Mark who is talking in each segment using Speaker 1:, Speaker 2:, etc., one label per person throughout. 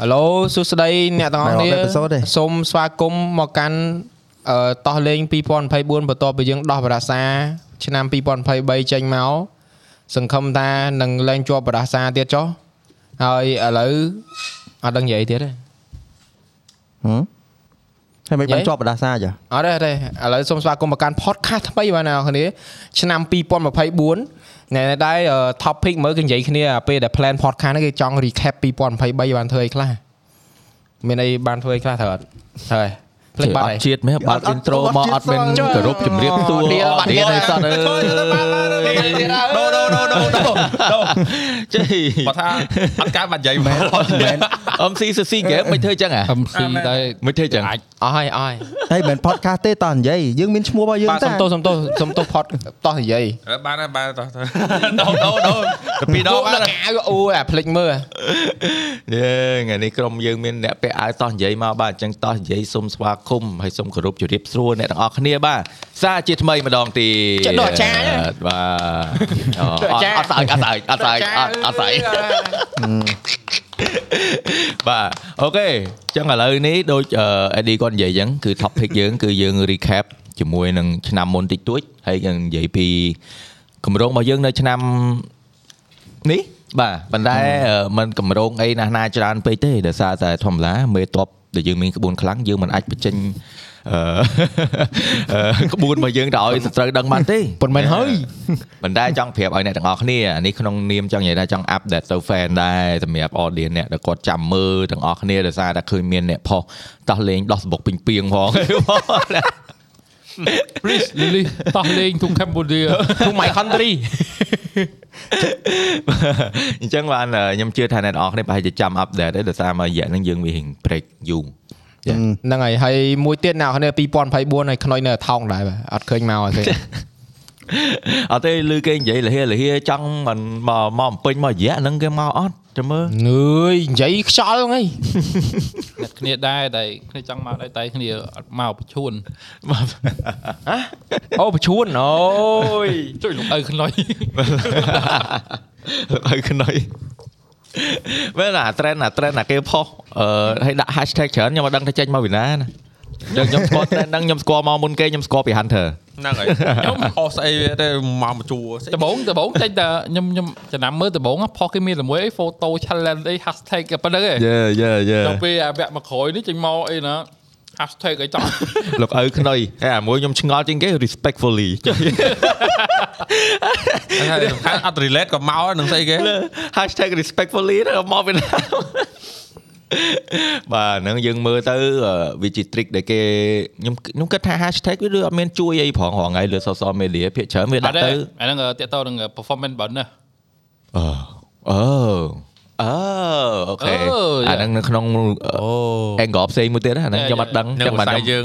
Speaker 1: ហ្ឡូសួស្តីអ្នកទាំងអស់
Speaker 2: បាទ
Speaker 1: គ្នា
Speaker 2: អត់ episode ទេ
Speaker 1: សូមស្វាគមន៍មកកាន់អឺតោះលេង2024បន្ទាប់ពីយើងដោះបរាសាឆ្នាំ2023ចេញមកសង្ឃឹមថានឹងលែងជាប់បរាសាទៀតចុះហើយឥឡូវអត់ដឹងនិយាយទៀតទេ
Speaker 2: ហឹមហើយមិន
Speaker 1: យេ
Speaker 2: បានជាប់បដាសាចា
Speaker 1: អត់ទេអត់ទេឥឡូវសូមស្វាគមន៍មកកាន់ podcast ថ្មីបាទអ្នកនរគ្នាឆ្នាំ2024ណែដែរអឺ topic មើលគេនិយាយគ្នាពេលដែល plan podcast ហ្នឹងគេចង់ recap 2023បានធ្វើអីខ្លះមានអីបានធ្វើអីខ្លះត្រូវអត់ត្រូវហើយភ្លេចបាត់
Speaker 3: អ
Speaker 1: ហើយ
Speaker 3: ត់ជាតិមែនបាត់ intro មកអត់មានគោរពជំរាបសួរ
Speaker 1: អត់ទៀតបាត់ទៀត
Speaker 3: អ
Speaker 1: ហើយ
Speaker 3: សោះអើយ
Speaker 4: ដូដូដូដូដូដូ
Speaker 3: ចេះ
Speaker 4: បើថាអត់កើតបាត់និយាយមែនអត់មែន
Speaker 3: MC សុស៊ីហ្គេមមិនធ្វើចឹងហ៎
Speaker 5: MC ដែរ
Speaker 3: មិនធ្វើចឹងអាច
Speaker 1: អស់ហើយអស់ហើយ
Speaker 2: ហើយមិនមែន podcast ទេតោះនិយាយយើងមានឈ្មោះរបស់យើង
Speaker 1: បាទ
Speaker 2: តា
Speaker 1: សុំទោសសុំទោសសុំទោស pod តោះនិយាយ
Speaker 4: បានហើយបានទៅ ដូដូដូទៅពីរដង
Speaker 1: ដ
Speaker 4: បាន
Speaker 1: ល់អាវអូអាភ្លេចមើល
Speaker 3: យេថ្ងៃនេះក្រុមយើងមានអ្នកពាក់អាវតោះនិយាយមកបាទអញ្ចឹងតោះនិយាយសូមស្វាគមន៍ហើយសូមគោរពជំរាបសួរអ្នកទាំងអស់គ្នាបាទសារជាថ្មីម្ដងទៀត
Speaker 1: ចិត្តដល់អាចារ្យ
Speaker 3: បាទអត់អត់ស្អើចអត់ស្អើចអត់ស្អើចអត់អត់ស្អើច បាទអូខេអញ្ចឹងឥឡូវនេះដូចអេឌីគាត់និយាយអញ្ចឹងគឺ topic យើងគឺយើង recap ជាមួយនឹងឆ្នាំមុនតិចតួចហើយយើងនិយាយពីគម្រោងរបស់យើងនៅឆ្នាំនេះបាទប៉ុន្តែអឺมันគម្រោងអីណាស់ណាច្រើនពេកទេដោយសារតែធម្មតាមេតបដែលយើងមានក្បួនខ្លាំងយើងមិនអាចបញ្ចេញអឺ អឺក្បួនរបស់យើងទៅឲ្យសត្រូវដឹងបានទេ
Speaker 1: ប៉ុន្មានហើយ
Speaker 3: ប៉ុន្តែចង់ប្រាប់ឲ្យអ្នកទាំងអស់គ្នានេះក្នុងនាមចង់និយាយថាចង់ update ទៅ fan ដែរសម្រាប់ audience អ្នកដែលគាត់ចាំមើលទាំងអស់គ្នាដោយសារតែឃើញមានអ្នកផុសតោះលេងដោះសំបុកពេញពីងផង
Speaker 5: លីលីតោះលេងទូកម្ពុជា
Speaker 1: ទូ my country
Speaker 3: អញ្ចឹងបានអឺខ្ញុំជឿថាអ្នកទាំងអស់គ្នាប្រហែលជាចាំ update ដែរដោយសារមករយៈហ្នឹងយើងមានរឿង break យូរ
Speaker 1: ហ្នឹងហើយហើយមួយទៀតអ្នកនរគ្នា2024ហើយខ្នុយនៅថោងដែរបាទអត់ឃើញមកអត់ទេ
Speaker 3: អត់ទេឮគេនិយាយលហេលហេចង់មិនមកមកបំពេញមករយៈហ្នឹងគេមកអត់ចាំមើល
Speaker 1: នឿយនិយាយខ្យល់ហ្នឹងឯង
Speaker 5: អ្នកគ្នាដែរតែគ្នាចង់មកដែរតែគ្នាអត់មកបញ្ឈួន
Speaker 1: អូបញ្ឈួនអូយ
Speaker 5: ជួយលោកឪខ្នុយ
Speaker 3: ឲ្យខ្នុយមែនអា trend អា trend អាគេផុសអឺឲ្យដាក់ hashtag ច្រើនខ្ញុំអត់ដឹងថាចេញមកពីណាណាយើងខ្ញុំស្គាល់ trend ហ្នឹងខ្ញុំស្គាល់មកមុនគេខ្ញុំស្គាល់ពី Hunter
Speaker 4: ហ្នឹងហើយខ្ញុំអស់ស្អីវាទេមកមកជួស្អី
Speaker 5: ដបងដបងចេញតែខ្ញុំខ្ញុំចំណាំមើលដបងផុសគេមានតែមួយអី photo challenge អី hashtag អីប៉ុណ្្នឹងឯង
Speaker 3: យេយេយេ
Speaker 5: ដល់ពេលអាវគ្គមកក្រោយនេះចេញមកអីណា hashtag អីតោះ
Speaker 3: លោកឪខ្នុយហើយអាមួយខ្ញុំឆ្ងល់ជាងគេ respectfully
Speaker 4: ហើយសំខាន់អត់ relate ក៏មកនឹងស្អីគេ
Speaker 3: hashtag respectfully ហ្នឹងមកពីណា បាទហ្នឹងយើងមើលទៅអឺវាជា trick ដែលគេខ្ញុំខ្ញុំគិតថា hashtag វាដូចអត់មានជួយអីផងរហងៃលើ social media ភាគច្រើនវា
Speaker 5: អ
Speaker 3: ដាក់
Speaker 5: ត់ទេ
Speaker 3: ទៅ
Speaker 5: អាហ្នឹងតេតតនឹង performance បើណា
Speaker 3: អឺអឺអឺអូខេ
Speaker 5: អឺ
Speaker 3: អាហ្នឹងនៅក្នុង
Speaker 4: អូ
Speaker 3: angle ផ្សេងមួយទៀតណាអាហ្នឹង
Speaker 5: Yeah,
Speaker 3: ខ្ញុំអត់ដឹង
Speaker 5: yeah.
Speaker 4: នៅ
Speaker 3: ចឹង
Speaker 4: ខ្សែ
Speaker 3: ខ្ញុំ
Speaker 4: យើង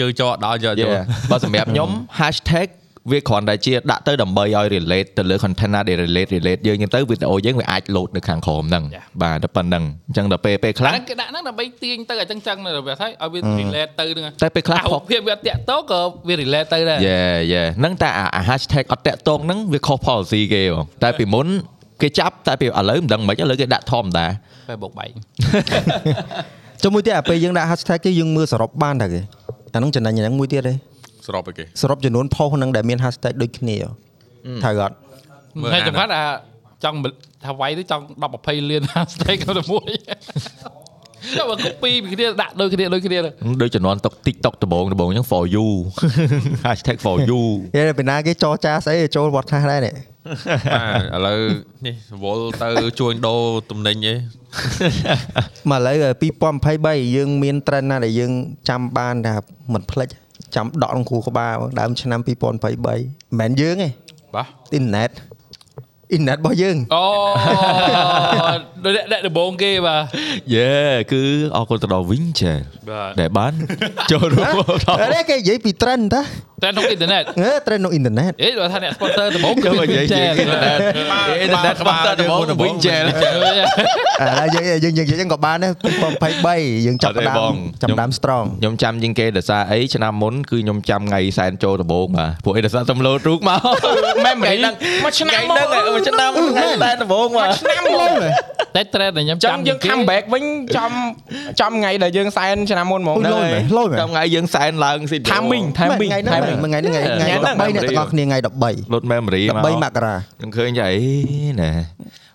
Speaker 4: ជើចោដល់យកយក
Speaker 3: Yeah. បើសម្រាប់ខ្ញុំ hashtag វាគ្រាន់តែជាដាក់ទៅដើម្បីឲ្យ relate ទៅលើ content ណាដែល relate relate យើងហ្នឹងទៅវីដេអូយើងវាអាច load នៅខាងក្រោមហ្នឹង
Speaker 5: Yeah.
Speaker 3: បាទតែប៉ុណ្្នឹងអញ្ចឹងដល់ពេលពេលខ្លះ
Speaker 5: អាហ្នឹងគេដាក់ហ្នឹងដើម្បីទាញទៅអញ្ចឹងចឹងនៅវាថាឲ្យវា relate ទៅហ្នឹង
Speaker 3: តែពេលខ្លះ
Speaker 5: អា
Speaker 3: ផុ
Speaker 5: រូ
Speaker 3: ស
Speaker 5: បភាពវាតេតតក៏វា relate ទៅដែរ
Speaker 3: យេយេហ្នឹងតែអាអា hashtag អត់តាក់តងហ្នឹងវាខុស policy គេបងតែពីមុនគេចាប់តែពីឥឡូវមិនដឹងមិនឥឡូវគេដាក់ធម្មតា
Speaker 5: Facebook បែក
Speaker 2: ចុះមួយទៀតអាពេលយើងដាក់ hashtag គេយើងមើលសរុបបានតាគេអាហ្នឹងចំណេញអាហ្នឹងមួយទៀតទេ
Speaker 4: សរុបឲ្យគេ
Speaker 2: សរុបចំនួនផុសហ្នឹងដែលមាន hashtag ដូចគ្នាត្រូវអត់
Speaker 4: មើល
Speaker 5: ហើយ
Speaker 4: អា
Speaker 5: ចំ
Speaker 4: ណា
Speaker 5: ណាត់អាចង់ថាវាយទៅចង់10 20លាន hashtag ក្នុងមួយ តែមក copy ពីគ្នាដាក់ដូចគ្នាដូចគ្នាទៅ
Speaker 3: ដូចជំនាន់តុក TikTok ដបងដបងអញ្ចឹង for you hashtag #for you
Speaker 2: យេពេលណាគេចរចាស្អីចូល podcast ដែរនេះ
Speaker 4: បាទឥឡូវនេះរវល់ទៅជួញដូរទំនិញអី
Speaker 2: មកឥឡូវ2023យើងមាន trend ណាដែលយើងចាំបានថាមិនភ្លេចចាំដកក្នុងខួរក្បាលដើមឆ្នាំ2023មិនមែនយើងទេ
Speaker 4: បាទ
Speaker 2: អ៊ីនធឺណិតអ៊ីនធឺណិតរបស់យើង
Speaker 5: អូ ដូចអ្នកអ្នកដបងគេបាទ
Speaker 3: យេគឺអរគុណទៅដល់ Wincher
Speaker 5: បាទ
Speaker 3: ដែលបានចូលរួមដល់
Speaker 2: អរេគេនិយាយពី trend តា
Speaker 5: តែក្នុងអ៊ីនធឺណិត
Speaker 2: អឺ trend ក្នុងអ៊ីនធឺណិត
Speaker 5: អេដល់ថាអ្នក sponsor ដបងគេ
Speaker 3: ចូលមកនិយាយជាអ៊ីនធឺណិតអ៊ីនធឺណិតបាត់ទៅដបង Wincher
Speaker 2: ឥឡូវយើងយើងនិយាយចឹងក៏បានដែរ2023យើងចាប់ផ្ដើ
Speaker 3: អត់ទេប
Speaker 2: ម
Speaker 3: ង
Speaker 2: ចាប់ផ្ដើម strong
Speaker 3: ខ្ញុំចាំជាងគេដោយសារអីឆ្នាំមុនគឺខ្ញុំចាំថ្ងៃសែនចូលដបងបាទពួកអីដោយសារសំឡូតរូបមក
Speaker 1: memory មួយឆ្នាំមក
Speaker 3: ថ្ងៃហ្នឹងឯងមួយឆ្នាំថ្ងៃសែនដបងបាទ
Speaker 1: ឆ្នាំមុន
Speaker 5: តែ trend ដែលខ្ញុំ
Speaker 1: ចឹ
Speaker 5: ចាំ
Speaker 1: ងយើង
Speaker 5: គេ
Speaker 1: comeback វិញចំចំថ្ងៃដែលយើងសែនឆ្នាំមុនហ្មង
Speaker 2: អូយលយមែនលយមែន
Speaker 3: ចាំថ្ងៃយើងសែនឡើងស៊ី
Speaker 1: timing
Speaker 2: មែន
Speaker 1: timing
Speaker 2: ថ្ងៃហ្នឹង
Speaker 1: timing
Speaker 2: មែនមួយថ្ងៃហ្នឹងថ្ងៃថ្ងៃ
Speaker 3: ថ្ងៃហ្នឹង
Speaker 2: 13អ្នកទាំងអស់គ្នាថ្ងៃ13
Speaker 3: លុត memory មក
Speaker 2: 13មករា
Speaker 3: ខ្ញុំឃើញចៃណែ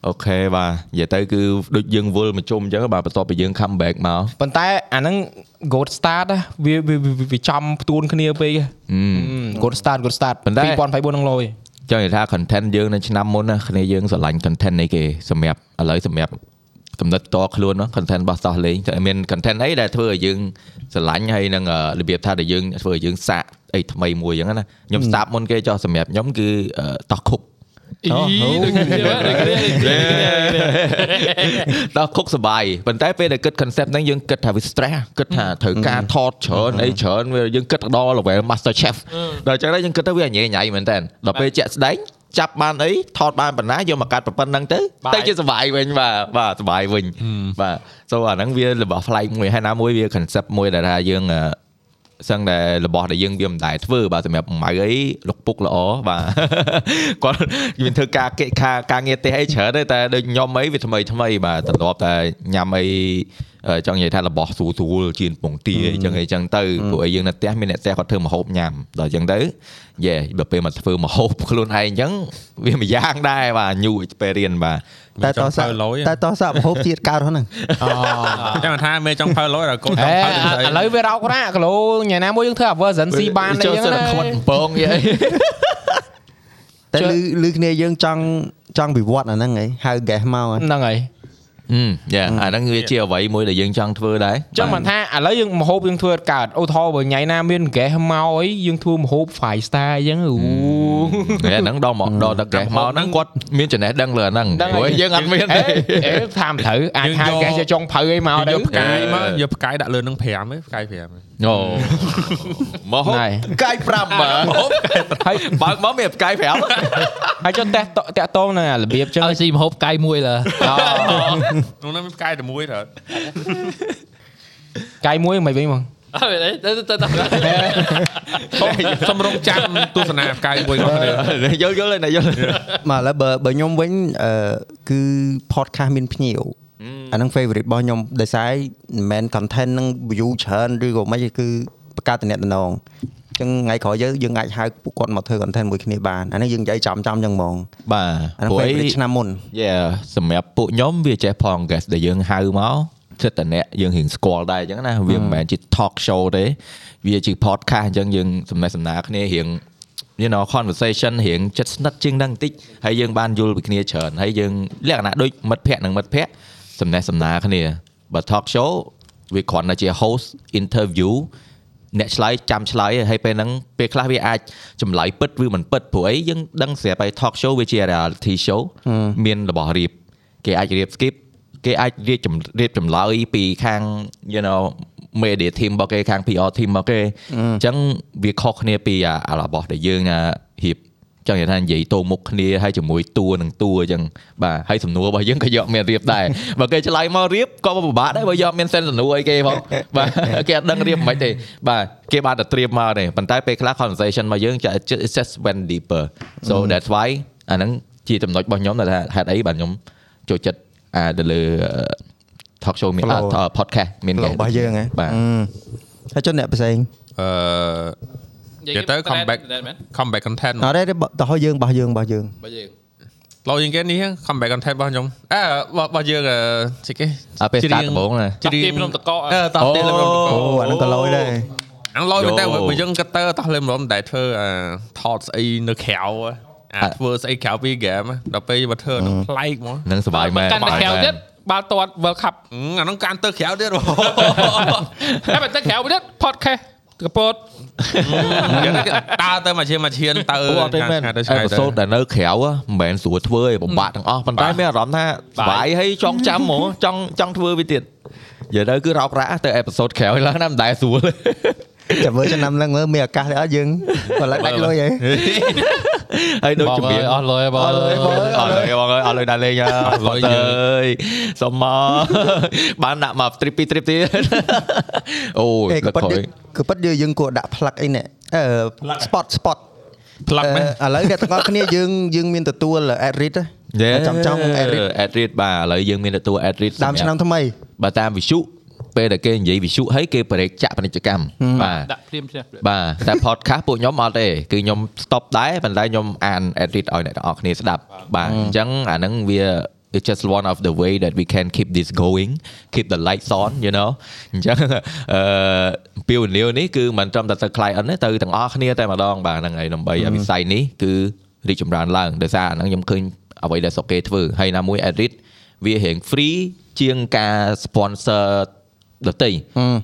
Speaker 3: អូខេបាទនិយាយទៅគឺដូចយើងវល់មកជុំអញ្ចឹងបាទបន្ទាប់ពីយើង comeback មក
Speaker 1: ប៉ុន្តែអាហ្នឹង gold start ណាវាវាវាវាចំផ្ទួនគ្នាពេកហ
Speaker 3: អ
Speaker 1: ៎
Speaker 3: ឺ
Speaker 1: gold start gold start
Speaker 3: ប៉ុន្តែ
Speaker 1: 2024នឹងលយ
Speaker 3: ចង់និយាយថា content យើងនៅឆ្នាំមុនណាគ្នាយើងស្រឡាញ់ content នេះគេសម្រាប់ឥឡូវសម្រាប់កំណត់តខ្លួនមក content របស់សោះលេងតែមាន content អីដែលធ្វើឲ្យយើងស្រឡាញ់ហើយនឹងអឺរបៀបថាដែលយើងធ្វើឲ្យយើងសាកអីថ្មីមួយអញ្ចឹងណាខ្ញុំស្ដាប់មុនគេចោះសម្រាប់ខ្ញុំគឺអឺតោះគុក
Speaker 5: អីដូច គ្នាវ៉ាដូចគ្នាដូចគ្នា
Speaker 3: ដល់គុកសបាយប៉ុន្តែពេលដែលគិត concept ហ្នឹងយើងគិតថាវា stress គិតថាត្រូវការថតច្រើនអីច្រើនវាយើងគិតដល់ level master chef ដល់អញ្ចឹងទៅយើងគិតទៅវាញ៉ៃញ៉ៃមែនតើដល់ពេលជាក់ស្ដែងចាប់បានអីថតបានបណ្ណាយកមកកាត់ប្រពន្ធហ្នឹងទៅតែជាសបាយវិញបាទបាទសបាយវិញបាទ so អាហ្នឹងវារបស់ផ្លែកមួយហើយណាមួយវា concept មួយដែលថាយើងអឺសឹងតែរបស់ដែលយើងវាមិនដែលធ្វើបាទសម្រាប់ម៉ៅអីលោកពុកល្អបាទ គាត់មានធ្វើការកិច្ចការការងារទេអីច្រើនទេតែដូចខ្ញុំអីវាថ្មីថ្មីបាទតន្ទាប់តែញ៉ាំអីអឺចង់និយាយថារបស់ស្រួលស្រួលជៀនពងទាអីចឹងអីចឹងទៅពួកអីយើងនៅផ្ទះមានអ្នកផ្ទះគាត់ធ្វើម្ហូបញ៉ាំដល់ចឹងទៅយេបើពេលមកធ្វើម្ហូបខ្លួនឯងចឹងវាមួយយ៉ាងដែរបាទ new experience បាទ
Speaker 2: តែតោះសា
Speaker 4: ចង់ផៅលុយ
Speaker 2: តែតោះសាប្រហូបជាតិកើតហ្នឹង
Speaker 4: ចាំថាមេចង់ផៅលុយដល់កូន ច
Speaker 1: អេ
Speaker 4: ង់ផៅទៅស្អី
Speaker 1: ឥឡូវវារោគណាគីឡូញ៉ែណាមួយយើងធ្វើ version C បានអី
Speaker 3: ចូល
Speaker 1: ចឹ
Speaker 3: សិ
Speaker 1: ង
Speaker 3: ន
Speaker 1: ណា
Speaker 3: ខ្វាត់បំពងយី
Speaker 2: តែ
Speaker 1: ចុះ
Speaker 2: លឺលឺគ្នាយើងចង់ចង់វិវត្តអាហ្នឹងហីហៅ guest មក
Speaker 1: ហ្
Speaker 2: ហ៎
Speaker 1: នឹងហើយ
Speaker 3: យ៉ាអាហ្នឹងវាជាអ្វីមួយដែលយើងចង់ធ្វើដែរ
Speaker 1: ចឹងមិនថាឥឡូវយើងម្ហូបយើងធ្វើកើតឧទាហរណ៍បើញ៉ៃណាមាន gas មកអីយើងធ្វើម្ហូប five star អីចឹងអូ
Speaker 3: អាហ្នឹងដល់មកដល់ដល់កេះមកហ្នឹងគាត់មានចំណេះដឹងលើអាហ្នឹង
Speaker 1: ដឹងហើ
Speaker 3: ព្រោះ
Speaker 1: យ
Speaker 3: យើងអត់មាន
Speaker 1: អេ
Speaker 3: ទេ
Speaker 1: អេតាមត្រូវអាចហៅ gas ជាចុងភៅអីមកទៅ
Speaker 4: យើងយកផ្កាយមកយកផ្កាយដាក់លើនឹង5ហ៎ផ្កាយ5ហ៎
Speaker 3: អូមកហូប
Speaker 1: ណែ
Speaker 3: កាយ5បើហូប
Speaker 1: ហើយ
Speaker 3: បើកមកមានផ្កាយ5
Speaker 1: ហើយចុះតេះតតាក់តងនឹងអារបៀបចឹង
Speaker 5: ឲ្យស៊ីមហូបកាយមួយ លើ
Speaker 4: នោះហ្នឹងមានផ្កាយតែមួយត្រូវ
Speaker 1: កាយមួយមិនវិញមក
Speaker 5: អត់ទេទៅទៅ ទៅ
Speaker 4: សំរងចាំទស្សនាផ្កាយមួយគាត់ទៅ
Speaker 3: យល់យល់ណាយល់
Speaker 2: មកឥឡូវបើបើខ្ញុំវិញអឺគឺ podcast មានភ្ញៀវអាហ្នឹង favorite របស់ខ្ញុំដោយសារមិនមែន content ហ្នឹង view ច្រើនឬក៏មិនគឺបង្កើតតំណតំណងអញ្ចឹងថ្ងៃក្រោយយើងយើងអាចហៅពួកគាត់មកធ្វើ content មួយគ្នាបានអាហ្នឹងយើងនិយាយចំចំចឹងហ្មង
Speaker 3: បាទ
Speaker 2: អាហ្នឹង
Speaker 3: ព្រោះអី
Speaker 2: favorite ឆ្នាំមុន
Speaker 3: Yeah សម្រាប់ពួកខ្ញុំវាចេះផង guest ដែលយើងហៅមកចិត្តតអ្នកយើងរៀងស្គាល់ដែរអញ្ចឹងណាវាមិនមែនជា talk show ទេវាជា podcast អញ្ចឹងយើងសម្ដែងសម្ដារគ្នារៀង you know conversation រៀងចិត្តស្និទ្ធជាងហ្នឹងបន្តិចហើយយើងបានយល់ពីគ្នាច្រើនហើយយើងលក្ខណៈដូចមិត្តភ័ក្ដិនិងមិត្តភ័ក្ដិសម្ដែងសម្ដារគ្នាបើ talk show វាគ្រាន់តែជា host interview អ្នកឆ្លើយចាំឆ្លើយឯងហើយពេលហ្នឹងពេលខ្លះវាអាចចម្លើយពិតឬមិនពិតព្រោះអីយើងដឹងស្រាប់ហើយ talk show វាជា reality show មានរបស់រៀបគេអាចរៀប skip គេអាចរៀបចំរៀបចម្លើយពីខាង you know media team របស់គេខាង PR team របស់គេអញ្ចឹងវាខុសគ្នាពីអាអារបស់ដែលយើងណារៀបចង់និយាយថានិយាយតោមុខគ្នាហើយជាមួយតួនឹងតួអញ្ចឹងបាទហើយសំណួររបស់យើងក៏យកមានរៀបដែរ បើគេឆ្លើយមករៀបក៏ពិបាកដែរបើយកមានសិនសំណួរអីគេផងបាទគេអត់ដឹងរៀបមិនទេបាទគេបានតែត្រៀមមកទេប៉ុន្តែពេលខ្លះ conversation របស់យើងចា it just went deeper so that's why អាហ្នឹងជាចំណុចរបស់ខ្ញុំដែលថាហេតុអីបាទខ្ញុំចូលចិត្តអាទៅលើ talk show មាន
Speaker 2: Flow
Speaker 3: អឺ podcast មាន
Speaker 2: Flow
Speaker 3: guest
Speaker 2: របស់យើងហ៎
Speaker 3: បាទ
Speaker 2: អឺហើយចុះអ្នកផ្សេង
Speaker 4: អឺ និយាយទៅ comeback comeback content
Speaker 2: អត់ទេទេបើតោះយើងរបស់យើងរបស់យើង
Speaker 5: បើយើង
Speaker 4: ឡូវយើងគេនេះ comeback content របស់ខ្ញុំអេរបស់យើងអឺស្អីគេ
Speaker 3: អើពេល À, start ដំបូងណា
Speaker 5: តាប់គេភ្នំតកក
Speaker 4: អឺតោះទេលំរំតក
Speaker 2: អូអាហ្នឹងក៏លយដែរ
Speaker 4: អាឡូវតែ
Speaker 3: យោ
Speaker 4: បើយើងកតើតោះលំរំតែធ្វើអាថតស្អីនៅក្រៅអាធ្វើស្អីក្រៅពី game ដល់ពេលមកធ្វើអាហ្នឹងប្លែកហ្មង
Speaker 3: នឹងសុបាយមែន
Speaker 5: កាន់តែក្រៅទៀតបាល់ទាត់ World Cup
Speaker 4: អឺអាហ្នឹងកាន់ទៅក្រៅទៀតបង
Speaker 5: ហើយបើទៅក្រៅទៀត podcast កពត
Speaker 4: យើងតើទៅមកឈានមកឈានទៅ
Speaker 3: អូអត់ទេមែន
Speaker 4: ទៅ
Speaker 3: អេ
Speaker 4: ឆ្ងាយ
Speaker 3: ផ
Speaker 4: ទៅ
Speaker 3: isode ដែលនៅក្រៅហ៎មិនមែនស្រួលធ្វើទេពិបាកទាំងអស់ប៉ុន្តែមានអារម្មណ៍ថាសុបាយហើយចង់ចាំហ្មងចង់ចង់ធ្វើវាទៀតនិយាយទៅគឺរោបរ៉ាស់ទៅអេផ isode ក្រៅឡើងណាមិនដែលស្រួ ល
Speaker 2: ចាំមើលឆ្នាំហ្នឹងមើលមានឱកាសទេអត់យើងបើឡើយដាច់លុយហី
Speaker 3: ហើយដូចជំនាញ
Speaker 5: អស់លុយបងអស់លុយ
Speaker 3: អត់លើបងអើយអត់លើដល់លេងអត់លើយើយសុំមក បានដាក់មក trip ពី trip ទៀតអូយ
Speaker 2: អេក៏
Speaker 3: ក៏
Speaker 2: ប៉ិត
Speaker 3: ខ້ອຍ
Speaker 2: យើងក៏ប៉ិតយើងយើងគួរដាក់ផ្លឹកអីណែអឺ spot spot
Speaker 4: plug មែន
Speaker 2: ឥឡូវអ្នកទាំងអស់គ្នាយើងយើងមានទទួល at read ចាំចង់ Adrid
Speaker 3: Adrid បាទឥឡូវយើងមានទទួល Adrid
Speaker 2: ដើមឆ្នាំថ្មី
Speaker 3: បើតាមវិសុពេលដែលគេនិយាយវិសុហើយគេប្រេកចាក់ពាណិជ្ជកម្មបាទ
Speaker 5: ដាក់ភ្លាមភ្លាម
Speaker 3: បាទតែ podcast ពួកខ្ញុំអត់ទេគឺខ្ញុំ stop ដែរប៉ុន្តែខ្ញុំអាន edit ឲ្យអ្នកទាំងអស់គ្នាស្ដាប់បាទអញ្ចឹងអាហ្នឹងវា it's just one of the way that we can keep this going keep the lights on you know អញ្ចឹង អឺពីវនីនេះគឺមិនត្រឹមតែទៅ client ទេទៅទាំងអស់គ្នាតែម្ដងបាទហ្នឹងហើយដើម្បីឲ្យវិស័យនេះគឺរីកចម្រើនឡើងដោយសារអាហ្នឹងខ្ញុំឃើញអ្វីដែលសុកគេធ្វើហើយណាមួយ edit វារៀង free ជាងការ sponsor ដតី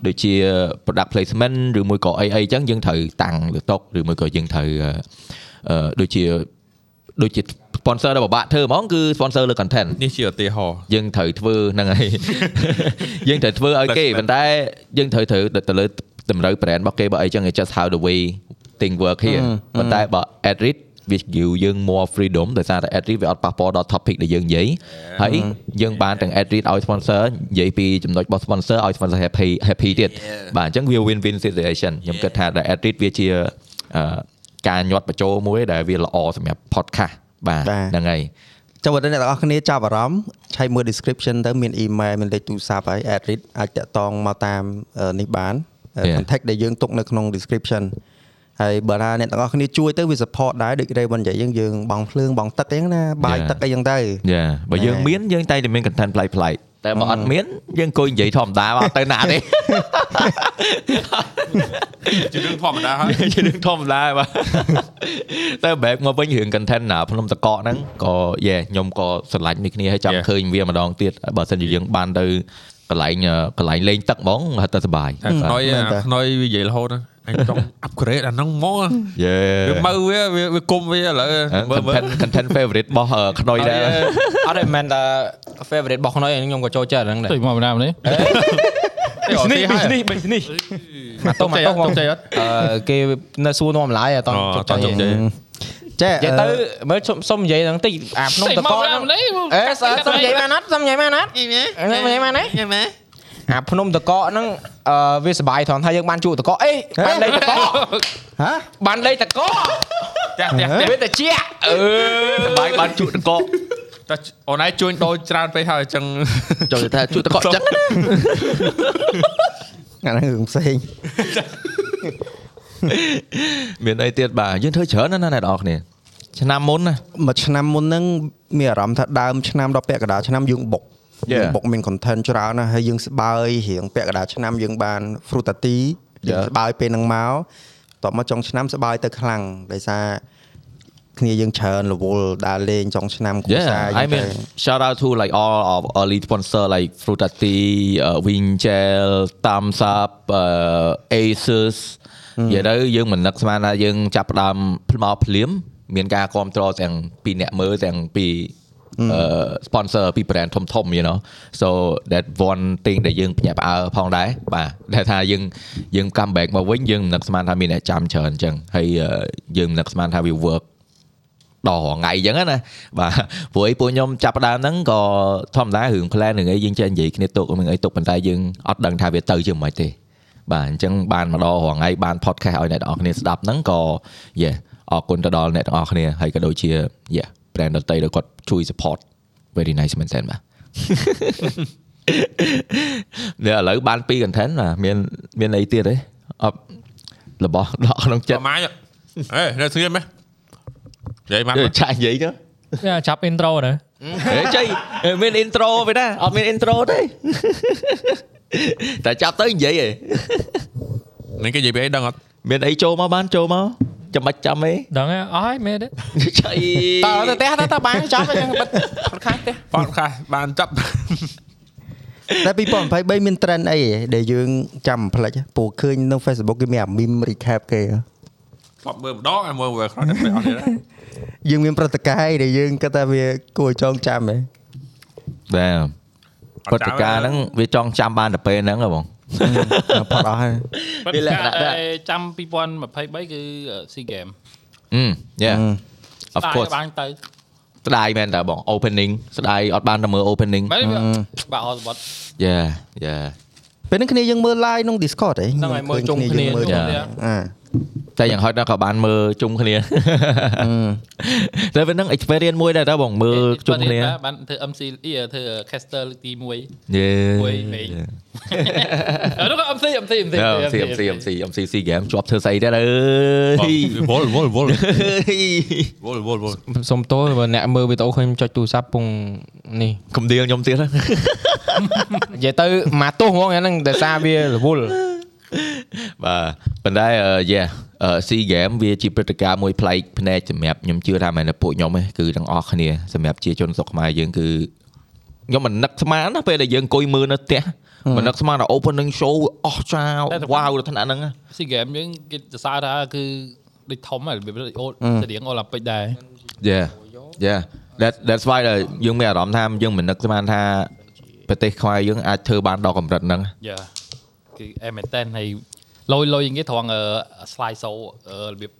Speaker 3: ដូចជា ờ, product placement ឬមួយក៏អីអីចឹងយើងត្រូវតាំងលើតុកឬមួយក៏យើងត្រូវអឺអឺដូចជាដូចជា sponsor ដែលបបាក់ធ្វើហ្មងគឺ sponsor លើ content
Speaker 4: នេះជាឧទាហរណ៍
Speaker 3: យើងត្រូវធ្វើហ្នឹងហើយ យើងត្រូវធ្វើឲ្យគេប៉ុន្តែយើងត្រូវត្រូវទៅលើតម្រូវ brand របស់គេបើអីចឹង it's just how the way thing work here ប៉ុន្តែបើ Adrit វា give យើង more freedom ដោយសារតែ Adrit វាអត់ប៉ះពាល់ដល់ topic ដែលយើងនិយាយហើយយើងបានទាំង Adrit ឲ្យ sponsor និយាយពីចំណុចរបស់ sponsor ឲ្យ sponsor happy happy ទៀតបាទអញ្ចឹងវា win win situation ខ្ញុំគិតថាតែ Adrit វាជាអឺការញាត់បញ្ចូលមួយដែលវាល្អសម្រាប់ podcast បាទ
Speaker 2: បាទ
Speaker 3: ហ្នឹងហើយ
Speaker 2: ចាំបើអ្នកទាំងអស់គ្នាចាប់អារម្មណ៍ឆែកមើល description ទៅមាន email មានលេខទូរស័ព្ទហើយ address អាចតាក់ទងមកតាមអឺនេះបានអឺ
Speaker 3: Yeah.
Speaker 2: contact ដែលយើងទុកនៅក្នុង description ហើយបើណាអ្នកទាំងអស់គ្នាជួយទៅវា support ដែរដូច Raven និយាយយើងយើងបងភ្លើងបងទឹកអីហ្នឹងណាបាយ
Speaker 3: Yeah.
Speaker 2: ទឹកអីហ្នឹងទៅ
Speaker 3: យ៉ាបើយើងមានយើងតែងតែមាន content ប្លែកប្លែកតែបើអត់មានយើងអង្គុយនិយាយធម្មតាអត់ទៅណា ទេ
Speaker 4: ជារឿងធម្មតាហើយ
Speaker 3: ជារឿងធម្មតាបាទ តែ back មកវិញរឿង content ណាភ្នំតកកហ្នឹងក៏យ៉ាខ្ញុំក៏ស្រឡាញ់នេះគ្នាហើយចាំ
Speaker 4: Yeah.
Speaker 3: ឃើញវាម្ដងទៀតបើសិនជាយើងបានទៅកន្លែងអឺកន្លែងលេងទឹកហ្មងហិតតែសប្បាយ
Speaker 4: តែខ្នុយ
Speaker 2: មែនតា
Speaker 4: អាខ្នុយវានិយាយរហូតណាអញចង់ upgrade អាហ្នឹងមកណា
Speaker 3: យេ
Speaker 4: វាមើលវាវាវាគុំវាឥឡូវ
Speaker 3: Ờ,
Speaker 4: មើលមើល
Speaker 3: content content favorite របស់អឺខ្នុយដែរ
Speaker 1: អត់ទេមិនតែ favorite របស់ខ្ញុំឯងខ្ញុំក៏ចូលចិត្តអាហ្នឹងដែរ
Speaker 5: ទៅមកម្ដងនេះ
Speaker 1: business business business មកទៅមកទៅមកទៅអឺគេនៅសួរនាំឡាយអត់
Speaker 4: អូ
Speaker 1: ចុចចុច
Speaker 4: អត់ចុចទេ
Speaker 2: ចេះ
Speaker 1: និយាយ
Speaker 2: អឺ
Speaker 1: ទៅមើលសុំសុំនិយាយហ្នឹងតិចអាភ្នំតកហ្នឹង អេសើសុំនិយាយបានអត់សុំនិយាយបានអត់និយាយបានណា
Speaker 6: យេម៉ែ
Speaker 1: អាភ្នំតកហ្នឹងអឺវាសបាយត្រង់ថាយើងបានជួបតកអេបានលេខតក
Speaker 2: ហ៎
Speaker 1: បានលេខតក
Speaker 4: តែតែ
Speaker 2: ហ៎
Speaker 1: វាតែជាអឺ
Speaker 3: សប្បាយបានជក់តកក
Speaker 4: តែអូនឯងជួញដូរច្រើនពេកហើយអញ្ចឹង
Speaker 3: ចូលទៅថាជក់តកកចឹង
Speaker 2: អាហ្នឹងរឿងផ្សេង
Speaker 3: មានអីទៀតបាទយើងធ្វើច្រើនណាស់ណាអ្នកនរគ្នាឆ្នាំមុនណា
Speaker 2: មួយឆ្នាំមុនហ្នឹងមានអារម្មណ៍ថាដើមឆ្នាំដល់ពាក់កណ្ដាលឆ្នាំយើងបុក
Speaker 3: Yeah.
Speaker 2: យើងបុកមាន content ច្រើនណាស់ហើយយើងស្បើយរៀងពាក់កណ្ដាលឆ្នាំយើងបាន frutati យើង
Speaker 3: Yeah.
Speaker 2: ស្បើយពេលហ្នឹងមកតបមកចុងឆ្នាំស្បើយទៅខ្លាំងដោយសារគ្នាយើងច្រើនរវល់ដើរលេងចុងឆ្នាំគ្រួ
Speaker 3: Yeah,
Speaker 2: សារ
Speaker 3: I
Speaker 2: យើងទៅ
Speaker 3: mean shout out to like all of early sponsor like Frutati, uh, Wingel, Thumbs Up, uh, Asus និយាយទៅយើងមិននឹកស្មានថាយើងចាប់ផ្ដើមមកភ្លាមមានការគ្រប់គ្រងទាំងពីអ្នកមើលទាំងពី uh, sponsor ពី brand ធំធំ you know so that one thing ដែលយើងភ្ញាក់ផ្អើលផងដែរបាទដែលថាយើងយើង come back មកវិញយើងមិននឹកស្មានថាមានអ្នកចាំច្រើនអញ្ចឹងហើយអឺយើងមិននឹកស្មានថាវា work ដល់រហងៃអញ្ចឹងណាបាទព្រោះអីពួកខ្ញុំចាប់ផ្ដើមហ្នឹងក៏ធម្មតារឿង plan រឿងអីយើងចេះនិយាយគ្នាទុកនឹងអីទុកប៉ុន្តែយើងអត់ដឹងថាវាទៅជាមិនទេ បាទអញ្ចឹងបានមកដល់រហងៃបាន podcast ឲ្យអ្នកទាំងអស់គ្នាស្ដាប់ហ្នឹងក៏ yeah អរគុណទៅដល់អ្នកទាំងអស់គ្នាហើយក៏ដូចជា yeah brand ដតីដែលគាត់ជួយ support very nice មែនតើបាទ នេះឥឡូវបានពីរ content បាទមានមានអីទៀតទេអត់របស់ដកក្នុង
Speaker 4: ប្រ
Speaker 3: ចិត្ត
Speaker 4: ហែលអេនៅស្ងៀមមែននិយាយមក
Speaker 3: យើង ចាក់និយាយទៅ
Speaker 7: ចាប់ intro ទៅ
Speaker 3: អេចៃអេមាន intro វិញណាអត់មាន intro ទេ តែចាប់ទៅនិយាយឯង
Speaker 4: នេះគេនិយាយពីអីដឹងអត់
Speaker 3: មានអីចូលមកបានចូលមកចាំបាច់ចាំអី
Speaker 7: ដឹងហើយអស់ហើយមែនទេ
Speaker 3: ចៃ
Speaker 1: តើទៅផ្ទះតើតើបានចប់ហើយយើងបិទ podcast ទេ
Speaker 4: ប៉តខាសបានចាប់
Speaker 2: តែ2023មាន trend អីដែលយើងចាំមិនភ្លេចព្រោះឃើញនៅ Facebook គេមានអា meme recap គេហ៎
Speaker 4: ធ្លាប់មើលម្ដងហើយមើលវាខ្លាំងតែអត់ទេ
Speaker 2: យើងមានព្រឹត្តិការណ៍អីដែលយើងគិតថាវាគួរឲ្យចងចាំហ៎
Speaker 3: បាទព្រឹត្តិការណ៍ហ្នឹងវាចង់ចាំបានតែពេលហ្នឹងហ៎បង
Speaker 2: ផុ តអស់ហើយ
Speaker 5: វា
Speaker 3: វា
Speaker 5: ល
Speaker 3: ល
Speaker 5: ក្ខ
Speaker 3: ក្ខ
Speaker 5: ណៈ
Speaker 3: ណៈដែរ
Speaker 5: ចាំ2023គឺ SEA Game
Speaker 3: អឺ yeah
Speaker 2: អឺ
Speaker 3: of course
Speaker 5: បានទៅ
Speaker 3: ស្ដាយមែនតើបង opening ស្ដាយអត់បានតែមើល opening
Speaker 5: មែនទេបាក់អស់សម្បត្តិ
Speaker 3: yeah yeah
Speaker 2: ពេលហ្នឹងគ្នាយើងមើល live ក្នុង Discord ហ៎
Speaker 1: ហ្នឹងហើយមើលជុំគ្នា
Speaker 2: យើងមើល
Speaker 5: ជុំ
Speaker 2: គ្នា
Speaker 5: គ្នា
Speaker 2: អា
Speaker 3: តែយ៉ាងហោចណាស់ក៏បានមើលជុំ គ្នាតែវានឹង experience មួយដែរតើបងមើលជុំគ្នា
Speaker 5: បានធ្វើ MC អីធ្វើ caster លើកទី1 អឺ
Speaker 3: យេ
Speaker 5: មួយលេខ នោះក៏ MC MC MC
Speaker 3: អមស៊ីអមស៊ីអមស៊ីអមស៊ីស៊ីហ្គេមជាប់ធ្វើស្អីដែរអើយ
Speaker 4: វល់វល់វល់វល់វល់វល់
Speaker 1: សុំទោសបើអ្នកមើលវីដេអូឃើញខ្ញុំចុចទូរស័ព្ទពងនេះ
Speaker 3: កំដៀលខ្ញុំទៀត
Speaker 1: និយាយទៅមកទោសហ្មងអាហ្នឹងដោយសារវារវល់
Speaker 3: បាទប៉ុន្តែយេស៊ីហ្គេមវាជាព្រឹត្តិការណ៍មួយប្លែកភ្នែកសម្រាប់ខ្ញុំជឿថាមែនតែពួកខ្ញុំឯងគឺទាំងអស់គ្នាសម្រាប់ជាជនស្រុកខ្មែរយើងគឺខ្ញុំមិននឹកស្មានណាពេលដែលយើងអង្គុយមើលនៅផ្ទះមិននឹកស្មានថា opening show អស់ចាវ៉ាវដល់ថ្នាក់ហ្នឹងណា
Speaker 5: ស៊ីហ្គេមយើងគេសរសើរថាគឺដូចធំហើយរបៀបដូចអូស្តៀងអូឡ িম্প ពិកដែរ
Speaker 3: Yeah Yeah that that's why ដែលយើងមានអារម្មណ៍ថាយើងមិននឹកស្មានថាប្រទេសខ្មែរយើងអាចធ្វើបានដល់កម្រិតហ្នឹង
Speaker 5: យ៉ាគឺអែមែនតែនហើយលយលយយ៉ាងគេត្រង់អឺ slide show អឺរបៀប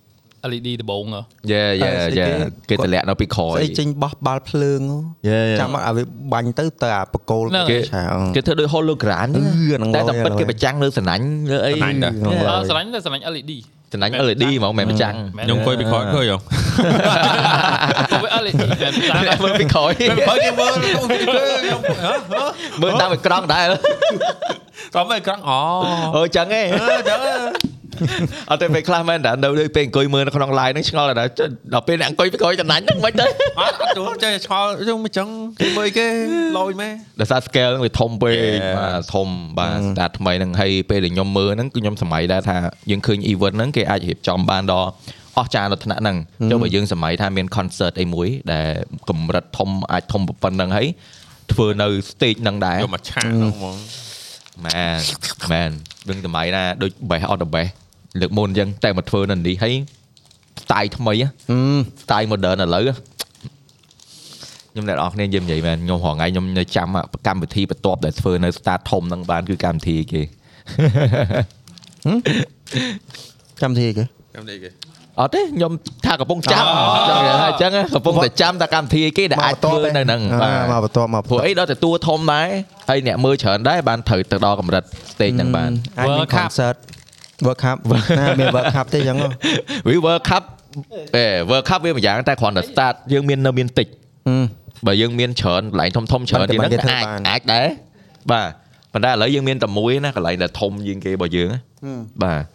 Speaker 5: LED ដបងហ៎
Speaker 3: Yeah yeah
Speaker 2: ស្អី
Speaker 3: yeah
Speaker 2: គេ
Speaker 3: គេទម្លាក់នៅពីក្រោយ
Speaker 2: ស្អីចេញបោះបាល់ភ្លើងហ៎
Speaker 3: Yeah, yeah.
Speaker 2: ចាំមកឲ្យវាបាញ់ទៅទៅអាបកគោល
Speaker 5: ហ្នឹង
Speaker 2: គេឆៅ
Speaker 3: គេធ្វើដូច hologram ហ្នឹង
Speaker 2: អឺហ្នឹង
Speaker 3: តែតែ
Speaker 2: ឡយ
Speaker 3: ប៉ិត
Speaker 2: ឡយ
Speaker 3: គេប្រចាំងលើសណាញ់លើអី
Speaker 4: ណាញ់ដែរ
Speaker 2: ហ្នឹង
Speaker 5: អឺ
Speaker 2: ហើយ
Speaker 5: ស្រឡាញ់តែស្រឡាញ់ LED
Speaker 3: សណាញ់ LED ហ្មងមិនមែនប្រចាំង
Speaker 5: មែន
Speaker 4: ខ្ញុំអង្គុយពីក្រោយឃើញអង
Speaker 5: ទៅវា LED មែនតែ
Speaker 3: មើ លពីក្រោយ
Speaker 4: ពេលបើគេមើលខ្ញុំខ្ញុំហ៎ហ៎
Speaker 3: មើលតាមអេក្រង់ដែរ
Speaker 4: ក្រុមអីក្រង់អូ
Speaker 3: អូចឹងឯងអត់ទេពេលខ្លះមែនតែនៅដូចពេលអង្គុយមើលនៅក្នុង live ហ្នឹងឆ្ងល់ដែរដល់ពេលអ្នកអង្គុយពីក្រោយសណាញ់ហ្នឹងមិនទៅ
Speaker 4: អត់អត់ចូលចេះឆ្ងល់ខ្ញុំមិនចឹងគេមើលគេលយមែន
Speaker 3: ដោយសារ scale ហ្នឹងវាធំពេក
Speaker 4: Yeah.
Speaker 3: បាទធំបាទស្ដាតថ្មីហ្នឹងហើយពេលដែលខ្ញុំមើលហ្នឹងគឺខ្ញុំសម័យដែរថាយើងឃើញ event ហ្នឹងគេអាចរៀបចំបានដល់អស្ចារ្យដល់ថ្នាក់ហ្នឹងចុះបើយើងសម័យថាមាន concert អីមួយដែលកម្រិតធំអាចធំប៉ុណ្ណឹងហើយធ្វើនៅ stage ហ្នឹងដែរ
Speaker 4: យកមកឆាកហ្នឹងហ្មង
Speaker 3: មែនមែនដឹងសម័យណាដូច best of the best លើកមុនអញ្ចឹងតែមកធ្វើនៅនេះហើយ style ថ្មីហ៎
Speaker 2: អឺ
Speaker 3: style modern ឥឡូវខ្ញុំអ្នកនរគ្នានិយាយមិននិយាយមែនខ្ញុំរហងៃខ្ញុំនៅចាំអាកម្មវិធីបន្ទាប់ដែលធ្វើនៅ start ធំហ្នឹងបានគឺកម្មវិធីគេ
Speaker 2: ចាំទីគេ
Speaker 4: ខ្ញុំនិយាយគេ
Speaker 3: អត់ទេខ្ញុំថាកំពុងចាំចង់និយាយថាអញ្ចឹងហ៎កំពុងតែចាំតែកម្មវិធីគេដែលអាចធ្វើនៅហ្នឹង
Speaker 2: បា
Speaker 3: បា
Speaker 2: មកប
Speaker 3: ទទ
Speaker 2: ន្ទាប់មក
Speaker 3: ព្រោះអីដល់តែតួធំដែរហើយអ្នកមើលច្រើនដែរបានត្រូវទៅដល់កម្រិត stage ហ្នឹងបាន
Speaker 2: អាចមាន
Speaker 5: World Cup
Speaker 2: concert World Cup ណាមាន World Cup ទេអញ្ចឹងហ៎
Speaker 3: We World Cup អេ World Cup វាម្យ៉ាងតែគ្រាន់តែ start យើងមាននៅមានតិច
Speaker 2: អឺ
Speaker 3: បើយើងមានច្រើនកន្លែងធំធំៗច្រើន
Speaker 2: បា
Speaker 3: ទៀត
Speaker 2: នតែ
Speaker 3: ហ្នឹង
Speaker 2: បានគេធ្វើ
Speaker 3: អា
Speaker 2: បាន
Speaker 3: ចអាចដែរបាទប៉ុន្តែឥឡូវយើងមានតែមួយណាកន្លែងដែលធំជាងគេរបស់យើងណាបាទ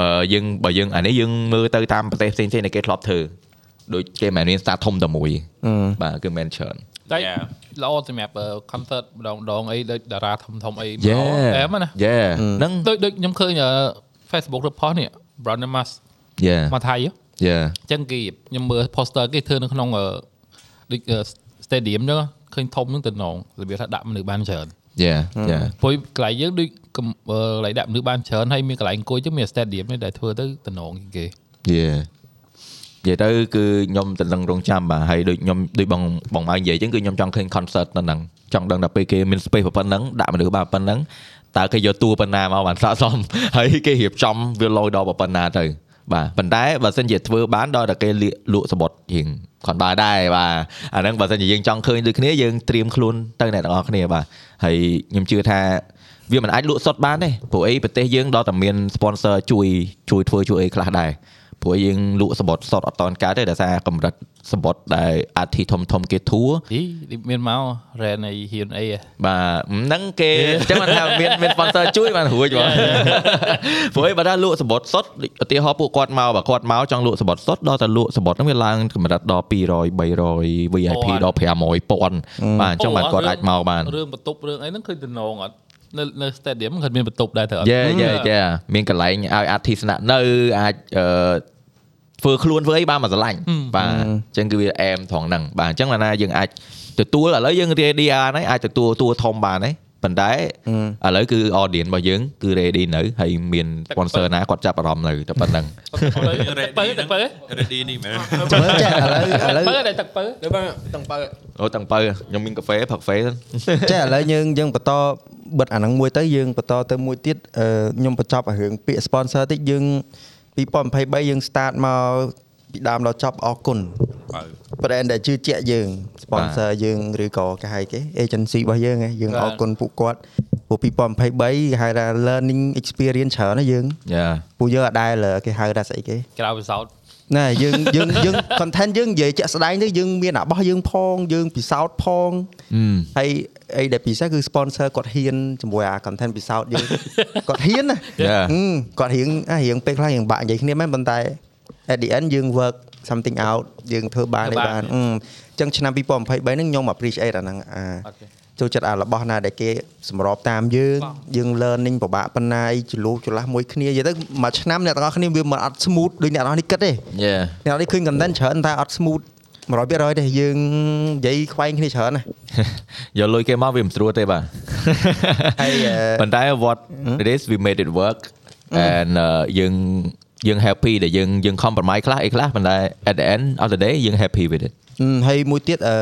Speaker 3: បើយើងបើយើងអានេះយើងមើលទៅតាមប្រទេសផ្សេងៗដែលគេធ្លាប់ធ្វើដូចគេមិនមែនមាន start ធំតែមួយ
Speaker 2: អឺ
Speaker 3: បាទគឺមែនច្រើន
Speaker 5: តែល្អសម្រាប់អឺ ờ, concert ម្ដងម្ដងអីដូចតារាធំធំអី
Speaker 3: Yeah
Speaker 5: តែមកណា
Speaker 3: យេហ្នឹង
Speaker 5: ដូចដូចខ្ញុំឃើញអឺ Facebook ឬ post នេះ Brandon Mas
Speaker 3: យេ
Speaker 5: មកថៃហ៎
Speaker 3: យេ
Speaker 5: ចឹងគេខ្ញុំមើល poster គេធ្វើនៅក្នុងអឺដូចអឺ ờ, stadium ហ្នឹងឃើញធំហ្នឹងទៅនងរបៀបថាដាក់មនុស្សបានច្រើន
Speaker 3: Yeah, yeah.
Speaker 5: ព្រោះកន្លែងយើងដូចកំអឺកន្លែងដាក់មនុស្សបានច្រើនហើយមានកន្លែងអង្គុយចឹងមាន stadium នេះដែលធ្វើទៅតំណងជាងគេ
Speaker 3: Yeah. និយាយទៅគឺខ្ញុំតឹងរង់ចាំបាទហើយដូចខ្ញុំដូចបងបងម៉ៅនិយាយអញ្ចឹងគឺខ្ញុំចង់ឃើញ concert នៅហ្នឹងចង់ដឹងដល់ពេលគេមាន space ប៉ុណ្ណឹងដាក់មនុស្សបានប៉ុណ្ណឹងតើគេយកតួប៉ុណ្ណាមកបានស័ក្តិសម ហើយគេរៀបចំវាលយដល់ប៉ុណ្ណាទៅបាទប៉ុន្តែបើសិនជាធ្វើបានដល់តែគេលាកលក់សបុតរៀងគាត់បានដែរបាទអាហ្នឹងបើសិនជាយើងចង់ឃើញដូចគ្នាយើងត្រៀមខ្លួនទៅអ្នកទាំងអស់គ្នាបាទហើយខ្ញុំជឿថាវាមិនអាចលក់សុទ្ធបានទេព្រោះអីប្រទេសយើងដល់តែមាន sponsor ជួយជួយធ្វើជួយអីខ្លះដែរ ព្រោះយើងលក់សបុតសតអត់តនកើតទេដោយសារកម្រិតសបុតដែលអាធីធំធំគេធួ
Speaker 5: អីនេះមានមក ren អី hion អីហ៎
Speaker 3: បាទហ្នឹងគេអញ្ចឹងបានថាមានមាន sponsor ជួយបានរួច បងព្រោះឯងបើថាលក់សបុតសតដូចឧទាហរណ៍ពួកគាត់មកបើគាត់មកចង់លក់សបុតសតដល់តែលក់សបុតហ្នឹងវាឡើងកម្រិតដល់200 300 VIP ដល់500,000បាទអញ្ចឹង
Speaker 5: à,
Speaker 3: បានគាត់អាចមកបាន
Speaker 5: រឿងបន្ទប់រឿងអីហ្នឹងឃើញតំណងអត់នៅនៅ stadium មិនឃើញមានបន្ទប់ដែរទៅអត់
Speaker 3: យេយេយេមានកន្លែងឲ្យអធិស្នាក់នៅអាចអឺធ្វើខ្លួនធ្វើអីបានមកស្រឡាញ់បាទអញ្ចឹងគឺវាអែមត្រង់ហ្នឹងបាទអញ្ចឹងបានណាយើងអាចទទួលឥឡូវយើង ready អាហ្នឹងអាចទទួលតួធំបានហើយប៉ុន្តែឥឡូវគឺ audience របស់យើងគឺ ready នៅហើយមាន sponsor ណាគាត់ចាប់អារម្មណ៍នៅតែប៉ុណ្្នឹង
Speaker 5: ទឹកបើទឹកបើ
Speaker 4: ready នេះមែន
Speaker 2: មើលចេះឥឡូវឥឡូវ
Speaker 5: បើតែទឹកបើ
Speaker 1: ទៅបើតឹងបើ
Speaker 3: អូតាំងបើខ្ញុំមានកាហ្វេផឹកកាហ្វេ សិន
Speaker 2: ចេះឥឡូវយើងយើងបន្តបិទអាហ្នឹងមួយទៅយើងបន្តទៅមួយទៀតអឺខ្ញុំបញ្ចប់អារឿងពាក្យ sponsor តិចយើង2023យើង start មកពីដើមដល់ចប់អរគុណ
Speaker 4: បើ
Speaker 2: brand ដែលជឿជាក់យើង sponsor យើងឬក៏គេហៅគេ agency របស់យើងឯងយើងអរគុណពួកគាត់ព្រោះ ព្រោះ2023គេហៅថា learning experience ច្រើនណាយើង
Speaker 3: យ៉ា
Speaker 2: ពួកយើងអត់ដែលគេហៅថាស្អីគេ
Speaker 5: ក្រៅពិសោធន៍
Speaker 2: ណែ យើងយើងយើង content យើងនិយាយជាក់ស្ដែងទៅយើងមានរបស់យើងផងយើងពិសោធន៍ផង
Speaker 3: អឺ
Speaker 2: ហើយអីដែលពិសេសគឺ sponsor គាត់ហ៊ានជាមួយអា content ពិសោធន៍ យើង គាត់ហ៊ានណា
Speaker 3: Yeah.
Speaker 2: ហ៊ឹមគាត់រៀងអារៀងពេលខ្លះរៀងបាក់និយាយគ្នាមែនប៉ុន្តែ at the end យើង work something out យើងធ្វើបានឯបានហ៊ឹមអញ្ចឹងឆ្នាំ2023ហ្នឹងខ្ញុំ appreciate អាហ្នឹងអា ចូលចិត្តអារបស់ណាដែលគេសម្របតាមយើងយើង learning ពិបាកប៉ុណ្ណាអីចលូសចលាស់មួយគ្នានិយាយទៅមួយឆ្នាំអ្នកទាំងអស់គ្នាវាមិនអត់ smooth ដូចអ្នកទាំងអស់នេះគិតទេ
Speaker 3: យ៉ា
Speaker 2: អ្នកនរនេះឃើញ content ច្រើនតែអត់ smooth 100%ទេយើងនិយាយខ្វែងគ្នាច្រើនណាស់
Speaker 3: យកលុយគេមកវាមិនស្រួលទេបាទ
Speaker 2: ហើយអឺ
Speaker 3: ប៉ុន្តែ what it is we made it work and អឺយើងយើង happy ដែលយើងយើង compromise ខ្លះអីខ្លះប៉ុន្តែ at the end of the day យើង happy with it
Speaker 2: អឺហើយមួយទៀតអឺ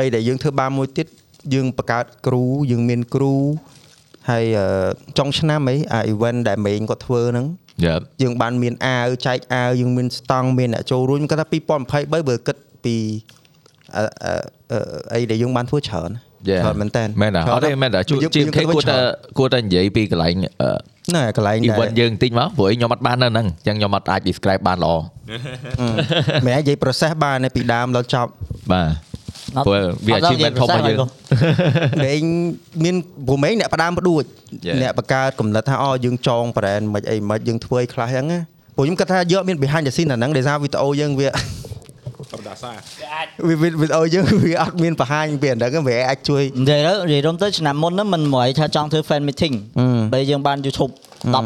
Speaker 2: អីដែលយើងធ្វើបានមួយទៀតយើងបង្កើតគ្រូយើងមានគ្រូហើយអឺចុងឆ្នាំអីអា event ដែលមេងគាត់ធ្វើហ្នឹង
Speaker 3: Yep
Speaker 2: យើងបានមានអាវចែកអាវយើងមានស្តង់មានអ្នកចូលរួមគាត់ថា2023បើគិតពីអអឺអីដែលយើងបានធ្វើច្រើន
Speaker 3: Yeah.
Speaker 2: ច្រើនមែនតើ
Speaker 3: មែនដែរអត់ទេមែនដែរជួយជីមគេគួរតែគួរតែនិយាយពីកន្លែងអឺ
Speaker 2: ណែកន្លែងដែ
Speaker 3: event
Speaker 2: រ
Speaker 3: យើងបន្តិចមកព្រោះឯងខ្ញុំអត់បាននៅហ្នឹងអញ្ចឹងខ្ញុំអត់អាច describe បានល្អ
Speaker 2: មែនហើយនិយាយ process បានឯពីដើមដល់ចប់
Speaker 3: បាទព្រោះវា achievement ធំរបស់យើង
Speaker 2: ដេញ មានព្រមឯងអ្នកផ្ដាមផ្ដួច
Speaker 3: Yeah.
Speaker 2: អ្នកបង្កើតកំណត់ថាអូយើងចង brand មិនអីមិនយើងធ្វើឲ្យខ្លះអញ្ចឹងណាព្រោះខ្ញុំគិតថាយកមាន behind the scene អាហ្នឹងដោយសារវីដេអូយើង វាប្រដាសាវីដេអូយើងវាអត់មានបង្ហាញពីអាហ្នឹងវាអាចជួយ
Speaker 6: និយាយទៅនិយាយរំទៅឆ្នាំមុនហ្នឹងមិនមកថាចង់ធ្វើ fan meeting
Speaker 2: អឺ
Speaker 6: ពេលយើងបាន YouTube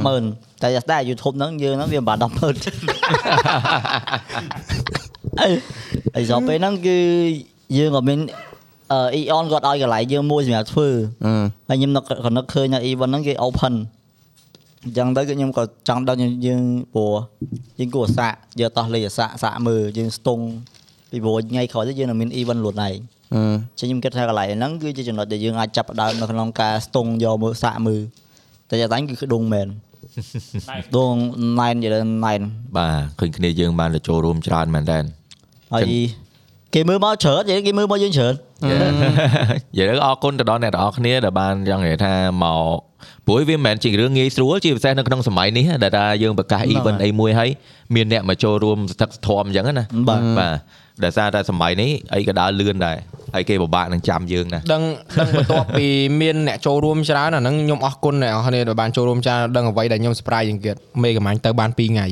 Speaker 6: 100,000តែស្ដាយ YouTube ហ្នឹងយើងហ្នឹងវាមិនបាន100,000អីអីចូលពេលហ្នឹងគឺយើងក៏មានអឺ Eon គាត់ឲ្យកន្លែងយើងមួយសម្រាប់ធ្វើ
Speaker 2: អឺ
Speaker 6: ហើយខ្ញុំនឹកក៏នឹកឃើញថា event ហ្នឹងគេ open អញ្ចឹងទៅគឺខ្ញុំក៏ចង់ដឹងយើងព្រោះយើងគួរសាកយកតោះលេខសាកសាកមើលយើងស្ទង់ពីព្រោះថ្ងៃក្រោយទៅយើងនឹងមាន event ខ្លួនឯង
Speaker 2: អឺ
Speaker 6: ចឹងខ្ញុំគិតថាកន្លែងហ្នឹងគឺជាចំណុចដែលយើងអាចចាប់ផ្ដើមនៅក្នុងការស្ទង់យកមើលសាកមើលតែយ៉ាងហ្នឹងគឺខ្ដងមែន ដងណែននិយាយណែន
Speaker 3: បាទឃើញគ្នាយើងបានទៅចូលរួមច្រើនមែនតើ
Speaker 6: ហើយ
Speaker 3: ចឹង
Speaker 6: គេមើលមកច្រើននិយាយគេមើលមកយើងច្រើន
Speaker 3: និយាយទៅអរគុណទៅដល់អ្នកទាំងអស់គ្នាដែលបានចង់និយាយថាមកព្រោះវាមិនមែនជារឿងងាយស្រួលជាពិសេសនៅក្នុងសម័យនេះដែលថាយើងប្រកាស event អីមួយហើយមានអ្នកមកចូលរួមស្ថិតស្ថមអញ្ចឹងណាបាទដែលសារតែសម័យនេះអីក៏ដើរលឿនដែរហើយគេពិបាកនឹងចាំយើងណាស់
Speaker 1: ដឹងដឹងបន្ទាប់ពីមានអ្នកចូលរួមច្រើនអាហ្នឹងខ្ញុំអរគុណអ្នកនរគ្នាដែលបានចូលរួមច្រើនដឹងអ្វីដែលខ្ញុំ surprise ជាងទៀតមេកំាញ់ទៅបាន2ថ្ងៃ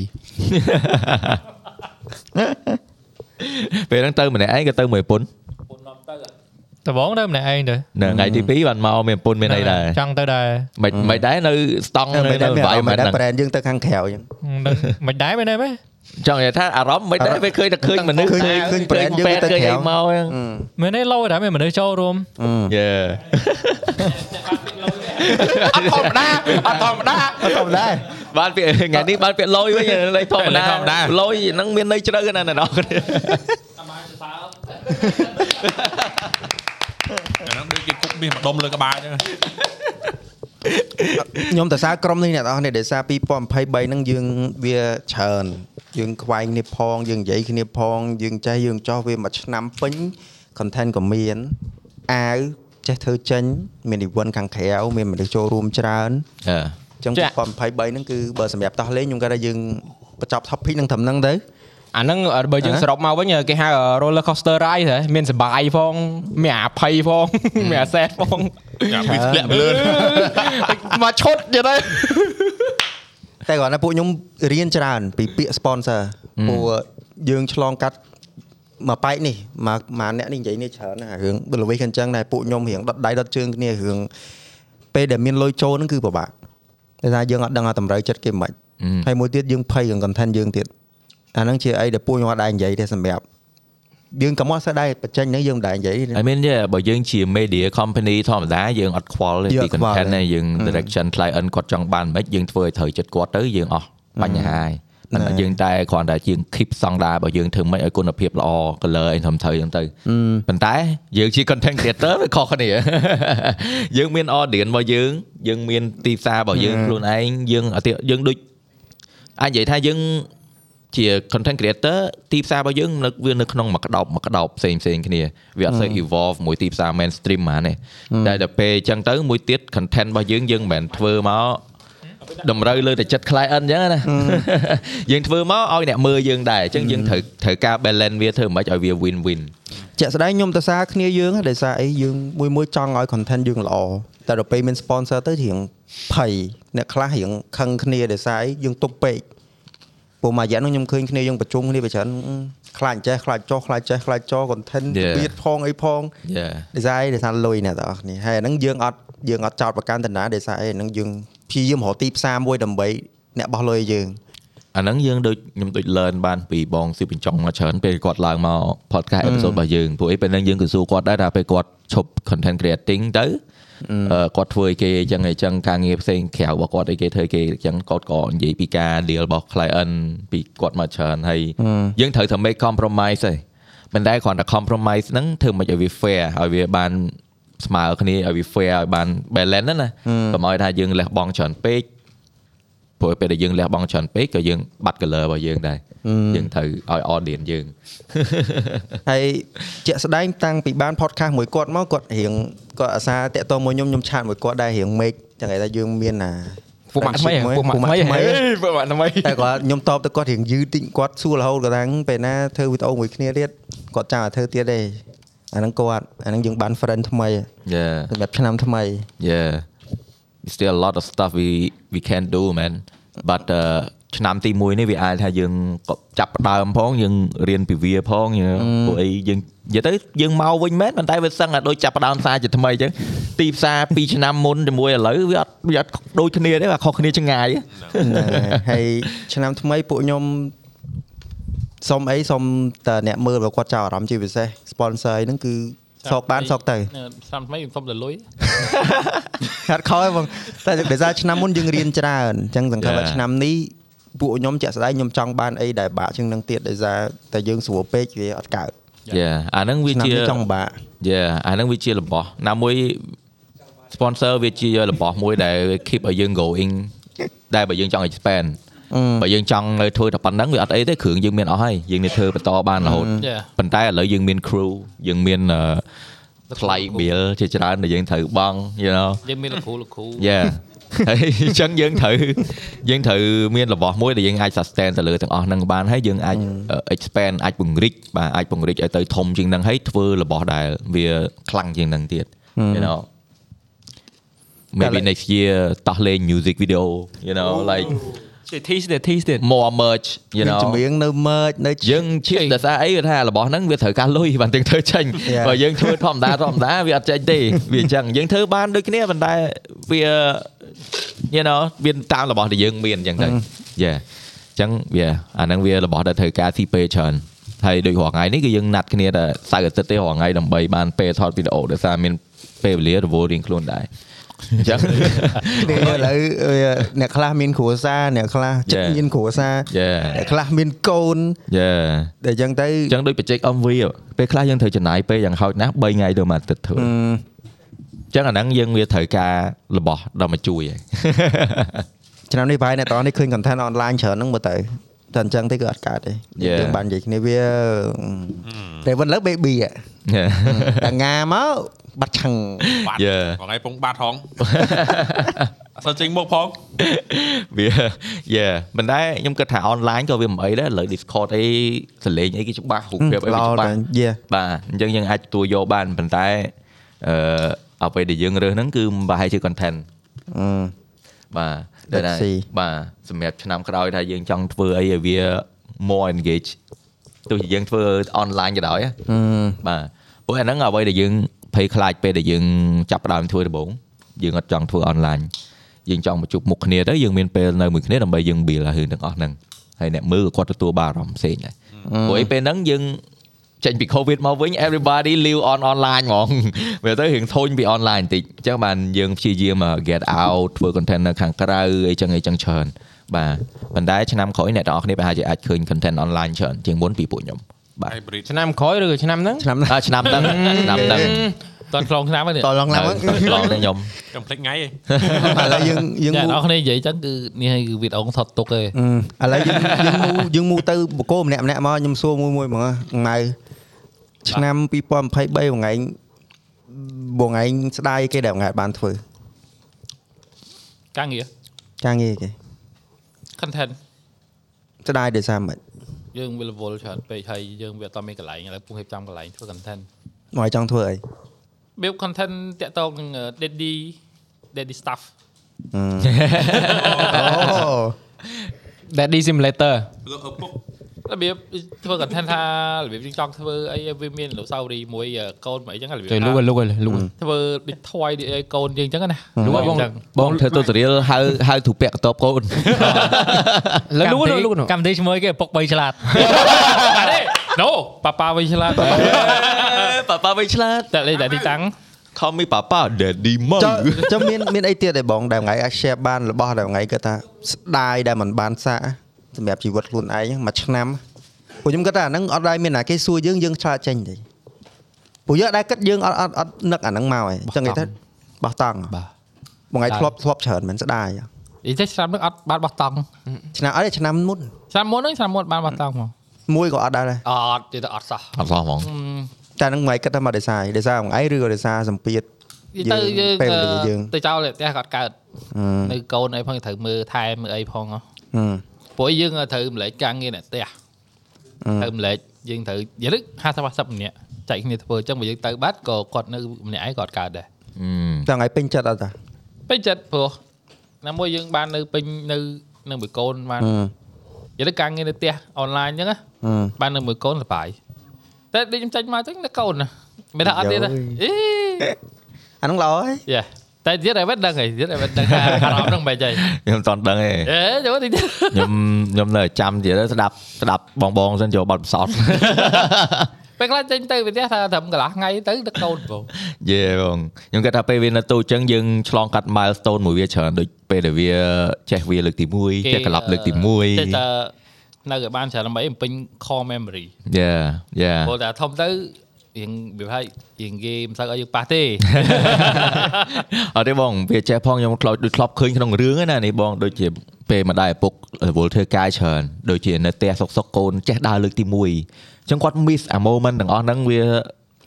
Speaker 3: ពេលហ្នឹងទៅម្នាក់ឯងក៏ទៅមួយប្រពន្ធ
Speaker 7: ដបងទៅម្នាក់ឯងទៅ
Speaker 3: នៅថ្ងៃទី2បានមកមានប្រពន្ធមានអីដែរ
Speaker 7: ចង់ទៅដែរ
Speaker 3: មិនមិនដែរនៅស្តង់នៅ
Speaker 2: មិន
Speaker 3: នៅ
Speaker 2: ដែរមិន
Speaker 3: environment
Speaker 2: ដែរ
Speaker 3: ហ្នឹង
Speaker 2: brand យើងទៅខាងក្រៅអញ្ចឹង
Speaker 7: ដឹងមិនដែរមែនទេមែន
Speaker 3: ចង់និយាយថាអារម្មណ៍មិនដែរពេលឃើញតែឃើញមនុស្ស
Speaker 2: ឃើញឃើញ brand យើងទៅ
Speaker 3: ឃើញ
Speaker 2: ក្រៅ
Speaker 3: អីមកហ្នឹង
Speaker 7: មែនទេលោតែមានមនុស្សចូលរួម
Speaker 3: យេ
Speaker 1: អត់ធម្មតាអត់ធម្មតា
Speaker 2: អត់ធម្មតា
Speaker 3: បានពាក្យថ្ងៃនេះបានពាក្យលយវិញលេខធម្មតាលយហ្នឹងមានន័យជ្រៅណាស់ ណាស់
Speaker 4: អាហ្នឹងដូចគេគុកមាសម្ដុំលើក្បាលអញ្ចឹង
Speaker 2: ខ្ញុំទៅសារក្រុមនេះអ្នកទាំងអស់នេះដោយសារ2023ហ្នឹងយើងវាច្រើនយើងខ្វែងគ្នាផងយើងនិយាយគ្នាផង យើងចេះយើងចោះវាមួយឆ្នាំពេញ content ក៏មានអាវចេះធ្វើចេញមាន event ខាងក្រៅមានមនុស្សចូលរួមច្រើន
Speaker 3: អឺ
Speaker 2: អញ្ចឹង2023ហ្នឹងគឺបើសម្រាប់តោះលេងខ្ញុំគាត់ថាយើងបញ្ចប់ topic ហ្នឹងត្រឹមហ្នឹងទៅ
Speaker 1: អាហ្នឹងបើយើងសរុបមកវិញគេហៅ roller coaster ride ហ៎មានសបាយផងមានអាភ័យផងមានអាសែតផង
Speaker 4: ចាំពីធ្លាក់ទៅលើ
Speaker 1: មកឈុតទៀតហើយ
Speaker 2: តែគាត់ណាពួកខ្ញុំរៀនច្រើនពីពាក្យ sponsor ពួកយើងឆ្លងកាត់មកប៉ែកនេះមកមកអ្នកនេះនិយាយនេះច្រើនណាស់រឿងលវិសអញ្ចឹងដែរពួកខ្ញុំរៀងដុតដៃដុតជើងគ្នារឿងពេលដែលមានលុយចូលហ្នឹងគឺពិបាកតែថាយើងអត់ដឹងថាតម្រូវចិត្តគេមិនហើយមួយទៀតយើងភ័យនឹង content យើងទៀតអាហ្នឹងជាអីដែលពួកខ្ញុំអត់ដែរនិយាយទេសម្រាប់យើងក៏មកសើដែរបញ្ចេញហ្នឹងយើងមិនដែរនិយាយទេ
Speaker 3: អីមានទេបើយើងជា media company ធម្មតាយើងអត់ខ្វល់ទេ
Speaker 2: យើង
Speaker 3: ពី
Speaker 2: អត់ខ្វល់
Speaker 3: content ណាយើង direction client គាត់ចង់បានមិនយើងធ្វើឲ្យត្រូវចិត្តគាត់ទៅយើងអស់បញ្ហាហើយ
Speaker 2: ណែ
Speaker 3: តែយើងតែគ្រាន់តែយើង keep standard របស់យើងធ្វើមិនឲ្យគុណភាពល្អ color អីធំត្រូវអញ្ចឹងទៅប៉ុន្តែយើងជា content creator វាខុសគ្នា យើងមាន audience របស់យើងយើងមានទីផ្សាររបស់យើងខ្លួនឯងយើងអត់ទៀតយើងដូច អាចនិយាយថាយើង ជា content creator ទីផ្សាររបស់យើងនៅវានៅក្នុងមួយក្តោបមួយក្តោបផ្សេងផ្សេងៗគ្នាវាអត់សូវ evolve មួយទីផ្សារ mainstream ហ្មងទេតែដល់ពេលអញ្ចឹងទៅមួយទៀត content របស់យើងយើងមិនមែនធ្វើមកតម្រូវលើតែចិត្ត client អញ្ចឹងណា យើងធ្វើមកឲ្យអ្នកមើលយើងដែរអញ្ចឹងយើងត្រូវត្រូវការ balance វាធ្វើមិនឲ្យវា win win
Speaker 2: ជាក់ស្ដែងខ្ញុំទៅសារគ្នាយើងហ្នឹងដោយសារអីយើងមួយមួយចង់ឲ្យ content យើងល្អតែដល់ពេលមាន sponsor ទៅរៀងភ័យអ្នកខ្លះរៀងខឹងគ្នាដោយសារអីយើងទប់ពេកព្រោះមួយរយៈហ្នឹងខ្ញុំឃើញគ្នាយើងប្រជុំគ្នាប្រច្រើនអឺខ្លាចអញ្ចេះខ្លាចចោះខ្លាចចេះខ្លាចចោះ content
Speaker 3: Yeah.
Speaker 2: ទៀតផងអីផង
Speaker 3: yeah
Speaker 2: ដោយសារអីដោយសារលុយអ្នកទាំងអស់គ្នាហើយអាហ្នឹងយើងអត់យើងអត់ចោតប្រកាន់តាណាដោយសារអីអាហ្នឹងយើងព្យាយាមរកទីផ្សារមួយដើម្បីអ្នកបោះលុយឲ្យយើង
Speaker 3: អាហ្នឹងយើងដូចខ្ញុំដូច learn បានពីបងស៊ីបញ្ចុងមកច្រើនពេលគាត់ឡើងមក podcast episode របស់យើងពួកអីពេលហ្នឹងយើងក៏សួរគាត់ដែរថាពេលគាត់ឈប់ content creating ទៅអឺគាត់ធ្វើអីគេអញ្ចឹងអីចឹងការងារផ្សេងក្រៅរបស់គាត់អីគេធ្វើអីគេអញ្ចឹងគាត់ក៏និយាយពីការ deal របស់ client ពីគាត់មកច្រើនហើយយើងត្រូវតែ make compromise ឯងមិនដែលគ្រាន់តែ compromise ហ្នឹងធ្វើមិនឲ្យវា fair ឲ្យវាបានស្មើគ្នាឲ្យវា fair ឲ្យបាន balance ហ្នឹងណាកុំឲ្យថាយើងលះបង់ច្រើនពេក ព្រោះពេលដែលយើងលះបង់ច្រើនពេកក៏យើងបាត់ color របស់យើងដែរយើងត្រូវឲ្យ audience យើង
Speaker 2: ហើយជាក់ស្ដែងតាំងពីបាន podcast មួយគាត់មកគាត់រៀងគាត់អាសាតាក់ទងមកខ្ញុំខ្ញុំឆាតមួយគាត់ដែររៀង make ចឹងឯងថាយើងមានអា
Speaker 1: ពួកម៉ាក់ថ្មីហ៎
Speaker 2: friendship
Speaker 1: ពួកម៉ាក់ថ្មីហ៎
Speaker 2: ហ៎
Speaker 1: ហេពួកម៉ាក់ថ្មី
Speaker 2: តែគាត់ខ្ញុំតបទៅគាត់រៀងយឺតតិចគាត់សួររហូតគាត់ថាពេលណាធ្វើវីដេអូមួយគ្នាទៀតគាត់ចាំតែធ្វើទៀតទេអាហ្នឹងគាត់អាហ្នឹងយើងបាន friend ថ្មី
Speaker 3: yeah
Speaker 2: សម្រាប់ឆ្នាំថ្មី
Speaker 3: yeah It's still a lot of stuff we we can do man but uh, ឆ្នាំទី1នេះវាអាចថាយើងក៏ចាប់ផ្ដើមផងយើងរៀនពីវាផងយើងពួកអីយើងនិយាយទៅយើងមកវិញមែនប៉ុន្តែវាសឹងតែដូចចាប់ផ្ដើមសារជាថ្មីអញ្ចឹងទីផ្សារ2ឆ្នាំមុនជាមួយឥឡូវវាអត់វាអត់ដូចគ្នាទេវាខុសគ្នាឆ្ងាយ
Speaker 2: ហ្នឹងហើយហើយឆ្នាំថ្មីពួកខ្ញុំសុំអីសុំតើអ្នកមើលរបស់គាត់ចាប់អារម្មណ៍ជាពិសេស sponsor អីហ្នឹងគឺសោកបានសោកទៅ
Speaker 5: ឆ្នាំថ្មីខ្ញុំសុំតែលុយ
Speaker 2: ហាត់ខោឯងបងតែដោយសារឆ្នាំមុនយើងរៀនច្រើនអញ្ចឹងសង្ឃឹមថា
Speaker 3: Yeah.
Speaker 2: ឆ្នាំនេះពួកខ្ញុំជាក់ស្ដែងខ្ញុំចង់បានអីដែលបាក់ជាងហ្នឹងទៀតដោយសារតែយើងស្រួលពេកវាអត់កើត
Speaker 3: yeah អាហ្នឹងវា
Speaker 2: ឆ្នាំ
Speaker 3: ជា
Speaker 2: នេះចង់បាក់
Speaker 3: យ៉ាអាហ្នឹងវាជារបស់ណាមួយ sponsor វាជារបស់មួយដែល keep ឲ្យយើង going ដែលបើយើងចង់ expand បើយើងចង់នៅធ្វើតែប៉ុណ្្នឹងវាអត់អីទេគ្រឿងយើងមានអស់ហើយយើងនេះធ្វើបន្តបានរហូត
Speaker 5: Yeah.
Speaker 3: ប៉ុន្តែឥឡូវយើងមាន crew យើងមានអឺថ្លៃ bill ជាច្រើនដែលយើងត្រូវបង់ you know
Speaker 5: យើងមានលោកគ្រូលោកគ្រូ
Speaker 3: yeah ហើយ អញ្ចឹងយើងត្រូវយើងត្រូវមានរបស់មួយដែលយើងអាច sustain ទៅលើទាំងអស់ហ្នឹងបានហើយយើងអាច expand អាចពង្រីកបាទអាចពង្រីកឲ្យទៅធំជាងហ្នឹងហើយធ្វើរបស់ដែលវាខ្លាំងជាងហ្នឹងទៀត you know maybe next year តោះលេង music video you know like
Speaker 1: tease ទេ tease ទេ
Speaker 3: more merch you
Speaker 2: មាន
Speaker 3: know
Speaker 2: ចម្រៀងនៅមើចនៅ
Speaker 3: យើងជាដោយសារអីវាថារបស់ហ្នឹងវាត្រូវការលុយបានទាំងធ្វើចេញ
Speaker 2: Yeah.
Speaker 3: បើយើងធ្វើធម្មតាធម្មតាវាអត់ចេញទេវាអញ្ចឹងយើងធ្វើបានដូចគ្នាប៉ុន្តែវា you know វាតាមរបស់ដែលយើងមានអញ្ចឹងទៅយេអញ្ចឹងវាអាហ្នឹងវារបស់ដែលត្រូវការទីពេលច្រើនហើយដូចរាល់ថ្ងៃនេះគឺយើងណាត់គ្នាតែសៅរ៍អាទិត្យទេរាល់ថ្ងៃដើម្បីបានពេលថតវីដេអូដោយសារមានពេលវេលារវល់រៀងខ្លួនដែរអញ្ចឹង
Speaker 2: នេះឥឡូវវាអ្នកខ្លះមានគ្រួសារអ្នកខ្លះចិត្ត
Speaker 3: Yeah.
Speaker 2: មានគ្រួសារ
Speaker 3: Yeah.
Speaker 2: អ្នកខ្លះមានកូន
Speaker 3: យេ
Speaker 2: តែលអញ្ចឹងទៅ
Speaker 3: អញ្ចឹងដូចបច្ចេក MV ហ៎ពេលខ្លះយើងត្រូវចំណាយពេលយ៉ាងហោចណាស់3ថ្ងៃទៅមួយអាទិត្យធ្វើអញ្ចឹងអាហ្នឹងយើងវាត្រូវការរបស់ដល់មកជួយហើយ
Speaker 2: ឆ្នាំនេះប្រហែលអ្នកទាំងអស់នេះឃើញ content online ច្រើនហ្នឹងមើលទៅតែអញ្ចឹងទេគឺអត់កើតទេយើងបាននិយាយគ្នាវាតែវិញឥឡូវ baby អ่ะតែងាមកបាត់ឆឹង
Speaker 4: បាត់
Speaker 3: Yeah.
Speaker 4: ថ្ងៃពងបាត់ ហង អត់សូវចេញមុខផង
Speaker 3: វាយេមិនដែរខ្ញុំគិតថា online ក៏វាមិនអីដែរឥឡូវ Discord អីសលេងអីគេច្បាស់រូបភាពអីគេច្បាស់
Speaker 2: យេ
Speaker 3: បាទអញ្ចឹងយើងអាចទទួលយកបានប៉ុន្តែអឺអ្វីដែលយើងរើសហ្នឹងគឺមិនប្រហែលជា content
Speaker 2: អឺ
Speaker 3: បាទ
Speaker 2: ដូច
Speaker 3: ណា
Speaker 2: ស៊ី
Speaker 3: បាទសម្រាប់ឆ្នាំក្រោយថាយើងចង់ធ្វើអីឲ្យវា more engage ទោះជាយើងធ្វើ online ក៏ដោយហ៎បាទព្រោះអាហ្នឹងអ្វីដែលយើងភ័យខ្លាចពេលដែលយើងចាប់ផ្ដើមធ្វើដំបូងយើងអត់ចង់ធ្វើ online យើងចង់មកជួបមុខគ្នាទៅយើងមានពេលនៅមួយគ្នាដើម្បីយើង build ឲ្យរឿងទាំងអស់ហ្នឹងហើយអ្នកមើលក៏គាត់ទទួលបានអារម្មណ៍ផ្សេងដែរព្រោះឯពេលហ្នឹងយើង ចេញពី covid មកវិញ everybody live on online ហ្មង វាទៅរៀងធុញពី online បន្តិចអញ្ចឹងបានយើងព្យាយាម get out ធ្វើ content នៅខាងក្រៅអីចឹងអីចឹងច្រើនបាទប៉ុន្តែឆ្នាំក្រោយអ្នកទាំងអស់គ្នាប្រហែលជាអាចឃើញ content online ច្រើនជាងមុនពីពួកខ្ញុំបាទ
Speaker 4: ហៃប្រីត
Speaker 1: ឆ្នាំក្រោយឬក៏ឆ្នាំហ្នឹង
Speaker 2: ឆ្នាំណា
Speaker 3: អ่าឆ្នាំដឹងឆ្នាំដឹង
Speaker 5: តាន់ខ្លងឆ្នាំហ្នឹងនេះ
Speaker 2: តឡងឡើងហ្នឹង
Speaker 3: ឡងតែខ្ញុំ
Speaker 4: កំភ្លេចថ្ងៃឯង
Speaker 2: ឥឡូវយើងយើង
Speaker 5: តែ
Speaker 2: មូ
Speaker 5: អ្នក នរគ្នានិយាយចឹងគឺនេះហើយគឺវីដេអូថតទុកទេ
Speaker 2: អឺឥឡូវយើងយើងមូយើងមូទៅបកគោម្នាក់ម្នាក់មកខ្ញុំសួរមួយមួយហ្មងម៉ៅឆ្នាំ2023បងឯងបងឯងស្ដាយគេដែលបងឯងបានធ្វើ
Speaker 5: ការងារ
Speaker 2: ការងារគេ
Speaker 5: content
Speaker 2: ស្ដាយដោយសារមិន
Speaker 5: យើងវាលវល់ច្រើនពេកហើយយើងវាអត់មានកន្លែងឥឡូវពុះហៀបចំកន្លែងធ្វើ content
Speaker 2: មកឲ្យចង់ធ្វើ អី
Speaker 5: បៀប content តាក់ទងនឹង daddy daddy stuff
Speaker 2: អូ
Speaker 1: Daddy Simulator
Speaker 5: របៀបធ្វើ content ថារបៀបយើងចង់ធ្វើអីវាមានអនុស្សាវរីយ៍មួយកូនមួយអីចឹងរបៀប
Speaker 1: ជួយលូក
Speaker 5: ថា
Speaker 1: លូកលូក
Speaker 5: ធ្វើដូច toy ដូចអីកូនយើងចឹងណា
Speaker 1: លូកឲ្យបង
Speaker 5: ចឹង
Speaker 3: បងធ្វើទូតរៀលហៅហៅទូពាក់កតបកូន
Speaker 1: លូក
Speaker 7: កម្មវិធី
Speaker 1: លូក
Speaker 7: កម្មវិធីឈ្មោះអីគេពុក3ឆ្លាត
Speaker 5: អរេ no ប៉ាប៉ាវិញឆ្លាត
Speaker 3: ប៉ាប៉ាវិញឆ្លាត
Speaker 5: តែលេខតែទីតាំង
Speaker 3: Call me ប៉ាប៉ា Daddy មក
Speaker 2: ចុះចុះមានមានអីទៀតដែរបងដែលបងឯងអាច share បានរបស់ដែលបងឯងគាត់ថាស្ដាយដែលមិនបានសាកសម្រាប់ជីវិតខ្លួនឯងមួយឆ្នាំពួកខ្ញុំគាត់ថាអាហ្នឹងអត់ដែរមានណាគេសួរយើងយើងឆ្លាតចេញទេពួកយើងអត់ដែរគិតយើងអត់អត់អត់នឹកអាហ្នឹងមកឯងអញ្ចឹងគេថាបោះតង់
Speaker 5: បាទ
Speaker 2: បងឯងធ្លាប់ធ្លាប់ច្រើនមែនស្ដាយ
Speaker 5: និយាយតែឆ្នាំនេះអត់បានបោះតង់
Speaker 2: ឆ្នាំអត់ទេឆ្នាំមុន
Speaker 5: ឆ្នាំមុនហ្នឹងឆ្នាំមុនបានបោះតង់មក
Speaker 2: មួយក៏អត់ដែរដែរ
Speaker 5: អត់ទៀតអត់សោះ
Speaker 3: អត់សោះហ្មង
Speaker 2: តែហ្នឹងបងឯងគិតថាមកដោយសារអីដោយសារបងឯងឬក៏ដោយសារសម្ពាធ
Speaker 5: និយាយទៅយើង
Speaker 2: ពេលវេលាយើង
Speaker 5: ទៅចោលតែផ្ទះគាត់កើត
Speaker 2: អឺ
Speaker 5: នៅកូនអីផងត្រូវមើលថែមើលអីផងហ៎
Speaker 2: អឺ
Speaker 5: ព្រោះយើងត្រូវម្លែកការងារអ្នកផ្ទះ
Speaker 2: អឺ
Speaker 5: ត្រូវម្លែកយើងត្រូវនិយាយទៅ50 50ម្នាក់ចែកគ្នាធ្វើអញ្ចឹងបើយើងទៅបាត់ក៏គាត់នៅម្នាក់ឯងគាត់កើតដែរ
Speaker 3: អឺ
Speaker 2: តែបងឯងពេញចិត្តអត់តា
Speaker 5: ពេញចិត្តព្រោះណាមួយយើងបាននៅពេញនៅនៅមួយកូនបាន
Speaker 2: អឺ
Speaker 5: និយាយទៅការងារនៅផ្ទះអនឡាញអញ្ចឹងណា
Speaker 2: អឺ
Speaker 5: បាននៅមួយកូនសប្បាយតែដូចខ្ញុំចាញ់មកអញ្ចឹងនៅកូនណាមិនថាអត់ទេណា
Speaker 2: យោយ
Speaker 5: អេ
Speaker 2: អាហ្នឹងល្អហើយ
Speaker 5: យ៉ាតែទៀតតែវិញដឹងហីទៀតតែវិញដឹងថាអារម្មណ៍ហ្នឹងបែបយ៉ាង
Speaker 3: ខ្ញុំមិនតន់ដឹងទេ
Speaker 5: អេចូលតិចទៀត
Speaker 3: ខ្ញុំខ្ញុំនៅតែចាំទៀតស្ដាប់ស្ដាប់បងបងសិនចូលបាត់ផ្សោត
Speaker 5: ពេលខ្លះចេញទៅវាផ្ទះថាត្រឹមកន្លះថ្ងៃទៅដឹកកូនបង
Speaker 3: យេបងខ្ញុំគិតថាពេលវានៅតូចចឹងយើងឆ្លងកាត់ milestone មួយវាច្រើនដូចពេលដែលវាចេះវាលើកទី1ចេះក្លាប់លើកទី
Speaker 5: ចេះតែ
Speaker 3: 1
Speaker 5: នៅឲ្យបានច្រើនដើម្បីបំពេញ core memory
Speaker 3: យេយេ
Speaker 5: ព្រោះតែធំទៅរៀងវាហើយរៀងគេមិនសូវឲ្យយើងប៉ះទេ
Speaker 3: អត់ទេបងវាចេះផងខ្ញុំខ្លោចដូចធ្លាប់ឃើញក្នុងរឿងហ្នឹងណានេះបងដូចជាពេលម្ដាយឪពុករវល់ធ្វើការច្រើនដូចជានៅផ្ទះសុកសុកកូនចេះដើរលើកទី1អញ្ចឹងគាត់ miss a moment ទាំងអស់ហ្នឹងវា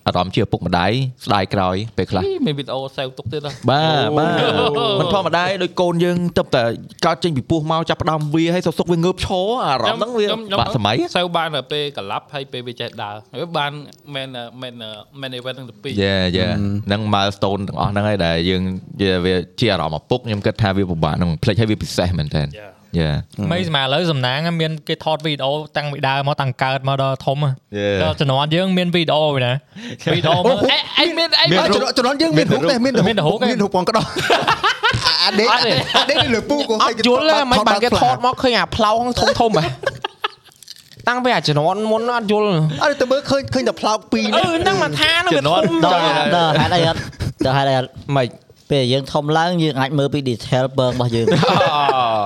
Speaker 3: អារម្មណ៍ជាឪពុកម្ដាយស្ដាយក្រោយពេលខ្លះ
Speaker 5: អីមានវីដេអូសេវទុកទៀតណា
Speaker 3: បាទបាទ មិនធម្មតាទេដូចកូនយើងទៅតែកើតចេញពីពោះមកចាប់ផ្ដើមវាហើយសុកសុកវាងើបឈរអារម្មណ៍ហ្នឹងវាបាក់សម័យ
Speaker 5: សេវបានតែពេលក្លាប់ហើយពេលវាចេះដើរវាបានមែនមែនមែន event ទាំងពីរ
Speaker 3: យេយេហ្នឹង milestone ទាំងអស់ហ្នឹងហើយដែលយើងយេវាជាអារម្មណ៍ឪពុកខ្ញុំគិតថាវាពិបាកហ្នឹងភ្លេចហើយវាពិសេសមែនតើយេ
Speaker 7: មិនស្មើឥឡូវសំណាងមានគេថតវីដេអូតាំងពីដើមមកតាំងកើតមកដល់ធំហ៎
Speaker 3: Yeah.
Speaker 7: ដល់ជំនាន់យើងមានវីដេអូណាវីដេអូមើល
Speaker 5: អេអីមានអី
Speaker 2: អើ
Speaker 5: បាន
Speaker 2: ជំ នាន់ជំនាន់យើងមានរូបដែរមាន
Speaker 7: មានរូបទេ
Speaker 2: មានរូបផងក្ដោះអាអាដេក
Speaker 5: អត់ទេ
Speaker 2: អាដេកនៅលើពូក៏
Speaker 1: អត់យល់ទេមិនបានគេថតមកឃើញអាផ្លោកធំធំហ៎តាំងពីអាជំនាន់មុនអត់យល់
Speaker 2: អត់ទៅមើលឃើញឃើញតែផ្លោកពីរ
Speaker 1: អឺហ្នឹងមកថាហ្នឹងវាធំ
Speaker 6: ដល់ដល់ហេតុអីអត់ដល់ហេតុអីអត់
Speaker 1: មិន
Speaker 6: ពេលយើងធំឡើងយើងអាចមើលពី detail បើរបស់ យើងយល់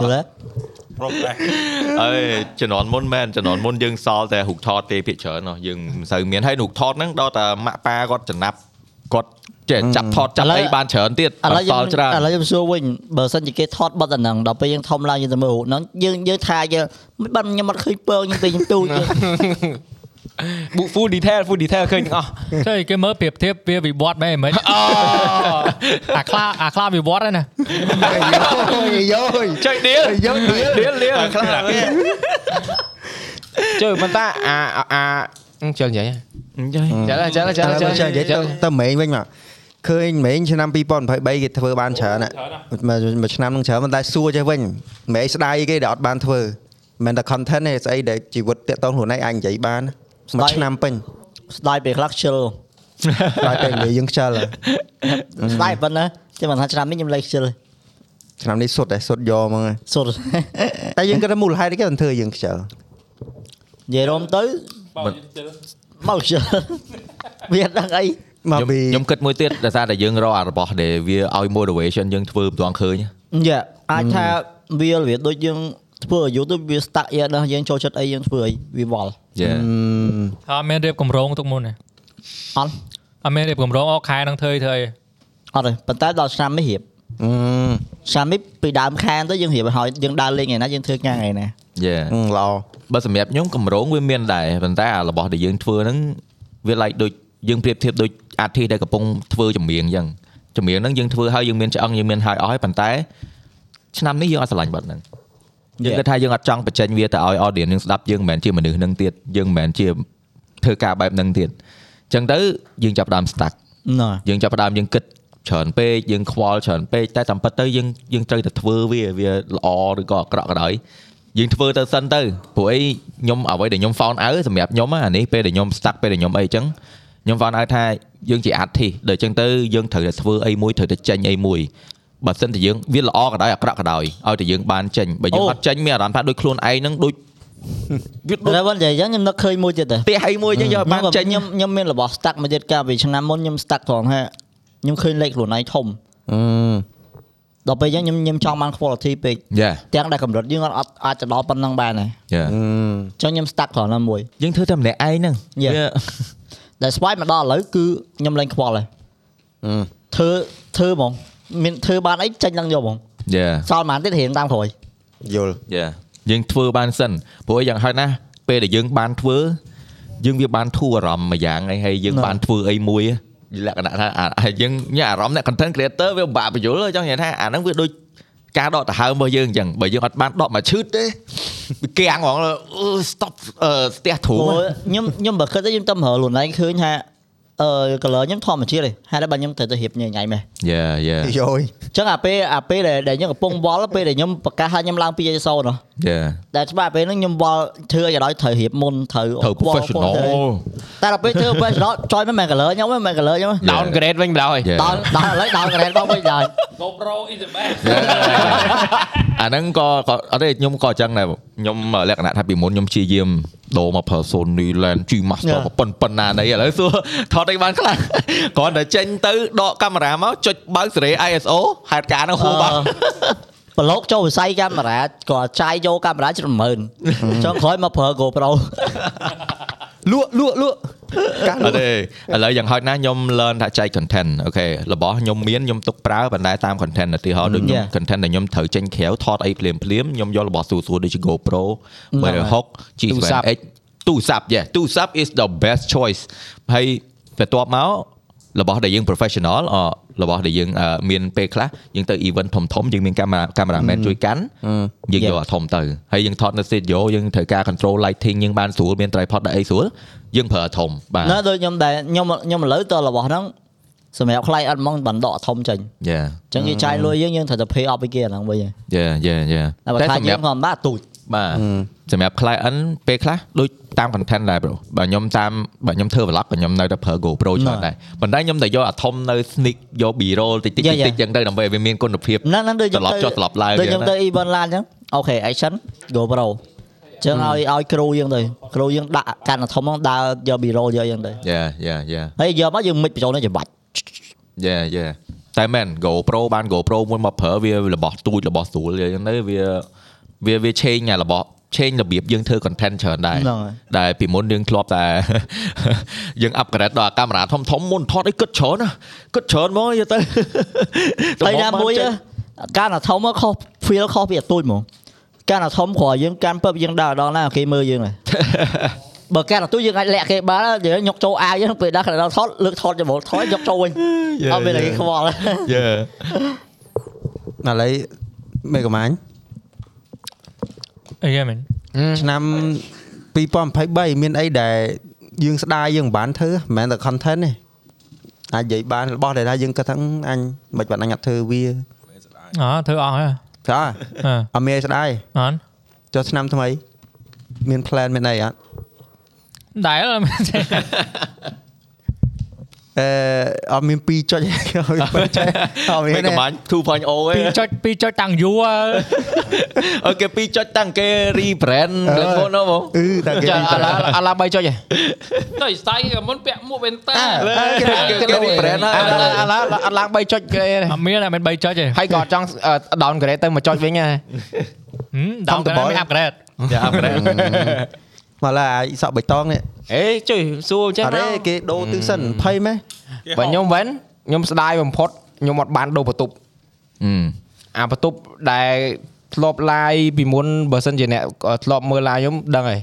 Speaker 6: ទេ
Speaker 4: progress
Speaker 3: អើយជំនាន់មុនមែនជំនាន់មុនយើងសល់តែរូបថតទេភាគច្រើននោះយើងមិនសូវមានហើយរូបថតហ្នឹងដល់តែម៉ាក់ប៉ាគាត់ចំណាប់គាត់ចេះចាប់ថតចាប់អីបានច្រើនទៀត
Speaker 6: ឥឡូវ
Speaker 3: បាត់ស
Speaker 6: យើង
Speaker 3: ល់ច្រើន
Speaker 6: ឥឡូវខ្ញុំសួរវិញបើសិនជាគេថតបတ်អាហ្នឹងដល់ពេលយើងធំឡើងយើងទៅមើលរូបហ្នឹងយើងយើងថាយើងមិនបានខ្ញុំអត់ឃើញពងខ្ញុំទៅ ខ្ញុំ ទូចទេ
Speaker 1: បុ full detail full detail ឃើញទាំងអស់
Speaker 7: ចុយគេមើលប្រៀបធៀបវាវិវត្តមែនមិនអូ
Speaker 1: Ờ.
Speaker 7: អាខ្លាអាខ្លាវិវត្តហ្នឹងណា
Speaker 2: អាយយោយ
Speaker 1: ចុយដៀល
Speaker 2: អាយយោយអាយយោយ
Speaker 1: ដៀលដៀលខ្លះចុយប៉ុន្តែអាអាជិលនិយាយ
Speaker 2: Ừ.
Speaker 1: ចឹងចឹងចឹង
Speaker 2: តែ
Speaker 1: ចឹ
Speaker 2: បើ
Speaker 1: ង
Speaker 2: ចេះនិយាយទៅទៅម៉េងវិញមកឃើញម៉េងឆ្នាំ2023គេធ្វើបានច្រើនណាស់មួយមួយឆ្នាំនឹងច្រើនប៉ុន្តែសួរចេះវិញម៉េងស្ដាយគេដែលអត់បានធ្វើមិនមែនតែ content ទេស្អីដែលជីវិតតាក់ទងខ្លួនឯងអាចនិយាយបាន
Speaker 6: ស្ដា
Speaker 2: មួយ
Speaker 6: យ
Speaker 2: ឆ្នាំពេញ
Speaker 6: ស្ដាយពេលខ្លះខ្ជិល
Speaker 2: តែពេលនិយាយយើងខ្ជិលហើយ
Speaker 6: ស្ដាយប៉ុណ្ណាតែមិនថាឆ្នាំនេះខ្ញុំលែងខ្ជិល
Speaker 2: ឆ្នាំនេះសុទ្ធតែសុទ្ធយកហ្មងហើយ
Speaker 6: សុទ្ធ
Speaker 2: តែ យើងគិតថាមូលហេតុអីគេមិនធ្វើឲ្យយើងខ្ជិល
Speaker 6: និយាយរមទៅមកខ្ជិលវាអត់ដឹងអី
Speaker 2: មក
Speaker 3: ខ្ញុំ
Speaker 2: ពី
Speaker 3: ខ្ញុំគិតមួយទៀតដោយសារតែយើងរកអារបស់ដែលវាឲ្យ motivation យើងធ្វើមិនទាន់ឃើញ
Speaker 6: យ៉ាអាចថាវាវាដូចយើងធ្វើឲ្យយូរទៅវា stuck យ៉ាដល់យើងចូល
Speaker 2: Ừ,
Speaker 3: Dạ.
Speaker 6: ចិត្តអីយើងធ្វើអីវាវល់
Speaker 3: យេ
Speaker 2: អឺ
Speaker 7: អត់មានរៀបកម្រងទុកមុនណា
Speaker 6: អត់
Speaker 7: អត់មានរៀបកម្រងអស់ខែនឹងធ្វើធ្វើអី
Speaker 6: អត់ទេប៉ុន្តែដល់ឆ្នាំនេះរៀប
Speaker 2: ừ,
Speaker 6: ឆ្នាំនេះពីដើមខែទៅយើងរៀបឲ្យហើយយើងដើរលេងថ្ងៃណាយើងធ្វើការថ្ងៃណា
Speaker 3: យេ
Speaker 2: អឺល្អ
Speaker 3: បើសម្រាប់ខ្ញុំកម្រងវាមានដែរប៉ុន្តែអារបស់ដែលយើងធ្វើហ្នឹងវាឡែកដូចយើងប្រៀបធៀបដូចអាទិដែលកំពុងធ្វើចម្រៀងអញ្ចឹងចម្រៀងហ្នឹងយើងធ្វើហើយយើងមានឆ្អឹងយើងមានហើយអស់ហើយប៉ុន្តែឆ្នាំនេះយើងអត់ស្រឡាញ់បាត់ហ្នឹង យើងគិតថាយើងអត់ចង់បញ្ចេញវាទៅឲ្យ audience នឹងស្ដាប់យើងមិនមែនជាមនុស្សនឹងទៀតយើងមិនមែនជាធ្វើការបែបហ្នឹងទៀតអញ្ចឹងទៅយើងចាប់ផ្ដើម stuck
Speaker 6: ណ៎
Speaker 3: យើងចាប់ផ្ដើមយើងគិតច្រើនពេកយើងខ្វល់ច្រើនពេកតែតាមពិតទៅយើងយើងត្រូវតែធ្វើវាវាល្អឬក៏អាក្រក់ក៏ដោយយើងធ្វើទៅសិនទៅព្រោះអីខ្ញុំអ្វីដែលខ្ញុំ found out សម្រាប់ខ្ញុំណាអានេះពេលដែលខ្ញុំ stuck ពេលដែលខ្ញុំអីអញ្ចឹងខ្ញុំ found out ថាយើងជា artist ដូចអញ្ចឹងទៅយើងត្រូវតែធ្វើអីមួយត្រូវតែចេញអីមួយបើសិនតែយើងវាល្អក៏ដោយអាក្រក់ក៏ដោយឲ្យតែយើងបានចេញបើយើងអត់ចេញមានអារម្មណ៍ថាដូចខ្លួនឯងហ្នឹងដូចវាដូច
Speaker 6: តែបើនិយាយអញ្ចឹងខ្ញុំនឹកឃើញមួយទៀតដែរ
Speaker 3: ផ្ទះអីមួយអញ្ចឹងយក
Speaker 6: Ừ.
Speaker 3: ឲ្យបានចេញ
Speaker 6: ខ្ញុំខ្ញុំមានរបស់ stack មួយទៀតកាលពីឆ្នាំមុនខ្ញុំ stack ត្រង់ហ่าខ្ញុំឃើញលេខខ្លួនឯងធំ
Speaker 2: អឺ
Speaker 6: ដល់ពេលអញ្ចឹងខ្ញុំខ្ញុំចង់បាន quality ពេក
Speaker 3: Yeah
Speaker 6: ទាំងដែលកម្រិតយើងអត់អត់អាចទៅដល់ប៉ុណ្ណឹងបានដែរ
Speaker 3: yeah
Speaker 2: ừ,
Speaker 6: អញ្ចឹងខ្ញុំ stack ត្រង់ណាមួយ
Speaker 3: យើងធ្វើតែម្នាក់ឯងហ្នឹង
Speaker 6: Yeah. ដែលស្វាយមកដល់ឥឡូវគឺខ្ញុំលែងខ្វល់ហើយ
Speaker 2: អឺ
Speaker 6: ធ្វើធ្វើហ្មងមានធ្វើបានអីចេញឡើងយកហ្មង
Speaker 3: Yeah
Speaker 6: សល់ប៉ុន្មានទៀតរៀងតាមក្រោយ
Speaker 2: យល់
Speaker 3: Yeah. យើងធ្វើបានសិនព្រោះយ៉ាងហោចណាស់ពេលដែលយើងបានធ្វើយើងវាបានធូរអារម្មណ៍មួយយ៉ាងហើយហើយយើងបានធ្វើអីមួយលក្ខណៈថាអាអាយើងញ៉ាអារម្មណ៍អ្នក content creator វាពិបាកបញ្យល់ទេចង់និយាយថាអាហ្នឹងវាដូចការដកដង្ហើមរបស់យើងអញ្ចឹងបើយើងអត់បានដកមកឈឺតទេវាគាំងហ្មងអឺ ừ, stop ờ, អឺស្ទះធូរ
Speaker 6: ព្រោះខ្ញុំខ្ញុំបើគិតទៅខ្ញុំតែមើលខ្លួនឯងឃើញថាអឺ color ខ្ញុំធម្មជាតិទេហើយតែលបើខ្ញុំត្រូវទៅរៀបញ៉ៃញ៉ៃម៉េះ
Speaker 3: យ៉ា
Speaker 2: យ
Speaker 3: យ៉ា
Speaker 2: ល់
Speaker 6: អញ្ចឹងអាពេលអាពេលដែលដែលខ្ញុំកំពុងវល់ពេលដែលខ្ញុំប្រកាសថាខ្ញុំឡើងពី ISO នោះ
Speaker 3: យ៉ា
Speaker 6: តែច្បាស់ពេលហ្នឹងខ្ញុំវល់ធ្វើឲ្យដល់ត្រូវរៀបមុនត្រូវ
Speaker 3: ត្រូវ
Speaker 6: វល់
Speaker 3: professional
Speaker 6: វល់តែដល់ពេលធ្វើ professional ចុយមិនមែន color ខ្ញុំមិនមែន color ខ្ញុំ
Speaker 1: downgrade វិញម្ដង
Speaker 3: Yeah.
Speaker 6: ដល់ដល់ឥឡូវដល់ grade បងវិញដល់
Speaker 5: GoPro is the best
Speaker 3: អាហ្នឹងក៏ក៏អត់ទេខ្ញុំក៏អញ្ចឹងដែរខ្ញុំលក្ខណៈថាពីមុនខ្ញុំព្យាយាមដូរមក Persony Land G Master ប៉ុណ្ណប៉ុណ្ណានៃឥឡូវសួរ ថតអីបានខ្លះ គ្រាន់តែចេញទៅដកកាមេរ៉ាមកចុចបើកសេរី ISO ហេតុការណ៍ ហ្នឹងហួសបាត់
Speaker 6: អឺ ប្រឡូកចូលវិស័យកាមេរ៉ាក៏ចាយយកកាមេរ៉ាច្រើនម៉ឺន ចង់ក្រោយមកប្រើ GoPro
Speaker 2: លក់លក់លក់ការល
Speaker 3: អ
Speaker 2: ក់
Speaker 3: ត់ទេឥឡូវយ៉ាងហោចណាស់ខ្ញុំ learn ថាចែក content អូខេរបស់ខ្ញុំមានខ្ញុំទុកប្រើប៉ុន្តែតាម content ឧទាហរណ៍ដូចខ្ញុំ
Speaker 6: Yeah.
Speaker 3: content ដែលខ្ញុំត្រូវចេញក្រៅថតអីភ្លាមភ្លាមខ្ញុំយករបស់ស្រួលស្រួលដូចជា GoPro 660 G7X ទូរស័ព្ទ yeah ទូរស័ព្ទ is the best choice ហើយបន្ទាប់មករបស់ដែលយើង professional អរបស់ដែលយើងអឺមានពេលខ្លះយើងទៅ event ធំធំៗយើងមានកាមេរ៉ាកាមេរ៉ាមែនជួយកាន់យើងយក
Speaker 6: Yeah.
Speaker 3: អាធំទៅហើយយើងថតនៅ studio យើងត្រូវការ control lighting យើងបានស្រួលមាន tripod ដាក់អីស្រួលយើងប្រើអាធំបាទ
Speaker 6: ណាដូចខ្ញុំដែរខ្ញុំខ្ញុំឥឡូវទៅរបស់ហ្នឹងសម្រាប់ខ្លៃអត់ហ្មងបណ្ដកធំចេញ
Speaker 3: Yeah
Speaker 6: អញ្ចឹងយើងចាយលុយយើងយើងត្រូវតែ pay up ពីគេអាហ្នឹងវិញហើយ
Speaker 3: yeah yeah yeah
Speaker 6: តែបើ
Speaker 3: តែ
Speaker 6: ថា
Speaker 3: ស
Speaker 6: យើ
Speaker 3: ម្រាប់
Speaker 6: ងធម្មតាទូច
Speaker 3: បាទសម្រាប់ client ពេលខ្លះដូចតាម content ដែរ bro បើខ្ញុំតាមបើខ្ញុំធ្វើ vlog ក៏ខ្ញុំនៅតែប្រើ GoPro ច្រើនដែរប៉ុន្តែខ្ញុំតែយកអាធំនៅ sneak យក B roll តិចតិចតិចចឹងទៅដើម្បីឲ្យវាមានគុណភាព
Speaker 6: ហ្នឹងហ្នឹងដូចខ្ញុំ
Speaker 3: ត្រឡប់ចុះត្រឡប់ឡើង
Speaker 6: ដូចខ្ញុំ
Speaker 3: ទៀតណា
Speaker 6: ទៅ event ឡានអញ្ចឹងអូខេ action GoPro អញ្ចឹងឲ្យឲ្យគ្រូយើងទៅគ្រូយើងដាក់កាន់អាធំហ្នឹងដើរយក B-roll យកអញ្ចឹងទៅ
Speaker 3: yeah yeah yeah
Speaker 6: ហើយយកមកយើងមិនបញ្ចូលនេះច្បាច់
Speaker 3: yeah yeah តែមែន GoPro បាន GoPro មួយមកប្រើវារបស់ទូចរបស់ស្រួលចឹងទៅវាវាវា change អារបស់ change របៀបយើងធ្វើ content ច្រើនដែរ
Speaker 6: ហ្នឹងហើយ
Speaker 3: ដែលពីមុនយើងធ្លាប់តែ យើង upgrade ដល់កាមេរ៉ាធំធំៗមុនថតអីគិតច្រើនណាស់គិតច្រើនមកយក ទៅ
Speaker 6: ហើយណាមួយ
Speaker 3: ដ
Speaker 6: អឺការណាធំមកខុស feel ខុសពីអត់ទូចហ្មងការណាធំគ្រាន់យើងកាន់ពឹបយើងដើរដល់ណាគេមើលយើងហើយ បើការណាទូចយើងអាចលាក់គេបានហើយយើងញុកចូលអាវយើងពេលដើរខាងដល់ថតលើកថតចាំបងថតញុកចូលវិញអត់មានអីខ្វល់
Speaker 3: យេ
Speaker 2: ឥឡូវមេកំាញ់
Speaker 7: អីគេមែន
Speaker 2: ឆ្នាំ2023មានអីដែលយើងស្ដាយយើងមិនបានធ្វើមិនមែនតែ content ទេអាចនិយាយបានរបស់ដែលថាយើងគិតថាអឺអញមិនបានអញអត់ធ្វើវា
Speaker 7: អ่าធ្វើអស់ហើយ
Speaker 2: ចា
Speaker 7: អ่า
Speaker 2: អត់មានអីស្ដាយ
Speaker 7: អត់
Speaker 2: ចុះឆ្នាំថ្មី មាន plan មានអីអត់
Speaker 7: ដែរអត់មែនទេ
Speaker 2: អឺអត់មាន2ចុច មិនចេះអត់មាន
Speaker 3: មិន
Speaker 2: ទេ
Speaker 3: កំបាញ់2.0ឯង
Speaker 7: ចុច2ចុចតាំងយូរអើ
Speaker 3: អូខេ2ចុចតាំងគេ rebrand ដល់មុនហ្នឹងបង
Speaker 2: អឺតែគេ
Speaker 1: ចាំ
Speaker 2: រី
Speaker 1: អា
Speaker 2: ប្រែ
Speaker 1: ឡាអាឡា3ចុចហ៎
Speaker 5: ទៅស្ដាយគេមុនពាក់មួក Venta
Speaker 3: គេ rebrand ហើ
Speaker 1: អា
Speaker 3: យ
Speaker 1: ឡាអាឡាអត់ឡើង3ចុចគេទេ
Speaker 7: អត់មានតែមាន3ចុចទេ
Speaker 1: ហើយក៏អត់ចង់អឺ downgrade ទៅមកចុចវិញហ៎
Speaker 7: ហឹមដល់ក្រោយមាន upgrade
Speaker 3: យ៉ាអាប់ដែរ
Speaker 2: មកឡើយអាចសក់បៃតងនេះ
Speaker 1: អេជួយសួរអញ្ចឹង
Speaker 2: អត់ទេគេដូរទិសសិន20ម៉េះ
Speaker 1: បើខ្ញុំវិញខ្ញុំស្ដាយបំផុតខ្ញុំអត់បានដូរបន្ទប់
Speaker 3: អឺ
Speaker 1: អាបន្ទប់ដែលធ្លាប់ឡាយពីមុនបើសិនជាអ្នកធ្លាប់មើលឡាយខ្ញុំដឹងហើយ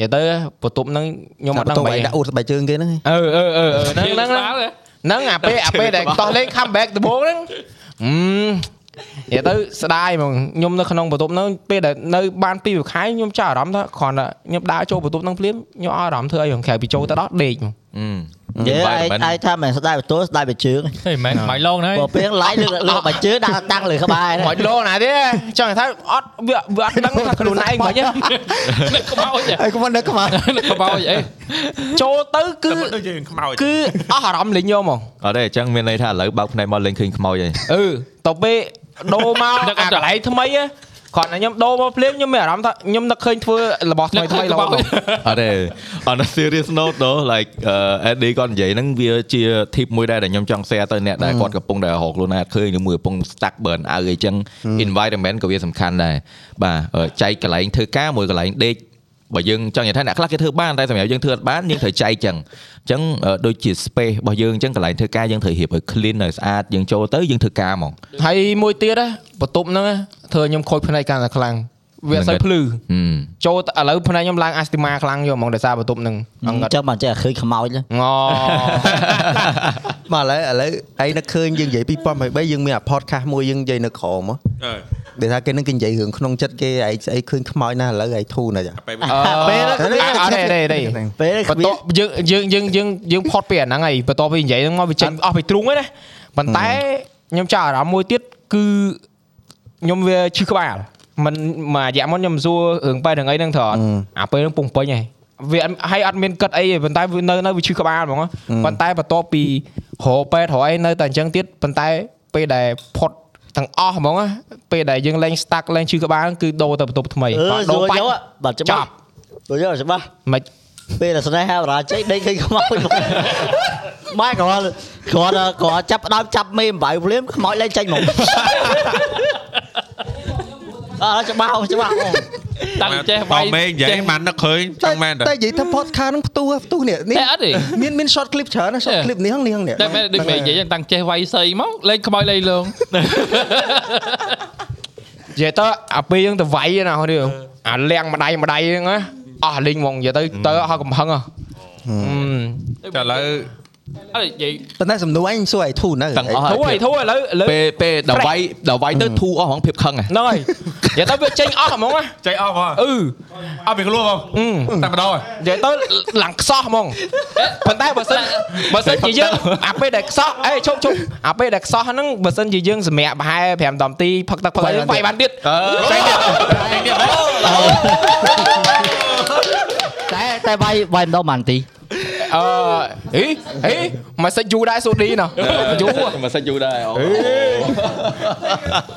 Speaker 1: និយាយទៅបន្ទប់ហ្នឹងខ្ញុំអត់
Speaker 2: ប
Speaker 1: ដឹង
Speaker 2: ទប់
Speaker 1: បែ
Speaker 2: ឯង
Speaker 1: រ
Speaker 2: ដាក់អ៊ូស្បែកជើងគេហ្នឹងឯង
Speaker 1: អឺអឺអឺអឺហ្នឹងហ្នឹងហ្នឹង ហ្នឹងអាពេលអាពេលដែលតោះលេង comeback ដំបូងហ្នឹងហឹមនិយាយទៅស្ដាយហ្មងខ្ញុំនៅក្នុងបន្ទប់ហ្នឹងពេលដែលនៅបានពីរមួយខែខ្ញុំចាប់អារម្មណ៍ថាគ្រាន់តែខ្ញុំដើរចូលបន្ទប់ហ្នឹងភ្លាមខ្ញុំអត់អារម្មណ៍ធ្វើអីខាងក្រៅពីចូលទៅដល់ដេកហ្មង
Speaker 3: អឺ
Speaker 6: និយាយឯងឯងថាមិនស្ដាយបន្ទោស្ដាយបើជើង
Speaker 7: ហេមិនមែនបាយឡងណា
Speaker 6: បើពេលឡាយលើកលើកបើជើងដាក់តាំងលើក្បាយ
Speaker 1: មកលោណាទេចង់និយាយថាអត់វាវាអត់ដឹងថាខ្លួនឯងមិនហ្នឹង
Speaker 5: នឹកក្បោចហ៎
Speaker 2: អីកុំនៅក្បាល
Speaker 5: នឹកក្បោចអី
Speaker 1: ចូលទៅគឺ
Speaker 4: តែមិនដូចយើងខ្មោច
Speaker 1: គឺអស់អារម្មណ៍លេងខ្ញុំហ្មង
Speaker 3: អត់ទេអញ្ចឹងមានន័យថាឥឡូវបើកផ្នែកមកលេងឃើញខ្មោចហើយ
Speaker 1: អឺទៅពេលដូរមកអាកន្លែងថ្មីហ៎គ្រាន់តែខ្ញុំដូរមកភ្លាមខ្ញុំមានអារម្មណ៍ថាខ្ញុំនឹកឃើញធ្វើរបស់ថ្មីថ្មីឡើង
Speaker 3: អត់ទេ on a serious note though like uh, Eddie គាត់និយាយហ្នឹងវាជា tip មួយដែរដែលខ្ញុំចង់ share ទៅអ្នកដែលគាត់កំពុងតែរកខ្លួនឯងអត់ឃើញឬមួយកំពុង stuck burn out អីចឹង environment ក៏វាសំខាន់ដែរបាទអឺចែកកន្លែងធ្វើការមួយកន្លែងដេកបើយើងចង់និយាយថាអ្នកខ្លះគេធ្វើបានតែសម្រាប់យើងធ្វើអត់បានយើងត្រូវចែកចឹងអញ្ចឹងអឺដូចជា space របស់យើងអញ្ចឹងកន្លែងធ្វើការយើងត្រូវរៀបឲ្យ clean ឲ្យស្អាតយើងចូលទៅយើងធ្វើការហ្មង
Speaker 1: ហើយមួយទៀតណាបន្ទប់ហ្នឹងណាធ្វើខ្ញុំខូចផ្នែកកាន់តែខ្លាំងវាអត់សូវ
Speaker 3: ហ្នឹងហើយ
Speaker 1: ភ្លឺ
Speaker 3: ហឹម
Speaker 1: ចូលទៅឥឡូវផ្នែកខ្ញុំឡើងអាស្ទីម៉ាខ្លាំងយកហ្មងដោយសារបន្ទប់ហ្នឹងអង្កត់
Speaker 6: ចាំបានចេះឃើញខ្មោចហ្នឹង
Speaker 1: ង
Speaker 2: មកឥឡូវឥឡូវឯងនឹកឃើញយើងនិយាយ2023យើងមានអា podcast មួយយើងនិយាយនៅក្រមហ៎
Speaker 4: អើយ
Speaker 2: ដែលថាគេនឹងគេនិយាយរឿងក្នុងចិត្តគេឯងស្អីឃើញខ្មោចណាស់ឥឡូវឯងធូរណាស់ចា
Speaker 4: បែប
Speaker 1: ពេលអត់ទេអត់ទេទេទេ
Speaker 6: ពេល
Speaker 1: បន្ទាប់យើងយើងយើងយើងយើងផុតពីអាហ្នឹងហើយបន្ទាប់ពីនិយាយហ្នឹងមកវាចេញអស់ពីទ្រូងហើយណាប៉ុន្តែខ្ញុំចាប់អារម្មណ៍មួយទៀតគឺខ្ញុំវាឈឺក្បាលមិនមួយរយៈមុនខ្ញុំសួររឿងបែរហ្នឹងអីហ្នឹងត្រូវអត់អាពេលហ្នឹងពងពេញហើយវាអត់ហើយអត់មានគិតអីទេប៉ុន្តែវានៅនៅវាឈឺក្បាលហ្មងហ៎ប៉ុន្តែបន្ទាប់ពីរហប៉ែតរហអីនៅតែអញ្ចឹងទៀតប៉ុន្តែពេលដែលផុតទាំងអស់ហ្មងហ៎ពេលដែលយើងលេង stack លេងឈឺក្បាលហ្នឹងគឺដូរទៅបន្ទប់ថ្មី
Speaker 6: អឺ
Speaker 1: ដូ
Speaker 6: ចូល
Speaker 1: បាច់
Speaker 6: យកបាត់ច្បាស់ចូលយកច្បាស់
Speaker 1: មិន
Speaker 6: ពេលតែស្នេហាបរាជ័យដេកឃើញខ្មោច ម៉ែក៏គាត់គាត់ចាប់ដើមចាប់មេអំបៅភ្លាមខ្មោចលែងចេញ មកអើច្បាស់ច្បា ស់អូ
Speaker 5: តាំងចេះ
Speaker 4: ប
Speaker 5: វា
Speaker 4: ង
Speaker 5: យ
Speaker 4: មេនិយាយបាននឹកឃើញចង់មែនតើ
Speaker 2: តែនិយាយថា podcast ហ្នឹងផ្ទុះផ្ទុះនេះនេះ
Speaker 5: តែអត់ទេ
Speaker 2: មានមាន short clip ច្រើនណា short
Speaker 5: Yeah.
Speaker 2: clip នេះហ្នឹងនេះហ្នឹងនេះ
Speaker 5: តែមែនដូចមេនិយាយចឹងតាំងចេះវាយសីមកលេងខ្មោចលេងលង
Speaker 1: និយាយទៅអាពេលយើងទៅវាយណានេះអាលៀងម្ដាយម្ដាយហ្នឹងណាអស់លេងហ្មងនិយាយទៅទៅអស់កំហឹងហ៎
Speaker 4: តែឥឡូវ
Speaker 5: អត់និយាយ
Speaker 2: ប៉ុន្តែសំណួរឯងសួរឯងធូរនៅ
Speaker 3: ទាំងអស់
Speaker 1: ធូរហើយធូរឥឡូវឥឡូវ
Speaker 3: ពេលពេលដល់វាយដល់វាយទៅធូរអស់ហ្មងភាពខឹងហ៎
Speaker 1: ហ្នឹងហើយនិយាយទៅវាចេញអស់ហ្មងណា
Speaker 4: ចៃអស់ហ៎
Speaker 1: អឺ
Speaker 4: អត់ពីខ្លួនបង
Speaker 1: អឺ
Speaker 4: តែម្ដងហ៎
Speaker 1: និយាយទៅឡើងខ្សោះហ្មងប៉ុន្តែបើសិនបើសិនជាយើងអាពេលដែលខ្សោះអេឈប់ឈប់អាពេលដែលខ្សោះហ្នឹងបើសិនជាយើងសម្រាកប្រហែល5 10នាទីផឹកទឹកផឹកអីហ្នឹងវាយបានទៀតចេញទៀត
Speaker 6: តែតែវាយវាយម្ដងបានទី
Speaker 1: អឺអីអីមិនសិចយូរដែរសូឌីណោះយូរ
Speaker 3: មិនសិចយូរ ដែរអូ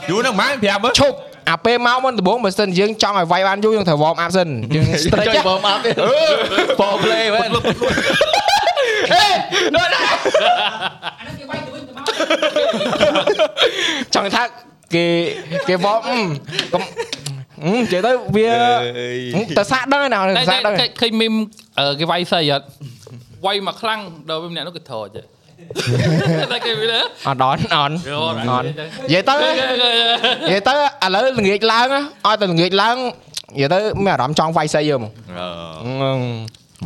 Speaker 4: យូរហ្នឹងម៉ែប្រាប់មើល
Speaker 1: ឈប់អាពេលមកមុនដំបូងបើសិនយើងចង់ឲ្យវាយបានយូរយើងត្រូវ warm up សិនយើង
Speaker 3: ចុ
Speaker 1: stretch
Speaker 3: ច បើមកទៀត for play វិញ
Speaker 1: ហេដល់ ណាចង់ថាគេគេ warm អឺកុំអឺនិយាយទៅវាតើសាក់ដឹងឯណា
Speaker 5: តែ
Speaker 1: សាក់ដឹង
Speaker 5: តែឃើញមីមអឺគេវាយសីអត់វាយមកខ្លាំងដល់មីម្នាក់នោះគេថតទេតែគេវា
Speaker 1: អត់ដល់អត់
Speaker 5: អត់
Speaker 1: អត់និយាយទៅ និយាយទៅឥឡូវល្ងាចឡើងណាឲ្យតែល្ងាចឡើងនិយាយទៅមានអារម្មណ៍ចង់វាយសីយើហ្មង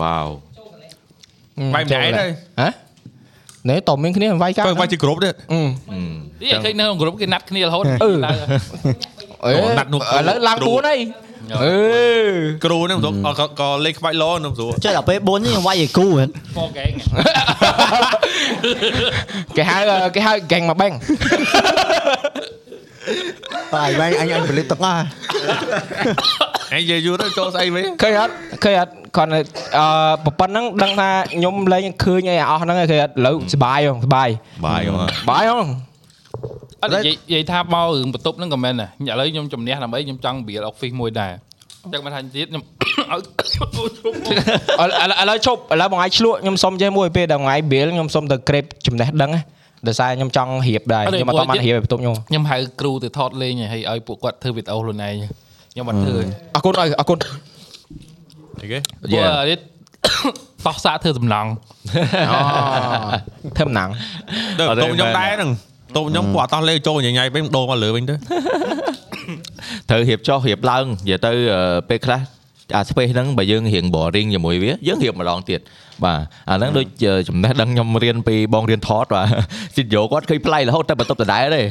Speaker 3: វ៉ាវ
Speaker 4: វាយម្នាក់ឯងទៅ
Speaker 1: ហ៎ណែតើមានគ្នាវាយកា
Speaker 4: ធ្វើវាយជាគ្រប់ទេ
Speaker 1: អឺ
Speaker 5: នេះឃើញនៅក្នុងក្រុមគេណាត់គ្នារហូត
Speaker 1: អឺ
Speaker 5: ឡើង
Speaker 1: អេឥ
Speaker 4: អូណាត់នោះ
Speaker 1: ឡូវឡើង4ហើយអឺ
Speaker 4: គ្រូហ្នឹងមិនស្រួលក៏ក៏លេងខ្វាច់លោហ្នឹងមិនស្រួល
Speaker 6: ចេះដល់ពេល4នេះវាយឲ្យគូហ្នឹង
Speaker 5: Four gang
Speaker 1: គេហៅគេហៅ gang មកបែង
Speaker 2: បាយវែងអញអញពលិបទាំងអស់
Speaker 4: ឯងនិយាយយូរទៅចូលស្អីវិញ
Speaker 1: ឃើញអត់ឃើញអត់គ្រាន់តែអឺប៉ុណ្ណឹងដឹងថាខ្ញុំលេងឃើញអីអស់ហ្នឹងឯងឃើញអត់ឥឡូវសុបាយហងសុបាយ
Speaker 3: បាយហ្មង
Speaker 1: សុបាយហង
Speaker 5: អត់និយាយនិយាយថាមករឿងបន្ទប់ហ្នឹងក៏មែនដែរឥឡូវខ្ញុំជំនះដើម្បីខ្ញុំចង់ build office មួយដែរអញ្ចឹងមិនថាទៀតខ្ញុំ ឲ្យ
Speaker 1: ឥឡូវឥឡូវឥឡូវឈប់ឥឡូវបងឯងឆ្លក់ខ្ញុំសុំចេះមួយពេលដល់ថ្ងៃបៀលខ្ញុំសុំទៅក្រេបចំណេះដឹងណាដោយសារខ្ញុំចង់រៀបដែរខ្ញុំអត់តបានរៀបឲ្យបន្ទប់ខ្ញុំ
Speaker 5: ខ្ញុំហៅគ្រូទៅថតលេងហើយឲ្យពួកគាត់ធ្វើវីដេអូខ្លួនឯងខ្ញុំអត់ធ្វើ
Speaker 1: អរគុណអើយអរគុណ
Speaker 4: អីគេ
Speaker 5: ពួក
Speaker 3: Yeah.
Speaker 5: រៀត តោះសាកធ្វើសំណង
Speaker 1: អូធ្វើម្ដង
Speaker 4: ទៅ
Speaker 3: អត់ទេ
Speaker 4: តូបខ្ញុំ
Speaker 3: មែន
Speaker 4: ដែរហ្នឹងតូបខ្ញុំពួកអត់តោះលេងចូលញ៉ៃៗវិញដូរមកលើវិញទៅ
Speaker 3: ត្រូវរៀបចុះរៀបឡើងនិយាយទៅអឺពេលខ្លះអា space ហ្នឹងបើយើងរៀង boring ជាមួយវាយើងរៀបម្ដងទៀតបាទអាហ្នឹងដូចជាចំណេះដឹងខ្ញុំរៀនពីបងរៀនថត បាទ studio គាត់ឃើញប្លែករហូតតែបន្ទប់ដដែលទេ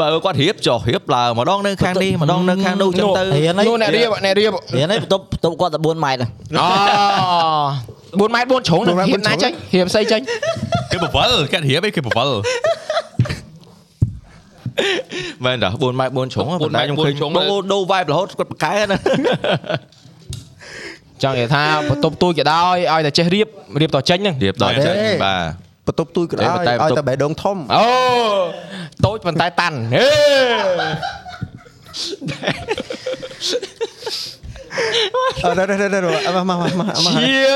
Speaker 3: បើគាត់រៀបចុះរៀបឡើងម្ដងនៅខាងនេះម្ដងនៅខាងនោះចឹងទៅ
Speaker 6: រៀន
Speaker 1: នោះអ្នករៀបអ្នករៀប
Speaker 6: រៀននេះបន្ទប់បន្ទប់គាត់14ម៉ែ
Speaker 1: អ
Speaker 6: ត្រ
Speaker 1: ូ4ម៉ែត្រ4ជ្រុងហ្នឹងហ៊ានណាចេញហ៊ានស្អីចេញ
Speaker 4: គេបវលគេរៀបអីគេបវល
Speaker 3: មែនតា4ម៉ែត្រ4ជ្រុងប៉ុន្តែខ្ញុំឃើញដូរ vibe រហូតគាត់ប្រកែណា
Speaker 1: ចង់និយាយថាបន្ទប់ទួចក៏ដោយឲ្យតែចេះរៀបរៀបតចេញហ្នឹង
Speaker 3: រៀបដល់ចឹងបាទ
Speaker 2: បន្ទប់ទួយក៏ដោយ
Speaker 3: តែ
Speaker 2: ឲ្យ
Speaker 3: បន្ទប់
Speaker 2: តែបេះដូងធំ
Speaker 1: អូតូចប៉ុន្តែតាន់ហេ
Speaker 2: អរររររមកមកមកមក
Speaker 1: ឈៀ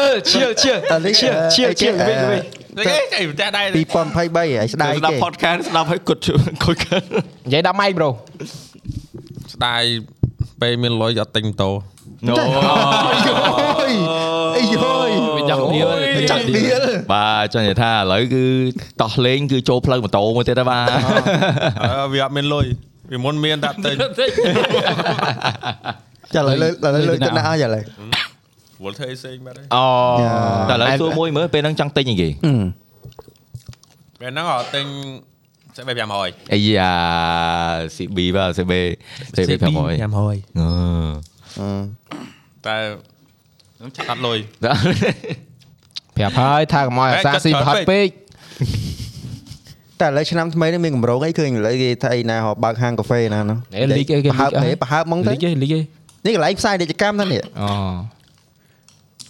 Speaker 1: លឈៀលឈៀល
Speaker 2: អានេះ
Speaker 1: ឈៀលឈៀលឈៀលវិញវិញ
Speaker 4: គេអីផ្ទះដែរ
Speaker 2: 2023ហើយស្ដាយ
Speaker 3: ស្ដាប់
Speaker 2: គេ
Speaker 3: podcast ស្ដាប់ឲ្យគាត់គាត់កើត
Speaker 1: និយាយដាក់ម៉ៃប្រូ
Speaker 4: ស្ដាយពេលមានលុយអត់ទិញម៉ូតូ
Speaker 2: អូយអីយយ
Speaker 5: វាចង់ដៀល
Speaker 2: វាចង់ដៀល
Speaker 3: បាទចង់និយាយថាឥឡូវគឺតោះលេងគឺចូលផ្លូវម៉ូតូមួយទៀតហើយបាទ
Speaker 4: ឥឡូវវាអត់មានលុយវាមុនមានតែ ទិញ
Speaker 2: ចាឥឡូវលើឥឡូវលើទៅណាស់ហើយឥឡូវ
Speaker 4: វល់ធ្វើអីផ្សេងបាត់ហើយ
Speaker 3: អូ
Speaker 2: យ៉ា
Speaker 3: តែឥឡូវសួរមួយមើលពេលហ្នឹងចង់ទិញអីគេ
Speaker 4: ពេលហ្នឹងអត់ទិញសេបី500
Speaker 3: អាយ៉ា CB បាទ CB CB 500
Speaker 4: 500
Speaker 3: 500អឺ
Speaker 4: តែអត់លុយ
Speaker 1: ប្រាប់ហើយថាកុំឲ្យអាសាស៊ីប្រហត់ពេក
Speaker 2: តែឥឡូវឆ្នាំថ្មីនេះមានកម្រងអីឃើញឥឡូវគេថាអីណាហៅបើកហាងកាហ្វេណានោះ
Speaker 1: អេលីកអីគេ
Speaker 2: ប្រហើបទេប្រហើបហ្មងទៅ
Speaker 1: លីកអីលីកអី
Speaker 2: នេះកន្លែងផ្សាយពាណិជ្ជកម្មហ្នឹងនេះ
Speaker 1: អូ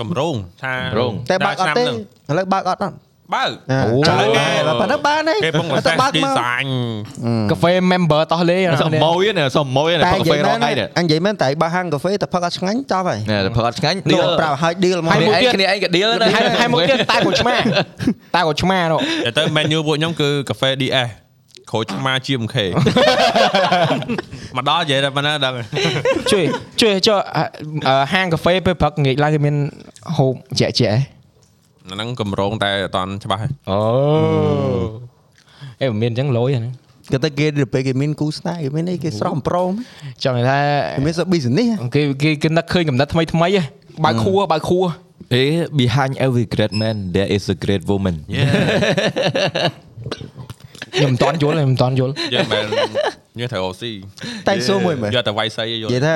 Speaker 4: កម្រងថា
Speaker 3: រង
Speaker 2: តែបើកអត់ទេឥ
Speaker 4: ឆ្នាំហ្នឹង
Speaker 2: ឡូវបើកអត់អត់
Speaker 4: បើក
Speaker 2: អូ
Speaker 4: ឥឡូវគេ
Speaker 2: ប៉ុណ្ណឹងបានទេ
Speaker 4: គេពង
Speaker 2: តែបើកមក
Speaker 4: design
Speaker 1: កាហ្វេ member តោះលេអ
Speaker 3: សមម៉ួយណាសមម៉ួយណាផឹកកាហ្វេរាល់ថ្ងៃនេះ
Speaker 2: អញនិយាយមែនតែបើកហាងកាហ្វេតែផឹកអត់ឆ្ងាញ់ចប់ហើយ
Speaker 3: ណែផឹកអត់ឆ្ងាញ់
Speaker 2: ដ
Speaker 3: ដៀល
Speaker 2: ល់ប្រាប់ហើយដៀលមក
Speaker 3: គ្នាឯងគ្នាឯងក៏ដៀលដែរ
Speaker 1: ហើយហើយមកទៀតតែកូនឆ្មាតែកូនឆ្មានោះ
Speaker 4: តែទៅ menu ពួកខ្ញុំគឺកាហ្វេ DS ក្រូចឆ្មាជា MK មកដល់និយាយតែប៉ុណ្ណាដឹងហើយ
Speaker 1: ជួយជួយចូលហាងកាហ្វេពេលព្រឹកងាយឡើងគេមានហូបជាក់ជាក់
Speaker 4: អាហ្នឹងកម្រងតែអត់តាន់ច្បាស់ទេ
Speaker 1: អូអេមានអញ្ចឹងលយហ្នឹង
Speaker 2: គេតែគេទៅពេលគេមានគូស្នេហ៍គេមានអីគេស្រស់អំប្រម
Speaker 1: ចង់ថា
Speaker 2: គេមានសប business
Speaker 1: គេគេគេនឹកឃើញកំណត់ថ្មីថ្មីបើខួរបើខួរ
Speaker 3: អេ behind every great man there is a great woman
Speaker 1: ខ្ញុំមិនតន់យល់ខ្ញុំមិនតន់យល់
Speaker 4: យើងមិនញ៉ែត្រូវអូស៊ី
Speaker 2: តែសួរមួយមើល
Speaker 4: យកតែវាយសៃយក
Speaker 2: និយាយថា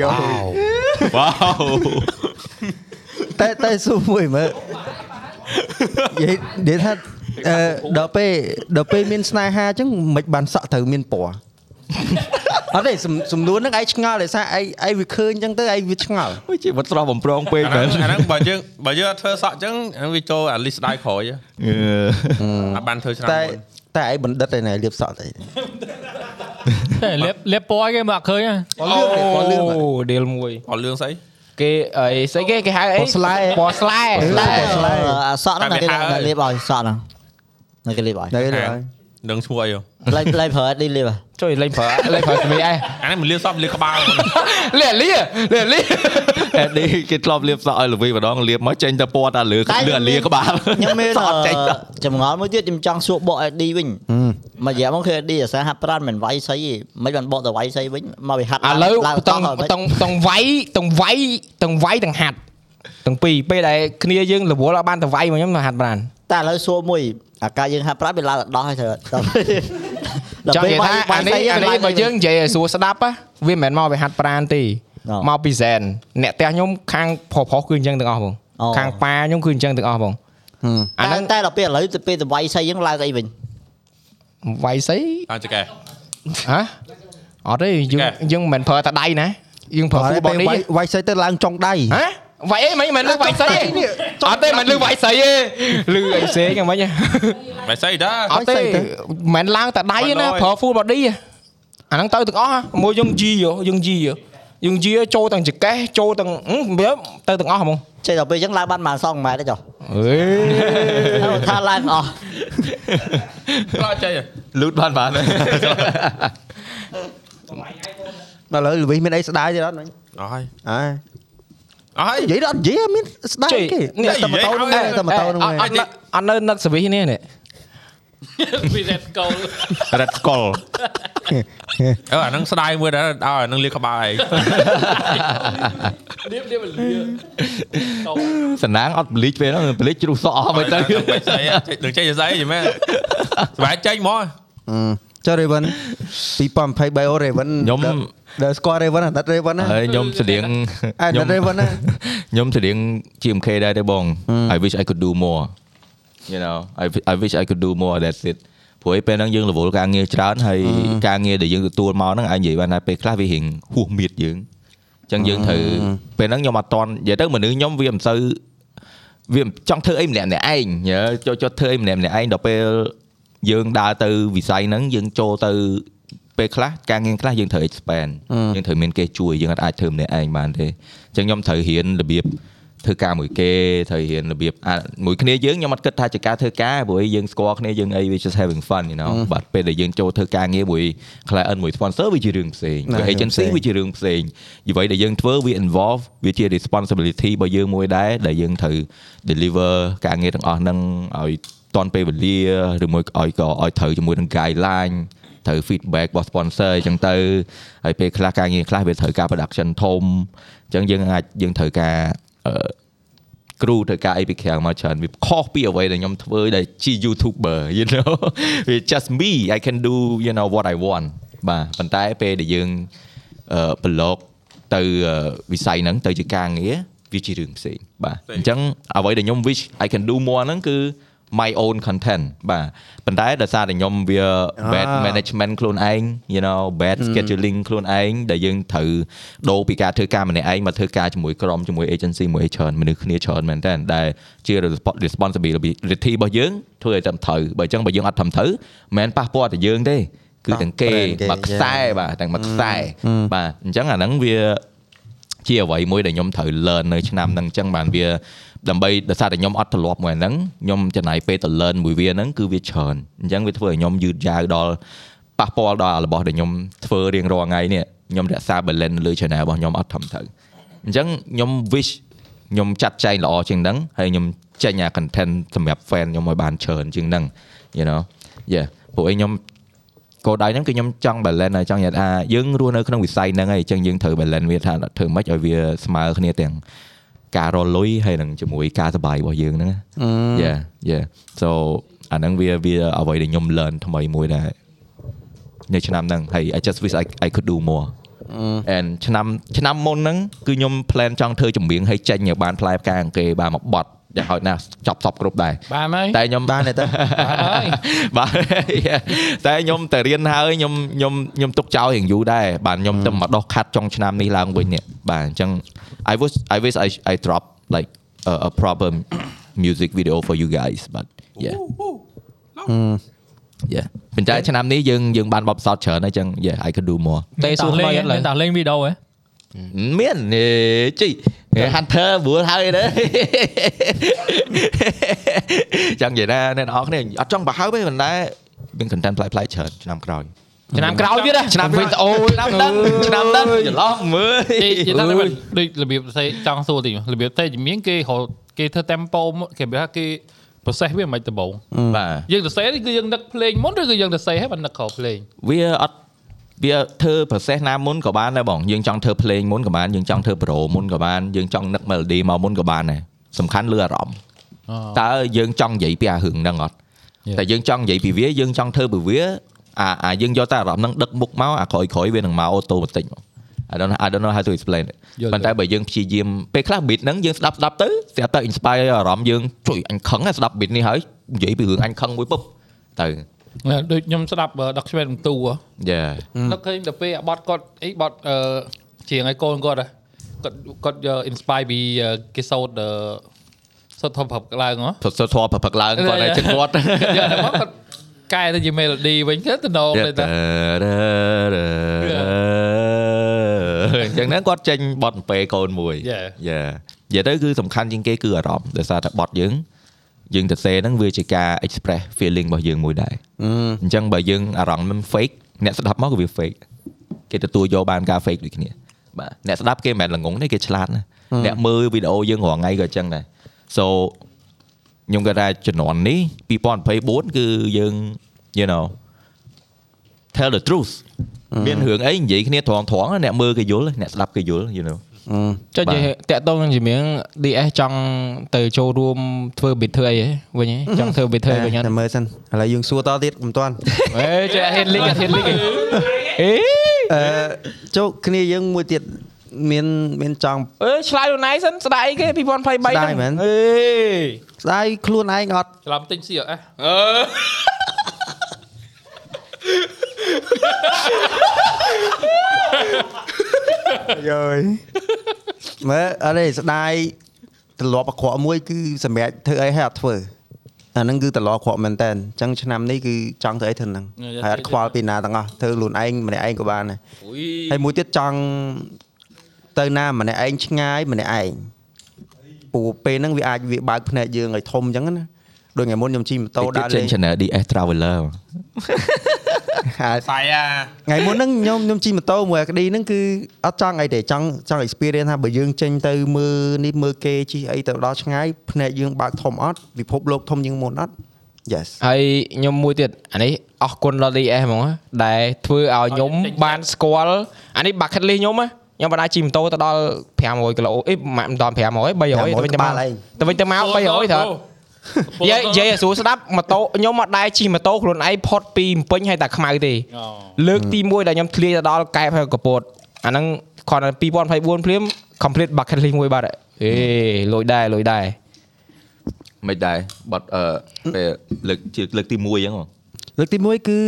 Speaker 2: យោ
Speaker 4: វ៉ាវ
Speaker 2: តែតែសួរមួយមើលនិយាយនិយាយថាអឺដល់ពេលដល់ពេលមានស្នេហាអញ្ចឹងមិនបានសក់ត្រូវមានពណ៌អត់ទេសំសំនួរហ្នឹងឯងឆ្ងល់ដោយសារឯងឯងវាឃើញអញ្ចឹងទៅឯងវាឆ្ងល់
Speaker 3: អូជីវិតស្រស់បំប្រងពេក
Speaker 4: អា
Speaker 3: មែន
Speaker 4: ហ្នឹងអាហ្នឹងបើយើងបើយើងអត់ធ្វើសក់អញ្ចឹងអាហ្នឹងវាចូលអាលីសដៃក្រោយហ៎
Speaker 3: អឺ
Speaker 4: អាចបានធ្វើឆ្នាំ
Speaker 2: តែ
Speaker 4: មុន
Speaker 2: តែឯងបណ្ឌិតឯណារៀបសក់តែ
Speaker 7: តែលេបលេបពណ៌គេមកអត់ឃើញហ៎
Speaker 2: ពណ៌លឿងទេពណ៌លឿងហ៎
Speaker 1: ដេលមួយ
Speaker 4: អត់លឿងស្អី
Speaker 1: គេអីស្អីគេគេហៅអី
Speaker 2: ពណ៌ស្លែ
Speaker 1: ពណ៌ស្លែ
Speaker 2: ស្លែស្លែ
Speaker 6: អាសក់ហ្នឹងណាគេណាលេបឲ្យសក់ហ្នឹងណាគេលេបឲ្យ
Speaker 2: នៅលើហើយ
Speaker 4: នឹងឈ្មោះអីហ៎
Speaker 6: លេបលេបប្រើអត់លេបហ៎
Speaker 1: ជួយលេងប្រើលេងប្រើ ស្មីអី
Speaker 4: អាហ្នឹងមិនលឿងសក់លឿងក្បាល
Speaker 1: លាលាលាលា
Speaker 3: អេឌីគេធ្លាប់លាបសក់ឲ្យល្វីម្ដងលាបមកចេញតែពណ៌តែលើ
Speaker 6: តែ
Speaker 3: លើលាក្បាល
Speaker 6: ខ្ញុំមាន
Speaker 3: សក់ចេញ
Speaker 6: អឺចម្ងល់មួយទៀតខ្ញុំចង់សួរបក AD វិញមួយរយៈមកឃើញ AD អាសាហាត់ប្រានមិនវាយស្អីទេមិនបានបកទៅវាយស្អីវិញមកវាហាត់
Speaker 1: ឥឡូវតង់
Speaker 6: ឡើង
Speaker 1: ត ង់តង់វាយតង់វាយតង់វាយទាំងហាត់ទាំងពីរពេលដែលគ្នាយើងរវល់ឲ្យបានតង់វាយមកខ្ញុំទៅហាត់បាន
Speaker 6: តែឥឡូវសួរមួយអាការយើងហាត់ប្រានវាឡើងដល់ហើយត្រូវដល់
Speaker 1: ចង់និយាយថាអានេះអានេះបើយើងនិយាយឲ្យស្រួលស្ដាប់ណាវាមិនមែនមកវាហាត់ប្រានទេមកពីហ្សែនអ្នកផ្ទះខ្ញុំខាងប្រុសប្រុសគឺអញ្ចឹងទាំងអស់បងខាងប៉ាខ្ញុំគឺអញ្ចឹងទាំងអស់បងអា
Speaker 6: អា
Speaker 1: ហ្នឹ
Speaker 6: ហ្នឹង ងតែដល់ពេលឥឡូវទៅពេលទៅវាយស្អីយើងឡើងអីវិញ
Speaker 1: វាយស្អី
Speaker 4: អាចកែ
Speaker 1: ហ៎អត់ទេយើង
Speaker 4: កែ
Speaker 1: យើងមិនមែនប្រើតែដៃណាយើងប្រើ
Speaker 2: បើ
Speaker 1: គូ
Speaker 2: ទៅ
Speaker 1: បងនេះ
Speaker 2: វាយវាយស្អីទៅឡើងចុងដៃ
Speaker 1: ហ៎វាយអីមិនមិនលើវាយស្អីអត់ទេមិនលើវាយស្អីទេលើអីផ្សេងហ្មងហ៎
Speaker 4: វាយស្អីដែរ
Speaker 1: អត់ទេមិនមែនឡើងតែដៃទេណាប្រើ full body ហ៎អាហ្នឹងទៅទាំងអស់ហ៎មួយយើងជីយោយើងជីយោយើងជីយោចូលទាំងចកេះចូលទាំងហឹមវាទៅទាំងអស់ហ្មង
Speaker 6: ចេះដល់ពេលយើងឡើងបានប្រហែល2ម៉ែត្រទេចុះ
Speaker 1: អេ
Speaker 6: ថាឡើងអស់
Speaker 4: ផ្លោចចេះ
Speaker 3: លូតបានបាន
Speaker 2: ដល់ឥឡូវល្វីសមានអីស្ដាយទេអត់មិញ
Speaker 4: អស់ហើយ
Speaker 2: អើ
Speaker 4: អស់ហើយ
Speaker 2: និយាយដល់និយាយអត់មានស្ដាយ
Speaker 1: ចេះ
Speaker 2: ទេ
Speaker 1: នេះ
Speaker 2: តែតែម៉ូតូហ្នឹងឯងតែម៉ូតូហ្នឹង
Speaker 1: អ
Speaker 2: ឯង
Speaker 1: ត់នៅអត់នៅនឹកសវិសនេះនេះ
Speaker 5: ពីរ៉េតកូល
Speaker 3: រ៉ាត់កុល
Speaker 4: អឺអាហ្នឹងស្ដាយមួយដែរឲ្យអាហ្នឹងលាក្បាលឯង
Speaker 5: នេះនេះមិនលឿនតោះ
Speaker 3: សំណាងអត់ប្លីចពេលហ្នឹងប្លីចជ្រុះសក់អស់មក ទៅ
Speaker 4: đừng chơi giờ giấy gì mà bạn chơi mò
Speaker 2: អឺចុះ Raven 2023 oh Raven
Speaker 3: ខ្ញុំ
Speaker 2: ដល់ដល់ស្គាល់ Raven អាណិត Raven ណា
Speaker 3: ហើយខ្ញុំស្តៀង
Speaker 2: អាណិត Raven ណា
Speaker 3: ខ្ញុំស្តៀង GMK ដែរទេបង
Speaker 2: Hmm.
Speaker 3: I wish I could do more you know I wi- I wish I could do more that's it ព្រោះឯពេលហ្នឹងយើងរវល់ការងារច្រើនហើយការងារដែលយើងទទួលមកហ្នឹងអាចនិយាយបានថាពេលខ្លះវារៀងហួសមៀតយើងអញ្ចឹងយើងត្រូវ
Speaker 2: Hmm.
Speaker 3: ពេលហ្នឹងខ្ញុំអត់តន់និយាយទៅមនុស្សខ្ញុំវាមិនសូវវាមិនចង់ធ្វើអីម្នាក់ម្នាក់ឯងយល់ចូលចូលធ្វើអីម្នាក់ម្នាក់ឯងដល់ពេលយើងដើរទៅវិស័យហ្នឹងយើងចូលទៅពេលខ្លះការងារខ្លះយើងត្រូវ expand
Speaker 2: Hmm.
Speaker 3: យើងត្រូវមានគេជួយយើងអត់អាចធ្វើម្នាក់ឯងបានទេអញ្ចឹងខ្ញុំត្រូវរៀនរបៀបធ្វើការមួយគេត្រូវរៀនរបៀបអាមួយគ្នាយើងខ្ញុំអត់គិតថាជាការធ្វើការព្រោះឯងយើងស្គាល់គ្នាយើងអី we just having fun you know បាទពេលដែលយើងចូលធ្វើការងារមួយ client មួយ sponsor វាជារឿងផ្សេងមួយ
Speaker 2: ណា
Speaker 3: agency
Speaker 2: រឿងផ្សេង
Speaker 3: វាជារឿងផ្សេងអ្វីដែលយើងធ្វើវា involve វាជា responsibility របស់យើងមួយដែរដែលយើងត្រូវ deliver ការងារទាំងអស់ហ្នឹងឲ្យតាន់ពេលវេលាឬមួយឲ្យក៏ឲ្យត្រូវជាមួយនឹង guideline ត្រូវ feedback របស់ sponsor អញ្ចឹងទៅហើយពេលខ្លះការងារខ្លះវាត្រូវការ production ធំអញ្ចឹងយើងអាចយើងត្រូវការអឺ គ្រូធ្វើការអីពីក្រៅមកច្រើនវាខុសពីអ្វីដែលខ្ញុំធ្វើដែលជា YouTuber you know វា just me I can do you know what I want បាទប៉ុន្តែពេលដែលយើងអឺប្រឡូកទៅអឺវិស័យហ្នឹងទៅជាការងារវាជារឿងផ្សេងបាទអញ្ចឹងអ្វីដែលខ្ញុំ wish I can do more ហ្នឹងគឺ my own content បាទប៉ុន្តែដោយសារតែខ្ញុំវា bad management ខ្លួនឯង you know bad scheduling ខ្លួនឯងដែលយើងត្រូវដូរពីការធ្វើការម្នាក់ឯងមកធ្វើការជាមួយក្រុមជាមួយ agency មួយឯច្រើនមនុស្សគ្នាច្រើនមែនតើដែលជា respo- responsibility របស់យើងធ្វើឲ្យត្រឹមត្រូវបើអញ្ចឹងបើយើងអត់ត្រឹមត្រូវមិនមែនប៉ះពាល់តែយើងទេគឺទាំងគេ
Speaker 2: ប៉ះពាល់ទាំងគេ
Speaker 3: មកខ្សែបាទទាំងមកខ្សែបាទអញ្ចឹងអាហ្នឹងវា ជាអ្វីមួយដែលខ្ញុំត្រូវ learn នៅឆ្នាំហ្នឹងអញ្ចឹងបានវាដើម្បីដោយសារតែខ្ញុំអត់ធ្លាប់មួយអាហ្នឹងខ្ញុំចំណាយពេលទៅ learn មួយវាហ្នឹងគឺវាច្រើនអញ្ចឹងវាធ្វើឲ្យខ្ញុំយឺតយ៉ាវដល់ប៉ះពាល់ដល់អារបស់ដែលខ្ញុំធ្វើរៀងរាល់ថ្ងៃនេះខ្ញុំរក្សា balance នៅលើ channel របស់ខ្ញុំអត់ធំទៅអញ្ចឹងខ្ញុំ wish ខ្ញុំចាត់ចែងល្អជាងហ្នឹងហើយខ្ញុំចេញអា content សម្រាប់ fan ខ្ញុំឲ្យបានច្រើនជាងហ្នឹង you know yeah ពួកឯងខ្ញុំ គោលដៅហ្នឹងគឺខ្ញុំចង់ balance ហើយចង់និយាយថាយើងរស់នៅក្នុងវិស័យហ្នឹងហើយអញ្ចឹងយើងត្រូវ balance វាថាធ្វើម៉េចឲ្យវាស្មើគ្នាទាំងការរលុយហើយនឹងជាមួយការសុបាយរបស់យើងហ្នឹងណា Yeah yeah so អាហ្នឹងវាវាអ្វីដែលខ្ញុំ learn ថ្មីមួយដែរនៅឆ្នាំហ្នឹងហើយ I just wish I I could do more and ឆ្នាំឆ្នាំមុនហ្នឹងគឺខ្ញុំ plan ចង់ធ្វើចម្រៀងឲ្យចេញឲ្យបានផ្លែផ្កាអង្គេរបានមកបត់ យ៉ាងហោចណាស់ចប់សពគ្រប់ដែរ
Speaker 5: បាន ហើយ
Speaker 3: តែខ្ញុំ
Speaker 2: បានទេតើ
Speaker 5: បានហើយ
Speaker 3: បាទតែខ្ញុំតែរៀនហើយខ្ញុំខ្ញុំខ្ញុំទុកចោលរៀងយូរដែរបាទខ្ញុំទៅមកដោះខាត់ចុងឆ្នាំនេះឡើងវិញនេះបាទអញ្ចឹង I was I wish I I drop like a, a proper music video for you guys but yeah yeah ប៉ុន្តែឆ្នាំនេះយើងយើងបានបបផ្សោតច្រើនហើយអញ្ចឹង yeah I could do more
Speaker 1: តេសួរថ្មីអត់ឡើយ
Speaker 7: តែលេងវីដេអូហ៎
Speaker 3: មានអេជីហេ Hunter បួលហើយ ណាចាំនិយាយណាអ្នកនរអគ្នាអត់ចង់បើហើយទេប៉ុន្តែមាន content ប្លែកៗច្រើនឆ្នាំក្រោយ
Speaker 1: ឆ្នាំក្រោយទៀតណា
Speaker 3: ឆ្នាំ
Speaker 1: វី
Speaker 3: វី
Speaker 1: ដេ
Speaker 3: ដេ
Speaker 1: អូ
Speaker 3: អូឆ្នាំដឹងឆ្នាំដឹងច្រឡំមើល
Speaker 5: និយាយថាដូចដូចរបៀបផ្សេងចង់សួរតិចមករបៀបតែជំនាញគេហៅគេធ្វើ tempo មកគេបើថាគេ process វាមិនដំបូង
Speaker 3: បាទ
Speaker 5: យើងសរសេរនេះគឺយើងនឹកភ្លេងមុនឬក៏យើងសរសេរហើយបាននឹកក្រោយភ្លេង
Speaker 3: វាអត់វាធ្វើ process ណាមុនក៏បានដែរបងយើងចង់ធ្វើភ្លេងមុនក៏បានយើងចង់ធ្វើ pro មុនក៏បានយើងចង់នឹក melody មកមុនក៏បានដែរសំខាន់លើអារម្មណ៍តើយើងចង់និយាយពីអារឿងហ្នឹងអត់តែយើងចង់និយាយពីវាយើងចង់ធ្វើពីវាអាអាយើងយកតែអារម្មណ៍ហ្នឹងដឹកមុខមកអាក្រោយក្រោយៗវានឹងមក automatic មក I don't know, I don't know how to explain it ប៉ុន្តែបើយើងព្យាយាមពេលខ្លះ beat ហ្នឹងយើងស្ដាប់ស្ដាប់ទៅស្រាប់តែ inspire អារម្មណ៍យើងជួយអញខឹងណាស់ស្ដាប់ beat នេះហើយនិយាយពីរឿងអញខឹងមួយពុបទៅ
Speaker 5: ណាដូចខ្ញុំស្ដាប់ document បន្ទូហ៎
Speaker 3: Yeah
Speaker 5: នឹកឃើញទៅពេលអាបតគាត់អីបតអឺជាងឲ្យកូនគាត់ហ៎គាត់គាត់យក ờ, inspire ពីអឺគេសោតអឺសោតធំប្រាប់ឡើងហ៎
Speaker 3: សុទ្ធសុទ្ធធប់ផឹកឡើងគាត់ឲ្យចិត្តគាត់
Speaker 5: យកតែមកគាត់កែទៅជា melody វិញទៅតំណង
Speaker 3: តែ
Speaker 5: ទៅ
Speaker 3: អញ្ចឹងហ្នឹងគាត់ចេញបត់ពេកូនមួយ
Speaker 5: Yeah.
Speaker 3: យ៉ានិយាយទៅគឺសំខាន់ជាងគេគឺអារម្មណ៍ដោយសារតែបត់យើងយើងទៅសេហ្នឹងវាជាការ express feeling របស់យើងមួយដែរអញ្ចឹងបើយើងអារម្មណ៍មិន fake អ្នកស្ដាប់មកក៏វា fake គេទទួលយកបានការ fake ដូចគ្នាបាទអ្នកស្ដាប់គេមិនមែនល្ងងទេគេឆ្លាតណាស់អ្នកមើលវីដេអូយើងរាល់ថ្ងៃក៏អញ្ចឹងដែរ so ខ្ញុំគិតថាជំនាន់នេះ2024គឺយើង you know tell the truth មានរឿងអីនិយាយគ្នាត្រង់ត្រង់ៗអ្នកមើលគេយល់អ្នកស្ដាប់គេយល់ you know
Speaker 1: ចុះនិយាយតាក់ទងនឹងជំនាញ DS ចង់ទៅចូលរួមធ្វើ bit ធ្វើអីហ៎វិញហ៎ចង់ធ្វើ bit ធ្វើវិញអត់
Speaker 2: តែមើលសិនឥឡូវយើងសួរតទៀតមិនទាន់
Speaker 1: អេចេះអត់ហ៊ានលីកអត់ហ៊ានលីកអីអេ
Speaker 2: អឺចូលគ្នាយើងមួយទៀតមានមានចង់
Speaker 1: អើឆ្លើយខ្លួនឯងសិនស្ដាយអីគេ2023ហ្នឹង
Speaker 2: ស្ដាយមែន
Speaker 1: អេ
Speaker 2: ស្ដាយខ្លួនឯងអត់
Speaker 5: ច្រឡំទិញស៊ីអេ
Speaker 2: យើយ មើលអរេស្ដាយទម្លាប់អក្រក់មួយគឺសម្រាប់ធ្វើអីហើយអត់ធ្វើអាហ្នឹងគឺទម្លាប់អក្រក់មែនតើអញ្ចឹងឆ្នាំនេះគឺចង់ធ្វើអីធ្វើហ្នឹងហើយអត់ខ្វល់ពីណាទាំងអស់ធ្វើខ្លួនឯងម្នាក់ឯងក៏បានដែរ
Speaker 4: អូយ
Speaker 2: ហើយមួយទៀតចង់ទៅណាម្នាក់ឯងឆ្ងាយម្នាក់ឯងពូពេលហ្នឹងវាអាចវាបើកភ្នែកយើងឲ្យធំអញ្ចឹងណាដូចថ្ងៃមុនខ្ញុំជិះម៉ូតូ
Speaker 3: តិ
Speaker 2: ដើរ
Speaker 3: ចចេ
Speaker 2: លេ
Speaker 3: ញ
Speaker 2: ង
Speaker 3: channel DS Traveler
Speaker 2: ហើយ
Speaker 4: ស្អីអា
Speaker 2: ថ្ងៃមុនហ្នឹងខ្ញុំខ្ញុំជិះម៉ូតូមួយអាក្ដីហ្នឹងគឺអត់ចង់អីទេចង់ចង់ experience ថាបើយើងចេញទៅមើលនេះមើលគេជិះអីទៅដល់ឆ្ងាយភ្នែកយើងបើកធំអត់ពិភពលោកធំជាងមុនអត់ Yes
Speaker 1: ហើយខ្ញុំមួយទៀតអានេះអរគុណដល់ DS ហ្មងណាដែលធ្វើឲ្យខ្ញុំបានស្គាល់អានេះ bucket list ខ្ញុំណាខ្ញុំបណ្ដាជិះម៉ូតូទៅដល់500គីឡូអីមិនដល់500 300ទៅវិញទៅមកទៅវិញទៅមក300ត្រូវ និយាយនិយាយឲ្យស្រួលស្ដាប់ម៉ូតូខ្ញុំអត់ដែរជិះម៉ូតូខ្លួនឯង ផុតពីភ្នំពេញហើយតែខ្មៅទេលើកទី1ដែលខ្ញុំធ្លាយទៅដល់កែបហើយកពតអាហ្នឹងគ្រាន់តែ2024ភ្លាម complete bucket list មួយបាត់ហើយអេលុយដែរលុយ ដែរ
Speaker 3: មិនដែរបាត់អឺពេលលើកជាលើកទី1អញ្ចឹងហ៎
Speaker 2: លើកទី1គឺ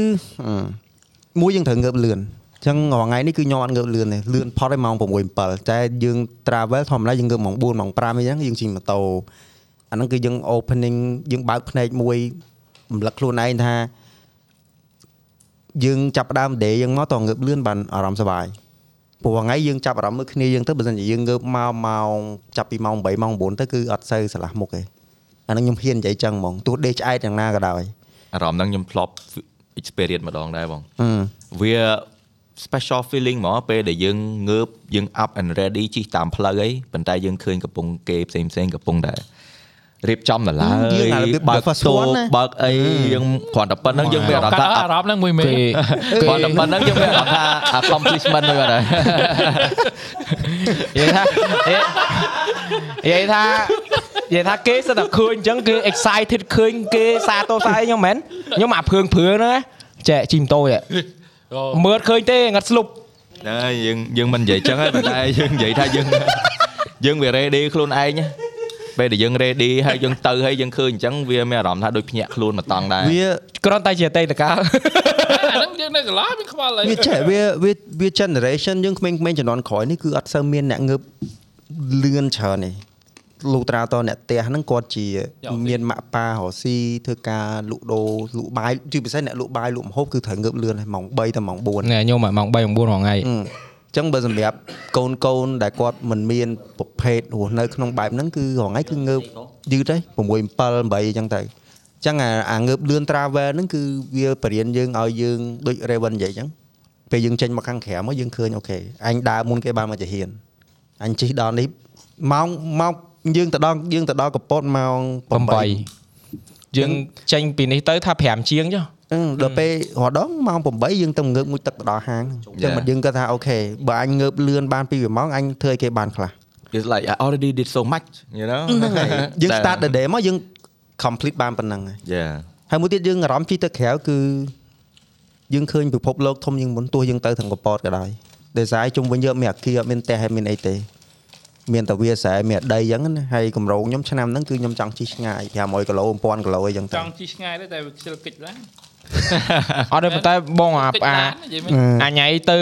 Speaker 2: អឺមួយយើងត្រូវងើបលឿនអញ្ចឹងរាល់ថ្ងៃនេះគឺខ្ញុំអត់ងើបលឿនទេលឿនផុតឲ្យម៉ោង6 7តែយើង travel ធម្មតាយើងងើបម៉ោង4ម៉ោង5អញ្ចឹងយើងជិះម៉ូតូអាហ្នឹងគឺយើង opening យើងបើកភ្នែកមួយរំលឹកខ្លួនឯងថាយើងចាប់ផ្ដើម day យើងមកតងើបលឿនបានអារម្មណ៍សប្បាយព្រោះរាល់ថ្ងៃយើងចាប់អារម្មណ៍មើលគ្នាយើងទៅបើមិនជាយើងងើបមកម៉ោងចាប់ពីម៉ោង8ម៉ោង9ទៅគឺអត់សូវឆ្លាស់មុខទេអាហ្នឹងខ្ញុំហ៊ាននិយាយចឹងហ្មងទោះ day ឆ្អែតយ៉ាងណាក៏ដោយ
Speaker 3: អារម្មណ៍ហ្នឹងខ្ញុំធ្លាប់ experience ម្ដងដែរបង
Speaker 2: អឺ
Speaker 3: វា special feeling ហ្មកពេលដែលយើងងើបយើង up and ready ជិះតាមផ្លូវអីប៉ុន្តែយើងឃើញកំពុងគេផ្សេងផ្សេងៗកំពុងតែរៀបចំដល់ឡើយ
Speaker 2: យើងអារបៀប first
Speaker 3: ទូ
Speaker 2: one ណា
Speaker 3: បើកអីយើងគ្រាន់តែប៉ុណ្្នឹងយើងមានអារម្មណ៍
Speaker 7: កា
Speaker 3: ថាអ
Speaker 7: ត់អារម្មណ៍ហ្នឹងមួយមេ
Speaker 1: គេ
Speaker 3: ត់គ្រាន់តែប៉ុណ្្នឹងយើងមានអារម្មណ៍ថា accomplishment ហ្នឹង គាត់ហើ
Speaker 1: និ
Speaker 3: យ
Speaker 1: យាយថានិយាយថានិយាយថាគេសិតតែឃើញអញ្ចឹងគេ excited ឃើញគេសាទរសាអីខ្ញុំមែនខ្ញុំអាភឿងភឿងហ្នឹងណាចែកជិះម៉ូតូចេះមើលឃើញទេងាត់ស្លុប
Speaker 3: ណាយើងយើងមិននិយាយចឹងហើយប៉ុន្តែយើង និយាយថាយើងយើងវា ready ខ្លួនឯងណាពេលដែលយើង ready ហើយយើងទៅហើយយើងឃើញអញ្ចឹងវាមានអារម្មណ៍ថាដូចភ្ញាក់ខ្លួនមកតង់ដែរ
Speaker 2: វា
Speaker 1: គ្រាន់តែជាអតីតកាល
Speaker 5: អាហ្នឹងយើងនៅកន្លែងមានខ្វល់អី
Speaker 2: វាចេះវាវាវា generation យើងក្មេងៗជំនាន់ក្រោយនេះគឺអត់សូវមានអ្នកងើបលឿនច្រើនទេលោកត្រាតអ្នកផ្ទះហ្នឹងគាត់ជា មានម៉ាក់ប៉ារស់ស៊ីធ្វើការលក់ដូរលក់បាយជាពិសេសអ្នកលក់បាយលក់ម្ហូបគឺត្រូវងើបលឿនហើយម៉ោង3ដល់ម៉ោង4អញ្
Speaker 1: ណែខ្ញុំអាម៉ោង3ម៉ោង4រាល់ថ្ងៃ
Speaker 2: ចឹងបើសម្រាប់កូនកូនដែលគាត់មិនមានប្រភេទរស់នៅក្នុងបែបហ្នឹងគឺរងថ្ងៃគឺងើបយឺតទេ6 7 8អញ្ចឹងទៅអញ្ចឹងអាអាងើបលឿន travel ហ្នឹងគឺវាបរៀនយើងឲ្យយើងដូច Raven និយាយអញ្ចឹង ពេលយើងចេញមកខាងក្រៅមកយើងឃើញអូខេអញដើរមុនគេបានមកជាហ៊ានអញជិះដល់នេះម៉ោងម៉ោងយើងទៅដល់យើងទៅដល់កពតម៉ោង8
Speaker 1: 8យើងចេញពីនេះទៅថា5ជាងចុះ
Speaker 2: អឺដល់ពេលរហូតដល់ម៉ោង8យើងទៅងើបមួយទឹកទៅដល់ហាងអញ្ចឹង
Speaker 3: Yeah.
Speaker 2: មកយើងគាត់ថាអូខេបើអញងើបលឿនបានពីរម៉ោងអញធ្វើឲ្យគេបានខ្លះ
Speaker 3: it's like I already did so much you know
Speaker 2: ហ្នឹងហើយ យើង start the day មកយើង complete បានប៉ុណ្ណឹងហើយ
Speaker 3: yeah
Speaker 2: ហើយមួយទៀតយើងអារម្មណ៍ជិះទៅក្រៅគឺយើងឃើញពិភពលោកធំជាងមុនទោះយើងទៅទាំងកប៉ោតក៏ដោយដោយសារជុំវិញយើងមានអាគារអត់មានផ្ទះហើយមានអីទេមានតែវាលស្រែមានដីអញ្ចឹងណាហើយកម្រងខ្ញុំឆ្នាំហ្នឹងគឺខ្ញុំចង់ជិះឆ្ងាយ500គីឡូ1000គីឡូអីអញ្ចឹង
Speaker 5: ច
Speaker 2: ទៅ
Speaker 5: ង់ជីឆ្ងាយទេតែវាខ្ជិលកិច្ចឡើង
Speaker 1: អត់ទេប៉ុន្តែបងអា
Speaker 5: កិច្ច
Speaker 1: អា
Speaker 5: ឡាននិយាយមិន
Speaker 1: អាញ៉ៃទៅ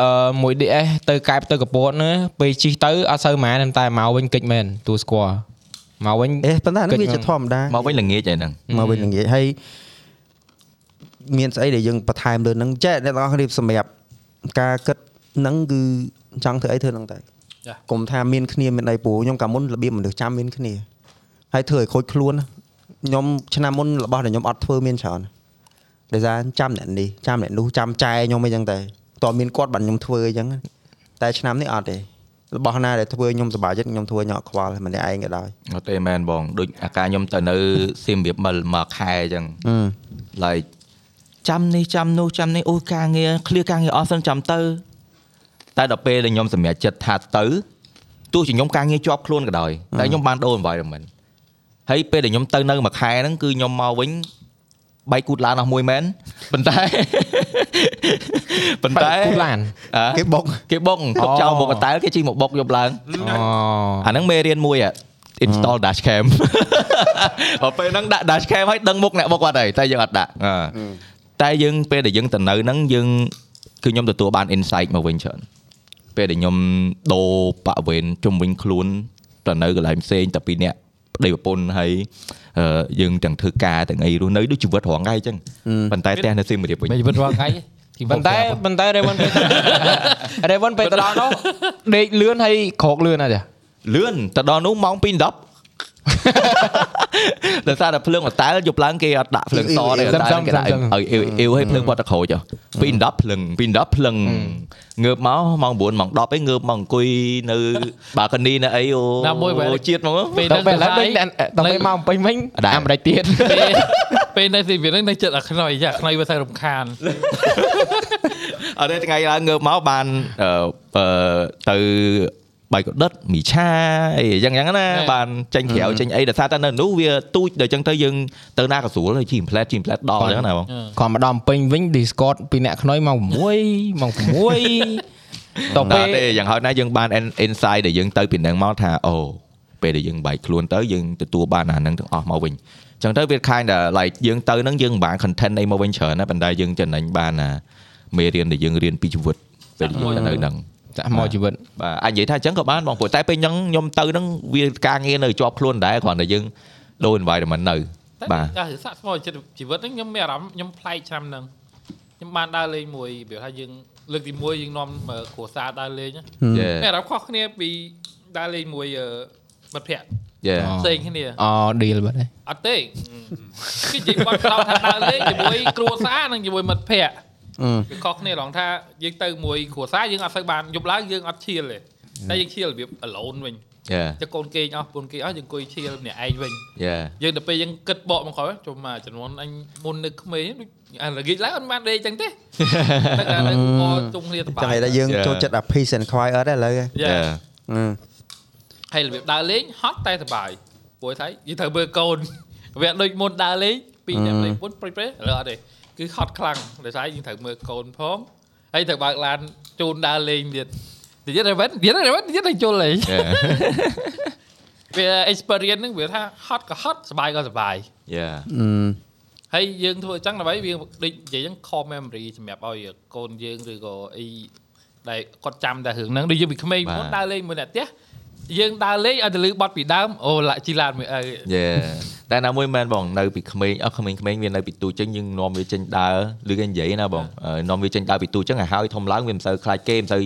Speaker 1: អឺមួយ DS ទៅកែបទៅកពតណាពេលជីកទៅអត់សូវម៉ែនតែមកវិញកិច្ចមែនទួស្គាល់មកវិញ
Speaker 2: អេប៉ុន្តែអាហ្នឹងវាជាធម្មតា
Speaker 3: មកវិញល្ងាចឯហ្នឹង
Speaker 2: មកវិញល្ងាចហើយមានស្អីដែលយើងបន្ថែមលើហ្នឹងចេះអ្នកទាំងអស់គ្នាសម្រាប់ការគិតហ្នឹងគឺចង់ធ្វើអីធ្វើហ្នឹងតែកុំថាមានគ្នាមានអីព្រោះខ្ញុំកាលមុនរបៀបមនុស្សចាំមានគ្នាហើយធ្វើឲ្យខូចខ្លួនណាខ្ញុំឆ្នាំមុនរបស់ដែលខ្ញុំអត់ធ្វើមានច្រើនដោយសារចាំអ្នកនេះចាំអ្នកនោះចាំចែខ្ញុំអីចឹងតែ តើមានគាត់បានខ្ញុំធ្វើអញ្ចឹងតែឆ្នាំនេះអត់ទេរបស់ណាដែលធ្វើខ្ញុំសប្បាយចិត្តខ្ញុំធ្វើញក់ខ្វល់ម្នាក់ឯងក៏ដោយ
Speaker 3: អត់ទេមែនបងដូចអាការខ្ញុំទៅនៅសៀមរាបមិលមួយខែអញ្ចឹង
Speaker 2: អឺ
Speaker 3: like ចាំនេះចាំនោះចាំនេះអូការងារ clear ការងារអស់សិនចាំទៅ តែដល់ពេលដែលខ្ញុំសម្រេចចិត្តថាទៅទោះជាខ្ញុំការងារជាប់ខ្លួនក៏ដោយតែខ្ញុំបានដូរ environment ហើយពេលដែលខ្ញុំទៅនៅមួយខែហ្នឹងគឺខ្ញុំមកវិញបែកគូតឡានអស់មួយមែនប៉ុន្តែ ប៉ុន្តែ
Speaker 1: គូឡាន
Speaker 3: អ่ะ
Speaker 2: គេបុក
Speaker 3: គេបុកទុកចោលមកកន្តែលគេជិះមកបុកយកឡើង
Speaker 1: អូ
Speaker 3: អាហ្នឹងមេរៀនមួយអា install dash cam បើពេលហ្នឹងដាក់ dash cam ឲ្យដឹងមុខអ្នកបុកគាត់ហើយតែយើងអត់ដាក់អ่าតែយើងពេលដែលយើងទៅនៅហ្នឹងយើងគឺខ្ញុំទទួលបាន insight មកវិញច្រើនពេលដែលខ្ញុំដូរបរិវេណជុំវិញខ្លួនទៅនៅកន្លែងផ្សេងតែពីរអ្នកប្តីប្រពន្ធហើយអឺយើងទាំងធ្វើការទាំងអីរស់នៅដូចជីវិតរងថ្ងៃអញ្ចឹងប៉ុន្តែផ្ទះនៅសៀមរាបវិញ
Speaker 7: មិនជីវិតរាល់ថ្ងៃទី
Speaker 1: ប៉ុន្តែប៉ុន្តែ Raven ពេលទៅ Raven ពេលទៅដល់នោះដេកលឿនហើយក្រោកលឿនអត់ទេ
Speaker 3: លឿនទៅដល់នោះម៉ោង2:10 ដោយសារតែភ្លើងអតាលយប់ឡើងគេអត់ដាក់ភ្លើងតទេអតាលគេដាក់ឲ្យអ៊ីវអ៊ីវឲ្យភ្លើងគាត់ទៅក្រូច2:10ភ្លើង2:10ភ្លើងងើបមកម៉ោង9ម៉ោង10ឯងងើបមកអង្គុយនៅ balcony នៅអីអូជាតិមក
Speaker 5: ពេល
Speaker 1: ដល់ពេលឥ
Speaker 5: ហ្នឹងទៅ
Speaker 1: ឡូវ
Speaker 5: ហើយ
Speaker 1: ដល់ដល់ពេលមកពេញវិញអាមេរិកទៀត
Speaker 5: ពេលពេលនៅស៊ីវិលហ្នឹងនៅចិត្តអាខ្នុយចាអាខ្នុយវាតែរំខាន
Speaker 3: អត់ទេថ្ងៃឡើងងើបមកបាន ờ, ទៅបាយកដិតមីឆាអីយ៉ាងយ៉ាងណាបានចេញក្រៅចេញអីដោយសារតែនៅនោះវាទូចដល់ចឹងទៅយើងទៅណាក៏ស្រួលជីមផ្លែតជីមផ្លែតដល់ចឹងណាបង
Speaker 1: គាត់មកដល់ពេញវិញ Discord ពីអ្នកខ្នុយមក6មក6ត
Speaker 3: តែ
Speaker 1: ពេល
Speaker 3: ទេយ៉ាងហោចណាស់យើងបាន in- insight ដែលយើងទៅពីនឹងមកថាអូពេលដែលយើងបែកខ្លួនទៅយើងទទួលបានអាហ្នឹងទាំងអស់មកវិញអញ្ចឹងទៅវា kind ដែល like យើងទៅហ្នឹងយើងមិនបាន content អីមកវិញច្រើនណាប៉ុន្តែយើងចំណេញបានអាមេរៀនដែលយើងរៀនពីជីវិតពេលដែលយើងនៅហ្នឹង
Speaker 1: ចាក់មកជីវិត
Speaker 3: បាទអាចនិយាយថាអញ្ចឹងក៏បានបងព្រោះតែពេលហ្នឹងខ្ញុំទៅហ្នឹងវាការងារនៅជាប់ខ្លួនដែរគ្រាន់តែយើងដូរ environment នៅ
Speaker 5: តែ
Speaker 3: បាទ
Speaker 5: តែសាក់ស្មោះចិត្តជីវិតហ្នឹងខ្ញុំមានអារម្មណ៍ខ្ញុំប្លែកឆ្នាំហ្នឹងខ្ញុំបានដើរលេងមួយវាថាយើងលើកទី1យើងនាំអឺគ្រួសារដើរលេងណា
Speaker 3: យេ
Speaker 5: មានអារម្មណ៍ខុសគ្នាពីដើរលេងមួយអឺមិត្តភ័ក្តិ
Speaker 3: យេ
Speaker 1: អូ
Speaker 5: ផ្សេងគ្នា
Speaker 1: អ deal បាត់ហើយ
Speaker 5: អត់ទេគឺនិយាយបាត់ក្រោយថាដើរលេងជាមួយគ្រួសារនិងជាមួយមិត្តភ័ក្តិ
Speaker 2: អឺ
Speaker 5: វាខុសគ្នាត្រង់ថាយើងទៅមួយគ្រួសារយើងអត់សូវបានយប់ឡើងយើងអត់ឈៀលទេតែយើងឈៀលរបៀប alone វិញ
Speaker 3: យេ
Speaker 5: តែកូនគេងអស់កូនគេងអស់យើងអង្គុយឈៀលម្នាក់ឯងវិញ
Speaker 3: យេ
Speaker 5: យើងទៅពេលយើងគិតបកមក ក្រោយចុះមកចំនួនអញមុននៅក្មេងដូចអារងាចឡើងអត់បានដេកចឹងទេ តែកាលនៅកជុំគ្នាទៅបា
Speaker 2: ចឹងឯង
Speaker 5: យ
Speaker 2: តែយើងចូលចិត្តអា peace and quiet ឥឡូវហ៎
Speaker 3: យេ
Speaker 5: Yeah
Speaker 2: អឺ
Speaker 5: ហើយរបៀបដើរលេងហត់តែសប្បាយព្រោះថាយើងត្រូវមើលកូន វាដូចមុនដើរលេងពីរអ្នកលេងមុនព្រិចព្រិចឥឡូវអត់ទេគឺហត់ខ្លាំងដោយសារយើងត្រូវមើលកូនផងហើយត្រូវបើកឡានជូនដើរលេងទៀតនិយាយតែវិញនិយាយតែវិញនិយាយតែជុលលេង
Speaker 3: យេ
Speaker 5: វា experience ហ្នឹងវាថាហត់ក៏ហត់សប្បាយក៏សប្បាយ
Speaker 3: យេ
Speaker 5: ហើយយើងធ្វើអញ្ចឹងដើម្បីវាដូចនិយាយអញ្ចឹង core memory សម្រាប់ឲ្យកូនយើងឬក៏អីដែលគាត់ចាំតែរឿងហ្នឹងដូចយើងពីក្មេង
Speaker 3: បាទ
Speaker 5: មុនដើរលេងមួយអ្នកផ្ទះយើងដើរលេងឲ្យតែលឺបត់ពីដើមអូឡាក់ជីឡានមួយអើ
Speaker 3: យេ តែណាមួយមែនបងនៅពីក្មេងអស់ក្មេងៗវានៅពីទូចឹងយើងនាំវាចេញដើរឬគេនិយាយណាបងអឺនាំវាចេញដើរពីទូចឹងឲ្យហើយធំឡើងវាមិនសូវខ្លាចគេមិនសូវ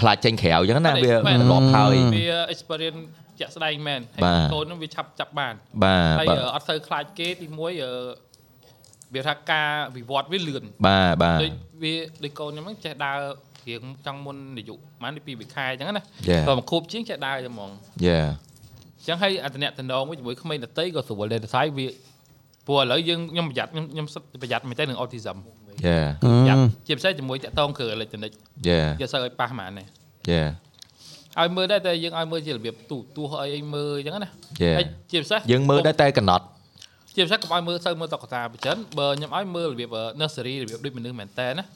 Speaker 3: ខ្លាចចេញក្រៅចឹងណាវា
Speaker 5: មែន
Speaker 3: លាប់ហើយ
Speaker 5: វា experience ជាក់ស្ដែងមែន
Speaker 3: បាទ
Speaker 5: ហើយកូនហ្នឹងវាឆាប់ចាប់បាន
Speaker 3: បាទ
Speaker 5: ហើយ
Speaker 3: បាទ
Speaker 5: អឺអត់សូវខ្លាចគេទីមួយអឺវាថាការវិវត្តវាលឿន
Speaker 3: បាទបាទ
Speaker 5: ដូចវាដូចកូនខ្ញុំហ្នឹងចេះដើររៀងចង់មុនអាយុប្រហែលពី2ខែអញ្ចឹងណា
Speaker 3: យេ
Speaker 5: តោះមកខួបជាងចេះដើរហ្មង
Speaker 3: យេ
Speaker 5: អញ្ចឹងហើយអត្តនៈតំណងមួយជាមួយក្មេងដតីក៏ស្រួលដែរតែស្អីវាព្រោះឥឡូវយើងខ្ញុំប្រយ័ត្នខ្ញុំខ្ញុំសិតប្រយ័ត្នមែនតើនឹង autism
Speaker 3: យេ
Speaker 5: ប្រយ័ត្នជាពិសេសជាមួយតាក់តងគ្រឿងអេឡិចត្រូនិក
Speaker 3: យេ
Speaker 5: យកសូវឲ្យប៉ះហ្មងណា
Speaker 3: យេ
Speaker 5: ឲ្យមើលដែរតែយើងឲ្យមើលជារបៀបទូទួសអីឲ្យមើលអញ្ចឹងណា
Speaker 3: យេ
Speaker 5: ហើយជាពិសេស
Speaker 3: យើងមើលដែរតែកំណត់
Speaker 5: ជាពិសេសកុំឲ្យមើលសូវមើលតុក្កតាប្រចិនបើខ្ញុំឲ្យមើលរបៀប nursery របៀបដូចមនុស្សមែនតើណា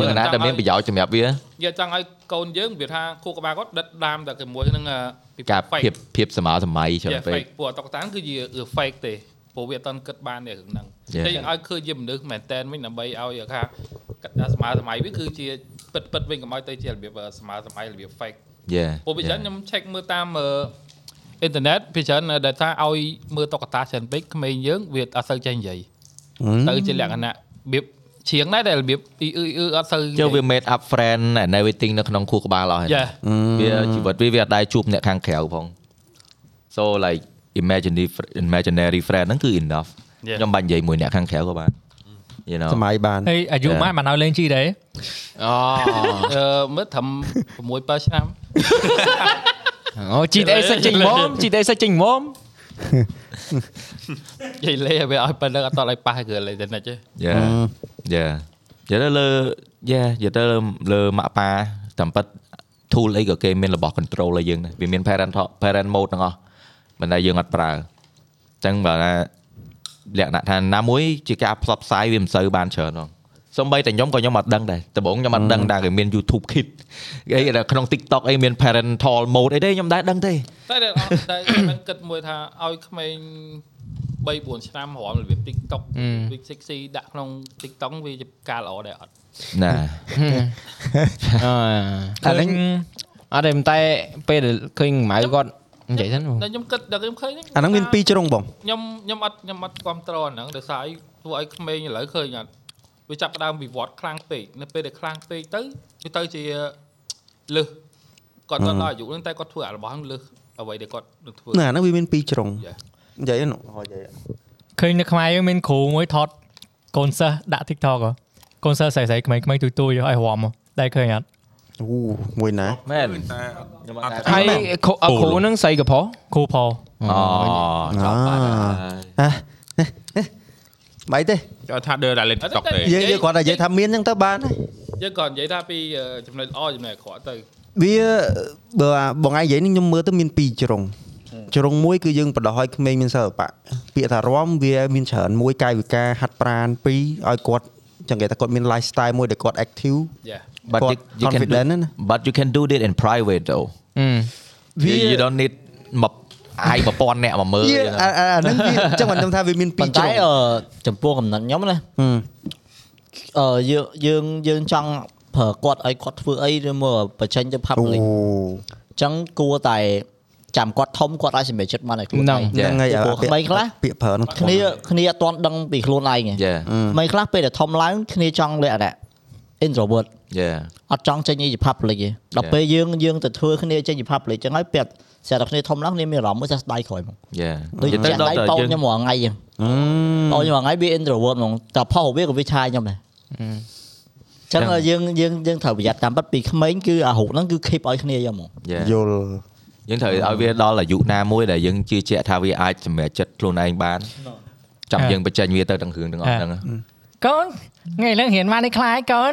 Speaker 3: មើលណាដែលមានប្រយោជន៍សម្រាប់វា
Speaker 5: យកចង់ឲ្យកូនយើងវាថាខួរក្បាលគាត់ដិតដាមតែជាមួយនឹងអឺពី
Speaker 3: ការ
Speaker 5: ភ
Speaker 3: ភាពភាពសម័យសម័យច្រើន
Speaker 5: Yeah,
Speaker 3: ពេក
Speaker 5: fake ព្រោះតុក្កតាគឺជាគឺ fake ទេព្រោះវាអត់តន់គិតបានទេរឿងហ្នឹង
Speaker 3: Yeah.
Speaker 5: តែយើងឲ្យឃើញជាមនុស្សមែនតើវិញដើម្បីឲ្យថាកត្តាស្មារតីវាគឺជាពិតពិតៗវិញកុំឲ្យទៅជារបៀបអឺស្មារតីរបៀប fake
Speaker 3: យេ
Speaker 5: ព្រោះពីច្រើនខ្ញុំ check មើលតាមអឺអ៊ីនធឺណិតពីច្រើនអឺដែលថាឲ្យមើលតុក្កតាច្រើនពេកក្មេងយើងវាអត់សូវចេះនិយាយទៅជាលក្ខណៈរបៀបឈៀងដែរដែលរបៀបអ៊ីអ៊ឺអ៊ឺអត់សូវនិយាយ
Speaker 3: ចូលវា made up friend and everything នៅក្នុងខួរក្បាលអស់ហើយ
Speaker 5: Yeah.
Speaker 3: វាជីវិតវាវាអត់ដែរជួបអ្នកខាងក្រៅផង so like imaginary imaginary friend ហ្នឹងគឺ enough
Speaker 5: Yeah.
Speaker 3: ខ្ញុំបាញ់និយាយមួយអ្នកខាងក្រៅក៏បាន you know
Speaker 2: សម័យបាន
Speaker 7: ហើយអាយុ
Speaker 3: Yeah.
Speaker 7: ម៉ែមិនឲ្យលេងជីដែរ
Speaker 1: អូ
Speaker 5: អឺមើលត្រឹម6 7ឆ្នាំ
Speaker 1: អូ GTA សិចចេញហ្មង GTA សិចចេញហ្មង
Speaker 5: និយាយលេងឲ្យវាឲ្យប៉ុណ្្នឹងអត់តឲ្យប៉ះគ្រឿងលេងទៅនិចទេ
Speaker 3: yeah yeah និយាយទៅលើ yeah និយាយទៅលើលើម៉ាក់ប៉ាតាមពិត tool អីក៏គេមានរបស់ control ឲ្យយើងដែរវាមាន parent parent mode ទាំងអស់មិនដែលយើងអត់ប្រើអញ្ចឹងបើណាលក្ខណៈថាណាមួយជាការផ្សព្វផ្សាយវាមិនសូវបានច្រើនផងសំបីតែខ្ញុំក៏ខ្ញុំអត់ដឹងដែរដំបូងខ្ញុំអត់ដឹងដែរគេមាន YouTube Kids អីដែលក្នុង TikTok អីមាន parental mode អីទេខ្ញុំដែរដឹងទេ
Speaker 5: តែតែតែខ្ញុំគិតមួយថាឲ្យក្មេង3 4ឆ្នាំរំរបៀប TikTok
Speaker 1: អឺ
Speaker 5: វា sexy ដាក់ក្នុង TikTok វាជាការល្អដែរអត់
Speaker 3: ណា
Speaker 1: អើ
Speaker 2: អាហ្នឹង
Speaker 1: អត់ទេប៉ុន្តែពេលដែលឃើញម៉ៅគាត់និយាយហ្នឹង
Speaker 5: តែខ្ញុំគិតដល់ខ្ញុំឃើញ
Speaker 2: អាហ្នឹងមាន2ជ្រុងបង
Speaker 5: ខ្ញុំខ្ញុំអត់ខ្ញុំអត់គ្រប់ត្រអាហ្នឹងដោយសារអីធ្វើឲ្យក្មេងឥឡូវឃើញអត់វាចាប់ផ្ដើមវិវត្តខ្លាំងពេកនៅពេលដែលខ្លាំងពេកទៅវាទៅជាលឹះគាត់គាត់ដល់អាយុហ្នឹងតែគាត់ធ្វើអារបស់ហ្នឹងលឹះអ្វីដែលគាត់នឹងធ្វើ
Speaker 2: ណាអាហ្នឹងវាមាន2ជ្រុង
Speaker 5: Yeah.
Speaker 2: និយាយហ្នឹងអូនិយាយ
Speaker 7: ឃើញនៅខ្មែរយើងមានគ្រូមួយថតកូនសិស្សដាក់ TikTok ហ៎កូនសិស្សស្រីស្រីក្មេងៗទូទូយៗឲ្យរំហ៎ដែរឃើញអត់
Speaker 2: អូមួយណា
Speaker 3: មែន
Speaker 4: តែអត់
Speaker 1: ហើយគ្រូអគ្រូហ្នឹងស្អីក៏ផោះ
Speaker 7: គ្រូផល
Speaker 3: អូចប់បាត់
Speaker 2: អ่า
Speaker 3: ហើយ
Speaker 2: ហ៎បាយទេ
Speaker 4: គាត់ថាដើរតែលេង TikTok ទេ
Speaker 2: យើងយើងគាត់តែនិយាយថាមានហ្នឹងទៅបានហើយ
Speaker 5: យើងក៏និយាយថាពីអឺចំណុចល្អចំណុចអាក្រក់ទៅ
Speaker 2: វាបើបងឯងនិយាយនេះខ្ញុំមើលទៅមាន2ជ្រុងជ្រុងមួយគឺយើងបដោះឲ្យក្មេងមានសិល្បៈពាក្យថារំវាមានច្រើនមួយកាយវិការហាត់ប្រាណពីរឲ្យគាត់ចឹងគេថាគាត់មាន lifestyle មួយដែលគាត់ active
Speaker 5: Yeah
Speaker 3: but
Speaker 2: Got
Speaker 3: you, you can do,
Speaker 2: confident ណា
Speaker 3: but you can do it in private though
Speaker 1: អឺ
Speaker 3: you, you don't need មកអាយ1000អ្នកមកមើល
Speaker 2: វា
Speaker 3: you know.
Speaker 2: អាអាអាហ្នឹងវាចឹងមិនខ្ញុំថាវាមាន
Speaker 6: ប៉ុ
Speaker 2: 2ជ្រុ
Speaker 6: ន្តែ
Speaker 2: ង
Speaker 6: អឺចំពោះកំណត់ខ្ញុំណា
Speaker 2: ហឹម
Speaker 6: អឺយើងយើងយើងចង់ប្រើគាត់ឲ្យគាត់ធ្វើអីឬមកបញ្ចេញទៅ
Speaker 2: អូ
Speaker 6: public អញ្ចឹងគួរតែចាំគាត់ធំគាត់អាចសម្រេចចិត្តបានឲ្យខ្លួនឯង
Speaker 2: ហ្នឹងហើយ
Speaker 6: ពីព្រោះក្មេងខ្លះ
Speaker 2: ពាក្យប្រើហ្នឹង
Speaker 6: គ្នាគ្នាអត់ទាន់ដឹងពីខ្លួនឯងហ៎
Speaker 3: yeah
Speaker 6: ក្មេងខ្លះពេលដែលធំឡើងគ្នាចង់លក្ខណៈ introvert
Speaker 3: yeah
Speaker 6: អត់ចង់ចេញពី public ទេដល់ពេលយើងយើងទៅធ្វើគ្នាចេញពី public អញ្ចឹងហើយពេលស្រាប់តែគ្នាធំឡើងគ្នាមានអារម្មណ៍មួយថាស្ដាយក្រោយមក
Speaker 3: yeah
Speaker 6: ដូច
Speaker 3: និ
Speaker 6: ជា
Speaker 3: យាយ
Speaker 6: ដៃបោកខ្ញុំរាល់ថ្ងៃអញ្ចឹងបោកខ្ញុំរាល់ថ្ងៃវា introvert ហ្មងតែផុសវាក៏វាឆាយខ្ញុំដែរអញ្ចឹងយើងយើងយើងត្រូវប្រយ័ត្នតាមពិតពីក្មេងគឺអារូបហ្នឹងគឺ keep ឲ្យគ្នាយកហ្មង
Speaker 3: Yeah.
Speaker 2: យល់
Speaker 3: យើងត្រូវឲ្យវាដល់អាយុណាមួយដែលយើងជឿជាក់ថាវាអាចសម្រេចចិត្តខ្លួនឯងបានចាំយើងបញ្ចេញវាទៅទាំងគ្រឿងទាំងអស់ហ្នឹង
Speaker 7: កូនថ្ងៃឡើងរៀនមកនេះខ្លាចកូន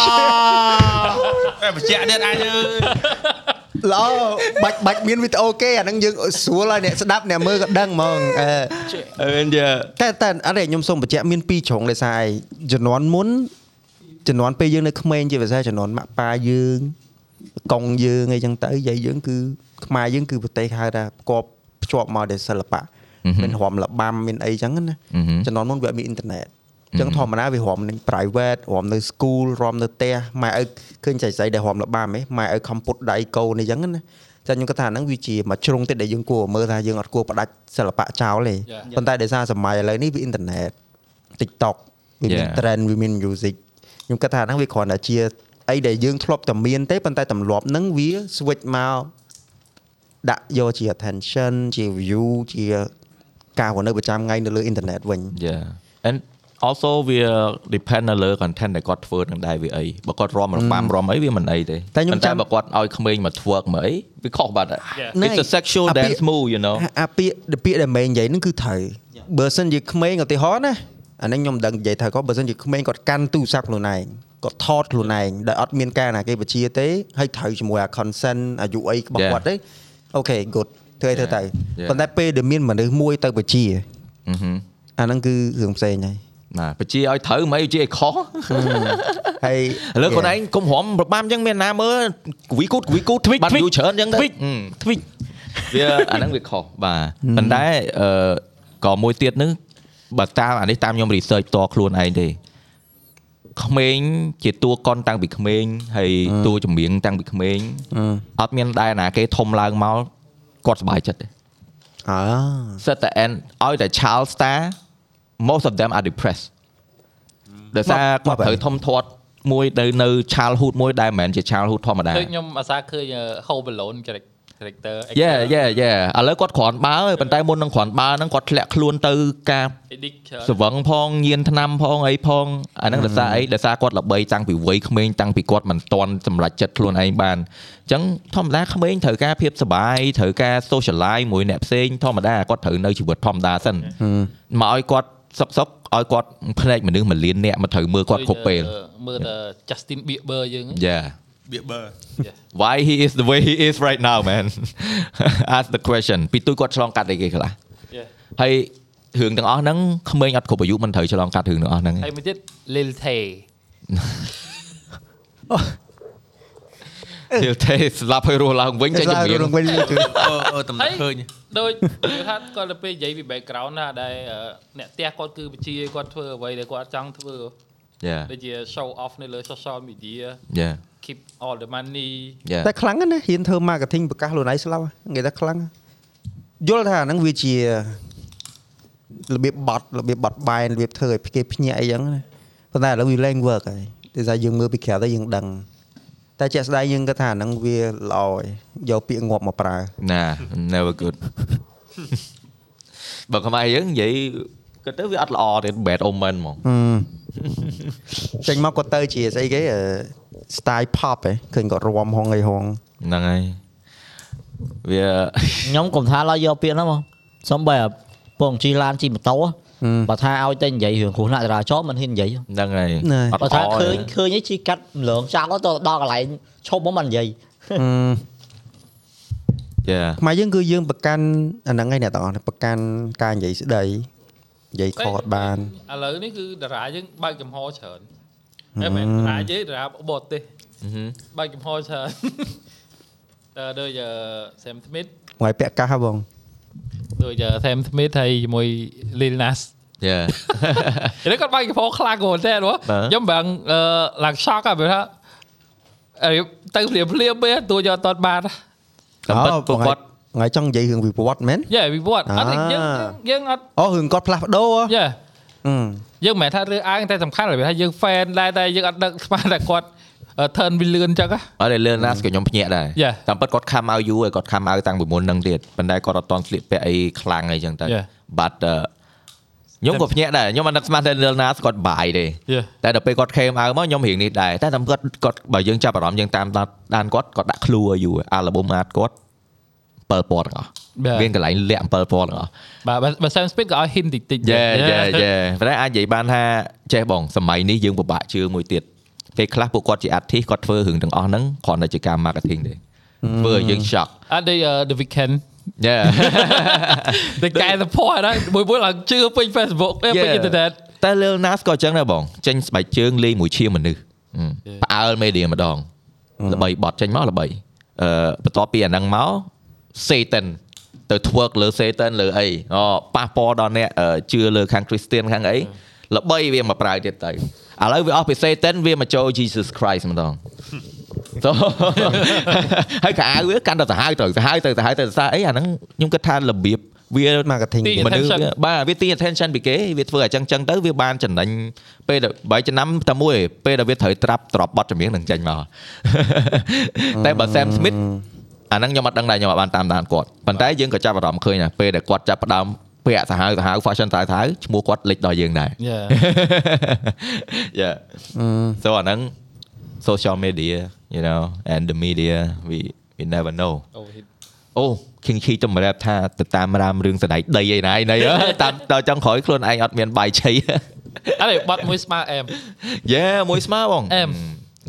Speaker 4: តែបញ្ជាក់ទៀតអាចអើយ
Speaker 2: ល្អបាច់បាច់មានវីដេអូគេអាហ្នឹងយើងស្រួលហើយអ្នកស្ដាប់អ្នកមើលក៏ដឹងហ្មងអឺ
Speaker 3: អឺ yeah
Speaker 2: តែតែអរេខ្ញុំសូមបញ្ជាក់មានពីរជ្រុងដោយសារឯងជំនាន់មុនជំនាន់ពេលយើងនៅក្មេងជាភាសាជំនាន់ម៉ាក់ប៉ាយើងកងយើងអីចឹងទៅយាយយើងគឺខ្មែរយើងគឺប្រទេសគេហៅថាផ្គប់ភ្ជាប់មកដោយសិល្បៈមានរំលបាំមានអីចឹងណា
Speaker 3: អឺហឹម
Speaker 2: ជំនាន់មុនវាអត់មានអ៊ីនធឺណិតអញ្ចឹងធម្មតាវារំនឹង private រំនៅ school រំនៅផ្ទះម៉ែឪឃើញចៃចៃដែលរំលបាំហ៎ម៉ែឪខំពុតដៃកូនអីចឹងណាតែខ្ញុំគាត់ថាហ្នឹងវាជាមួយជ្រុងទៀតដែលយើងគួរមើលថាយើងអត់គួរផ្ដាច់សិល្បៈចោលទេ
Speaker 5: Yeah.
Speaker 2: ប៉ុន្តែដោយសារសម័យឥឡូវនេះវាអ៊ីនធឺណិត TikTok វាមាន
Speaker 3: Yeah.
Speaker 2: trend វាមាន music ខ្ញុំគិតថាហ្នឹងវាគ្រាន់តែជាអីដែលយើងធ្លាប់តែមានទេប៉ុន្តែទម្លាប់ហ្នឹងវា switch មកដាក់យកជា attention ជា view ជាការរស់នៅប្រចាំថ្ងៃនៅលើអ៊ីនធឺណិតវិញ
Speaker 3: yeah and also វា depend នៅលើ content ដែលគាត់ធ្វើនឹងដែរវាអីបើគាត់រំរបាំរំអីវាមិនអីទេ
Speaker 2: តែខ្ញុំ
Speaker 3: ប៉ុ
Speaker 2: ចាំ
Speaker 3: ន្បើគាត់ឲ្យក្មេងមក twerk មកអីវាខុសបាត់ហើយ
Speaker 2: ហ្នឹង
Speaker 3: it's a sexual
Speaker 2: អាពាក្យ
Speaker 3: dance move you know
Speaker 2: អាអាពាក្យដែលពាក្យដែលម៉េងនិយាយហ្នឹងគឺត្រូវបើសិនជាក្មេងឧទាហរណ៍ណាអាហ្នឹងខ្ញុំមិនដឹងនិយាយត្រូវក៏បើសិនជាក្មេងគាត់កាន់ទូរស័ព្ទខ្លួនឯងគាត់ថតខ្លួនឯងដែលអត់មានការណាគេបញ្ជាទេហើយត្រូវជាមួយអា consent អាយុអីរបស់
Speaker 3: Yeah.
Speaker 2: គាត់ទេអូខេ good ធ្វើឲ្យធ្វើទៅ
Speaker 3: Yeah.
Speaker 2: ប៉ុន្តែពេលដែលមានមនុស្សមួយទៅបញ្ជា
Speaker 3: អឺហឹម
Speaker 2: អាហ្នឹងគឺរឿងផ្សេងហើយ
Speaker 3: ណាបជាឲ្យត្រូវមិនអីជាឲ្យខុស
Speaker 2: ហើយ
Speaker 3: ឥឡូវខ្លួនឯងកុំរំប្របាំអញ្ចឹងមានណាមើលគវីគូតគវីគូត
Speaker 7: ទ្វិច
Speaker 3: បាន
Speaker 7: ទ្វិ
Speaker 3: យូរ
Speaker 7: ច
Speaker 3: ច្រើនអញ្ចឹងទៅហឹ
Speaker 7: Tweet
Speaker 3: ម
Speaker 7: ទ្វីច
Speaker 3: វាអាហ្នឹងវាខុសបាទប៉ុន្តែអឺក៏មួយទៀតហ្នឹងបើតាមអានេះតាមខ្ញុំ research ផ្ទាល់ខ្លួនឯងទេក្មេងជាតួកុនតាំងពីក្មេងហើយតួចម្រៀងតាំងពីក្មេងអត់មានដែរណាគេធំឡើងមកគាត់សុបាយចិត្តទេ
Speaker 2: អើ
Speaker 3: set the end ឲ្យតែ child star most of them are depressed ដោយសារ
Speaker 2: បាត់
Speaker 3: គាត់ត្រូវធំធាត់មួយនៅនៅ childhood មួយដែលមិនមែនជា childhood ធម្មតា
Speaker 5: ដូចខ្ញុំអាសាឃើញ Home Alone ចរិច character
Speaker 3: យេយេយេឥឡូវគាត់គ្រាន់បើទេប៉ុន្តែមុននឹងគ្រាន់បើហ្នឹងគាត់ធ្លាក់ខ្លួនទៅការ
Speaker 5: edit
Speaker 3: សង្វឹងផងញៀនថ្នាំផងអីផងអាហ្នឹងដោយសារអីដោយសារគាត់ល្បីតាំងពីវ័យក្មេងតាំងពីគាត់មិនតន់សម្រេចចិត្តខ្លួនឯងបានអញ្ចឹងធម្មតាក្មេងត្រូវការភាពសុបាយត្រូវការ socialize មួយអ្នកផ្សេងធម្មតាគាត់ត្រូវនៅជីវិតធម្មតាសិនមកឲ្យគាត់សុកសុកឲ្យគាត់ផ្នែកមនុស្សមួយលានអ្នកមកត្រូវមើលគាត់គ្រប់ពេល
Speaker 5: មើលតែ Justin Bieber យើងហ្នឹង
Speaker 3: យ៉ា
Speaker 4: បៀបបើ
Speaker 3: why he is the way he is right now man ask the question ពីទូគាត់ឆ្លងកាត់អីគេខ្លះ
Speaker 5: Yeah.
Speaker 3: ហើយរឿងទាំងអស់ហ្នឹងក្មេងអត់គ្រប់អាយុមិនត្រូវឆ្លងកាត់រឿងទាំងអស់ហ្នឹង
Speaker 5: ហើយមួយទៀត Lil Tay
Speaker 3: ទេទេស្លាប់ហើយរស់ឡើងវិញចេញជំនាញ
Speaker 2: រងវិញគឺ
Speaker 4: អឺអឺតំណែងឃើញ
Speaker 5: ដូច គេថាគាត់ទៅពេលនិយាយពី background ណាដែលអឺអ្នកផ្ទះគាត់គឺបញ្ជាគាត់ធ្វើអ្វីដែលគាត់ចង់ធ្វើ
Speaker 3: យ៉ា
Speaker 5: ដូចជា show off នៅលើ social media
Speaker 3: យ៉ា
Speaker 5: keep all the money
Speaker 3: យ៉ា
Speaker 2: តែខ្លាំងណាស់ណាហ៊ានធ្វើ marketing ប្រកាសខ្លួនឯងស្លាប់ហ្នឹងនិយាយថាខ្លាំងណាស់យល់ថាអាហ្នឹងវាជារបៀបបត់របៀបបត់បែនរបៀបធ្វើឲ្យគេភ្ញាក់អីចឹងណាប៉ុន្តែឥឡូវវាឡើង work ហើយតែថារយើងមើលពីក្រៅទៅយើងដឹងតែជាក់ស្ដែងយើងគាត់ថាអាហ្នឹងវាល្អហើយយកពាក្យងាប់មកប្រើ
Speaker 3: ណា never good បើខ្មែរយើងនិយាយគិតទៅវាអត់ល្អទេ bad omen ហ្មង
Speaker 2: ហឹមចេញមកគាត់ទៅជាស្អីគេអឺ style pop ហ៎ឃើញគាត់រំហងអីហង
Speaker 3: ហ្នឹងហើយវា
Speaker 6: ខ្ញុំកុំថាឡើយយកពាក្យហ្នឹងមកសំបីអាពងជីឡានជីម៉ូតូហ៎
Speaker 2: Ừ.
Speaker 6: បើថាឲ្យតែនិយាយរឿងគ្រោះថ្នាក់ចរាចរណ៍មិនហ៊ាននិយាយហ៎
Speaker 3: ហ្នឹងហើយអត់
Speaker 6: បើ
Speaker 3: ល្អ
Speaker 6: ថាឃើ
Speaker 3: ទេ
Speaker 6: ញឃើញឯងជីកាត់ម្លងចាក់ទៅដល់កន្លែងឈប់មកមិននិយាយ
Speaker 3: យ៉ា
Speaker 2: ខ្មែរយើងគឺយើងប្រកាន់អាហ្នឹងឯងអ្នកទាំងអស់ប្រកាន់ការនិយាយស្ដីនិយាយខត់បាន
Speaker 5: ឥឡូវនេះគឺតារាយើងបើកចំហច្រើនតែមិនមែនតារាយើងតារាបរទេសបើកចំហច្រើន តែដូចអឺ Sam Smith
Speaker 2: ថ្ងៃពាក់កាសហ៎បង
Speaker 5: ដូចអឺ Sam Smith ហើយជាមួយ Lil Nas
Speaker 3: យ៉ា
Speaker 5: ឥឡូវគាត់បាញ់កំហុសខ្លាំងហ្មងតែនហ៎
Speaker 3: បាទ
Speaker 5: ខ្ញុំបាំងអឺឡើងឆក់ហ៎បើថាអីទៅភ្លាមភ្លាមពេលទួយកអត់តបាន
Speaker 3: តែពិតពួកគាត់
Speaker 2: ថ្ងៃចង់និយាយរឿងវិវត្តមែន
Speaker 5: យេវិវត្តអត់ទេ
Speaker 2: អា
Speaker 5: យើងយើងអត់
Speaker 2: អូរឿងគាត់ផ្លាស់ប្ដូរហ៎
Speaker 5: យេ
Speaker 2: ហឹម
Speaker 5: យើងមិនមែនថារើសអើងតែសំខាន់តែថាយើង fan ដែរតែយើងអត់ដឹក ស្មានតែគាត់ turn វាលឿនចឹងហ៎
Speaker 3: អត់ទេលឿនណាស់ក៏ខ្ញុំភ្ញាក់ដែរ
Speaker 5: Yeah.
Speaker 3: តាមពិតគាត់ខំឲ្យយូរហើយគាត់ខំឲ្យតាំងពីមុនហ្នឹងទៀតប៉ុន្តែគាត់អត់តន់ស្លៀកពាក់អីខ្លាំងអីចឹងទៅ
Speaker 5: Yeah.
Speaker 3: បាត់ខ្ញុំក៏ភ្ញាក់ដែរខ្ញុំអត់នឹកស្មានថាលឿនណាស់គាត់បាយទេ
Speaker 5: យេ
Speaker 3: តែដល់ពេលគាត់ខេមអើមកខ្ញុំរៀងនេះដែរតែតាមគាត់គាត់បើយើងចាប់អារម្មណ៍យើងតាមដានគាត់គាត់ដាក់ឃ្លូឲ្យយូរអាល់ប៊ុមអាតគាត់7ពណ៌ទាំងអស់មានកន្លែងលាក់7ពណ៌ទាំងអស់
Speaker 5: បាទបើបើ Sam Smith ក៏ឲ្យ hint តិចតិច
Speaker 3: យេយេ យេប៉ុន្តែអាចនិយាយបានថាចេះបងសម័យនេះយើងពិបាកជឿមួយទៀតពេលខ្លះពួកគាត់ជាអាទិសគាត់ធ្វើរឿងទាំងអស់ហ្នឹងគ្រាន់តែជាការ marketing ទេធ្វើឲ្យយើង shock
Speaker 5: អត់ដូចអឺ ờ, The Weeknd
Speaker 3: យេ
Speaker 5: តែកែ support ហ្នឹងមួយមួយឡើងជឿពេញ Facebook ពេញ
Speaker 3: Yeah.
Speaker 5: internet
Speaker 3: តែ Lil Nas ក៏អញ្ចឹងដែរបងចេញស្បែកជើងលេងមួយឈាមមនុស្សហឹមផ្អើលមេឌៀម្ដងល្បីបត់ចេញមកល្បីអឺបន្ទាប់ពីអាហ្នឹងមក Satan ទៅ twerk លើ Satan លើអីអូប៉ះពាល់ដល់អ្នកអឺជឿលើខាង Christian ខាងអីល្បីវាមកប្រើទៀតទៅឥឡូវវាអស់ពី Satan វាមកចូល Jesus Christ ម្ដង So ហើយកៅអៅវាកាន់តែសាហាវទៅសាហាវទៅសាហាវទៅសាហាវអីអាហ្នឹងខ្ញុំគិតថារបៀបវា
Speaker 2: marketing
Speaker 5: ទី
Speaker 2: ទៀត
Speaker 3: មនុស្ស
Speaker 5: attention
Speaker 3: វាបាទវាទាញ attention ពីគេវាធ្វើអញ្ចឹងចឹងទៅវាបានចំណេញពេលដល់បើចំណាំតែមួយពេលដែលវាត្រូវត្រាប់ត្របបត់ចម្រៀងនឹងចេញមក តែបើ Sam Smith អាហ្នឹងខ្ញុំអត់ដឹងដែរខ្ញុំអត់បានតាមដានគាត់ប៉ុន្តែយើងក៏ចាប់អារម្មណ៍ឃើញដែរពេលដែលគាត់ចាប់ផ្ដើមពាក់សាហាវសាហាវ fashion សាហាវឈ្មោះគាត់លេចដល់យើង ដែរ
Speaker 5: យេ
Speaker 3: Yeah ចូលអាហ្នឹង social media you know and the media we we never know
Speaker 5: អូ hit
Speaker 3: អូ King Chi ទៅប្រាប់ថាទៅតាមរាមរឿងសណ្ដែកដីឯណាឯណី តាមដល់ចង់ក្រោយខ្លួនឯងអត់មានបាយឆី
Speaker 5: អត់ទេបាត់មួយស្មើអែម
Speaker 3: យេមួយស្មើបង
Speaker 5: អេម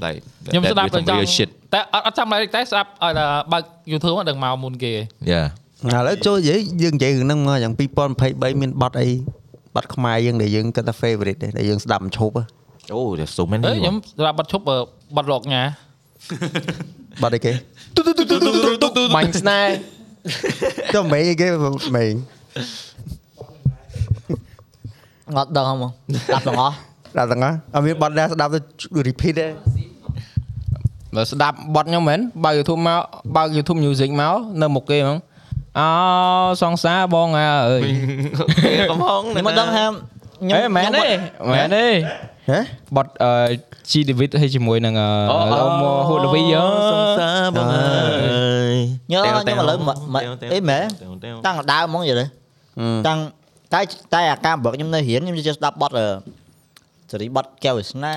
Speaker 3: ឡៃ
Speaker 5: ខ្ញុំស្ដាប់ទៅចង់
Speaker 3: យ
Speaker 5: តែអត់អត់ចាំឡើយទេស្ដាប់ឲ្យតែបើក YouTube មកដឹងមកមុនគេ
Speaker 3: េ
Speaker 2: ឥឡូវចូលនិយាយយើងនិយាយរឿងហ្នឹងមកយ៉ាង2023មានប័ណ្ណអីប័ណ្ណខ្មែរយើងដែលយើងគិតថា favorite ដែរដែលយើងស្ដាប់មិនឈប់ហ៎
Speaker 3: អូ there's so many
Speaker 5: ហេអឺ
Speaker 3: ប
Speaker 5: ខ្ញុំ
Speaker 3: ង
Speaker 5: ស្ដាប់បាត់ឈប់អឺបាត់លោកញ៉ា
Speaker 2: ប័ណ្ណអីគេ
Speaker 1: បាញ់ស្នេហ៍
Speaker 2: ចុះមេអីគេមេ
Speaker 6: ងត់ដឹងហ្មងដាប់ទាំងអស់
Speaker 2: ដល់ទាំងអស់អត់មានប័ណ្ណដែរស្ដាប់ទៅ repeat ទេ
Speaker 1: បើស្ដាប់បទខ្ញុំមែនបើក YouTube មកបើក YouTube Music មកនៅមុខគេហ្មងអោសង្សារបងអើយ
Speaker 3: កំហង
Speaker 6: ខ្ញុំមិនដឹងថា
Speaker 1: អេមែនទេមែនទេ
Speaker 2: ហ៎
Speaker 1: បត់អឺ G David ហើយជាមួយនឹងអឺឡូមហូលវីអឺ
Speaker 3: សង្សារបងអើយ
Speaker 6: ញ៉ាំញ៉ាំឥឡូវ
Speaker 3: ម
Speaker 6: មក ក
Speaker 3: ទេ
Speaker 6: អីមែន
Speaker 3: ទេ
Speaker 6: តាំងដើមហ្មងយល់ទេតាំងតែតែអាការបើកខ្ញុំនៅរៀនខ្ញុំចេះស្ដាប់បទសេរីបទកែវវាសនា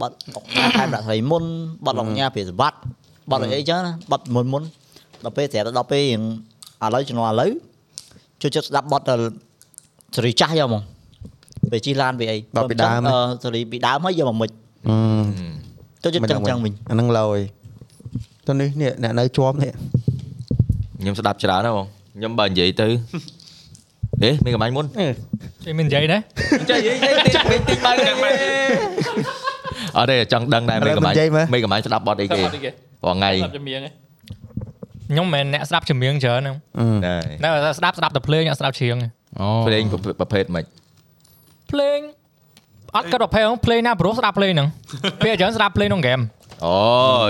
Speaker 6: បទអុកញ៉ាខែប្រាក់ស្រីមុនបទអុកញ៉ាព្រាសវត្តបទអីអីចឹងណាបទមុនមុនដល់ពេលស្រាប់តែដល់ពេលរៀងឥឡូវជំនាន់ឥឡូវចូលចិត្តស្ដាប់បទសេរីចាស់យកហ្មងពេលជីឡានវាអី
Speaker 2: បទពីដើម
Speaker 6: សេរីពីដើមហើយយកមកមិន
Speaker 2: អឺ
Speaker 3: Ừ,
Speaker 6: ចូលចិត្តចឹងចឹងវិញ
Speaker 2: អាហ្នឹងឡើយទៅនេះនេះអ្នកនៅជាប់នេះ
Speaker 3: ខ្ញុំស្ដាប់ច្រើនណាស់បងខ្ញុំបើនិយាយទៅអេមានកំបាញ់មុន
Speaker 7: គេមាននិយាយដែរ
Speaker 3: ចេះនិយាយតិចតិចតិចបើចាំមើលអរេចង់ដឹងដែរមេកំបាញ់មេកំបាញ់ស្ដាប់បត់អីគេ
Speaker 5: ត់អីគេ
Speaker 3: រាល់ថ្ងៃ
Speaker 5: ស្ដាប់ជំនៀងឯង
Speaker 7: ខ្ញុំមិនមែនអ្នកស្ដាប់ចម្រៀងច្រើនហ្នឹង
Speaker 3: ណែ
Speaker 7: តែស្ដាប់ស្ដាប់តែភ្លេងអត់ស្ដាប់ច្រៀងទេ
Speaker 1: អូ
Speaker 3: ព្រេងប្រភេទមិន
Speaker 7: ភ្លេងអត់កាត់ប្រភេទហ្នឹងភ្លេងណាព្រោះស្ដាប់ភ្លេងហ្នឹងពេលច្រើនស្ដាប់ភ្លេងក្នុងហ្គេម
Speaker 3: អូ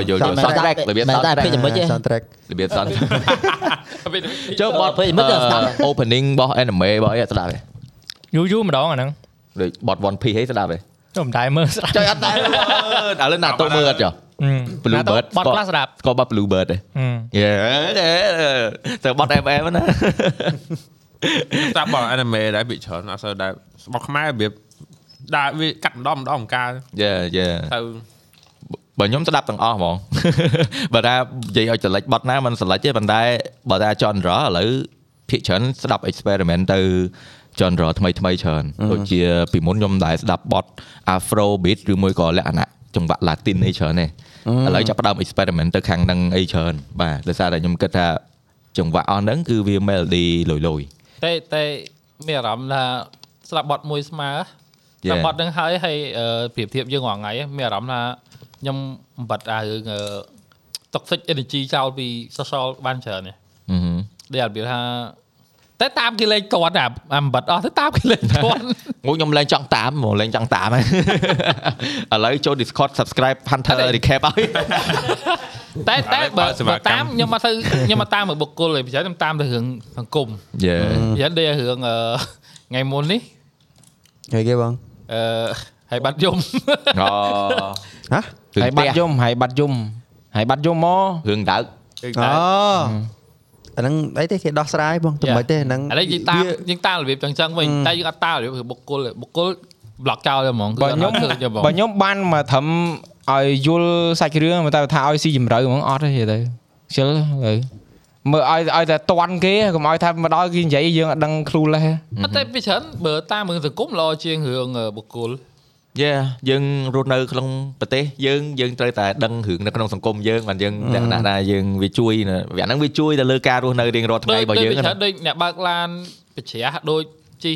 Speaker 3: យល់យល់សោះតែរបៀបសោះ
Speaker 6: តែ
Speaker 3: តែ
Speaker 6: ពេលជាមួយទេ
Speaker 2: soundtrack
Speaker 3: របៀបសោះ
Speaker 5: ពេលទៅ
Speaker 3: ចុះបត់ opening របស់ anime របស់អីស្ដាប់ទេ
Speaker 7: យូរយូរម្ដងអាហ្នឹង
Speaker 3: ដូចបត់ One Piece អីស្ដាប់ទេ
Speaker 7: ទៅមិនដែរមើលស្ដាប់
Speaker 3: ចុះអត់ ដែរឥឡូវណាតោមើលអត់ចុះ
Speaker 7: ហឹម
Speaker 3: Blue Bird
Speaker 7: បត់ខ្លះស្ដាប់
Speaker 3: ស្គាល់បាត់ Blue Bird ទេ
Speaker 7: ហឹម
Speaker 3: យេទៅបត់ FM ណា
Speaker 4: ស្ដាប់បងអានីមេដែរពីច្រើនអត់សូវដែរស្បុក ខ្មែររបៀបដើរវាកាត់ម្ដងម្ដងម្កាល
Speaker 3: យេយេ
Speaker 4: ទៅ
Speaker 3: បើខ្ញុំស្ដាប់ទាំងអស់ហ្មង បើថានិយាយឲ្យចលិចបត់ណាມັນចលិចទេប៉ុន្តែបើថា genre ឥឡូវភាគច្រើនស្ដាប់ experiment ទៅ genre ថ្មីថ្មីច្រើនដូចជាពីមុនខ្ញុំដែរស្ដាប់បត់ Afro beat ឬមួយក៏លក្ខណៈចង្វាក់ Latin អីច្រើនទេឥឡូវចាប់ផ្ដើម experiment ទៅខាងហ្នឹងអីច្រើនបាទដោយសារតែខ្ញុំគិតថាចង្វាក់អស់ហ្នឹងគឺវា melody លយលយ
Speaker 5: តែតែមានអារម្មណ៍ថាស្ដាប់បទមួយស្មើស្
Speaker 3: Yeah.
Speaker 5: ដាប់បទហ្នឹងហើយហើយអឺប្រៀបធៀបយើងរាល់ថ្ងៃហ្នឹងមានអារម្មណ៍ថាខ្ញុំបំបត្តិអារឿងអឺ à, ừ, toxic energy ចោលពី social បានច្រើននេះ
Speaker 3: អឺហឹម
Speaker 5: ដែលរបៀបថាតែតាមគេលេងគាត់អាអំបិតអស់ទៅតាមគេលេងគាត់
Speaker 3: ងូខ្ញុំលែងចង់តាមហ្មកលែងចង់តាម ហើយ ឥឡូវចូល Discord subscribe Hunter recap ហើយ
Speaker 5: តែតែបើ
Speaker 4: បើសេវា
Speaker 5: បើ
Speaker 4: កម្ម
Speaker 5: តាមខ្ញុំមកទៅ ខ្ញុំមកតាមមួយបុគ្គលឯងប្រហែលខ្ញុំតាមទៅរឿងសង្គម
Speaker 3: Yeah
Speaker 5: ប្រហែលដូចរឿង អឺថ្ងៃមុននេះ
Speaker 2: ហីគេបង
Speaker 5: អឺហើយបាត់យំ
Speaker 3: អូ
Speaker 2: ហ៎
Speaker 3: គឺ
Speaker 1: ហើយ
Speaker 3: បា
Speaker 1: បាត់
Speaker 3: ត់
Speaker 1: យំហើយបាត់យំហើយបាត់យំមក
Speaker 3: រឿងដើក
Speaker 2: អូអាហ្នឹងអីទេគេដោះស្រាយបងតែមិនទេអាហ្នឹង
Speaker 5: ឥឡូវយើងតាម
Speaker 2: វា
Speaker 5: យើងតាមរបៀបចឹងចឹងវិញតែយើងអត់តាមរបៀបបុគ្គលទេបុគ្គល block ចោលហ្មងគឺ
Speaker 1: បើខ្ញុំ
Speaker 5: អត់ឲ្យឃើញទេហ្មង
Speaker 1: បើខ្ញុំបានមកត្រឹមឲ្យយល់សាច់រឿងតែថាឲ្យស៊ីជំរៅហ្មងអត់ទេទៅខ្ជិលទៅមើលឲ្យឲ្យតែតន់គេកុំឲ្យថាមកដល់គេនិយាយយើងអត់ដឹងខ្លួនទេ
Speaker 5: អត់តែពីច្រើនបើតាមរឿងសង្គមល្អជាងរឿងអឺបុគ្គល
Speaker 3: យេយើងរស់នៅក្នុងប្រទេសយើងយើងត្រូវតែដឹងរឿងនៅក្នុងសង្គមយើងបានយើងលក្ខណៈថាយើងវាជួយណាវាហ្នឹងវាជួយទៅលើការរស់នៅរៀងរាល់ថ្ងៃរបស់យើង
Speaker 5: ដូចពី
Speaker 3: ណា
Speaker 5: ច្រើនដូចអ្នកបើកឡានបច្ច្រាស់ដូចជី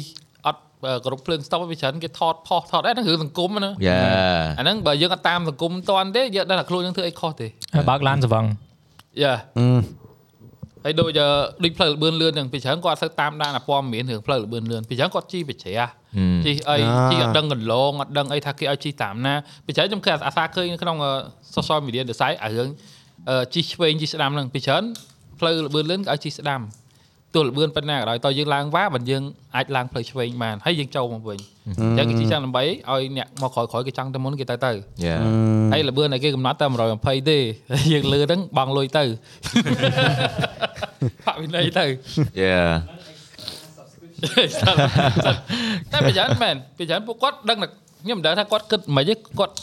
Speaker 5: អត់អឺគ្រប់ភ្លើងស្តុបពីច្រើនគេថតផុសថតអីហ្នឹងរឿងសង្គមណា
Speaker 3: យេ
Speaker 5: អាហ្នឹងបើយើងអត់តាមសង្គមតាន់ទេយើងអត់ដឹងថាខ្លួនយើងធ្វើអីខុសទេ
Speaker 7: ហើយបើកឡានស្វឹង
Speaker 5: យ៉ា
Speaker 2: អឺ
Speaker 5: ហើយដូចអឺដូចផ្លូវលបឿនលឿនហ្នឹងពីច្រើនគាត់អត់សូវតាមដានអាព័ត៌មានរឿងផ្លូវលបឿនលឿនពីច្រើនគាត់ជីបច្រាជីអីជីអត់ដឹងកន្លងអត់ដឹងអីថាគេឲ្យជីតាមណាពីច្រើនខ្ញុំឃើញអាសាឃើញនៅក្នុងអឺ social media design អារឿងអឺជីឆ្វេងជីស្ដាំហ្នឹងពីច្រើនផ្លូវលបឿនលឿនគេឲ្យជីស្ដាំទោះលបឿនប៉ុណ្ណាក៏ដោយតើយើងឡើងវ៉ាបើយើងអាចឡើងផ្លូវឆ្វេងបានហើយយើងចូលមកវិញអញ្ចឹងគេជីចាំដើម្បីឲ្យអ្នកមកក្រោយៗគេចង់ទៅមុនគេទៅទៅ
Speaker 3: យេ
Speaker 5: ហើយលម្អឿនឲ្យគេកំណត់តែ120ទេ ហើយយើងលើហ្នឹងបងលុយទៅ ផាកវិន័យ ទៅ
Speaker 3: យេ
Speaker 5: តែប្រយ័ត្នមែនប្រយ័ត្នពួកគាត់ដឹងតែខ្ញុំមិនដឹងថាគាត់គិតមិនទេគាត់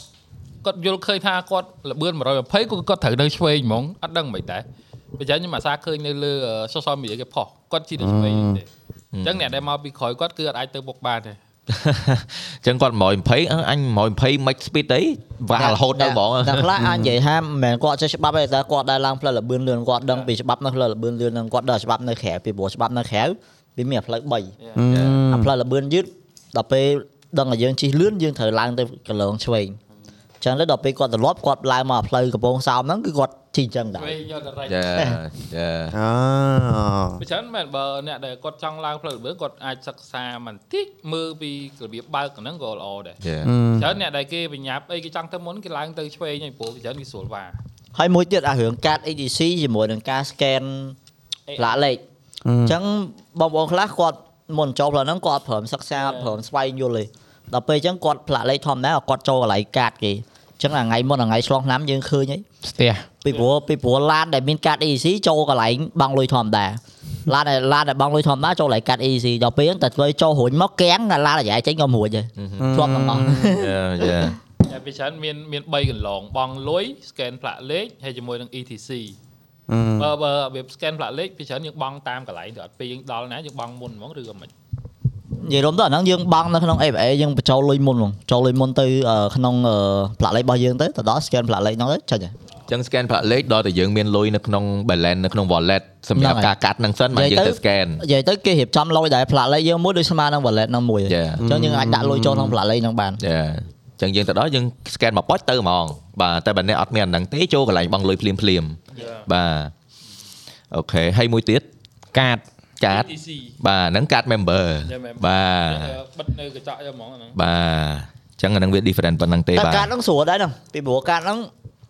Speaker 5: គាត់យល់ឃើញថាគាត់លម្អឿន120គាត់គាត់ត្រូវនៅឆ្វេងហ្មងអត់ដឹងមិនដែរប្រយ័ត្នខ្ញុំអាសាឃើញនៅលើ social media គេផុសគាត់ជីទៅឆ្វេងទេអញ្ចឹងអ្នកដែលមកពីក្រោយគាត់គឺអត់អាចទៅមុខបានទេ
Speaker 3: អញ្ចឹងគាត់120អឺអញ120 max speed អីវ៉ារហូតដល់ហ្មង
Speaker 6: អ្នក ខ្លះអាចនិយាយថាមិនមែនគាត់ចេះច្បាប់ទេតែគាត់ដែរឡើងផ្លូវលបឿនលឿនគាត់ដឹងពីច្បាប់នៅផ្លូវលបឿនលឿនហ្នឹងគាត់ដឹងច្បាប់នៅក្រៅពីព្រោះច្បាប់នៅក្រៅវាមានអាផ្លូវ3អាផ្លូវលបឿនយឺតដល់ពេលដឹងតែយើងជិះលឿនយើងត្រូវឡើងទៅកន្លងឆ្វេងអញ្ចឹងទៅដល់ពេលគាត់ត្រឡប់គាត់ឡើងមកអាផ្លូវកំពង់សោមហ្នឹងគឺគាត់ជិះអញ្ចឹងដែរ
Speaker 5: ឆ្វេងយកតែរ៉ៃ
Speaker 3: យេយេ
Speaker 2: អូ
Speaker 5: ពីច្រើនមែនបើអ្នកដែលគាត់ចង់ឡើងផ្លូវល្បឿនគាត់អាចសិក្សាបន្តិចមើលពីរបៀបបើកហ្នឹងក៏ល្អដែរ
Speaker 3: Yeah.
Speaker 5: ច្រើនអ្នកដែលគេបញ្ញាប់អីគេចង់ទៅមុនគេឡើងទៅឆ្វេងហើយព្រោះច្រើនគេស្រួលវ៉ា
Speaker 6: ហើយមួយទៀតអារឿងកាត EDC ជាមួយនឹងការ scan ផ្លាកលេខអញ្ចឹងបងប្អូនខ្លះគាត់មុនចូលផ្លូវហ្នឹងគាត់អត់ព្រមសិក្សាអត់ព្រមស្វែងយល់ទេដល់ពេលអញ្ចឹងគាត់ផ្លាកលេខធម្មតាគាត់ចូលកន្លែងកាតគេ ចឹងអាថ្ងៃមុនអាថ្ងៃឆ្លងឆ្នាំយើងឃើញអី
Speaker 1: ស្ទះ
Speaker 6: ពីព្រោះពីព្រោះឡានដែលមានកាត EC ចូលកន្លែងបង់លុយធម្មតាឡានដែលឡានដែលបង់លុយធម្មតាចូលកន្លែងកាត EC ដល់ពេលហ្នឹងតែធ្វើចូលរួញមកកៀងឡានអាយ៉ែចេញក៏រួញដែរធ្លាប់ទាំងអស់
Speaker 3: យ៉ា
Speaker 5: តែពីច្រើនមានមាន3កន្លងបងលុយ scan ផ្លាកលេខហើយជាមួយនឹង ETC បើបើវា scan ផ្លាកលេខពីច្រើនយើងបង់តាមកន្លែងទៅអត់ពេលយើងដល់ណាយើងបង់មុនហ្មងឬក៏មិន
Speaker 6: និយាយរួមទៅអាហ្នឹងយើងបង់នៅក្នុង FA យើងបញ្ចូលលុយមុនហ្មងចូលលុយមុនទៅអឺក្នុងអឺផ្លាកលេខរបស់យើងទៅទៅដល់ scan ផ្លាកលេខហ្នឹងទៅចាញ់ហើយ
Speaker 3: ចឹង scan ផ្លាកលេខដល់តែយើងមានលុយនៅក្នុង balance នៅក្នុង wallet សម្រាប់
Speaker 6: ហ្នឹងហើយ
Speaker 3: ការកាត់ហ្នឹងសិនមកយើង
Speaker 6: និយាយទៅ
Speaker 3: ទៅ scan
Speaker 6: និយាយទៅគេរៀបចំលុយដែរផ្លាកលេខយើងមួយដូចស្មើនឹង wallet ហ្នឹងមួយអ
Speaker 3: Yeah.
Speaker 6: ញ្ចឹងយើងអាចដាក់លុយចូលក្នុងផ្លាកលេខហ្នឹងបាន
Speaker 3: យ៉ាចឹងយើងទៅដល់យើង scan មកប៉ុចទៅហ្មង បាទតែបើអ្នកអត់មានអាហ្នឹងទេចូលកន្លែងបង់លុយភ្លាមភ្លាមៗបាទអូខេហើយមួយទៀត
Speaker 1: កាត
Speaker 3: កាត
Speaker 5: ETC
Speaker 3: បាទហ្នឹងកាត member
Speaker 5: Yeah, member.
Speaker 3: បាទ
Speaker 5: បិទនៅកញ្ចក់យកហ្មងអាហ្នឹង
Speaker 3: បាទចឹងអាហ្នឹងវា different ប៉ុណ្ណឹងទេ
Speaker 6: តែ
Speaker 3: បាទ
Speaker 6: កាតហ្នឹងស្រួលដែរហ្នឹងពីព្រោះកាតហ្នឹង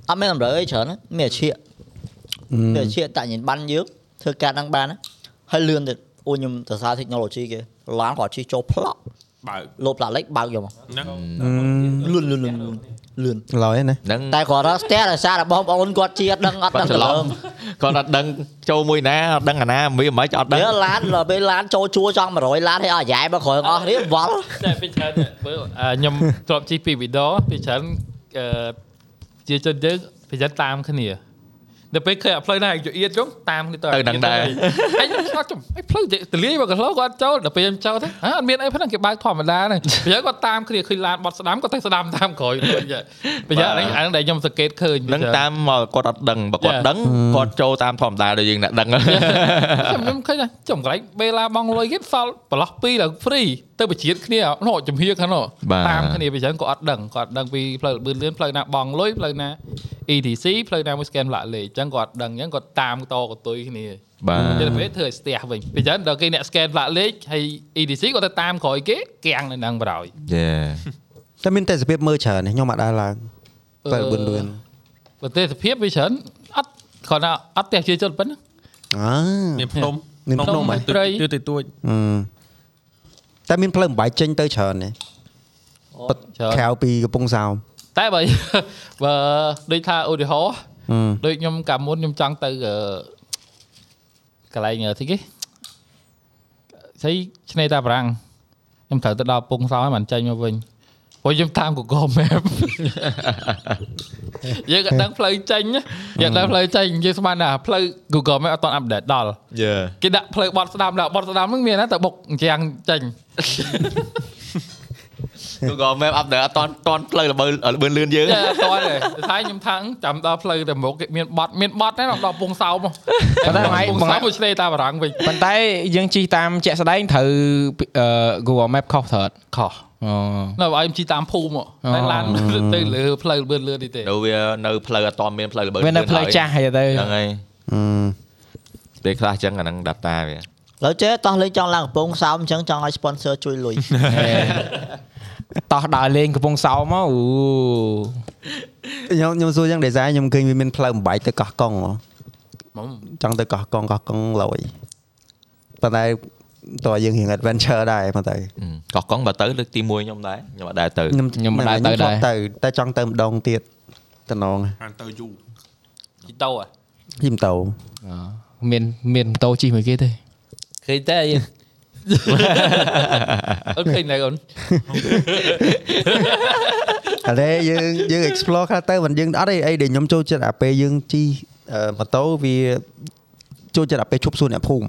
Speaker 6: អត់មានតម្រូវអីច្រើនណាមានអាឈៀកមានអាឈៀកតាក់ញ៉ាំបានយើងធ្វើកាតហ្នឹងបានណាហើយលឿនទៀតអូខ្ញុំទៅសារ technology គេឡានគាត់ជិះចូលផ្លោក
Speaker 4: បើក
Speaker 6: លោផ្លាកលេខបើកយកមក
Speaker 4: ហ្នឹង
Speaker 6: លឿនលឿនលឿនលឿនលឿន
Speaker 2: ឡយណា
Speaker 3: ហ្នឹង
Speaker 6: តែគាត់ថាស្ទះដោយសារតែបងប្អូនគាត់ជាអត់ដឹងអត់
Speaker 3: បា
Speaker 6: ដឹង
Speaker 3: ត់ច្រ
Speaker 6: ទៅ
Speaker 3: ឡំ
Speaker 6: លើ
Speaker 3: គាត់អត់ដឹងចូលមួយណាអត់ដឹងអាណាមានមិនអត់ដឹង
Speaker 6: យើឡាន ដល់ពេលឡានចូលជួចង់100ឡានឲ្យអាយ៉ែមកក្រោយអស់នេះវល់
Speaker 5: តែពីច្រើនបើអាខ្ញុំទ្របជីពីវីដេអូពីច្រើនអឺជាជនយើងប្រយ័ត្នតាមគ្នាដល់ពេលឃើញអាផ្លូវណាយកទៀតចុងតាមគ្នាទៅ
Speaker 3: ទៅហ្នឹងដែរ
Speaker 5: អញឆ្លាក់ចំអីផ្លូវទៅទលាយមកកន្លោគាត់ចូលដល់ពេលខ្ញុំចូលទៅហ៎អត់មានអីផងគេបើកធម្មតាហ្នឹងប្រហែលគាត់តាមគ្នាឃើញឡានបត់ស្ដាំគាត់ទៅស្ដាំតាមក្រោយប្រហែលអាហ្នឹងដែលខ្ញុំសង្កេតឃើញ
Speaker 3: ហ្នឹងតាមមកគាត់អត់ដឹងបើគាត់
Speaker 5: Yeah.
Speaker 3: ដឹងគាត់ចូលតាមធម្មតាដូចយើងអ្នកដឹង
Speaker 5: ខ្ញុំខ្ញុំឃើញចំកន្លែងបេឡាបងលុយគេសល់ប្រឡោះ2ឡើង free ទៅ បជាតិគ្នានោះជំហៀខាងនោះ
Speaker 3: បាទ
Speaker 5: តាមគ្នាប្រហែលគាត់អត់ដឹងគាត់ដឹងពីផ្លូវលបឿនលឿនផ្លូវណាបងលុយផ្លូវណា ETC ផ្លូវណាមួយ scan ផ្លាកលេខអញ្ចឹងគាត់ដឹងអញ្ចឹងគាត់តាមតកតុយគ្នា
Speaker 3: បាទ
Speaker 5: ទៅពេលធ្វើឲ្យស្ទះវិញពីចឹងដល់គេអ្នក scan ផ្លាកលេខហើយ EDC គាត់ទៅតាមក្រោយគេគាំងនៅនឹងបរោយ
Speaker 3: យេ
Speaker 2: តែមានតែសភាពមើលច្រើននេះខ្ញុំអត់ដើរឡើងបើបួនលឿន
Speaker 5: ប្រទេសសភាពវាច្រើនអត់គាត់ថាអត់ទេជាជនប៉ុណ្ណា
Speaker 2: អើ
Speaker 4: មានភ្នំ
Speaker 2: មានភ្នំ
Speaker 5: ហ៎
Speaker 4: ត្រីទទួចទួច
Speaker 2: អឺតែមានផ្លូវបំបាយចេញទៅច្រើនណាបិទ
Speaker 5: ច្រើន
Speaker 2: ក្រៅពីកំពង់សោម
Speaker 5: តែបើ បើដូចថាឧទាហរណ៍
Speaker 2: អឺ
Speaker 5: ដូចខ្ញុំកាលមុនខ្ញុំចង់ទៅអឺកន្លែងអឺទីគេស្អីឆ្នេរតាបារាំងខ្ញុំត្រូវទៅដល់ពងសោហើយមិនចេញមកវិញព្រោះខ្ញុំតាម Google Map យើងក៏ដឹងផ្លូវចេញណាយើងដឹងផ្លូវចេញយើងស្មានថាផ្លូវ Google Map អត់ទាន់អាប់ដេតដល់
Speaker 3: យេ
Speaker 5: គេដាក់ផ្លូវបត់ស្ដាំដាក់បត់ស្ដាំហ្នឹងមានណាតែបុកអញ្ចឹងចេញ
Speaker 3: ក៏ map update អត់តន់តន់ផ្លូវល្បើល្បឿនលឿនយើង
Speaker 5: តែអត់ទាន់ទេតែខ្ញុំថាអឺចាំដល់ផ្លូវតែមុខគេមានបត់មានបត់ណាដល់ពងសោម
Speaker 1: ប៉ុន្តែ
Speaker 5: ហ៎
Speaker 1: ហ្ម
Speaker 5: ពង
Speaker 1: ង
Speaker 5: សោមមកឆ្នេរតាបារាំងវិញ
Speaker 1: ប៉ុន្តែយើងជិះតាមជាក់ស្ដែងត្រូវអឺ Google Map ខុសត្រូវអត់
Speaker 5: ខុស
Speaker 1: អូ
Speaker 5: នៅឲ្យខ្ញុំជីតាមភូមិហ៎តែ ឡានទៅលើផ្លូវលឿនលឿននេះទេ
Speaker 3: នៅវានៅផ្លូវអត់តន់មានផ្លូវល្បើ
Speaker 1: វានៅផ្លូវចាស់ហើយទៅ
Speaker 3: ហ្នឹងហើយពេលខ្លះចឹងអាហ្នឹង data វា
Speaker 6: លើចេះតោះលេងចង់ឡើងកំពង់សោមអញ្ចឹងចង់ឲ្យ sponsor ជួយលុយ
Speaker 1: តោះដើរលេងកំពង់សោមមកអូ
Speaker 2: ខ្ញុំខ្ញុំសួរយ៉ាង design ខ្ញុំឃើញវាមានផ្លូវបំបាយទៅកោះកុងហ៎
Speaker 5: ហ្មង
Speaker 2: ចង់ទៅកោះកុងកោះកុងឡយប៉ុន្តែតើយើងរៀង adventure ដែរប៉ុន្តែ
Speaker 3: អឺកោះកុងបើទៅលើកទី1ខ្ញុំដែរខ្ញុំអត់ដែរទៅ
Speaker 2: ខ្ញុំ
Speaker 1: ខ្ញុំមិនដើរទៅ
Speaker 2: ធ្លា
Speaker 1: ដែរ
Speaker 2: ទៅតែចង់ទៅម្ដងទៀតតំណង
Speaker 4: ហានទៅយូរ
Speaker 5: ជីតោហ៎
Speaker 2: យីមទៅ
Speaker 1: អូមានមានម៉ូតូជិះមួយគេទេ
Speaker 5: ឃើញតែយើងអត់ឃើញដែរអូន
Speaker 2: ឥឡូវយើងយើង explore ខ្លះទៅមិនយើងអត់អីអីដែលខ្ញុំចូលចិត្តអាពេលយើងជិះអឺម៉ូតូវាចូលចិត្តអាពេលឈប់សួរអ្នកភូមិ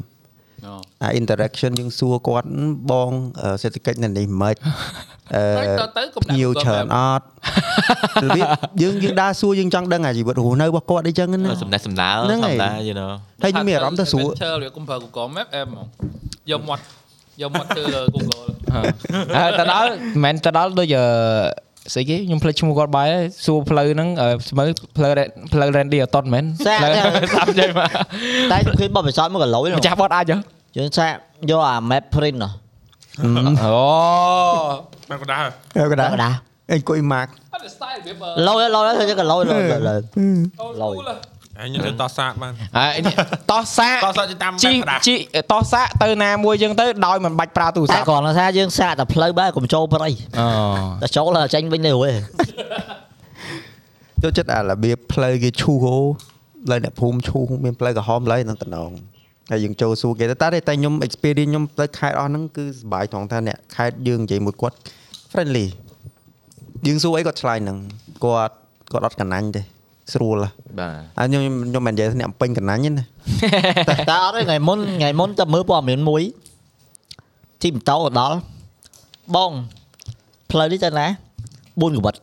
Speaker 2: អា interaction យើងសួរគាត់ហឹមបងអឺសេដ្ឋកិច្ចនៅនេះមិនអឺ
Speaker 5: ទៅទៅទៅកុំ
Speaker 2: ភ្ញៀវច្រើនអត់របៀបយើងយើងដើរសួរយើងចង់ដឹងអាជីវិតរស់នៅរបស់គាត់អីចឹងណា
Speaker 3: សំណេះសំណាល
Speaker 2: ហ្នឹងហើយ
Speaker 3: ធម្មតា you know
Speaker 2: ហើយយើងមានអារម្មណ៍ទៅសួរ
Speaker 5: ឈើវាកុំប្រើ Google Map អែមហ្មងយកមាត់យកមាត់ទៅលើ Google
Speaker 1: អើទៅដល់មិនមែនទៅដល់ដូចអឺស្អីគេខ្ញុំភ្លេចឈ្មោះគាត់បាយហើយសួរផ្លូវហ្នឹងអឺស្មើផ្លូវ Ren- ផ្លូវ Randy Orton មែន
Speaker 6: សាក
Speaker 1: ផ្លូ វតាមជ័យមក
Speaker 6: តែខ្ញុំឃើញបបិសោតមកកន្លយ
Speaker 1: ម្ចាស់បត់អាចហ៎
Speaker 6: យើងឆាក់យកអា map print ហ៎
Speaker 1: អូ
Speaker 4: បែបកណ្ដាល
Speaker 2: ហើយកណ្ដាល
Speaker 6: កណ្ដាល
Speaker 2: អីគួយ mark
Speaker 5: អត់ style វាបើ
Speaker 6: ឡយឡយធ្វើជាកន្លយឡយឡយ
Speaker 5: Old
Speaker 6: Lôi.
Speaker 5: school ហ៎
Speaker 4: អញទៅតោះសាកបាន
Speaker 1: អានេះតោះសាក
Speaker 4: តោះសាកទៅតាមបែ
Speaker 1: ជី
Speaker 4: បកណ្ដាល
Speaker 1: ជីតោះសាកទៅណាមួយយើងទៅដោយមិនបាច់ប្រើទូរស័
Speaker 6: តែ
Speaker 1: ព្ទ
Speaker 6: គ្រាន់តែថាយើងសាកតែផ្លូវបែរកុំចូលព្រៃ
Speaker 1: អូ
Speaker 6: តែចូលហើយចេញវិញទៅរួច
Speaker 2: ចូលចិត្តអារបៀបផ្លូវគេឈូសហូផ្លូវអ្នកភូមិឈូសមានផ្លូវក្រហមផ្លូវហ្នឹងតំណងហើយយើងចូលសួរគេតែតែតែខ្ញុំ experience ខ្ញុំទៅខេត្តអស់ហ្នឹងគឺសប្បាយត្រង់ថាអ្នកខេត្តយើងនិយាយមួយគាត់ friendly យើងសួរអីគាត់ឆ្លើយហ្នឹងគាត់គាត់អត់កណាញ់ទេស្រួលហ៎
Speaker 3: បាទ
Speaker 2: អញ្ញខ្ញុំខ្ញុំមិននិយាយថាអ្នកពេញកណ្ណាញ់ទេណា
Speaker 6: តែតែអត់ទេថ្ងៃមុនថ្ងៃមុនតែមើលព័ត៌មានមួយទីម៉ូតូក៏ដល់បងផ្លូវនេះទៅណា4កវិត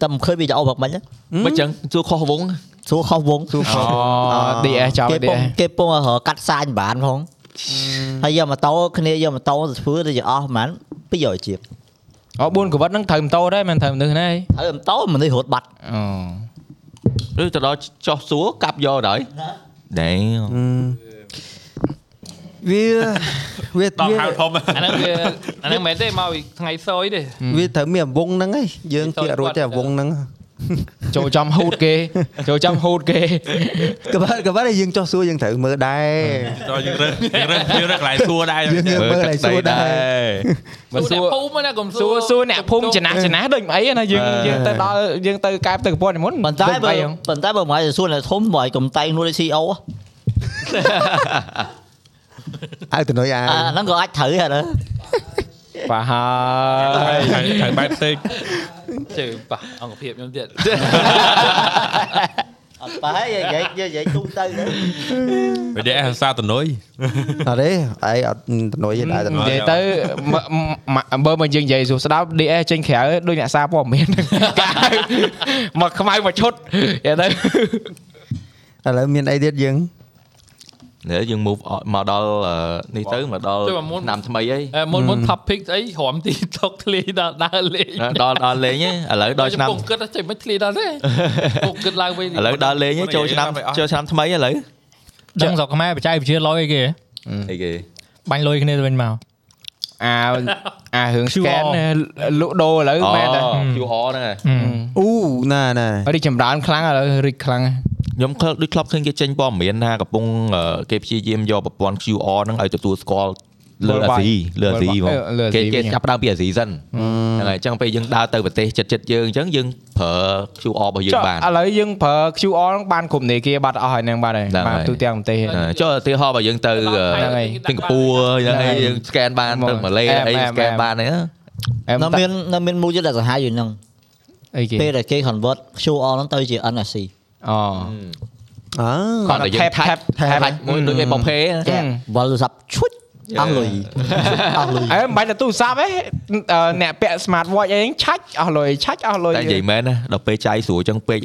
Speaker 6: តែមិនឃើញវីដេអូបាក់មិញទេ
Speaker 3: មិនចឹងសួរខុសវង
Speaker 6: សួរខុសវង
Speaker 2: ទូខោ
Speaker 1: DS ចោល
Speaker 6: គេពង
Speaker 1: DS
Speaker 6: គេពងឲ្យរកកាត់សាញបានផងហើយយកម៉ូតូគ្នាយកម៉ូតូទៅធ្វើទៅយកអស់ប្រហែល200ជាប
Speaker 1: អូ4កវិតហ្នឹងត្រូវម៉ូតូដែរមិនត្រូវមនុស្សណាយ
Speaker 6: ហើយម៉ូតូមនុស្សរត់បាត់
Speaker 1: អូ
Speaker 3: ឬទៅដល់ចោះសួរកាប់យកដល់ដែរ
Speaker 2: វាវា
Speaker 4: ដល់
Speaker 2: វា
Speaker 4: ហៅធំ
Speaker 5: អាហ្នឹងវាអាហ្នឹងមិនមែនទេមកពីថ្ងៃសយទេ
Speaker 2: វាត្រូវមានវងហ្នឹងឯងយើងគៀករួចតែវងហ្នឹង
Speaker 1: ចូលចំហូតគេ ចូលចំហូតគេ
Speaker 2: ក៏បើក៏បើតែយើងចោះសួរយើងត្រូវមើលដែរ
Speaker 4: ដល់យើងរើសយើងរើសយើងរើសកន្លែងសួរដែរ
Speaker 2: យើងមើលកន្លែងសួរដែរ
Speaker 1: បើ
Speaker 5: សួ
Speaker 1: សួ
Speaker 5: រ
Speaker 1: រ
Speaker 5: អ្នកភូមិណាកុំ
Speaker 1: សួរសួរអ្នកភូមិចណាស់ចណាស់ដូចមិនអីណាយើង
Speaker 3: បាទ
Speaker 1: យើងទៅដល់យើងទៅកែបទៅកពតមុន
Speaker 6: ប៉ុន្តែ
Speaker 1: ដូច
Speaker 6: បើ
Speaker 1: អីហ្នឹង
Speaker 6: ប៉ុន្តែបើមិនឲ្យសួរអ្នកធំបើឲ្យកុំតែងនោះដូច CEO ហ៎
Speaker 2: ឲ្យទៅនុយអា
Speaker 6: អាហ្នឹងក៏អាចត្រូវដែរណា
Speaker 1: បាហើ
Speaker 4: ហើ
Speaker 1: យ
Speaker 4: យហើយបែបផ្សេង
Speaker 5: ជើប៉ះអង្គភាពខ្ញុំទៀត
Speaker 6: អត់បែរនិយាយនិយាយទូទៅទៅ
Speaker 4: វិទ្យាសាស្ត្រតនុយ
Speaker 2: អត់ទេឯងអត់ទៅនុយទេដែរទៅនុយ
Speaker 1: និយាយទៅមមមបើមកយើងនិយាយសួរស្ដាប់ DS ចេញក្រៅដូចអ្នកសារព័ត៌ មានកាហៅមកខ្មៅមកឈុតនិយាយទៅ
Speaker 2: ឥឡូវមានអីទៀតយើង
Speaker 3: នេះយើង move on មកដល់អឺនេះទៅមកដល់
Speaker 5: ចុះមកមុន
Speaker 3: ឆ្នាំថ្មីអី
Speaker 5: អឺមុនមុន topic ស្អីរំ ទីតុកធ្លីដល់ដើរលេង
Speaker 3: ដល់ដល់លេងឯងឥឡូវដល់ឆ្នាំ
Speaker 5: ខ្ញុំគិតថាចេះមិនធ្លីដល់ទេខ្ញុំគិតឡើងវិញ
Speaker 3: ឥឡូវដល់លេងឯងចូលឆ្នាំ
Speaker 4: មិននិយាយ
Speaker 3: ចូលឆ្នាំថ្មីឥឡូវ
Speaker 7: ដឹងស្រុកខ្មែរបច្ចេកវិទ្យាលយអីគេហ៎
Speaker 3: អីគេ
Speaker 7: បាញ់លុយគ្នាទៅវិញមក
Speaker 1: អាអារឿង
Speaker 7: QR
Speaker 1: scan លក់ដូរឥឡូវ
Speaker 3: អូ
Speaker 1: មែនតែ
Speaker 3: QR ហ្នឹងឯង
Speaker 7: ហឹម
Speaker 2: អូណាណា
Speaker 1: រីកចម្រើនខ្លាំងឥឡូវរីកខ្លាំង
Speaker 3: ខ្ញុំឃើញដូចខ្លប់ឃើញគេចេញព័ត៌មានថាកំពុងអឺគេព្យាយាមយកប្រព័ន្ធ QR ហ្នឹងឲ្យទទួលស្គាល់លើអាស៊ីលើអាស៊ីហ្មងគេគេចាប់ផ្ដើមពីអាស៊ីសិនហ្នឹងហើយអញ្ចឹងពេលយើងដើរទៅប្រទេសជិតជិតៗយើងអញ្ចឹងយើងប្រើ QR របស់យើង
Speaker 1: ចុះ
Speaker 3: បាន
Speaker 1: ឥឡូវយើងប្រើ QR ហ្នឹងបានគ្រប់នេគាបាត់អស់ហើយហ្នឹងបាត់ហើយ
Speaker 3: ហ្នឹង
Speaker 1: បាទ
Speaker 3: ហើយ
Speaker 1: ទូទាំងប្រទេស
Speaker 3: អឺចុះឧទាហរណ៍បើយើងទៅអឺ
Speaker 1: ហ្នឹងហើយ
Speaker 3: សិង្ហបុរីយ៉ាងអីយើង scan បានទៅម៉ាឡេអី scan បានអី
Speaker 1: អែម
Speaker 6: នៅ
Speaker 1: តា
Speaker 6: មាននៅមានមួយទៀតដែលសាហាយយូរហ្នឹង
Speaker 1: អីគេ
Speaker 6: ពេលដែលគេ convert QR ហ្នឹងទៅជា NFC
Speaker 1: អូ
Speaker 2: អើ
Speaker 3: គាត់តែយើង tap tap មួយដូចឯងបងភេ
Speaker 6: ចាវល់ទូរស័ព្ទឈុចអស់លុយអស់លុយ
Speaker 1: អែមមិនបាច់ទៅទូរស័ព្ទទេអឺអ្នកពាក់ smart watch អីហ្នឹងឆាច់អស់លុយឆាច់អស់លុយ
Speaker 3: តែនិយាយមែនណាដល់ពេលចាយស្រួលអញ្ចឹងពេក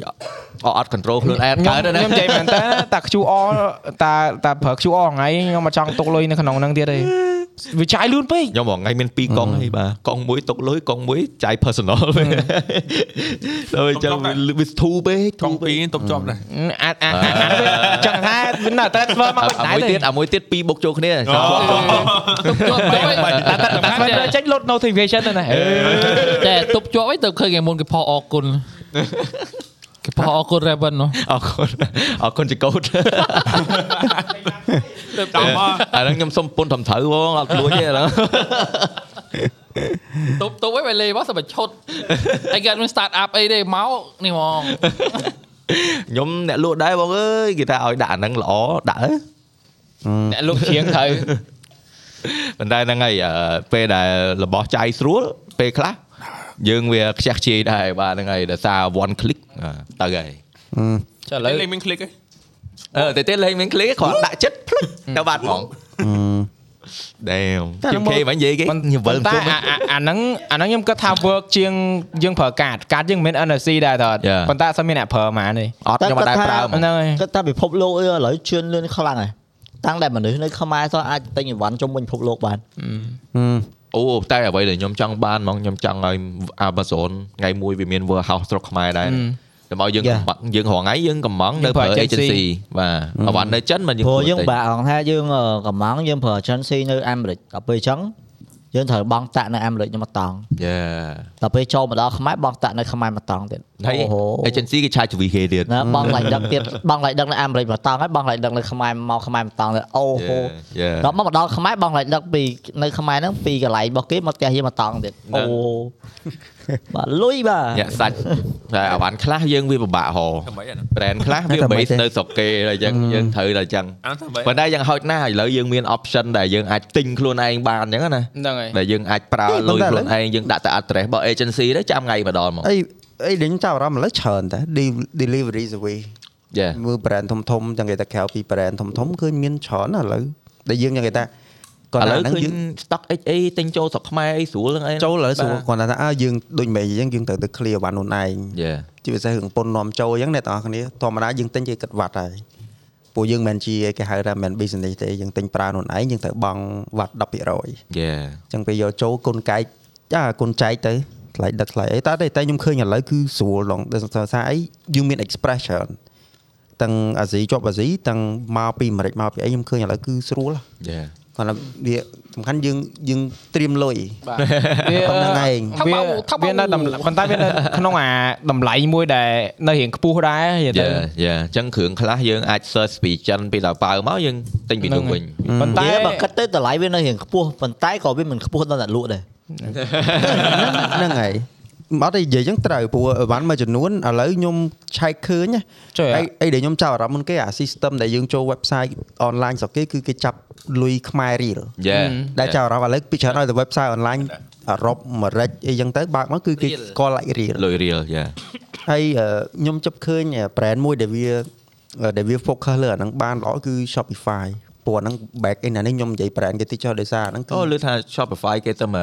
Speaker 3: អត់អត់ control ខ្លួនឯង
Speaker 1: ខ្ញុំ
Speaker 3: កើតទេណា
Speaker 1: ខ្ញុំនិយាយមែនតើតា QR តាតាប្រើ QR ថ្ងៃខ្ញុំមកចង់ទុកលុយនៅក្នុងហ្នឹងទៀតទេវាចាយលឿនពេក
Speaker 3: ខ្ញុំមកថ្ងៃមាន2កង់ហើយបាទកង់មួយទុកលុយកង់មួយចាយ personal វិញដល់អញ្ចឹងវាវាធូរពេក
Speaker 4: ក
Speaker 3: ធូ
Speaker 4: ង
Speaker 3: រពេ
Speaker 4: ពី
Speaker 3: ក
Speaker 4: រទុកជាប់ដែរ
Speaker 1: អាចអាចអាចចង់ថាវានៅតែ transfer មក
Speaker 3: អា
Speaker 1: បា
Speaker 3: មួ
Speaker 1: ច់
Speaker 3: យ
Speaker 1: ដែរ
Speaker 3: ទៀត
Speaker 1: ទេ
Speaker 3: អាមួយទៀត2បុកចូលគ្នាចាំ
Speaker 5: ទុកជាប់ទៅវិញ
Speaker 1: តែតែ transfer ចេញលុត notification ទៅណាអឺ
Speaker 5: តែទុកជាប់វិញទៅឃើញគេមុនគេផអរគុណគេផអរគុណ Raven នោះ
Speaker 3: អរគុណអរគុណចកោត
Speaker 5: ទៅតាមមក
Speaker 3: អាហ្នឹងខ្ញុំសុំពុនត្រឹមត្រូវបងអត់ខ្លួនទេឥឡូវ
Speaker 5: តុបតុបឲ្យវាលេមកសម្បត្តិឈុតឯងគេអត់មាន start up អីទេមកនេះហ្មង
Speaker 3: ខ្ញុំអ្នកលក់ដែរបងអើយគេថាឲ្យដាក់អាហ្នឹងល្អដាក់ទៅ
Speaker 1: អ្នកលោកជាងត្រូវ
Speaker 3: ប៉ុន្តែហ្នឹងហើយអឺពេលដែលរបស់ចាយស្រួលពេលខ្លះយើងវាខ្ជះខ្ជាយដែរបាទហ្នឹងហើយដោយសារ one click Ờ, អ่าទៅហើយ
Speaker 1: ចុះឥឡូវ
Speaker 4: លេងមានคลิกឯង
Speaker 3: អឺតែទៀតលេងមាន click គ្រាន់ដាក់ចិត្តភ្លុចទៅបាត់ហ្មង Damn ជាងគេមិននិយាយគេញវល
Speaker 1: តែ
Speaker 3: ជុំ
Speaker 1: អាអាអាហ្នឹងអាហ្នឹងខ្ញុំគិតថា work ជាងយើងប្រើកាតកាតយើងមិនមែន NFC ដែរតើ
Speaker 3: Yeah.
Speaker 1: ប៉ុន្តែអត់សូវមានអ្នកប្រើហ្មងទេ
Speaker 3: អត់ខ្ញុំមិនដែរប្រើហ្មង
Speaker 1: ហ្នឹងហើយ
Speaker 6: គាត់ថាពិភពលោកអីឥឡូវជឿនលឿនខ្លាំងហើយតាំងតែមនុស្សនៅខ្មែរសោះអាចទិញអីវ៉ាន់ជុំវិញពិភពលោកបាន
Speaker 3: អូតែអ្វីដែលខ្ញុំចង់បានហ្មងខ្ញុំចង់ឲ្យ à, Amazon ថ្ងៃមួយវាមាន warehouse ស្រុកខ្មែរដែរ
Speaker 1: អឺ
Speaker 3: តែមកយើងកំបាក់យើងរងថ្ងៃយើងកំងនៅ
Speaker 1: ប្រើ
Speaker 3: ប្រើ
Speaker 1: agency
Speaker 3: agency បាទអវ៉ាន់នៅចិនមិនយើង
Speaker 6: ព្រោះយើង
Speaker 3: ទិញ
Speaker 6: បាក់អង្គថាយើងអឺកំងយើងប្រើ agency នៅអាមេរិកដល់ពេលអញ្ចឹងយើងត្រូវបង់តាក់នៅអាមេរិកខ្ញុំមកតង់
Speaker 3: យេ
Speaker 6: ដល់ពេលចូលមកដល់ខ្មែរបង់តាក់នៅខ្មែរមកតង់ទៀត
Speaker 3: ហើយ
Speaker 6: ហូ
Speaker 3: agency គេ charge វិគេទៀត
Speaker 6: ណាបងឡៃដឹកទៀតបងឡៃដឹកនៅអាមេរិកមកតង់ហើយបងឡៃដឹកនៅខ្មែរមកខ្មែរមកតង់ទៅអូ
Speaker 3: Dạ,
Speaker 6: ហូ
Speaker 3: យេ
Speaker 6: ដល់មកមកដល់ខ្មែរបងឡៃដឹកពីនៅខ្មែរហ្នឹងពីកន្លែងរបស់គេមកផ្ទះយើងមកតង់ទៀត
Speaker 3: ហ្នឹង
Speaker 6: អូ បាទលុយបាទ
Speaker 3: ញាក់សាច់តែអាវ៉ាន់ខ្លះយើងវាពិបាកហោ
Speaker 4: ធ្វើម៉េចអា
Speaker 3: brand ខ្លះវា
Speaker 2: តែមិន
Speaker 3: base
Speaker 2: ទេ
Speaker 3: នៅស្រុកគេហើយអញ្ចឹងយើងត្រូវតែអញ្ចឹង
Speaker 4: អាធ្វើម៉េច
Speaker 3: ប៉ុន្តែយ៉ាងហោចណាស់ឥឡូវយើងមាន option ដែលយើងអាចទិញខ្លួនឯងបានអញ្ចឹងណា
Speaker 1: ហ្នឹងហើយ
Speaker 3: ដែលយើងអាចប្រើ
Speaker 2: ទេប៉ុ
Speaker 3: លុយ
Speaker 2: ន្តែឥឡូវ
Speaker 3: ខ្លួនឯងយើងដាក់តែ address របស់ agency ទៅចាំថ្ងៃម្ដងមក
Speaker 2: អីអីលេងចាប់អារម្មណ៍ឥឡូវច្រើនតែ de- delivery service
Speaker 3: យ៉ា
Speaker 2: មើល brand ធំធំៗចឹងគេថាក្រៅពី brand ធំធំៗឃើញមានច្រើនណាស់ឥឡូវដែលយើងចឹងគេថាគាត់
Speaker 3: ឥ
Speaker 2: ថា
Speaker 3: ឡូវ
Speaker 2: ហ្នឹង
Speaker 3: ឃើញ
Speaker 2: យើង
Speaker 3: stock XA ទិញចូលស្រុកខ្មែរអីស្រួលហ្នឹងឯង
Speaker 2: ចូលឥឡូវសួរ
Speaker 3: បាទ
Speaker 2: គាត់ថាអើយើងដូចមេអញ្ចឹងយើងត្រូវទៅ clear វ៉ាន់ខ្លួនឯង
Speaker 3: យ៉ា
Speaker 2: ជាពិសេសរឿងពន្ធនាំចូលអញ្ចឹងអ្នកទាំងអស់គ្នាធម្មតាយើងទិញគេគិតវត្តហើយពួកយើងមិនមែនជាគេហៅថាមិនមែន business ទេយើងទិញប្រើខ្លួនឯងយើងត្រូវបង់វត្ត10%អញ្
Speaker 3: យ៉ា
Speaker 2: ចឹងពេលយកចូលគុណកែកចាគុណចែកទៅថ្លៃដឹកថ្លៃអីតែតែខ្ញុំឃើញឥឡូវគឺស្រួលឡងដូចថាអីយើងមាន express ច្រើនទាំងអាស៊ីជាប់អាស៊ីទាំងមកពីអាមេរិកមកពីអីខ្ញុំឃើញឥឡូវគឺស្រួល
Speaker 3: យ៉ា
Speaker 2: គាត់ថាវាសំខាន់យើងយើងត្រៀមលុយ
Speaker 1: បាទ
Speaker 2: ប៉ុណ្្នឹងឯង
Speaker 1: វាវានៅតម្លៃប៉ុន្តែវានៅក្នុងអាតម្លៃមួយដែលនៅរៀងខ្ពស់ដែរនិយាយទៅ
Speaker 3: យ៉ាយ៉ាអញ្ចឹងគ្រឿងខ្លះយើងអាច search ពីចិនពីដល់ប៉ៅមកយើងទិញពីនោះ
Speaker 1: ហ្នឹងហើយ
Speaker 3: វិញ
Speaker 1: ប៉ុន្តែ
Speaker 6: តែបើគិតទៅតម្លៃវានៅរៀងខ្ពស់ប៉ុន្តែក៏វាមិនខ្ពស់ដល់អ្នកលក់ដែរ
Speaker 2: ហ្នឹងហើយអត់ទេនិយាយចឹងត្រូវព្រោះអីវ៉ាន់មួយចំនួនឥឡូវខ្ញុំឆែកឃើញណា
Speaker 1: ចុះ
Speaker 2: អីអីដែលខ្ញុំចាប់អារម្មណ៍មុនគេអា system ដែលយើងចូល website online ស្រុកគេគឺគេចាប់លុយខ្មែររៀល
Speaker 3: យ៉ា
Speaker 2: ដែលចាប់អារម្មណ៍ឥឡូវពីច្រើនឲ្យទៅ website online អឺរ៉ុបអាមេរិកអីចឹងទៅបើកមកគឺគេ
Speaker 5: Real
Speaker 2: ស្គាល់ like រៀល
Speaker 3: លុយរៀលយ៉ា
Speaker 2: ហើយអឺខ្ញុំចាប់ឃើញអឺ brand មួយដែលវាអឺដែលវា focus លើអាហ្នឹងបានល្អគឺ Shopify ព្រោះអាហ្នឹង back end អានេះខ្ញុំនិយាយ brand គេតិចចុះដោយសារអាហ្នឹងគឺ
Speaker 3: អូលឺថា Shopify គេទៅមក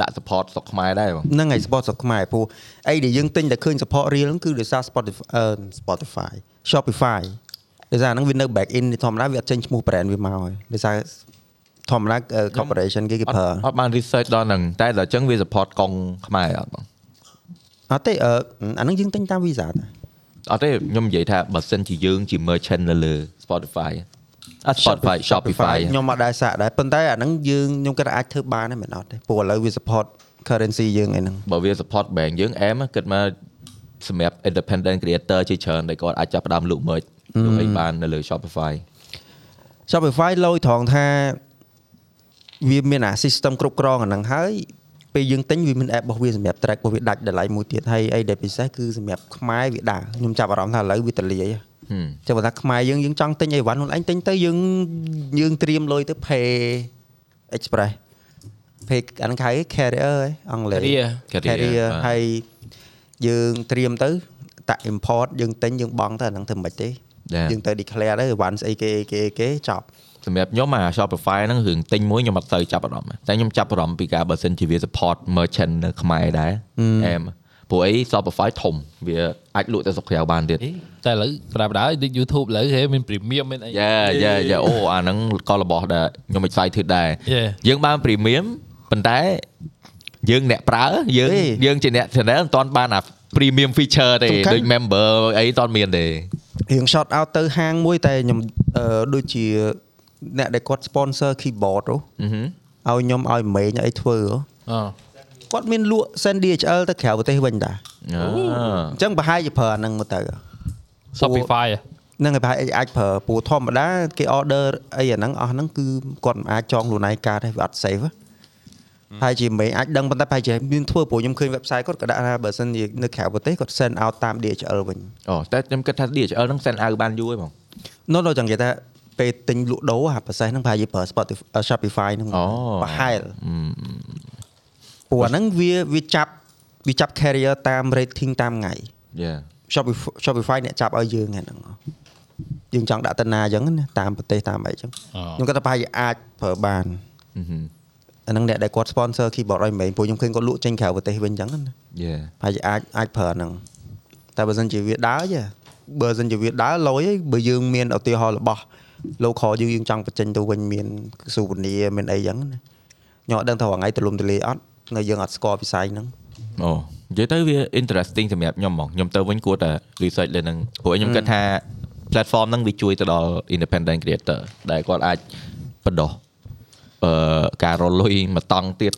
Speaker 3: ដាក់ support ស្រុកខ្មែរដែរបង
Speaker 2: ហ្នឹងហើយ support ស្រុកខ្មែរព្រោះអីដែលយើងទិញតែឃើញ support រៀលហ្នឹងគឺដោយសារ Spotify អឺ Spotify Shopify ដោយសារហ្នឹងវានៅ back end ធម្មតាវាអត់ចេញឈ្មោះ brand វាមកហើយដោយសារធម្មតាអឺ corporation គេគេប្រើ
Speaker 3: អត់បាន research ដល់ហ្នឹងតែដល់អញ្ចឹងវា support កងខ្មែរអត់បង
Speaker 2: អត់ទេអឺអាហ្នឹងយើងទិញតាម Visa តា
Speaker 3: អត់ទេខ្ញុំនិយាយថាបើសិនជាយើងជា merchant នៅលើ Spotify អត់ Spotify Shopify
Speaker 2: ខ្ញុំអត់ដែរសាក់ដែរប៉ុន្តែអាហ្នឹងយើងខ្ញុំគិតថាអាចធ្វើបានដែរមិនអត់ទេព្រោះឥឡូវវា support currency យើងអីហ្នឹង
Speaker 3: បើវា support bank យើងអែមគិតមកសម្រាប់ independent creator ជាច្រើនដែលគាត់អាចចាប់ផ្ដើមលក់ merch លក់អីបាននៅលើ Shopify
Speaker 2: Shopify លយត្រង់ថាវាមានអា system គ្រប់គ្រងអាហ្នឹងហើយពេលយើងទិញវាមាន app របស់វាសម្រាប់ track របស់វាដាច់តម្លៃមួយទៀតហើយអីដែលពិសេសគឺសម្រាប់ខ្មែរវាដើរខ្ញុំចាប់អារម្មណ៍ថាឥឡូវវាតលាយ
Speaker 3: ហឹម
Speaker 2: ចាំបើថាខ្មែរយើងយើងចង់ទិញអីវ៉ាន់ខ្លួនឯងទិញទៅយើងយើងត្រៀមលុយទៅ pay express pay អាហ្នឹងគេហៅ carrier ឯងអង់គ្លេស
Speaker 1: Carrier
Speaker 3: Carrier បាទ
Speaker 2: ហើយយើងត្រៀមទៅតាក់ import យើងទិញយើងបង់ទៅអាហ្នឹងធ្វើមិនទេ
Speaker 3: Yeah.
Speaker 2: យើងទៅ declare ទៅវ៉ាន់ស្អីគេគេគេចប់
Speaker 3: សម្រាប់ខ្ញុំអា Shopify ហ្នឹងរឿងទិញមួយខ្ញុំអត់ទៅចាប់អារម្មណ៍តែខ្ញុំចាប់អារម្មណ៍ពីការបើសិនជាវា support merchant នៅខ្មែរដែរអែមព្រោះអី Shopify ធំវាអាចលក់ទៅស្រុកក្រៅបានទៀត
Speaker 5: តែឥឡូវប្រាប់ដែរដូច YouTube ឥឡូវហេមាន premium មានអី
Speaker 3: យ៉ាយ៉ាយ៉ាអូអាហ្នឹងក៏របស់ដែលខ្ញុំ excited ដែរ
Speaker 5: Yeah.
Speaker 3: យើងបាន premium ប៉ុន្តែយើងអ្នកប្រើយើង
Speaker 2: ទេ
Speaker 3: យើងជាអ្នក channel មិនទាន់បានអា premium feature ទេ
Speaker 2: សំខាន់
Speaker 3: ដូច member អីមិនទាន់មានទេ
Speaker 2: រៀង shot out ទៅហាងមួយតែខ្ញុំអឺដូចជាអ្នកដែលគាត់ sponsor keyboard ហ៎
Speaker 3: អឺហឹ
Speaker 2: ឲ្យ
Speaker 3: ម
Speaker 2: ខ្ញុំឲ្យមេញឲ្យធ្វើហ៎
Speaker 5: អូ
Speaker 2: គាត់មានលក់ send DHL ទៅក្រៅប្រទេសវិញតា
Speaker 3: អូ
Speaker 2: អញ្ចឹងប្រហែលជាប្រើអាហ្នឹងមកទៅហ៎
Speaker 5: Shopify
Speaker 2: ហ្នឹងហើយប្រហែលអាចប្រើពូធម្មតាគេ order អីអាហ្នឹងអស់ហ្នឹងគឺគាត់មិនអាចចងខ្លួនឯងកាតទេវាអត់ save ហ៎ប្រហែលជាមេញអាចដឹងប៉ុន្តែប្រហែលជាមានធ្វើព្រោះខ្ញុំឃើញ website គាត់ក៏ដាក់ថាបើសិនជានៅក្រៅប្រទេសគាត់ send out តាម DHL វិញ
Speaker 3: អូតែខ្ញុំគិតថា DHL ហ្នឹង send out បានយូរហើយបង
Speaker 2: នោះដល់ចឹងគេថាពេលទិញលក់ដូរអាប្រសេសហ្នឹងប្រហែលជាប្រើ Spotify អឺ Shopify ហ្នឹង
Speaker 3: អូ
Speaker 2: ប្រហែល
Speaker 3: អឺ
Speaker 2: ព្រោះអាហ្នឹងវាវាចាប់វាចាប់ carrier តាម rating តាមថ្ងៃ
Speaker 3: Yeah
Speaker 2: Shopify Shopify អ្នកចាប់ឲ្យយើងហ្នឹងយើងចង់ដាក់តាណាអញ្ចឹងណាតាមប្រទេសតាមអីអញ្ចឹងខ្ញុំគាត់ថាប្រហែលជាអាចប្រើបាន
Speaker 3: អឺហឹម
Speaker 2: អាហ្នឹងអ្នកដែលគាត់ sponsor keyboard ឲ្យមែនព្រោះខ្ញុំឃើញគាត់លក់ចេញក្រៅប្រទេសវិញអញ្ចឹងណា
Speaker 3: Yeah
Speaker 2: ប្រហែលជាអាចអាចប្រើអាហ្នឹងតែបើសិនជាវាដើរចាបើសិនជាវាដើរលយឯងបើយើងមានឧទាហរណ៍របស់ local យើងយើងចង់បញ្ចេញទៅវិញមាន souvenir មានអីអញ្ចឹងណាខ្ញុំអត់ដឹងថារាល់ថ្ងៃទលំទលាយអត់នៅយើងអត់ស្គាល់វិស័យហ្នឹង
Speaker 3: អូនិយាយទៅវា interesting សម្រាប់ខ្ញុំហ្មងខ្ញុំទៅវិញគួរតែ research លើហ្នឹងព្រោះខ្ញុំគិតថា platform ហ្នឹងវាជួយទៅដល់ independent creator ដែលគាត់អាចបណ្ដោះអឺការរលលុយមកតង់ទៀត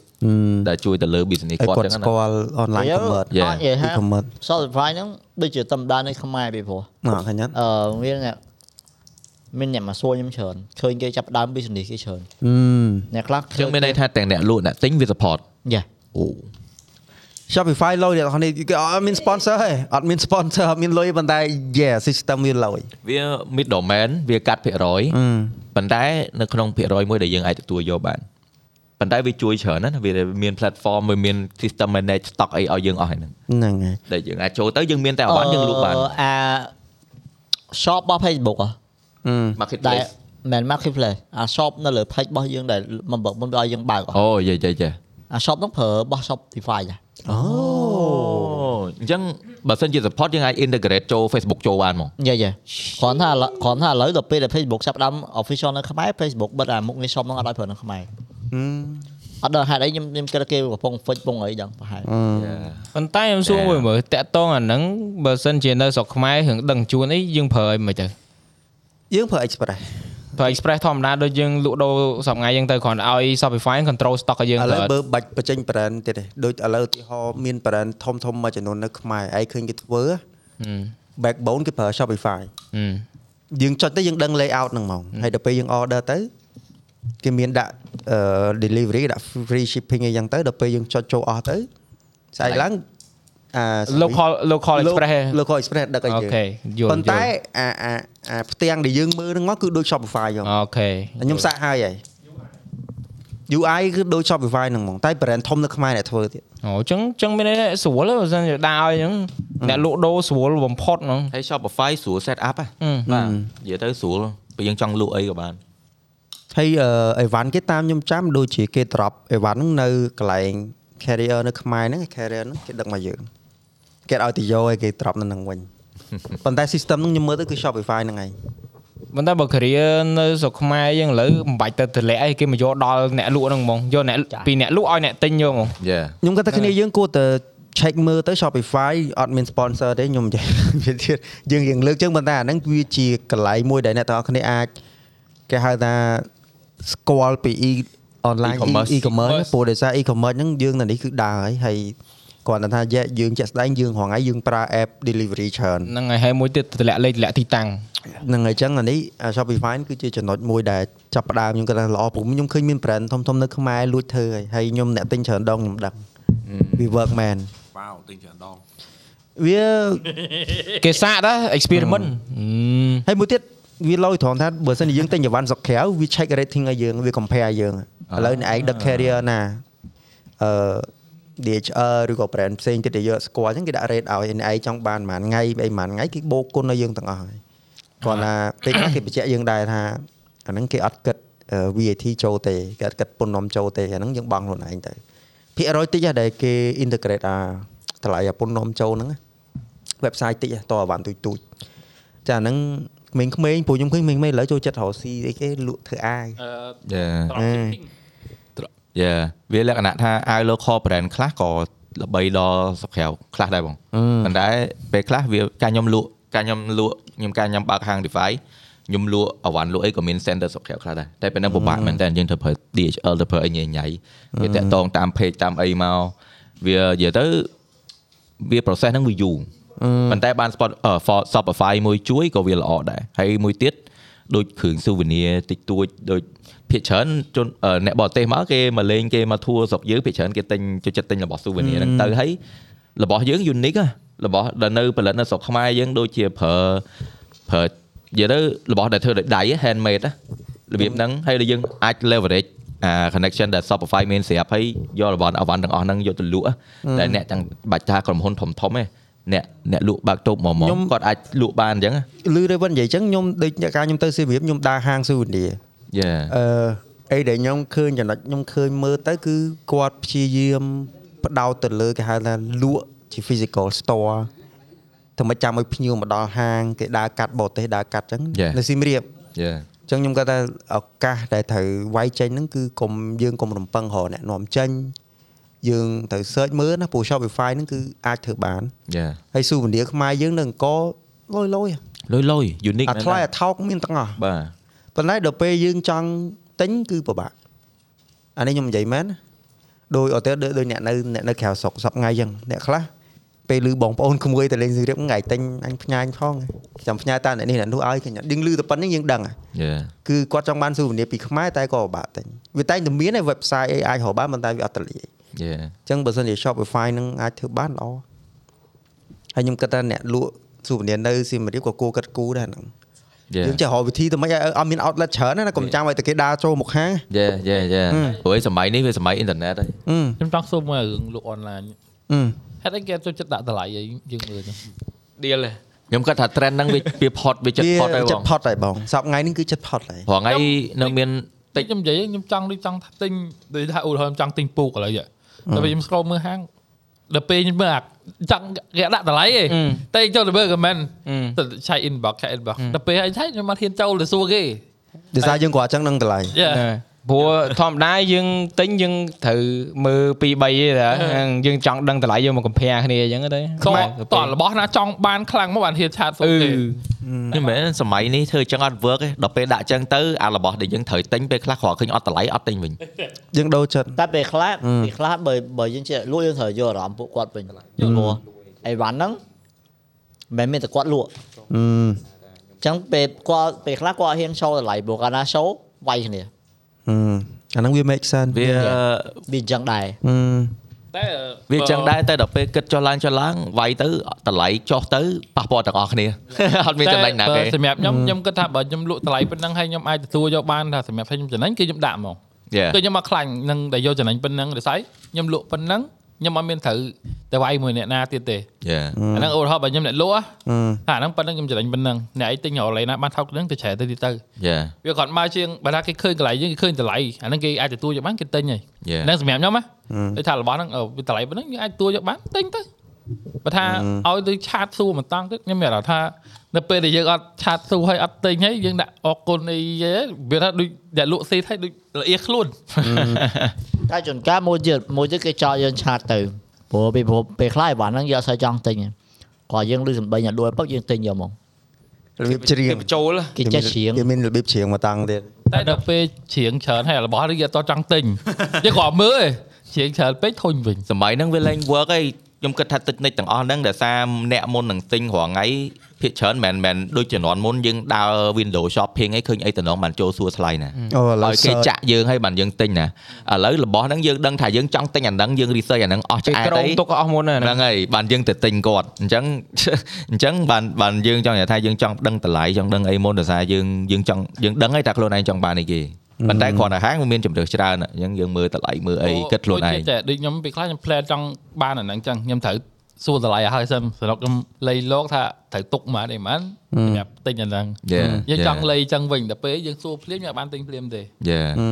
Speaker 3: ដែលជួយទៅលើ business
Speaker 2: ឲ្យ
Speaker 3: គាត់
Speaker 2: គាត់
Speaker 3: ចឹងណា
Speaker 2: ស្គាល់ online commerce
Speaker 3: យ៉ា
Speaker 6: អត់និយាយថា
Speaker 2: e-commerce
Speaker 6: Shopify ហ្នឹងដូចជាតំដាននៃខ្មែរពីព្រោះ
Speaker 2: ណាឃើញអត់
Speaker 6: អឺមានអ្នកមានអ្នកមកសួរខ្ញុំច្រើនឃើញគេចាប់ផ្ដើម business គេច្រើន
Speaker 2: អឺ
Speaker 6: អ្នកខ្លះ
Speaker 3: អញ្ចឹងមានន័យថាទាំងអ្នកលក់អ្នកទិញវា support
Speaker 6: យ៉ា
Speaker 3: អូ
Speaker 2: Shopify លុយអ្នកនរគ្នាគេអត់មាន sponsor ទេអត់មាន sponsor អត់មានលុយប៉ុន្តែ yeah system វាលុយ
Speaker 3: វា middleman វាកាត់ភាគរយ
Speaker 2: អឺ
Speaker 3: ប៉ុន្តែនៅក្នុងភាគរយមួយដែលយើងអាចទទួលយកបានប៉ុន្តែវាជួយច្រើនណាស់វាមាន platform វាមាន system manage stock អីឲ្យយើងអស់ហ្នឹង
Speaker 2: ហ្នឹងហើយ
Speaker 3: ដែលយើងអាចចូលទៅយើងមានតែអវ៉ាន់យើងលក់បាន
Speaker 6: អា shop របស់ Facebook ហ៎
Speaker 2: អឺ
Speaker 6: ដែល
Speaker 3: marketplace
Speaker 6: មិន marketplace អា shop នៅលើ page របស់យើងដែលមិនបើកមុនវាឲ្យយើងបើកហ៎
Speaker 3: អូយេយេយេ
Speaker 6: អា shop ហ្នឹងប្រើរបស់ Shopify ដែរ
Speaker 2: អូ
Speaker 3: អញ្ចឹងបើសិនជា support យើងអាច integrate ចូល Facebook ចូលបានមក
Speaker 6: យេយេគ្រាន់ថាឥឡូវគ្រាន់ថាឥឡូវដល់ពេលដែល Facebook ចាប់ផ្ដើម official នៅខ្មែរ Facebook បិទអាមុខងារ shop ហ្នឹងអត់ឲ្យប្រើនៅខ្មែរ
Speaker 2: ហឹម
Speaker 6: អត់ដល់ហេតុអីខ្ញុំខ្ញុំគិតថាគេកំពុង fix ពងអីយ៉ាងប្រហែល
Speaker 2: អឺ
Speaker 1: ប៉ុន្តែខ្ញុំសួរមួយមើលតាក់តងអាហ្នឹងបើសិនជានៅស្រុកខ្មែររឿងដឹងជួនអីយើងប្រើអីមិនទៅ
Speaker 2: យើងប្រើ express
Speaker 1: ប្រើ express ធម្មតាដូចយើងលក់ដូរសប្តាហ៍យើងទៅគ្រាន់តែឲ្យ Shopify control stock ឲ្យយើង
Speaker 2: ឥឡូវ
Speaker 1: ប្រើ
Speaker 2: បើបាច់បញ្ចេញ brand ទៀតទេដូចឥឡូវឧទាហរណ៍មាន brand ធំធំមួយចំនួននៅខ្មែរឯងឃើញគេធ្វើ backbone គេប្រើ Shopify យើងចុចទៅយើងដឹង layout ហ្នឹងហ្មងហើយដល់ពេលយើង order ទៅគេមានដាក់អឺ delivery គេដាក់ free shipping អីយ៉ាងទៅដល់ពេលយើងចុចចូលអស់ទៅស្អែកឡើងអា
Speaker 1: local local express ហ៎
Speaker 2: local express ដឹកឲ្យ
Speaker 1: អូ
Speaker 2: យើង
Speaker 1: ខេយល់
Speaker 2: ប៉ុន្តែ
Speaker 1: យល់
Speaker 2: អាអាអាផ្ទាំងដែលយើងមើលហ្នឹងមកគឺដូច Shopify ហ្មង
Speaker 1: អូខេ
Speaker 2: ខ្ញុំសាកហើយហើយ UI គឺដូច Shopify ហ្នឹងហ្មងតែ brand ធំនៅខ្មែរអ្នកធ្វើទៀត
Speaker 1: អូអញ្ចឹងអញ្ចឹងមានន័យថាស្រួលទេបើសិនជាដាក់ឲ្យអញ្ចឹងអ្នកលក់ដូរស្រួលបំផុតហ្នឹង
Speaker 3: ហើយ Shopify ស្រួល set up ហ៎
Speaker 1: ហឹម
Speaker 3: បាទនិយាយទៅស្រួលពេលយើងចង់លក់អីក៏បាន
Speaker 2: ហើយអឺអីវ៉ាន់គេតាមខ្ញុំចាំដូចជាគេ drop អីវ៉ាន់ហ្នឹងនៅកន្លែង carrier នៅខ្មែរហ្នឹង carrier ហ្នឹងគេដឹកមកយើងគេឲ្យទៅយកឲ្យគេ drop នៅហ្នឹង វិញប៉ុន្តែ system ហ្នឹងខ្ញុំមើលទៅគឺ Shopify ហ្នឹងឯង
Speaker 1: ប៉ុន្តែបើ career នៅស្រុកខ្មែរយើងឥឡូវមិនបាច់ទៅទម្លាក់អីគេមកយកដល់អ្នកលក់ហ្នឹងហ្មងយកអ្នកពីអ្នកលក់ឲ្យអ្នកទិញយកហ្មង
Speaker 3: យេ
Speaker 2: ខ្ញុំគាត់ថាគ្នាយើងគួរតែ check មើលទៅ Shopify អត់មាន sponsor ទេខ្ញុំនិយាយ វាទៀតយើងយើងលើកចឹងប៉ុន្តែអាហ្នឹងវាជាកន្លែងមួយដែលអ្នកទាំងអស់គ្នាអាចគេហៅថាស្គាល់ពី e online
Speaker 3: E-commerce
Speaker 2: e- e-commerce ព្រោះដោយសារ e-commerce ហ្នឹងយើងនៅនេះគឺដើរហើយហើយគ្រាន់តែថាយកយើងជាក់ស្ដែងយើងរហងៃយើងប្រើ app delivery ច្រើន
Speaker 1: ហ្នឹងហើយហើយមួយទៀតទម្លាក់លេខទម្លាក់ទីតាំង
Speaker 2: ហ្នឹងហើយចឹងអានេះអា Shopify គឺជាចំណុចមួយដែលចាប់ផ្ដើមខ្ញុំគាត់ថាល្អព្រោះខ្ញុំឃើញមាន brand ធំៗនៅខ្មែរលួចធ្វើហើយហើយខ្ញុំអ្នកទិញច្រើនដងខ្ញុំដឹងវា work man
Speaker 4: វ៉ាវទិញច្រើនដង
Speaker 2: វា
Speaker 1: គេសាកតា experiment
Speaker 2: ហើយមួយទៀតវាលយត្រង់ថាបើសិនជាយើងទិញអីវ៉ាន់ស្រុកក្រៅវា check rating ឲ្យយើងវា compare យើងឥឡូវអ្នកឯងដឹក carrier ណាអឺ DHL ឬក៏ brand ផ្សេងទៀតដែលយកស្គាល់អញ្ចឹងគេដាក់ rate ឲ្យអ្នកឯងចង់បានប៉ុន្មានថ្ងៃអីប៉ុន្មានថ្ងៃគេបូកគុណឲ្យយើងទាំងអស់ហើយគ្រាន់តែពេលខ្លះគេបញ្ជាក់យើងដែរថាអាហ្នឹងគេអត់គិតអឺ VAT ចូលទេគេអត់គិតពន្ធនំចូលទេអាហ្នឹងយើងបង់ខ្លួនឯងទៅភាគរយតិចណាស់ដែលគេ integrate អាតម្លៃអាពន្ធនំចូលហ្នឹងណា website តិចតអវ៉ាន់ទូចទូចចាហ្នឹងក្មេងៗពួកខ្ញុំឃើញក្មេងៗឥឡូវចូលចិត្តរកស៊ីអីគេលក់ធ្វើអាយ
Speaker 5: អឺ
Speaker 3: យេ
Speaker 5: dropshipping
Speaker 3: យេវាលក្ខណៈថាអាវ local brand ខ្លះក៏ល្បីដល់ស្រុកក្រៅខ្លះដែរបងប៉ុន្តែពេលខ្លះវាការខ្ញុំលក់ការខ្ញុំលក់ខ្ញុំការខ្ញុំបើកហាង DeFi ខ្ញុំលក់អវ៉ាន់លក់អីក៏មាន center ស្រុកក្រៅខ្លះដែរតែពេលហ្នឹងពិបាកមែនតើយើងត្រូវប្រើ DHL ទៅប្រើអីញ៉ៃញ៉ៃវាតាក់តងតាម page តាមអីមកវានិយាយទៅវា process ហ្នឹងវាយូរប៉ុន្តែបាន spot អឺ for- Shopify មួយជួយក៏វាល្អដែរហើយមួយទៀតដូចគ្រឿង souvenir តិចតួចដូចភាគច្រើនជនអឺអ្នកបរទេសមកគេមកលេងគេមកធួរស្រុកយើងភាគច្រើនគេទិញចូលចិត្តទិញរបស់ souvenir ហ្នឹងទៅហើយរបស់យើង unique ហ៎របស់ដែលនៅផលិតនៅស្រុកខ្មែរយើងដូចជាប្រើប្រើនិយាយទៅរបស់ដែលធ្វើដោយដៃហ៎ handmade ហ៎របៀបហ្នឹងហើយដែលយើងអាច leverage អា connection ដែល Shopify មានស្រាប់ហើយយករបស់អវ៉ាន់ទាំងអស់ហ្នឹងយកទៅលក់ហ៎តែអ្នកទាំងបាច់ថាក្រុមហ៊ុនធំធំឯងអ្នកអ្នកលក់បើកតូបមកមក
Speaker 2: ខ្ញុំ
Speaker 3: គាត់អាចលក់បានអញ្ចឹងហ៎
Speaker 2: លឺ Raven និយាយអញ្ចឹងខ្ញុំដូចអ្នកការខ្ញុំទៅសៀមរាបខ្ញុំដើរហាង souvenir
Speaker 3: យេ
Speaker 2: អឺអីដែលខ្ញុំឃើញចំណុចខ្ញុំឃើញមើលទៅគឺគាត់ព្យាយាមបដោតទៅលើគេហៅថាលក់ជា physical store តែមិនចាំឲ្យភ្ញៀវមកដល់ហាងគេដើរកាត់បរទេសដើរកាត់អញ្ចឹង
Speaker 3: Yeah.
Speaker 2: នៅសៀមរាប
Speaker 3: យេ
Speaker 2: ចឹងខ្ញុំគាត់ថាឱកាសដែលត្រូវវាយចេញហ្នឹងគឺកុំយើងកុំរំពឹងរកអ្នកនាំចេញយើងត្រូវ search មើលណាព្រោះ Shopify ហ្នឹងគឺអាចធ្វើបាន
Speaker 3: យ៉ា
Speaker 2: ហើយ souvenir ខ្មែរយើងនៅអង្គរលយលយ
Speaker 3: លុយលុយ unique
Speaker 2: អាថ្លៃអាថោកមានទាំងអស់
Speaker 3: បាទ
Speaker 2: ប៉ុន្តែដល់ពេលយើងចង់ទិញគឺពិបាកអានេះខ្ញុំនិយាយមែនណាដោយអត់ទៅដូចអ្នកនៅអ្នកនៅក្រៅស្រុកសប្ងៃចឹងអ្នកខ្លះពេលឮបងប្អូនក្មួយទៅលេងសៀមរាបថ្ងៃទិញអញផ្ញើអញផងចាំផ្ញើតាអ្នកនេះអ្នកនោះឲ្យគេយើងឮតែប៉ុណ្្នេះយើងដឹងហ៎
Speaker 3: យេ
Speaker 2: គឺគាត់ចង់បានស៊ូវនីពីខ្មែរតែក៏ពិបាកទិញវាតែងតែមានឯ website អីអាចរកបានប៉ុន្តែវាអត់ទលាយ
Speaker 3: យេ
Speaker 2: អញ្ចឹងបើសិនជា Shopify ហ្នឹងអាចធ្វើបានល្អហើយខ្ញុំគិតថាអ្នកលក់សូវនីនៅសៀមរាបក៏គួរគិតគូរដែរហ្នឹង
Speaker 3: យេ
Speaker 2: យើងចេះរកវិធីទៅមិនឲ្យឲ្យអត់មាន outlet ច្រើនណាកុំចាំឲ្យតែគេដើរចូលមុខហាង
Speaker 3: យេយេយេព្រោះឯងសម័យនេះវាសម័យអ៊ីនធឺណិតហើយ
Speaker 2: អឺ
Speaker 5: ខ្ញុំចង់សួរមើលរឿងលក់អនឡាញ
Speaker 2: អឺ
Speaker 5: ហេតុអីគេអត់ចូលចិត្តដាក់តម្លៃឲ្យយើងមើលចឹង
Speaker 4: deal ហ៎
Speaker 3: ខ្ញុំគាត់ថា trend ហ្នឹងវាវាផុតវាចិត្តផុតហើយ
Speaker 2: វា
Speaker 3: ប
Speaker 2: ចិ
Speaker 3: ង
Speaker 2: តផុតហើយបងសប្តាហ៍ថ្ងៃនេះគឺចិត្តផុតហើយ
Speaker 3: ព្រោះថ្ងៃនឹងមាន
Speaker 5: តិចខ្ញុំនិយាយខ្ញុំចង់ដូចចង់ទិញដូចថាឧទាហរណ៍ខ្ញុំចង់ទិញពូកឥឡូវហ៎តែពេលខ្ញុំ scroll មើលហាងដល់ពេលខ្ញុំមើលអាចង់គេអត់ដាក់តម្លៃទេតែចូលទៅមើល comment ទៅឆែក inbox ឆែក inbox ដល់ពេលឲ្យឆែកខ្ញុំអត់ហ៊ានចូលទៅសួរគេ
Speaker 2: ដោយសារយើងក៏អញ្ចឹងនឹងតម្លៃ
Speaker 5: Yeah
Speaker 1: ណែព្រោះធម្មតាយើងទិញយើងត្រូវមើល2 3ទេតាហ្នឹងយើងចង់ដឹងតម្លៃយើងមកកំភែគ្នាអញ្ចឹងទៅ
Speaker 5: តតរបស់ណាចង់បានខ្លាំងមកបានហ៊ានឆាតសួរ
Speaker 1: អឺ
Speaker 5: គេ
Speaker 3: ខ្ញុំមែនសម័យនេះធ្វើអញ្ចឹងអត់ work ទេដល់ពេលដាក់អញ្ចឹងទៅអារបស់ដែលយើងត្រូវទិញពេលខ្លះគ្រាន់ឃើញអត់តម្លៃអត់ទិញវិញ
Speaker 2: យើងដូរចិត្ត
Speaker 6: តែពេលខ្លះពេលខ្លះបើបើយើងចេះលក់យើងត្រូវយកអារម្មណ៍ពួកគាត់វិញព្រោះអីវ៉ាន់ហ្នឹងមិនមែនតែគាត់លក់
Speaker 2: អឺ
Speaker 6: អញ្ចឹងពេលគាត់ពេលខ្លះគាត់អត់ហ៊ាន show តម្លៃព្រោះកាលណា show វាយគ្នា
Speaker 2: អឺអាហ្នឹងវា make sense Ừ,
Speaker 3: វា
Speaker 6: វាអញ្ចឹងដែរ
Speaker 2: អឺ
Speaker 5: តែ
Speaker 3: វាអញ្ចឹងដែរតែដល់ពេលគិតចុះឡើងចុះឡើងវាយទៅតម្លៃចុះទៅប៉ះពាល់ទាំងអស់គ្នា អត់មានចំណេញណាគេ
Speaker 5: តែសម្រាប់ខ្ញុំខ្ញុំគិតថាបើខ្ញុំលក់តម្លៃប៉ុណ្ណឹងហើយខ្ញុំអាចទទួលយកបានថាសម្រាប់ខ្ញុំចំណេញគឺខ្ញុំដាក់ហ្មង
Speaker 3: យេ
Speaker 5: គឺខ្ញុំមកខ្លាញ់នឹងដែលយកចំណេញប៉ុណ្ណឹងដូចស្អីខ្ញុំលក់ប៉ុណ្ណឹងខ្ញុំអត់មានត្រូវទៅវាយមួយអ្នកណាទៀតទេ
Speaker 3: Yeah.
Speaker 5: អាហ្នឹងឧទាហរណ៍បើខ្ញុំអ្នកលក់ហ៎
Speaker 2: អឺ
Speaker 5: ថាអាហ្នឹងប៉ុណ្ណឹងខ្ញុំចំណេញប៉ុណ្ណឹងអ្នកឯងទិញរកន្លែងណាបានថោកហ្នឹងទៅច្រែទៅទៀតទៅ
Speaker 3: Yeah.
Speaker 5: វាគាត់មកជាងបើថាគេឃើញកន្លែងយើងគេឃើញតម្លៃអាហ្នឹងគេអាចទទួលយកបានគេទិញហើយ
Speaker 3: Yeah.
Speaker 5: ហ្នឹងសម្រាប់ខ្ញុំណាដូចថារបស់ហ្នឹងអឺវាតម្លៃប៉ុណ្ណឹងយើងអាចទទួលយកបានទិញទៅបើថាឲ្យទៅឆាតសួរមិនតង់ទៅខ្ញុំមានអារម្មណ៍ថានៅពេលដែលយើងអត់ឆាតសួរហើយអត់ទិញហើយយើងដាក់អរគុណអីយេវាថាដូចអ្នកលក់សេដ្ឋីដូចល្អៀ ខ្លួន
Speaker 6: តែជួនកាលមួយទៀតមួយទៀតគេចោលយើងឆាតទៅព្រោះពេលព្រោះពេលខ្លះឯវ៉ាន់ហ្នឹងយើងអត់សូវចង់ទិញទេគាត់យើងលឺសម្ដីអ្នកដួលពឹកយើងទិញយកមក
Speaker 2: របៀបច្រៀង
Speaker 1: គេបញ្ចូលហ៎
Speaker 6: គេចេះច្រៀង
Speaker 2: គេមានរបៀបច្រៀងមកតាំងទៀត
Speaker 5: តែដល់ពេលច្រៀងច្រើនហើយរបស់នេះគេអត់តចង់ ទិញ គេគ្រាន់មើលឯងច្រៀងច្រើនពេកធុញវិញ
Speaker 3: សម័យហ្នឹងវាលែង work ហើយខ្ញុំគិតថាតិចនិចទាំងអស់ហ្នឹងដែលសារអ្នកមុននឹងទិញរាល់ថ្ងៃភាគច្រើនមិនមែនដូចជំនាន់មុនយើងដើរ window shopping ឯងឃើញអីតំណងបានចូលសួរថ្លៃណា
Speaker 2: អូឥឡូវ
Speaker 3: ឲ្យ
Speaker 2: គេចា
Speaker 3: គេ
Speaker 2: ក់
Speaker 3: ចាក់យើងឲ្យបានយើងទិញណាឥឡូវរបស់ហ្នឹងយើងដឹងថាយើងចង់ទិញអាហ្នឹងយើង research អាហ្នឹងអស់
Speaker 1: គេ
Speaker 3: ឆ្អែត
Speaker 1: ក្រង
Speaker 3: អី
Speaker 1: ទុកអស់មុន
Speaker 3: ហ្នឹង
Speaker 1: ណា
Speaker 3: ហើយបានយើងទៅទិញគាត់អញ្ចឹង អញ្ចឹងបានបានយើងចង់និយាយថាយើងចង់ដឹងតម្លៃចង់ដឹងអីមុនដោយសារយើងយើងចង់យើងដឹងហើយថាខ្លួនឯងចង់បានអីគេប៉ុន្តែគ្រាន់តែហាងវាមានជំរឿសច្រើនអញ្ចឹងយើងមើលតម្លៃមើលអីគិតខ្លួនឯង
Speaker 5: តែដូចខ្ញុំពេលខ្លះខ្ញុំ plan ចង់បានអាហ្នឹងចឹងខ្ញុំត្រូវសួរតម្លៃឲ្យហើយសិនសម្រាប់ខ្ញុំលៃលោកថាត្រូវទុកប៉ុន្មានអីប៉ុន្មានសម្រាប់ទិញអាហ្នឹង
Speaker 3: យេ
Speaker 5: យើងចង់លៃចឹងវិញដល់ពេលយើងសួរភ្លាមយើងអត់បានទិញភ្លាមទេ
Speaker 3: យេ
Speaker 2: Ừ.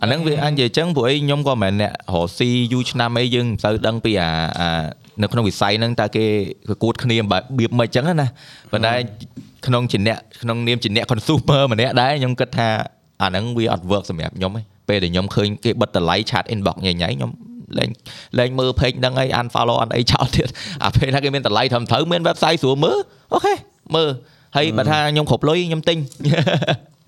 Speaker 3: អាហ្នឹងវាអាចនិយាយអញ្ចឹងព្រោះអីខ្ញុំក៏មិនមែនអ្នករកស៊ីយូរឆ្នាំអីយើងមិនសូវដឹងពីអាអានៅក្នុងវិស័យហ្នឹងតើគេប្រកួតគ្នាបែបបៀបមិនអញ្ចឹងណាប៉ុន្តែក្នុងជាអ្នកក្នុងនាមជាអ្នក consumer ម្នាក់ដែរខ្ញុំគិតថាអាហ្នឹងវាអត់ work សម្រាប់ខ្ញុំទេពេលដែលខ្ញុំឃើញគេបិទតម្លៃឆាត inbox ញ៉ៃញ៉ៃខ្ញុំលែងលែងមើល page ហ្នឹងអី unfollow អត់អីចោលទៀត អាពេលណាគេមានតម្លៃត្រឹមត្រូវមាន website ស្រួលមើលអូខេមើលហើយបើថាខ្ញុំគ្រប់លុយខ្ញុំទិ ញ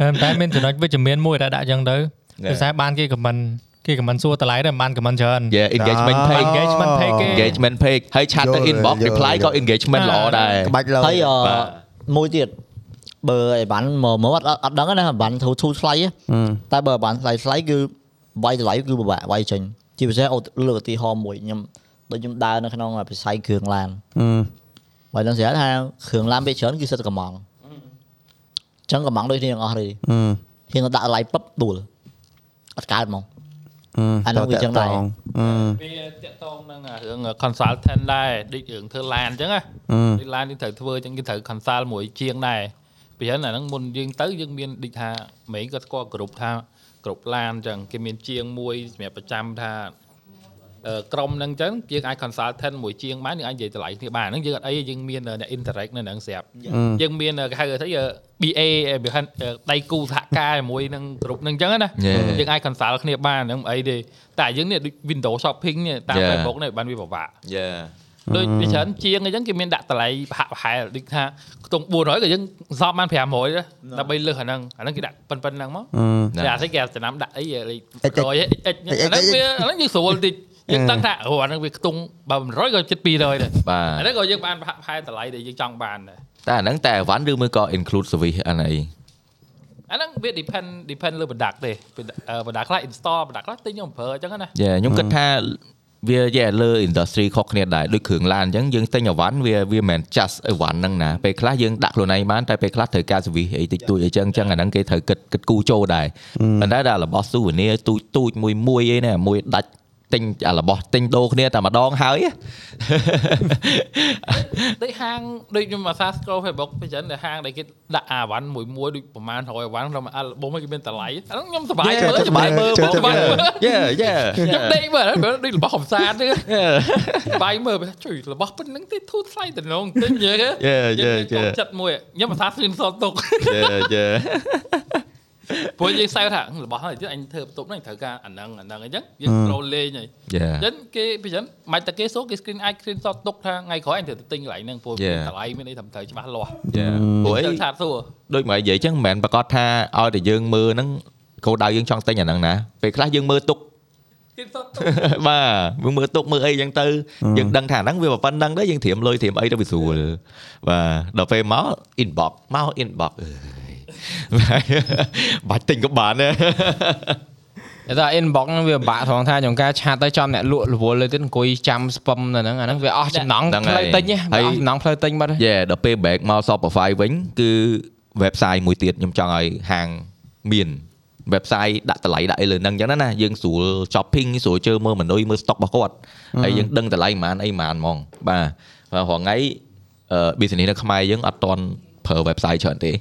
Speaker 7: តែតែមានចំណុចវិជ្ជមានមួយដែលដាក់អញ្ចឹងទៅ
Speaker 3: Yeah.
Speaker 7: ដូចតែបានគេ comment គេ comment សួរតម្លៃដែរមិនបាន comment ច្រើន
Speaker 3: Yeah engagement page
Speaker 7: engagement page គេ
Speaker 3: engagement page ហើយឆាតទៅ
Speaker 2: យល់
Speaker 3: inbox
Speaker 2: យល់
Speaker 3: reply
Speaker 2: យល់
Speaker 3: ក៏ engagement ល្អដែរ
Speaker 2: ក្បាច់លើ
Speaker 6: ហើយអឺ
Speaker 3: បាទ
Speaker 6: មួយទៀតបើឯវ៉ាន់មកមកអត់អត់ដឹងទេណាវ៉ាន់ធូរធូរថ្លៃទេ
Speaker 2: Ừ,
Speaker 6: តែបើវ៉ាន់ថ្លៃថ្លៃគឺវាយតម្លៃគឺពិបាកវាយចេញជាពិសេសអូលើកឧទាហរណ៍មួយខ្ញុំដូចខ្ញុំដើរនៅក្នុងវិស័យគ្រឿងឡាន
Speaker 2: អឺ
Speaker 6: បើនឹងស្រាប់ថាគ្រឿងឡានពេលច្រើនគឺសិតកម្មងអញ្ចឹងកម្មងដូចគ្នាទាំងអស់
Speaker 2: អឺ
Speaker 6: ទេហ៊ានទៅដាក់ឡាយពឹបដួលអត់កើតហ្មង
Speaker 2: អឺ
Speaker 6: អាហ្នឹងវាចឹងដែរ
Speaker 2: តតអឺ
Speaker 5: វាតាក់ទងនឹងរឿង consultant ដែរដូចរឿងធ្វើឡានចឹងណា
Speaker 2: អឺ
Speaker 5: ដូចឡានយើងត្រូវធ្វើអញ្ចឹងគេត្រូវ consult មួយជាងដែរពីហ្នឹងអាហ្នឹងមុនយើងទៅយើងមានដូចថាម៉េងក៏ស្គាល់គ្រប់ថាគ្រប់ឡានអញ្ចឹងគេមានជាងមួយសម្រាប់ប្រចាំថាអឺក្រុមហ្នឹងអញ្ចឹងយើងអាច consultant មួយជាងបានយើងអាចនិយាយតម្លៃគ្នាបានហ្នឹងយើងអត់អីទេយើងមានអ្នក interact នៅហ្នឹងស្រាប់យើងមានគេហៅថាអឺ BA អឺវាហៅអឺដៃគូសហការជាមួយនឹងក្រុមហ្នឹងអញ្ចឹងណា
Speaker 3: Yeah.
Speaker 5: យើងអាច consult គ្នាបានហ្នឹងអីទេតែយើងនេះដូច window shopping នេះតាម
Speaker 3: Yeah.
Speaker 5: Facebook នេះបានវាពិបាក
Speaker 3: Yeah
Speaker 5: ដូចវាច្រើនជាងអញ្ចឹងគេមានដាក់តម្លៃប្រហាក់ប្រហែលដូចថាខ្ទង់400ក៏យើងសល់បាន500ដែរដើម្បីលើសអាហ្នឹងអាហ្នឹងគេដាក់ប៉ុណ្ណឹងមក
Speaker 2: ừ.
Speaker 5: តែអាស្អីគេចំណាំដាក់អីលេខ
Speaker 2: អិច
Speaker 5: 100អិចអិច
Speaker 2: អិចអិច
Speaker 5: អាហ្នឹងវាអាហ្នឹងយើងស្រួលតិចយើងដឹងថាអូអាហ្នឹងវាខ្ទង់បើ100ក៏ជិត200ដែរអា
Speaker 3: បា
Speaker 5: ហ្នឹង
Speaker 3: ទ
Speaker 5: ក៏យើងបានប្រហាក់ប្រហែលតម្លៃដែលយើងចង់បានដែរ
Speaker 3: តែអាហ្នឹងតែអីវ៉ាន់ឬមួយក៏ include service អាហ្នឹងអី
Speaker 5: អាហ្នឹងវា depend depend លើ product ទេ product ខ្លះ install product ខ្លះទិញយកមកប្រើអញ្ចឹងណា
Speaker 3: យេខ្ញុំគិតថាវាយេលើ industry ខុសគ្នាដែរដូចគ្រឿងឡានអញ្ចឹងយើងទិញអីវ៉ាន់វាវាមិនមែន just អីវ៉ាន់ហ្នឹងណាពេលខ្លះយើងដាក់ខ្លួនឯងបានតែពេលខ្លះត្រូវការ service អីតិចតួចអីចឹងអញ្ចឹងអាហ្នឹងគេត្រូវគិតគិតគូរចូលដែរប៉ុន្តែដល់របស់ souvenir ទូចទូចមួយមួយអីណាមួយដាច់ទិញអារបស់ទិញដូរគ្នាតែម្ដងហើយ
Speaker 5: ដូចហាងដូចខ្ញុំអាសា scroll Facebook ពេលចឹងដែលហាងដែលគេដាក់អាវ៉ាន់មួយមួយដូចប្រហែល100អាវ៉ាន់ក្នុងអាល់ប៊ុមគេមានតម្លៃអាហ្នឹងខ្ញុំសប្បាយមើលសប្បាយមើលបងសប្បាយមើល
Speaker 3: យេយេ
Speaker 5: ខ្ញុំដេកមើលហើយមើលដូចរបស់កំសាន្តទេបាយមើលបែរជួយរបស់ប៉ុណ្្នឹងទេធូរថ្លៃតំណងទិញយើហ៎
Speaker 3: យេយេយេ
Speaker 5: ខ្ញុំចិត្តមួយខ្ញុំ មិនថាស្គីនសតទុក
Speaker 3: យេយេ
Speaker 5: ព្រោះយើងសើថារបស់ហ្នឹងទៀតអញធ្វើបន្ទប់ហ្នឹងត្រូវការអាហ្នឹងអាហ្នឹងអញ្ចឹងយើង scroll លេងហើយ
Speaker 3: យេ
Speaker 5: អញ្ចឹងគេពីចឹងមិនតែគេសួរគេ screen អាច screen សតទុកថាថ្ងៃក្រោយអញត្រូវទៅទិញកន្លែងហ្នឹងព្រោះ
Speaker 3: Yeah.
Speaker 5: តម្លៃមានអីត្រឹមត្រូវច្បាស់លាស់
Speaker 3: យេព្រោះអី
Speaker 5: ទៅថាសួរ
Speaker 3: ដូចមកនិយាយចឹងមិនមែនប្រកាសថាឲ្យតែយើងមើលហ្នឹងគោលដៅយើងចង់ទិញអាហ្នឹងណាពេលខ្លះយើងមើលទុ ក
Speaker 5: គេសតទុក
Speaker 3: បាទយើងមើលទុកមើលអីចឹងទៅយើងដឹងថាហ្នឹងវាប៉ុណ្ណឹងដែរយើងត្រៀមលុយត្រៀមអីទៅវាស្រួលបាទដល់ពេលមក inbox មក inbox អើយបាច់ទិញក៏បានដែរ
Speaker 1: តែថា inbox ហ្នឹងវាពិបាកត្រង់ថាចំការឆាតទៅចំអ្នកលក់រវល់លើទៀតអង្គុយចាំ spam នៅហ្នឹងអាហ្នឹងវាអស់ចំណង់
Speaker 3: ហ្នឹង
Speaker 1: ផ្លូវ
Speaker 3: ហើយ
Speaker 1: ទិញហ៎វា
Speaker 3: ហើយ
Speaker 1: អស់ចំណង់ផ្លូវទិញបាត់ហ៎
Speaker 3: យេដល់ពេល break មក Shopify វិញគឺ website មួយទៀតខ្ញុំចង់ឲ្យហាងមាន website ដាក់តម្លៃដាក់អីលើហ្នឹងអញ្ចឹងណាណាយើងស្រួល shopping ស្រួលជើមើលមនុស្សមើល stock របស់គាត់ហើយយើងដឹងតម្លៃប៉ុន្មានអីប៉ុន្មានហ្មងបាទហើយរហងៃអឺ business នៅខ្មែរយើងអត់តន់ប្រើ website ច្រើនទេ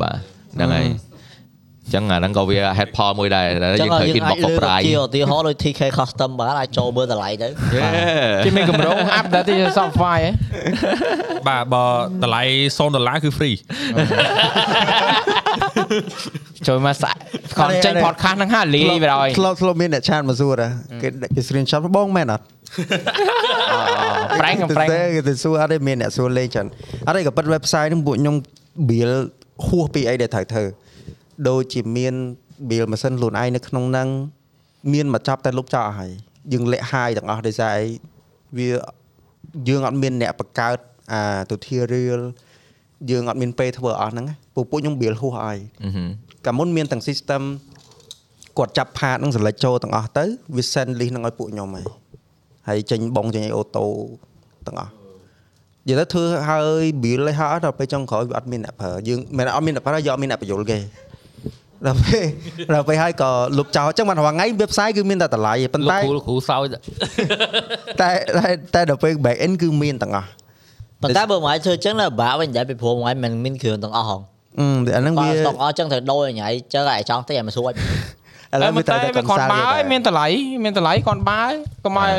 Speaker 3: បាទហ្នឹងហើយអញ្ចឹងអាហ្នឹងក៏វា head paw មួយដែរតែយើ
Speaker 6: ចឹ
Speaker 3: ង ង
Speaker 6: ហើ
Speaker 3: ត្រូវ
Speaker 6: យយើង
Speaker 3: inbox
Speaker 6: អាចលើ
Speaker 3: ប្រៃ
Speaker 6: ជាឧទាហរណ៍ដូច TK custom បានអាចចូលមើលតម្លៃទៅ
Speaker 3: យេ
Speaker 1: គេមានកម្រង update ទៅ Shopify ហ៎
Speaker 4: បាទបើតម្លៃ0ដុល្លារគឺ free
Speaker 1: ចូលមកសាក់គាត់ចេញ podcast ហ្នឹងហាលីបរយ
Speaker 2: ធ្លាប់ធ្លាប់មានអ្នកឆាតមកសួរដែរគេដាក់ជា screenshot បងមែន អត់
Speaker 1: ប្រែងកំប្រែង
Speaker 2: ទេគេទៅសួរអត់ទេមានអ្នកសួរលេងច្រើនអត់ទេក៏ប៉ិត website ហ្នឹងពួកខ្ញុំ build ហួសពីអីដែលត្រូវធ្វើដូចជាមាន build ម៉ាស៊ីនខ្លួនឯងនៅក្នុងហ្នឹងមានមកចាប់តែលុបចោលអស់ហើយយើងលាក់ហាយទាំងអស់ដោយសារអីវាយើងអត់មានអ្នកបង្កើតអា tutorial យើងអត់មានពេលធ្វើអស់ហ្នឹងពពួកខ្ញុំ build ហួសអស់ហើយ កាលមុនមានទាំង system គាត់ចាប់ផាតនឹងសិលេចចូលទាំងអស់ទៅវា send list នឹងឲ្យពួកខ្ញុំហើយហើយចេញបងចេញអីអូតូទាំងអស់និយាយទៅធ្វើឲ្យ bill ឲ្យហើយដល់ពេលចុងក្រោយវាអត់មានអ្នកប្រើយើងមិនមែនអត់មានអ្នកប្រើយកអត់មានអ្នកបញ្យលគេដល់ពេល ដល់ពេលហើយក៏លុបចោលអញ្ចឹងបានរាល់ថ្ងៃ website គឺមានតែតម្លៃឯងប៉ុ
Speaker 5: លោក
Speaker 2: ន្តែ
Speaker 5: គ្រូលោកគ្រូសោច
Speaker 2: តែតែតែដល់ពេល back end គឺមានទាំងអស់
Speaker 6: ប៉ុន្តែបើមកឲ្យធ្វើចឹងណាពិបាកវិញដែរពីព្រោះមកឲ្យមិនមានគ្រឿងទាំងអស់ហង
Speaker 2: អឺតែអាហ្នឹង
Speaker 6: បា
Speaker 2: វា
Speaker 6: ទ
Speaker 2: ឥ
Speaker 6: ស្តុកអស់ចឹងត្រូវដូរឲ្យញ៉ៃចឹងឲ្យចង់ទិញឲ្យមិនស្រួល
Speaker 1: តែ
Speaker 2: ឡូវវា
Speaker 1: មិនតែ
Speaker 2: ត្រូវតែ
Speaker 1: វាគា
Speaker 2: កន
Speaker 1: ត់
Speaker 2: សាល
Speaker 1: បើហើយមានតម្លៃមានតម្លៃគាត់បើហើយកុំឲ្យ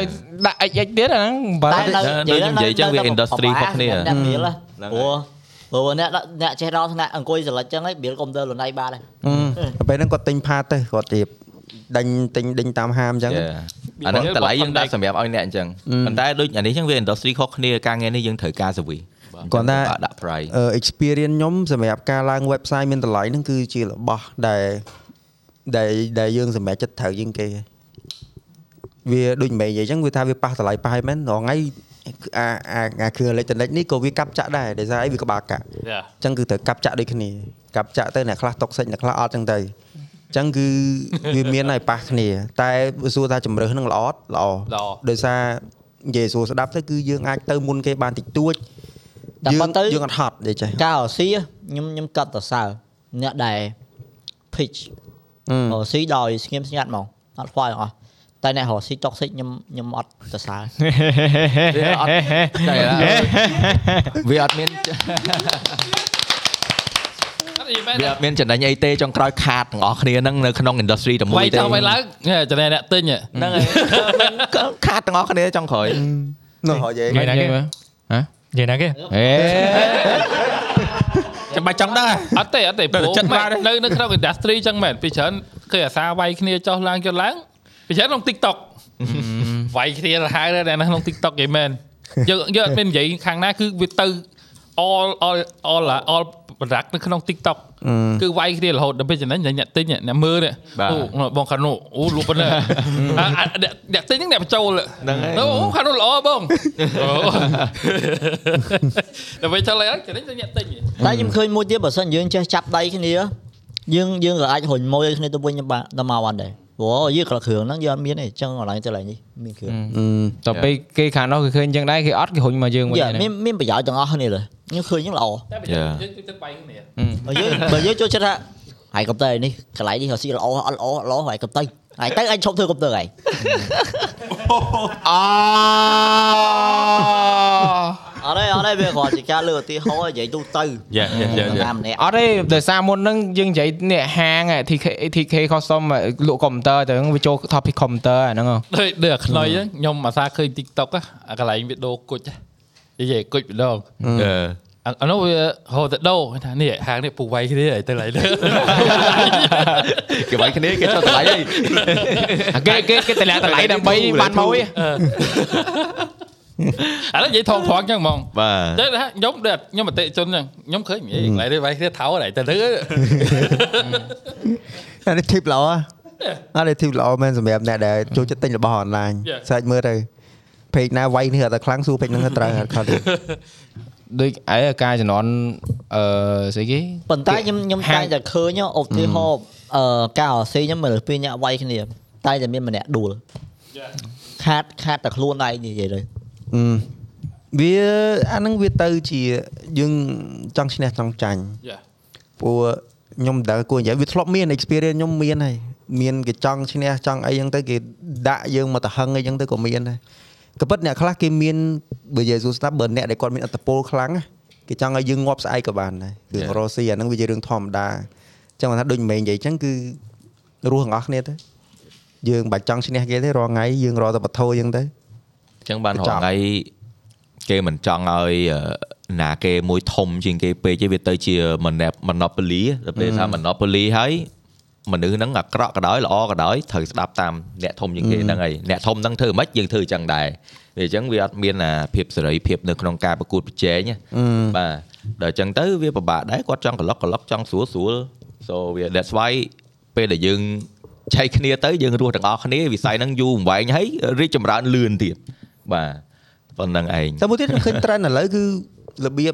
Speaker 1: ដាក់ xx ទៀតអាហ្នឹងបើ
Speaker 6: តែនៅ
Speaker 3: ដូចខ្ញុំនិយាយចឹងវា industry ខុសគ្នា
Speaker 6: អ្នកមានហ៎ព្រោះព្រោះអ្នកដាក់អ្នកចេះដល់ថ្នាក់អង្គុយសិលិចចឹងហីមានកុំព្យូទ័រលនឯងបាន
Speaker 2: អឺដ
Speaker 6: ហ៎
Speaker 2: ល់ពេលហ្នឹងគាត់ទិញផាតទៅគាត់រៀបដេញទិញដេញតាមហាមអញ្ចឹង
Speaker 3: អាហ្នឹងតម្លៃយើងដាក់សម្រាប់ឲ្យអ្នកអញ្ចឹងប៉ុន្តែដូចអានេះអញ្ចឹងវា industry ខុសគ្នាការងារនេះយើងត្រូវការ service
Speaker 2: គាត់ថា
Speaker 3: ដាក់ price
Speaker 2: អឺ experience ខ្ញុំសម្រាប់ការឡើង website មានតម្លៃហ្នឹងគឺជារបស់ដែលដែលដែលយើងសម្រាប់ចិត្តត្រូវជាងគេវាដូចមិនមែននិយាយអញ្ចឹងវាថាវាប៉ះតម្លៃប៉ះហើយមែនរហងៃអាអាអាគ្រឿងអេឡិចត្រូនិកនេះក៏វាកាប់ចាក់ដែរដោយសារអីវាក្បាលកាក់ អញ្ចឹងគឺត្រូវកាប់ចាក់ដូចគ្នាកាប់ចាក់ទៅអ្នកខ្លះតុកសិចអ្នកខ្លះអត់អញ្ចឹងទៅអញ្ចឹងគឺ វាមានឲ្យប៉ះគ្នា តែបើសួរថាជំរើសហ្នឹងល្អអត់ល្អ
Speaker 5: ល្អ
Speaker 2: ដោយសារនិយាយសួរស្ដាប់ទៅគឺយើងអាចទៅមុនគេបានតិចតួច
Speaker 6: តែ
Speaker 2: យើង
Speaker 6: ប៉ុន្តែ
Speaker 2: យើងអត់ហត់ទេចេះ
Speaker 6: ការអស៊ីខ្ញុំខ្ញុំកាត់ទៅសើរអ្នកដែល pitch
Speaker 2: ហ
Speaker 6: អស៊ីដោយស្ងៀមស្ងាត់ហ្មងអត់ខ្វល់ទាំងអស់តែអ្នករកស៊ី toxic ខ្ញុំខ្ញុំអត់ទៅសើរ
Speaker 3: វាអត់តែ វាអត់មាន
Speaker 5: អត់និយាយមែន
Speaker 3: វា
Speaker 5: ទេ
Speaker 3: អត់មានចំណេញអីទេចុងក្រោយខាតទាំងអស់គ្នាហ្នឹងនៅក្នុង industry តែមួយ
Speaker 5: វាយ
Speaker 3: ទេ
Speaker 5: ចោលវាយឡើងចំណែកអ្នកទិញហ៎ហ្នឹងហើយ
Speaker 3: ខាតទាំងអស់គ្នាចុងក្រោយ
Speaker 2: នោះហោយាយ
Speaker 7: និយាយណាគេនិយាយណាគេ
Speaker 1: ហេ
Speaker 5: Dạ,
Speaker 4: ចាំបាច់ចង់ដឹងហ៎
Speaker 5: អត់ទេអត់ទេ
Speaker 4: តែ
Speaker 5: ព្រោះ
Speaker 4: ចិត្ត
Speaker 5: មែ
Speaker 4: បាន
Speaker 5: ន
Speaker 4: ទេ
Speaker 5: នៅនៅក្នុង industry ចឹងមែនពីច្រើនឃើញអាសាវាយគ្នាចុះឡើងចុះឡើងពីច្រើនក្នុង TikTok វាយគ្នារហៅដែរអ្នកណាក្នុង TikTok គេមែនយើងយើងអត់មាននិយាយខាងណាគឺវាទៅ all all all all product នៅក្នុង TikTok គឺវាយគ្នារហូតដល់ពេលចំណេញអ្នកទិញអ្នកមើលនេះអូបងខានុអូលក់ប៉ុណ្ណាអ្នកទិញហ្នឹងអ្នកបញ្ចូលហ្នឹងអូខានុល្អបងដល់ពេលចូលឡើងចំណេញអ្នកទិញ
Speaker 6: តែខ្ញុំឃើញមួយទៀតបើសិនយើងចេះចាប់ដៃគ្នា យើងយើងក៏អាចរុញម៉ួយគ្នាទៅវិញបានដល់មកបានដែរព្រោះយើងក៏គ្រឿងហ្នឹងយើងអត់មានទេអញ្ចឹងកន្លែងទៅកន្លែងនេះមានគ្រឿង
Speaker 1: តទៅពេលគេខាងនោះគេឃើញយ៉ាងដែរគេអត់គេហុញមកយើងវិញ
Speaker 6: យើ
Speaker 1: អាហ្នឹ
Speaker 6: មា
Speaker 1: ង
Speaker 6: នមានប្រយោជន៍ទាំងអស់គ្នាលើខ្ញុំឃើញហ្នឹងល្អ
Speaker 5: តែបើយើងយើងទៅបាយគ្នា
Speaker 6: បើយើងបើយើងចូលចិត្តថាហើយកុំទៅឯនេះកន្លែងនេះរកស៊ីល្អអត់ល្អល្អហើយកុំទៅហើយទៅអញឈប់ធ្វើកុំទៅហើយ
Speaker 1: អូ
Speaker 6: អត់ទេអត់ទេវាគ្រាន់ជាការលើកឧទាហរណ៍និយាយទូទៅ
Speaker 4: យ៉ាយ៉ាយ៉ា
Speaker 6: នរ
Speaker 4: យ៉ា
Speaker 6: ណាម្នាក់
Speaker 1: អត់ទេដោយសារមុនហ្នឹងយើងនិយាយអ្នកហាង TK TK custom លក់កុំព្យូទ័រទៅហ្នឹងវាចូល topic computer អាហ្នឹងហ៎
Speaker 5: ដូចដូចអាខ្នុយហ្នឹងខ្ញុំអាសាឃើញ TikTok ហ៎អាកន្លែងវាដូរគុជហ៎និយាយគុជម្ដង
Speaker 3: អឺ
Speaker 5: អាអានោះវាហៅទៅដូរគេថានេះហាងនេះពូវាយគ្នាហើយទៅឡើយលើ
Speaker 3: គេវាយគ្នាគេចុះតម្លៃហើយ
Speaker 1: អាគេគេគេតម្លាក់តម្លៃដើម្បីបានម៉ួយ
Speaker 5: អឺឥឡូវនិយាយថងថងចឹងហ្មង
Speaker 3: បាទ
Speaker 5: តែថាខ្ញុំដូចខ្ញុំអតិជនចឹងខ្ញុំឃើញនិយាយកន្លែងនេះវាយគ្នាថោដែរតែលើ
Speaker 2: អានេះ tip ល្អហ៎អានេះ tip ល្អមែនសម្រាប់អ្នកដែលចូលចិត្តទិញរបស់អនឡាញ
Speaker 5: Yeah.
Speaker 2: សាច់មើលទៅ page ណាវាយនេះអត់តែខ្លាំងសួរ page ហ្នឹងត្រូវ អត់ខុសទេ
Speaker 1: ដូចអីការចំនួនអឺស្អីគេ
Speaker 6: ប៉ុន្តែខ្ញុំខ្ញុំ
Speaker 1: ហា
Speaker 6: តែ
Speaker 1: ង
Speaker 6: ងតែឃើញឧទាហរណ៍អឺការរកស៊ីខ្ញុំមើលពីរអ្នកវាយគ្នាតែតែមានម្នាក់ដួលខាតខាតតែខ្លួនឯងនិយាយ
Speaker 2: អឺ
Speaker 6: ទៅ
Speaker 2: វាអាហ្នឹងវាទៅជាយើងចង់ឈ្នះចង់ចាញ់
Speaker 5: យ៉ា
Speaker 2: ព្រោះខ្ញុំមិនដឹងគួរនិយាយវាធ្លាប់មាន experience ខ្ញុំមានហើយមានគេចង់ឈ្នះចង់អីហ្នឹងទៅគេដាក់យើងមកតហឹងអីហ្នឹងទៅក៏មានដែរក៏ប៉ុន្តែអ្នកខ្លះគេមានបើនិយាយសួរស្ដាប់បើអ្នកដែលគាត់មានអត្តពលខ្លាំងណាគេចង់ឲ្យយើងងាប់ស្អែកក៏បានដែរគឺរស់ស៊ីអាហ្នឹងវាជារឿងធម្មតាអញ្ចឹងបើថាដូចមិនមែននិយាយអញ្ចឹងគឺរស់ទាំងអស់គ្នាទៅយើងមិនបាច់ចង់ឈ្នះគេទេរាល់ថ្ងៃយើងរកតែបទោយើងទៅ
Speaker 3: អញ្ចឹងបានរ
Speaker 2: ច
Speaker 3: ហ
Speaker 2: ប់
Speaker 3: ងៃគេមិនចង់ឲ្យអឺណាគេមួយធំជាងគេពេកទេវាទៅជា monop- monopoly ដល់ពេលថា monopoly ហើយមនុស្សហ្នឹងអាក្រក់ក៏ដោយល្អក៏ដោយត្រូវស្ដាប់តាមអ្នកធំជាងគេហ្នឹងហើយអ្នកធំហ្នឹងធ្វើមិនយើងធ្វើអញ្ចឹងដែរវាអញ្ចឹងវាអត់មានអាភាពសេរីភាពនៅក្នុងការប្រកួតប្រជែងណាបាទដល់អញ្ចឹងទៅវាពិបាកដែរគាត់ចង់ក្លុកក្លុកចង់ស្រួលស្រួល so វា that's why ពេលដែលយើងឆែកគ្នាទៅយើងរស់ទាំងអស់គ្នាវិស័យហ្នឹងយូរអង្វែងហើយរីកចម្រើនលឿនទៀតបាទប៉ុណ្្នឹងឯង
Speaker 2: តែមួយទៀតខ្ញុំឃើញ trend ឥឡូវគឺរបៀប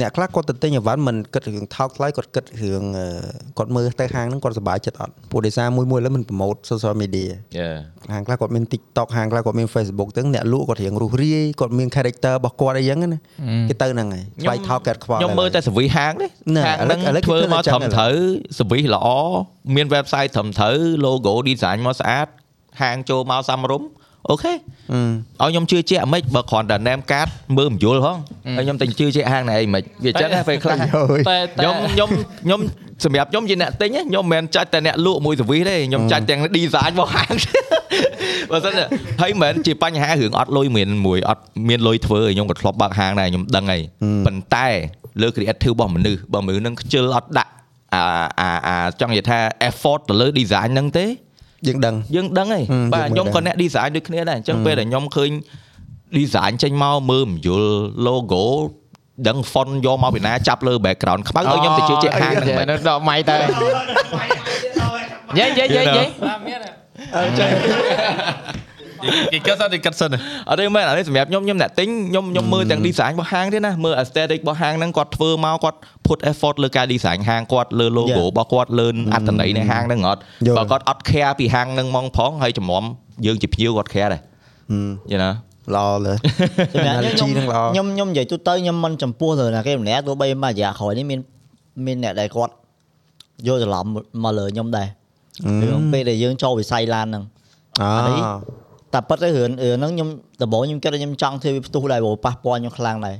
Speaker 2: អ្នកខ្លះគាត់ទៅទិញអីវ៉ាន់មិនគិតរឿងថោកថ្លៃគាត់គិតរឿងអឺគាត់មើលទៅហាងហ្នឹងគាត់សប្បាយចិត្តអត់ព្រោះដោយសារមួយមួយឥឡូវមិនប្រម៉ូទ social media
Speaker 3: យេ
Speaker 2: ហាងខ្លះគាត់មាន TikTok ហាងខ្លះគាត់មាន Facebook ទាំងអ្នកលក់គាត់រៀងរុះរាយគាត់មាន character របស់គាត់អីចឹងណាគេទៅហ្នឹងហើយស្បែកថោកកាត់ខ្វល់
Speaker 3: ខ្ញុំមើលតែសវិសហាងនេះ
Speaker 2: ណែ
Speaker 3: ហាងហ្នឹង
Speaker 2: ឥឡូវឥឡូវគេ
Speaker 3: ធ្វើ
Speaker 2: ធ្វើតែចឹ
Speaker 3: មកត្រឹ
Speaker 2: ងឥ
Speaker 3: ម
Speaker 2: ឡូវ
Speaker 3: ត្រូវសវិសល្អមាន website ត្រឹមត្រូវ logo design មកស្អាតហាងចូលមកសំរុំអូខេ
Speaker 2: អឺ
Speaker 3: ឲ្យខ្ញុំជឿជាក់មិនបើគ្រាន់តែ name card មើលមិនយល់ហងហើយខ្ញុំតែជឿជាក់ហាងណែអីមិនវាចឹងណាពេលខ្លះ
Speaker 5: តែតែ
Speaker 3: ខ្ញុំខ្ញុំខ្ញុំសម្រាប់ខ្ញុំជាអ្នកទិញណាខ្ញុំមិនមែនចាច់តែអ្នកលក់មួយសវិសទេខ្ញុំចាច់ទាំង design របស់ហាង បើសិនជាហើយមិនមែនជាបញ្ហារឿងអត់លុយមានមួយអត់មានលុយធ្វើឯងខ្ញុំក៏ធ្លាប់បើកហាងដែរខ្ញុំដឹងហើយប៉ុន្តែលើ creative របស់មនុស្សបើមនុស្សនឹងខ្ជិលអត់ដាក់អាអាអាចង់និយាយថា effort ទៅលើ design ហ្នឹងទេ
Speaker 2: យើងដឹង
Speaker 3: យើងដឹងហើយ
Speaker 2: អឺ
Speaker 3: បាទ
Speaker 2: យើង
Speaker 3: ខ្ញុំ
Speaker 2: មិនដឹង
Speaker 3: ក៏អ្នក design ដូចគ្នាដែរអញ្ចឹងពេលដែលខ្ញុំឃើញ design ចេញមកមើលមិនយល់ logo ដឹង font យកមកពីណាចាប់លើ background ខ្មៅឲ្យខ្ញុំទៅជឿជាក់ហាងហ្នឹង
Speaker 1: ហ្នឹ
Speaker 3: មែ
Speaker 1: ង
Speaker 3: ន
Speaker 1: ដល់ម៉ៃទៅយេយេយេយេ
Speaker 5: តាមមានហ៎
Speaker 4: គេគិតថាគេគិតសិន
Speaker 3: អត់ទេមែនអានេះសម្រាប់ខ្ញុំខ្ញុំអ្នកទិញខ្ញុំខ្ញុំមើលទាំង design របស់ហាងទៀតណាមើល aesthetic របស់ហាងហ្នឹងគាត់ធ្វើមកគាត់ put effort លើការ design ហាងគាត់លើ logo របស់គាត់លើអត្ថន័យនៃហាងហ្នឹងអត់
Speaker 2: យល់
Speaker 3: បើគាត់អត់ care ពីហាងហ្នឹងហ្មងផងហើយចំមំយើងជាភ្ញៀវគាត់ care ដែរ you know
Speaker 2: ល្អលើ
Speaker 6: សម្រាប់ខ្ញុំ
Speaker 2: Analogy ហ្នឹងល្អ
Speaker 6: ខ្ញុំខ្ញុំនិយាយទូទៅខ្ញុំមិនចំពោះទៅណាគេម្នាក់ទោះបីមករយៈក្រោយនេះមានមានអ្នកដែលគាត់យកច្រឡំមកលើខ្ញុំដែររឿងពេលដែលយើងចូលវិស័យឡានហ្នឹង
Speaker 2: អ
Speaker 6: អានេះ
Speaker 2: ឺ
Speaker 6: តែប៉ិតទៅរឿងរឿងហ្នឹងខ្ញុំដំបូងខ្ញុំគិតថាខ្ញុំចង់ធ្វើវាផ្ទុះដែរព្រោះប៉ះពាល់ខ្ញុំខ្លាំងដែរ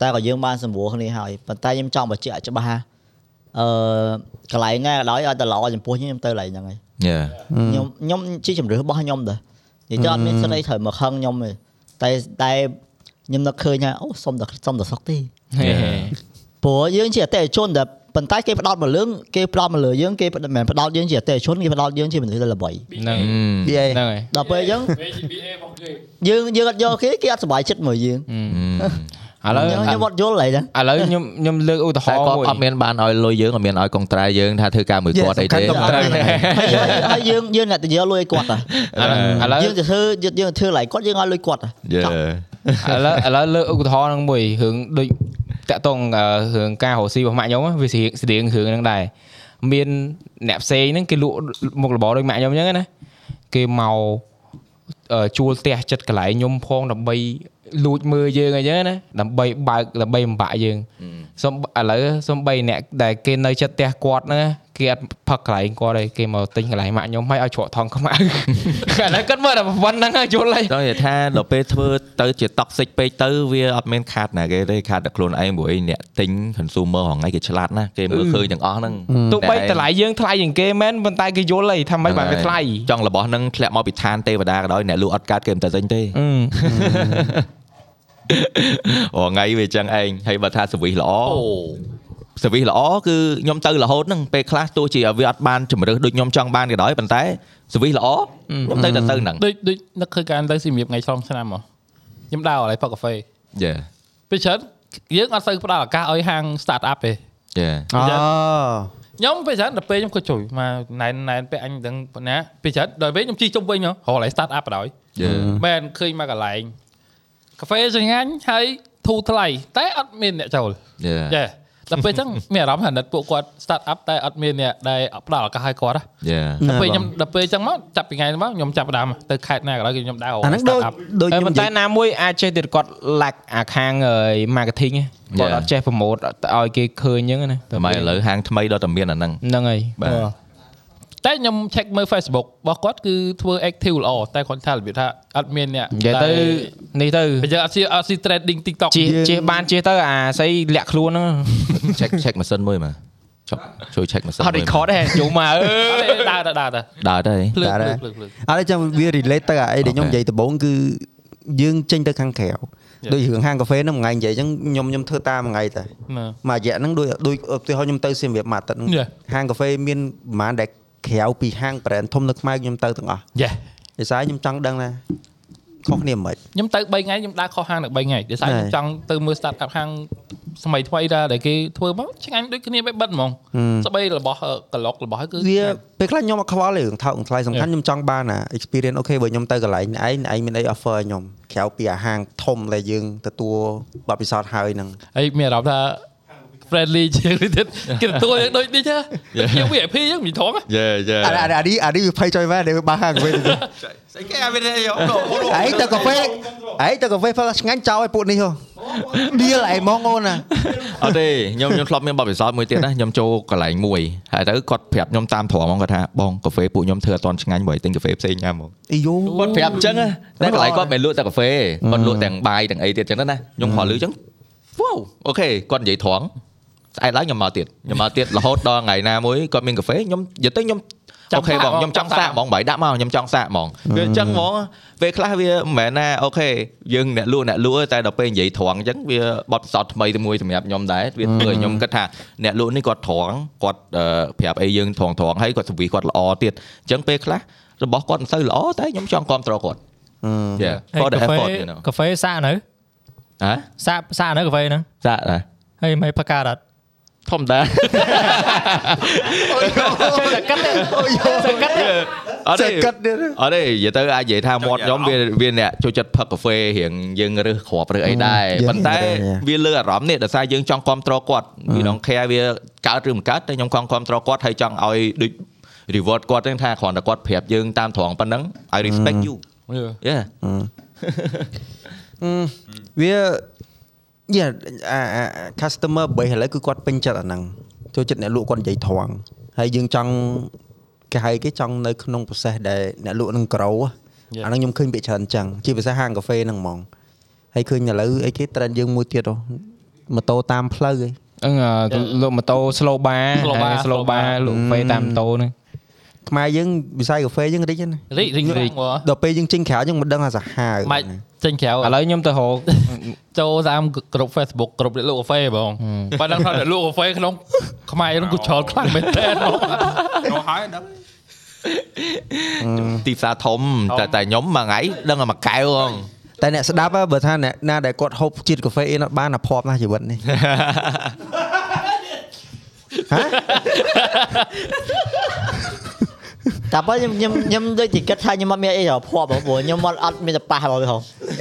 Speaker 6: តែក៏យើងបានសម្រួលគ្នាហើយប៉ុន្តែខ្ញុំចង់បញ្ជាក់ឲ្យច្បាស់ថាអឺកន្លែងណាក៏ដោយឲ្យតែល្អចំពោះខ្ញុំខ្ញុំទៅកន្លែងហ្នឹងហើយ
Speaker 3: yeah
Speaker 6: ខ្ញុំខ្ញុំជាជំរឿរបស់ខ្ញុំដែរនិយាយទៅអត់មានសិនអីត្រូវមកខឹងខ្ញុំទេតែតែខ្ញុំនឹកឃើញថាអូសុំតែសុំតែសុកទេព្រោះយើងជាអតិថិជនតែប៉ុន្តែគេផ្ដោតមកលើគេផ្ដោតមកលើយើងគេមិនមែនផ្ដោតយើងជាអតិថិជនគេផ្ដោតយើងជាមនុស្សដែលល្បី
Speaker 1: ហ្នឹង
Speaker 2: យេ
Speaker 1: ហ្នឹងហើយ
Speaker 6: ដល់ពេលអញ្ចឹង
Speaker 5: VGBA របស់គេ
Speaker 6: យើងយើងអត់យកគេគេអត់សប្បាយចិត្តមកយើង
Speaker 1: ឥឡូវ
Speaker 6: ខ្ញុំខ្ញុំអត់យល់អីហ្នឹង
Speaker 1: ឥឡូវខ្ញុំខ្ញុំលើកឧទាហ
Speaker 3: តែ
Speaker 1: រណ៍
Speaker 3: គាត់
Speaker 1: មួយ
Speaker 3: អត់មានបានឲ្យលុយយើងអត់មានឲ្យកងត្រៃយើងថាធ្វើការមួយគាត់អីទេ
Speaker 6: ហើយយើងហើយយើងយើងអ្នកទៅយកលុយឲ្យគាត់ហ៎
Speaker 1: ឥឡូវឥឡូវឥ
Speaker 6: យើងទៅធ្វើយើងយើងធ្វើឡើយគាត់យើងឲ្យលុយគាត់ហ៎
Speaker 3: yeah
Speaker 1: ឡូវឥឡូវលើកឧទាហរណ៍ហ្នឹងមួយ à, រឿងដូចតាក់ទងអឺរឿងការរស់ស៊ីរបស់ម៉ាក់ខ្ញុំហ្នឹងវាស្រៀងស្រៀងរឿងហ្នឹងដែរ មានអ្នកផ្សេងហ្នឹងគេលក់មុខរបរដូចម៉ាក់ខ្ញុំអញ្ចឹងណាគេមកអឺជួលផ្ទះចិត្តកន្លែងខ្ញុំផងដើម្បីលួចមើលយើងអញ្ចឹងណាដើម្បីបើកដើម្បីបំបាក់យើងសំឥឡូវសំបីអ្នកដែលគេនៅចិត្តផ្ទះគាត់ហ្នឹងណាគេអត់ផឹកកន្លែងគាត់ទេគេមកទិញកន្លែងម៉ាក់ខ្ញុំឲ្យឲ្យជ្រក់ថងខ្មៅ ឥឡូវគាត់មើលតែប៉ុណ្្នឹងហើយយល់ហើយ
Speaker 3: ដល់និយាយថាដល់ពេលធ្វើទៅជា toxic ពេកទៅវាអត់មានខាតណាគេទេខាតតែខ្លួនឯងព្រោះឯងអ្នកទិញ consumer ហងៃគេឆ្លាតណាស់គេមើលឃើញទាំងអស់ហ្នឹង
Speaker 1: ទោះបីតម្លៃយើងថ្លៃជាងគេមែនប៉ុន្តែគេយល់ហើយថាមិនបានវាថ្លៃ
Speaker 3: ចង់របស់ហ្នឹងធ្លាក់មកពីឋានទេវតាក៏ដោយអ្នកលក់អត់កើតគេមិនតែទិញទេ
Speaker 1: អឺ
Speaker 3: អូថ្ងៃវាចឹងឯងហើយបើថា service ល្អ service ល្អគឺខ្ញុំទៅរហូតហ្នឹងពេលខ្លះទោះជាវាអត់បានជំរឹះដូចខ្ញុំចង់បានក៏ដោយប៉ុន្តែ service ល្អខ្ញុំទៅតែទៅហ្នឹង
Speaker 5: ដូចដូចនឹកឃើញការទៅសម្រាប់ថ្ងៃឆ្លងឆ្នាំហ៎ខ្ញុំដើរឲ្យផឹកកាហ្វេ
Speaker 3: យេ
Speaker 5: ពេលច្រើនយើងអត់សូវផ្ដល់ឱកាសឲ្យហាង start up ទេ
Speaker 3: យេ
Speaker 2: អូ
Speaker 5: ខ្ញុំពេលច្រើនដល់ពេលខ្ញុំក៏ជួយមកណែនណែនពេលអញដឹងប៉ុណ្ណាពេលច្រើនដល់ពេលខ្ញុំជិះជុំវិញហ៎រកកន្លែង start up បណ្ដោយ
Speaker 3: យេ
Speaker 5: មែនឃើញមកកន្លែងកាហ្វេឆ្ងាញ់ហើយធូរថ្លៃតែអត់មានអ្នកចូល
Speaker 3: យេ
Speaker 5: ចាដល់ពេលអញ្ចឹងមានអារម្មណ៍ថាណិតពួកគាត់ start up តែអត់មានអ្នកដែលផ្ដល់ឱកាសឲ្យគាត់ណា
Speaker 3: យេ
Speaker 5: ដល់ពេលខ្ញុំដល់ពេលអញ្ចឹងមកចាប់ពីថ្ងៃហ្នឹងមកខ្ញុំចាប់ផ្ដើមទៅខេត្តណាក៏ដោយគឺខ្ញុំដើរ
Speaker 2: អាហ្នឹងដូច
Speaker 5: start up
Speaker 2: ដូច
Speaker 1: តែ
Speaker 2: ខ្ញុំ
Speaker 1: ប៉ុន្តែណាមួយអាចចេះទៀតគាត់ lack អាខាងអឺ marketing ហ៎គាត់អត់ចេះ promote ឲ្យគេឃើញអញ្ចឹងណា
Speaker 3: តែមកឥឡូវហាងថ្មីដល់តែមានអាហ្នឹង
Speaker 1: ហ្នឹងហើយ
Speaker 3: បាទ
Speaker 5: តែខ្ញុំ check មើល Facebook របស់គាត់គឺធ្វើ active ល្អតែគាត់ថារបៀបថាអត់មានអ្នក
Speaker 1: និយាយទៅនេះទៅ
Speaker 5: បើយើងអត់ស៊ីអត់ស៊ី trending TikTok
Speaker 1: ជិះជិះបានជិះទៅអាស្អីលាក់ខ្លួនហ្នឹង
Speaker 3: check check ម៉ាស៊ីនមួយមកចុះជួយ check ម៉ាស៊ីន
Speaker 1: អត់ record ទេយូរមកអើ យ
Speaker 5: ដើរទៅដើរទៅ
Speaker 3: ដើរទៅហី
Speaker 5: ភ្លើង
Speaker 2: ដែរ
Speaker 5: ភ្លើ
Speaker 2: ដែរអត់
Speaker 5: ងភ្លើងភ្លើង
Speaker 2: ទេចាំវា relate ទៅអាអីដែលខ្ញុំ
Speaker 3: Okay.
Speaker 2: និយាយដំបូងគឺយើងចេញទៅខាងក្រៅដូចរឿងហាងកាហ្វេហ្នឹងមួយថ្ងៃនិយាយអញ្ចឹងខ្ញុំខ្ញុំធ្វើតាមមួយថ្ងៃតែ
Speaker 5: ណា
Speaker 2: មួយរយៈហ្នឹងដូចដូចឧទាហរណ៍ខ្ញុំទៅសៀមរាបមួយអាទិត្យហ្នឹង
Speaker 5: Yeah.
Speaker 2: ហាងកាហ្វេមានប្រហែលដែលក្រៅពីហាង brand ធំនៅខ្មែរខ្ញុំទៅទាំងអស់
Speaker 5: Yeah
Speaker 2: ដោយសារខ្ញុំចង់ដឹងណាខុសគ្នាមិនខ្មិច
Speaker 5: ខ្ញុំទៅ3ថ្ងៃខ្ញុំដើរខុសហាងដល់3ថ្ងៃដោយសារខ្ញុំចង់ទៅមើល start up ហាងសម័យថ្មីដែរដែលគេធ្វើមកឆ្ងាញ់ដូចគ្នាបែបបិទហ្មងស្បែករបស់កឡុករបស់ហ្នឹងគឺ
Speaker 2: វាពេលខ្លះខ្ញុំអត់ខ្វល់ទេរឿងថោកថ្លៃសំខាន់ខ្ញុំចង់បានអា experience អូខេបើខ្ញុំទៅកន្លែងឯងឯងមានអី offer ឲ្យខ្ញុំក្រៅពីអាហាងធំដែលយើងទទួលបទពិសោធន៍ហើយហ្នឹង
Speaker 5: ហើយមានអារម្មណ៍ថា friendly ជាងនេះទៀតគេទទួលយើងដូចនេះចា គេ VIP យើងមិនធំហ៎
Speaker 3: យេយេ
Speaker 2: អានេះអានេះអានេះវាភ័យចុយមែនដែលវាបាក់ហាងកាហ្វេទៅ
Speaker 4: ស្អីគេអាវាយកអូ
Speaker 2: ឯងទៅកាហ្វេឯងទៅកាហ្វេផ្លាស់ឆ្ងាញ់ចោលឲ្យពួកនេះហ៎ដៀលឯងហ្មងអូនណា
Speaker 3: អត់ទេខ្ញុំខ្ញុំធ្លាប់មានបទពិសោធន៍មួយទៀតណាខ្ញុំចូលកន្លែងមួយហើយទៅគាត់ប្រាប់ខ្ញុំតាមត្រង់ហ្មងគាត់ថាបងកាហ្វេពួកខ្ញុំធ្វើអត់តន់ឆ្ងាញ់បើឲ្យទិញកាហ្វេផ្សេងញ៉ាំហ្មង
Speaker 2: អីយូ
Speaker 3: គាត់ប្រាប់អញ្ចឹងណាតែកន្លែងគាត់មិនមែនលក់តែកាហ្វេគាត់លក់ទាំងបាយទាំងអីទៀតអញ្ចឹងណាខ្ញុំខលលឺអញ្ចឹង wow អូខេគាត់និយាយត្រង់ស្អែកឡើងខ្ញុំមកទៀតខ្ញុំមកទៀតរហូតដល់ថ្ងៃណាមួយគាត់មានកាហ្វេខ្ញុំនិយាយទៅខ្ញុំ
Speaker 5: ចាំ
Speaker 3: អូខេ
Speaker 5: សា
Speaker 3: ប
Speaker 5: ក
Speaker 3: ង
Speaker 5: ហ្មង
Speaker 3: ខ្ញុំចង់
Speaker 5: ចាំសា
Speaker 3: សា
Speaker 5: ក
Speaker 3: កហ្មងបាយដាក់មកខ្ញុំចង់សាកហ្មងវាអញ្ចឹងហ្មងពេលខ្លះវាមិនមែនណាអូខេយើងអ្នកលក់អ្នកលក់តែដល់ពេលនិយាយត្រង់អញ្ចឹងវាបត់សតថ្មីទៅមួយសម្រាប់ខ្ញុំដែរវាធ្វើឲ្យខ្ញុំគិតថាអ្នកលក់នេះគាត់ត្រង់គាត់អឺប្រាប់អីយើងត្រង់ត្រង់ហើយគាត់សវិគាត់ល្អទៀតអញ្ចឹងពេលខ្លះរបស់គាត់មិនសូវល្អតែខ្ញុំចង់គ្រប់ត្រគាត់យេ
Speaker 7: ហេ
Speaker 3: for the
Speaker 7: កាហ្វេ
Speaker 3: effort you know
Speaker 7: កាហ្វេសាកនៅ
Speaker 3: ហ៎
Speaker 7: សាកសាកនៅកាហ្វេហ្នឹង
Speaker 3: សាក់ណា
Speaker 7: ហើយមិនផឹកការអត់
Speaker 3: ធម្មតា
Speaker 7: ចេះតែកាត់ទេតែកាត់ទេ
Speaker 3: អត់ទេ
Speaker 2: ចេះកាត់ទៀត
Speaker 3: អត់ទេនិយាយទៅអាចនិយាយថាមាត់ខ្ញុំវាវាអ្នកចូលចិត្តផឹកកាហ្វេរៀងយើងរើសគ្រាប់រើសអីដែរ
Speaker 2: យើង
Speaker 3: ប៉ុន្តែ
Speaker 2: រើសអីដែរ
Speaker 3: វាលើអារម្មណ៍នេះដោយសារយើងចង់គ្រប់ត្រគាត់វាដងខែវាកើតឬមិនកើតតែខ្ញុំចង់គ្រប់ត្រគាត់ហើយចង់ឲ្យដូច reward គាត់ហ្នឹងថាគ្រាន់តែគាត់ប្រាប់យើងតាមត្រង់ប៉ុណ្ណឹង I respect you yeah
Speaker 2: វាយ៉ាអាអា customer base ឥឡូវគឺគាត់ពេញចិត្តអាហ្នឹងចូលចិត្តអ្នកលក់គាត់និយាយត្រង់ហើយយើងចង់គេហៅគេចង់នៅក្នុង process ដែលអ្នកលក់នឹងក្រោហ៎អាហ្នឹងខ្ញុំឃើញពាក្យច្រើនអញ្ចឹងជាភាសាហាងកាហ្វេហ្នឹងហ្មងហើយឃើញឥឡូវអីគេ trend យើងមួយទៀតហ៎ម៉ូតូតាមផ្លូវឯង
Speaker 1: អឹងអឺលោកម៉ូតូ slow bar
Speaker 5: Slow bar
Speaker 1: អា slow bar លោកវេតាមម៉ូតូហ្នឹង
Speaker 2: ខ្មែរយើងវិស័យកាហ្វេយើងរីកណាស់
Speaker 5: រីករីកហ្មង
Speaker 2: ដល់ពេលយើងចេញក្រៅយើងមិនដឹងថាសាហាវ
Speaker 5: ម៉េចចេញក្រៅឥ
Speaker 1: ឥ
Speaker 5: ឡូវ
Speaker 1: ឡូវខ្ញុំទៅរក
Speaker 5: ចូលតាមក្រុម Facebook ក្រុមអ្នកលក់កាហ្វេបងបើដឹងថាអ្នកលក់កាហ្វេក្នុង ខ្មែរហ្នឹងគឺច្រើនខ្លាំងមែនទែនហ្មង
Speaker 4: យកហើយដឹង
Speaker 3: ទីផ្សារធំតែតែខ្ញុំមួយថ្ងៃដឹងតែមួយកែវហង
Speaker 2: តែអ្នកស្ដាប់ហ៎បើថាអ្នកណាដែលគាត់ហូបជាតិកាហ្វេអីនអត់បានអាភ័ព្វណាស់ជីវិតនេះ
Speaker 6: តែបើខ្ញុំខ្ញុំខ្ញុំដូចជាគិតថាខ្ញុំអត់មានអីរភ័ព្វហ៎ព្រោះខ្ញុំអត់អត់មានតែប៉ះបងហ៎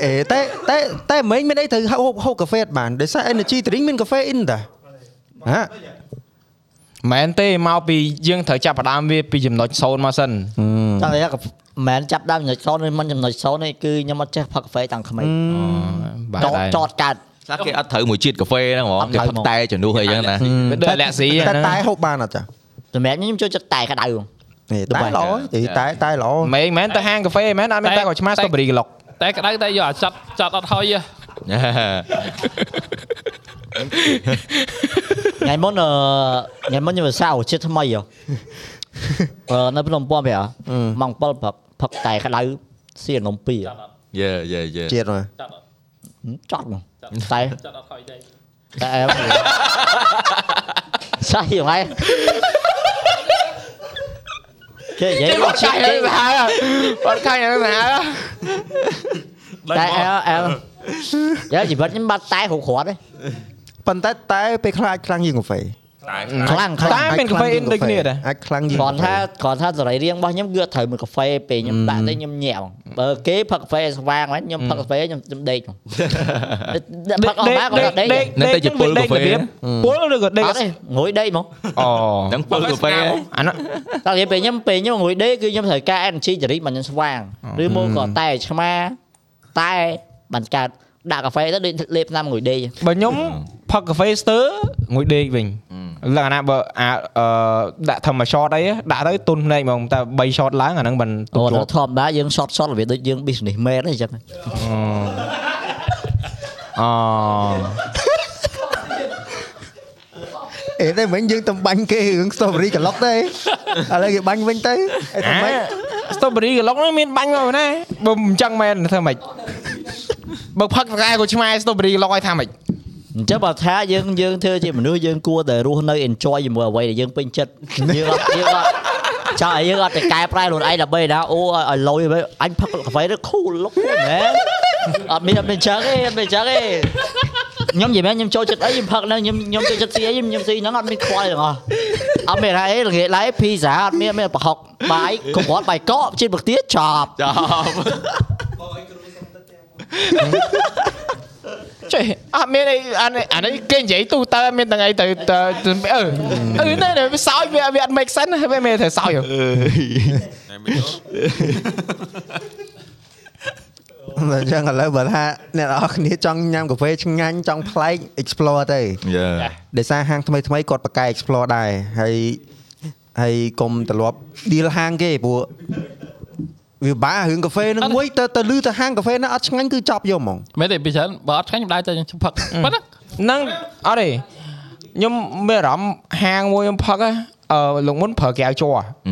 Speaker 2: អេតែតែតែមិនមានអីត្រូវហូបហូបកាហ្វេអត់បានដោយសារ energy drink មានកាហ្វេអ៊ីនតាហ៎
Speaker 1: មែនទេមកពីយើងត្រូវចាប់ផ្ដើមវាពីចំណុច0មកសិន
Speaker 6: ចង់និយាយថាមិនមែនចាប់ដើមចំណុចសូន្យនេះមិនចំណុចសូន្យនេះគឺខ្ញុំអត់ចេះផឹកកាហ្វេតាំងក្មេង
Speaker 1: បាទ
Speaker 6: ចោត
Speaker 1: ដែរ
Speaker 6: ចោតកើត
Speaker 3: ខ្លះគេអត់ត្រូវមួយជាតិកាហ្វេហ្នឹងហ្មង
Speaker 6: អត់
Speaker 3: គេ
Speaker 6: ត្រូវ
Speaker 3: ផឹក
Speaker 6: ហ្មង
Speaker 3: តែជំនួសអីចឹងណា
Speaker 1: វាដូចលាក់ស៊ី
Speaker 2: តែ
Speaker 1: អាហ្នឹ
Speaker 2: តែ
Speaker 1: ង
Speaker 2: ហូបបានអត់ចា
Speaker 6: សម្រាប់ខ្ញុំចូលចិត្តតែក្តៅហ្មង
Speaker 2: នេះតែល្អទេតែតែល្អ
Speaker 1: មែនមែនទៅហាងកាហ្វេមែនអត់មានតែកោឆ្មាស្ទូបេរីក្លុក
Speaker 5: តែក្តៅតែយកអាចាត់ចាត់អត់ហើយហ៎
Speaker 3: Ừ.
Speaker 6: ថ្ងៃមុនអឺថ្ងៃមុនខ្ញុំទៅសៅជាតិថ្មី ហ៎អឺនៅភ្នំពេញប្រាម៉ោង7ព្រឹកផឹកតែក្តៅសៀននំពីរហ៎
Speaker 3: យេយេយេ
Speaker 2: ជាតិមក
Speaker 6: ហឹមចត់ហ្មងតែ
Speaker 5: ចាត់អត់ហើយទេ
Speaker 6: តែអែមសៃហ្មងគេនិយាយមកចាស់ហើយ
Speaker 1: ហៅអត់ខាញ់អីហៅ
Speaker 6: តែអែមអែមយ៉ាជីវិតខ្ញុំបាត់តែគ្រប់គ្រាន់ទេ
Speaker 2: ប៉ុន្តែតែពេលខ្លាចខ្លាំងជាងកាហ្វេ
Speaker 4: តែ
Speaker 6: ខ្លាំងខ្លាំង
Speaker 1: តែមានកាហ្វេអ៊ីនដូចគ្នាដែរ
Speaker 2: អាចខ្លាំងជាង
Speaker 6: គ្រាន់ថាគ្រាន់ថាសរីរាង្គរបស់ខ្ញុំគឺអត់ត្រូវមួយកាហ្វេពេលខ្ញុំដាក់ទៅខ្ញុំញាក់ហ្មងបើគេផឹកកាហ្វេស្វាងហ្នឹងខ្ញុំផឹកកាហ្វេខ្ញុំខ្ញុំដេកហ្មង ដាក់ផឹកអស់មកក៏ដេកទេ
Speaker 1: ពុលឬក៏ដេក
Speaker 6: អត់ទេងួយដេកហ្មង
Speaker 1: អូ
Speaker 3: ហ្នឹងពើកាហ្វេ
Speaker 1: អានោះ
Speaker 6: តែនិយាយពេលខ្ញុំពេលខ្ញុំងួយដេកគឺខ្ញុំត្រូវការ energy ចរិតមកខ្ញុំស្វាងឬមកក៏តែឆ្មាតែបានកើតដាក់កាហ្វេទៅដូចលេបឆ្នាំងួយដេក
Speaker 1: បើខ្ញុំផឹកកាហ្វេស្ទើងួយដេកវិញលក្ខណៈបើអាអឺដាក់ធ្វើមួយ shot អីដាក់ទៅទុនភ្នែកហ្មងតែ3 shot ឡើងអាហ្នឹងមិន
Speaker 6: អូ
Speaker 1: ទុកជាប់
Speaker 6: ធម្មតាយើង short short របៀបដូចយើង business man អីចឹង
Speaker 1: អ
Speaker 2: អេតែមិញយើងទៅបាញ់គេរឿង story ក្លុកទេឥឡូវគេបាញ់វិញទៅអេ
Speaker 1: អា
Speaker 2: តែមិញ
Speaker 1: ស្ទូបេរីកន្លុកហ្នឹងមានបាញ់មកណាបើមិនចឹងមែនធ្វើ ម៉េចបើផឹកផ្កាយក៏ឆ្មាស្ទូបេរីកន្លុកឲ្យថាម៉េច
Speaker 6: អញ្ចឹងបើថាយើងយើងធ្វើជាមនុស្សយើងគួរតែរស់នៅ enjoy ជាមួយអ្វីដែលយើងពេញចិត្តយើងអត់យើងអត់ចង់ឲ្យយើងអត់ទៅកែប្រែខ្លួនឯងដើម្បីណាអូឲ្យលយអញផឹកកាហ្វេទៅខូលលុកមែនអត់មានអត់មានចឹងទេអត់មានចឹងទេខ្ញុំនិយាយមែនខ្ញុំចូលចិត្តអីខ្ញុំផឹកនៅខ្ញុំខ្ញុំចូលចិត្តស៊ីអីខ្ញុំខ្ញុំស៊ីហ្នឹងអត់មានខ្វល់ទាំងអស់អត់មានអីល្ងាចឡើយភីសាអត់មានអត់មានប្រហុកបាយកំរត់បាយកកជិះមកទៀតច
Speaker 3: ច
Speaker 6: ប់
Speaker 3: ប់
Speaker 1: ចេះអត់មានអីអានេះអានេះគេនិយាយទូទៅមានថ្ងៃទៅទៅអឺអឺណែវាសោយវាវាអត់ make sense វាមិនត្រូវសោយ
Speaker 2: អញ្ចឹងឥឡូវបើថាអ្នកនរអគ្នាចង់ញ៉ាំកាហ្វេឆ្ងាញ់ចង់ប្លែក explore ទៅ
Speaker 3: យេ
Speaker 2: ដោយសារហាងថ្មីថ្មីគាត់បកកែ explore ដែរហើយហើយកុំទ្រលាប់ deal ហាងគេព្រោះវាបាក់រឿងកាហ្វេនឹងមួយទៅទៅលឺទៅហាងកាហ្វេណាអត់ឆ្ងាញ់គឺចប់យកហ្មង
Speaker 5: មែនទេពីច្រើនបើអត់ឆ្ងាញ់មិនដែរតែខ្ញុំផឹកប៉ុណ្ណា
Speaker 1: ហ្នឹងអត់ទេខ្ញុំមានអារម្មណ៍ហាងមួយខ្ញុំផឹកហ៎អឺលោកមុនប្រើកែវជ័រ
Speaker 3: អឺហឹម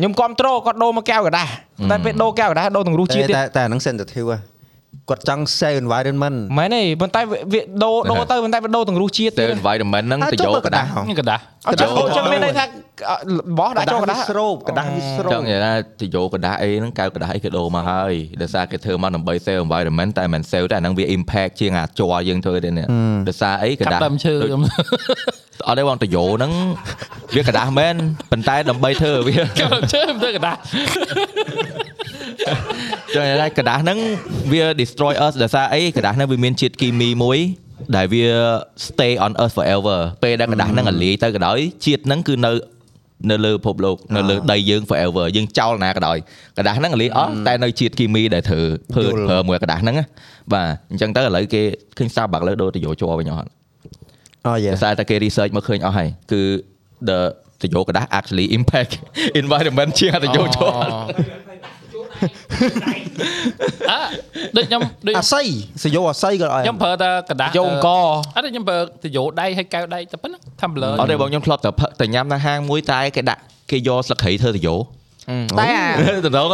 Speaker 1: ខ្ញុំគ្រប់ត្រូលគាត់ដូរមកកែវកដាស់តែពេលដូរកែវកដាស់ដូរទាំងរសជាតិទៀត
Speaker 2: តែតែអាហ្នឹង sensitive ហ៎គាត់ចង់ save environment
Speaker 1: មែនទេប៉ុន្តែវាវាដូរដូរ
Speaker 3: ហ្នឹងហើយ
Speaker 1: ទៅប៉ុន្តែវាដូរទាំងរសជាតិ
Speaker 3: ទៅ
Speaker 1: ទេ
Speaker 3: environment ហ្នឹងទៅយក
Speaker 2: ចុះបើ
Speaker 3: ក្តាស់
Speaker 5: ខ្ញុំក៏ដាស់
Speaker 1: អត់ចាំ
Speaker 2: ទៅ
Speaker 1: អូចាំ
Speaker 2: ទៅ
Speaker 1: មានន័យថាអ่ะរបស់
Speaker 2: ក
Speaker 1: ដាក់
Speaker 2: ដា
Speaker 1: ចូលก
Speaker 2: ស់
Speaker 1: ระ
Speaker 2: វា
Speaker 1: ดาษ
Speaker 2: ស្រូបកដាស់វាស្រូ
Speaker 3: ច
Speaker 2: ប
Speaker 3: ង់និយាយថាទៅយកក្តាស់អីហ្នឹងកៅក្តាស់អីគេដូរមកហើយដោយសារគេធ្វើមកដើម្បី sale environment តែមិន sale តែអាហ្នឹងវា impact ជាងអាជ័រយើងធ្វើទេនេះដោយសារអី
Speaker 5: កា
Speaker 3: ក្តា
Speaker 5: ប់
Speaker 3: ស់
Speaker 5: ដើមឈើខ្ញុំ
Speaker 3: អត់ទេបងតយោហ្នឹងវាกระดาษមែនប៉ុន្តែដើម្បីធ្វើវា
Speaker 5: កាប់ដើមឈើមិនទៅក៏ដាស់
Speaker 3: ចឹងតែกระดาษហ្នឹងវា destroy us ដោយសារអីกระดาษហ្នឹងវាមានជាតិគីមីមួយ ដែលវា stay on us forever ពេលដែលกระดาษហ្នឹងអាលាយទៅក៏ដោយជាតិហ្នឹងគឺនៅនៅលើពិភពលោកនៅលើដីយើង forever យើងចោលណាក៏ដោយកระดาษហ្នឹងអាលាយអស់តែនៅជាតិគីមីដែលធ្វើធ្វើប្រើមួយកระดาษហ្នឹងណាបាទអញ្ចឹងទៅឥឡូវគេឃើញសាបាក់លើដូរតយោជ័រវិញអស់ហើយ
Speaker 2: អូយេ
Speaker 3: ដោយសារតែគេ research មកឃើញអស់ហើយគឺ the តយោกระดาษ actually impact environment ជាងតយោ ជ័រ
Speaker 5: អ่ะដូចខ្ញុំដូច
Speaker 2: អាស័យសយោអាស័យក៏ឲ្យ
Speaker 5: ខ្ញុំប្រើតែกระดาษ
Speaker 1: យកអង្គ
Speaker 5: អត់ទេខ្ញុំប្រើទៅយោដៃហើយកៅដៃតែប៉ុណ្ណា tumbler
Speaker 3: អត់ទេបងខ្ញុំធ្លាប់តែផឹកតែញ៉ាំនៅហាងមួយតែគេដាក់គេយកស្លឹកគ្រៃធ្វើតយោ
Speaker 6: តែអា
Speaker 3: ទៅដល់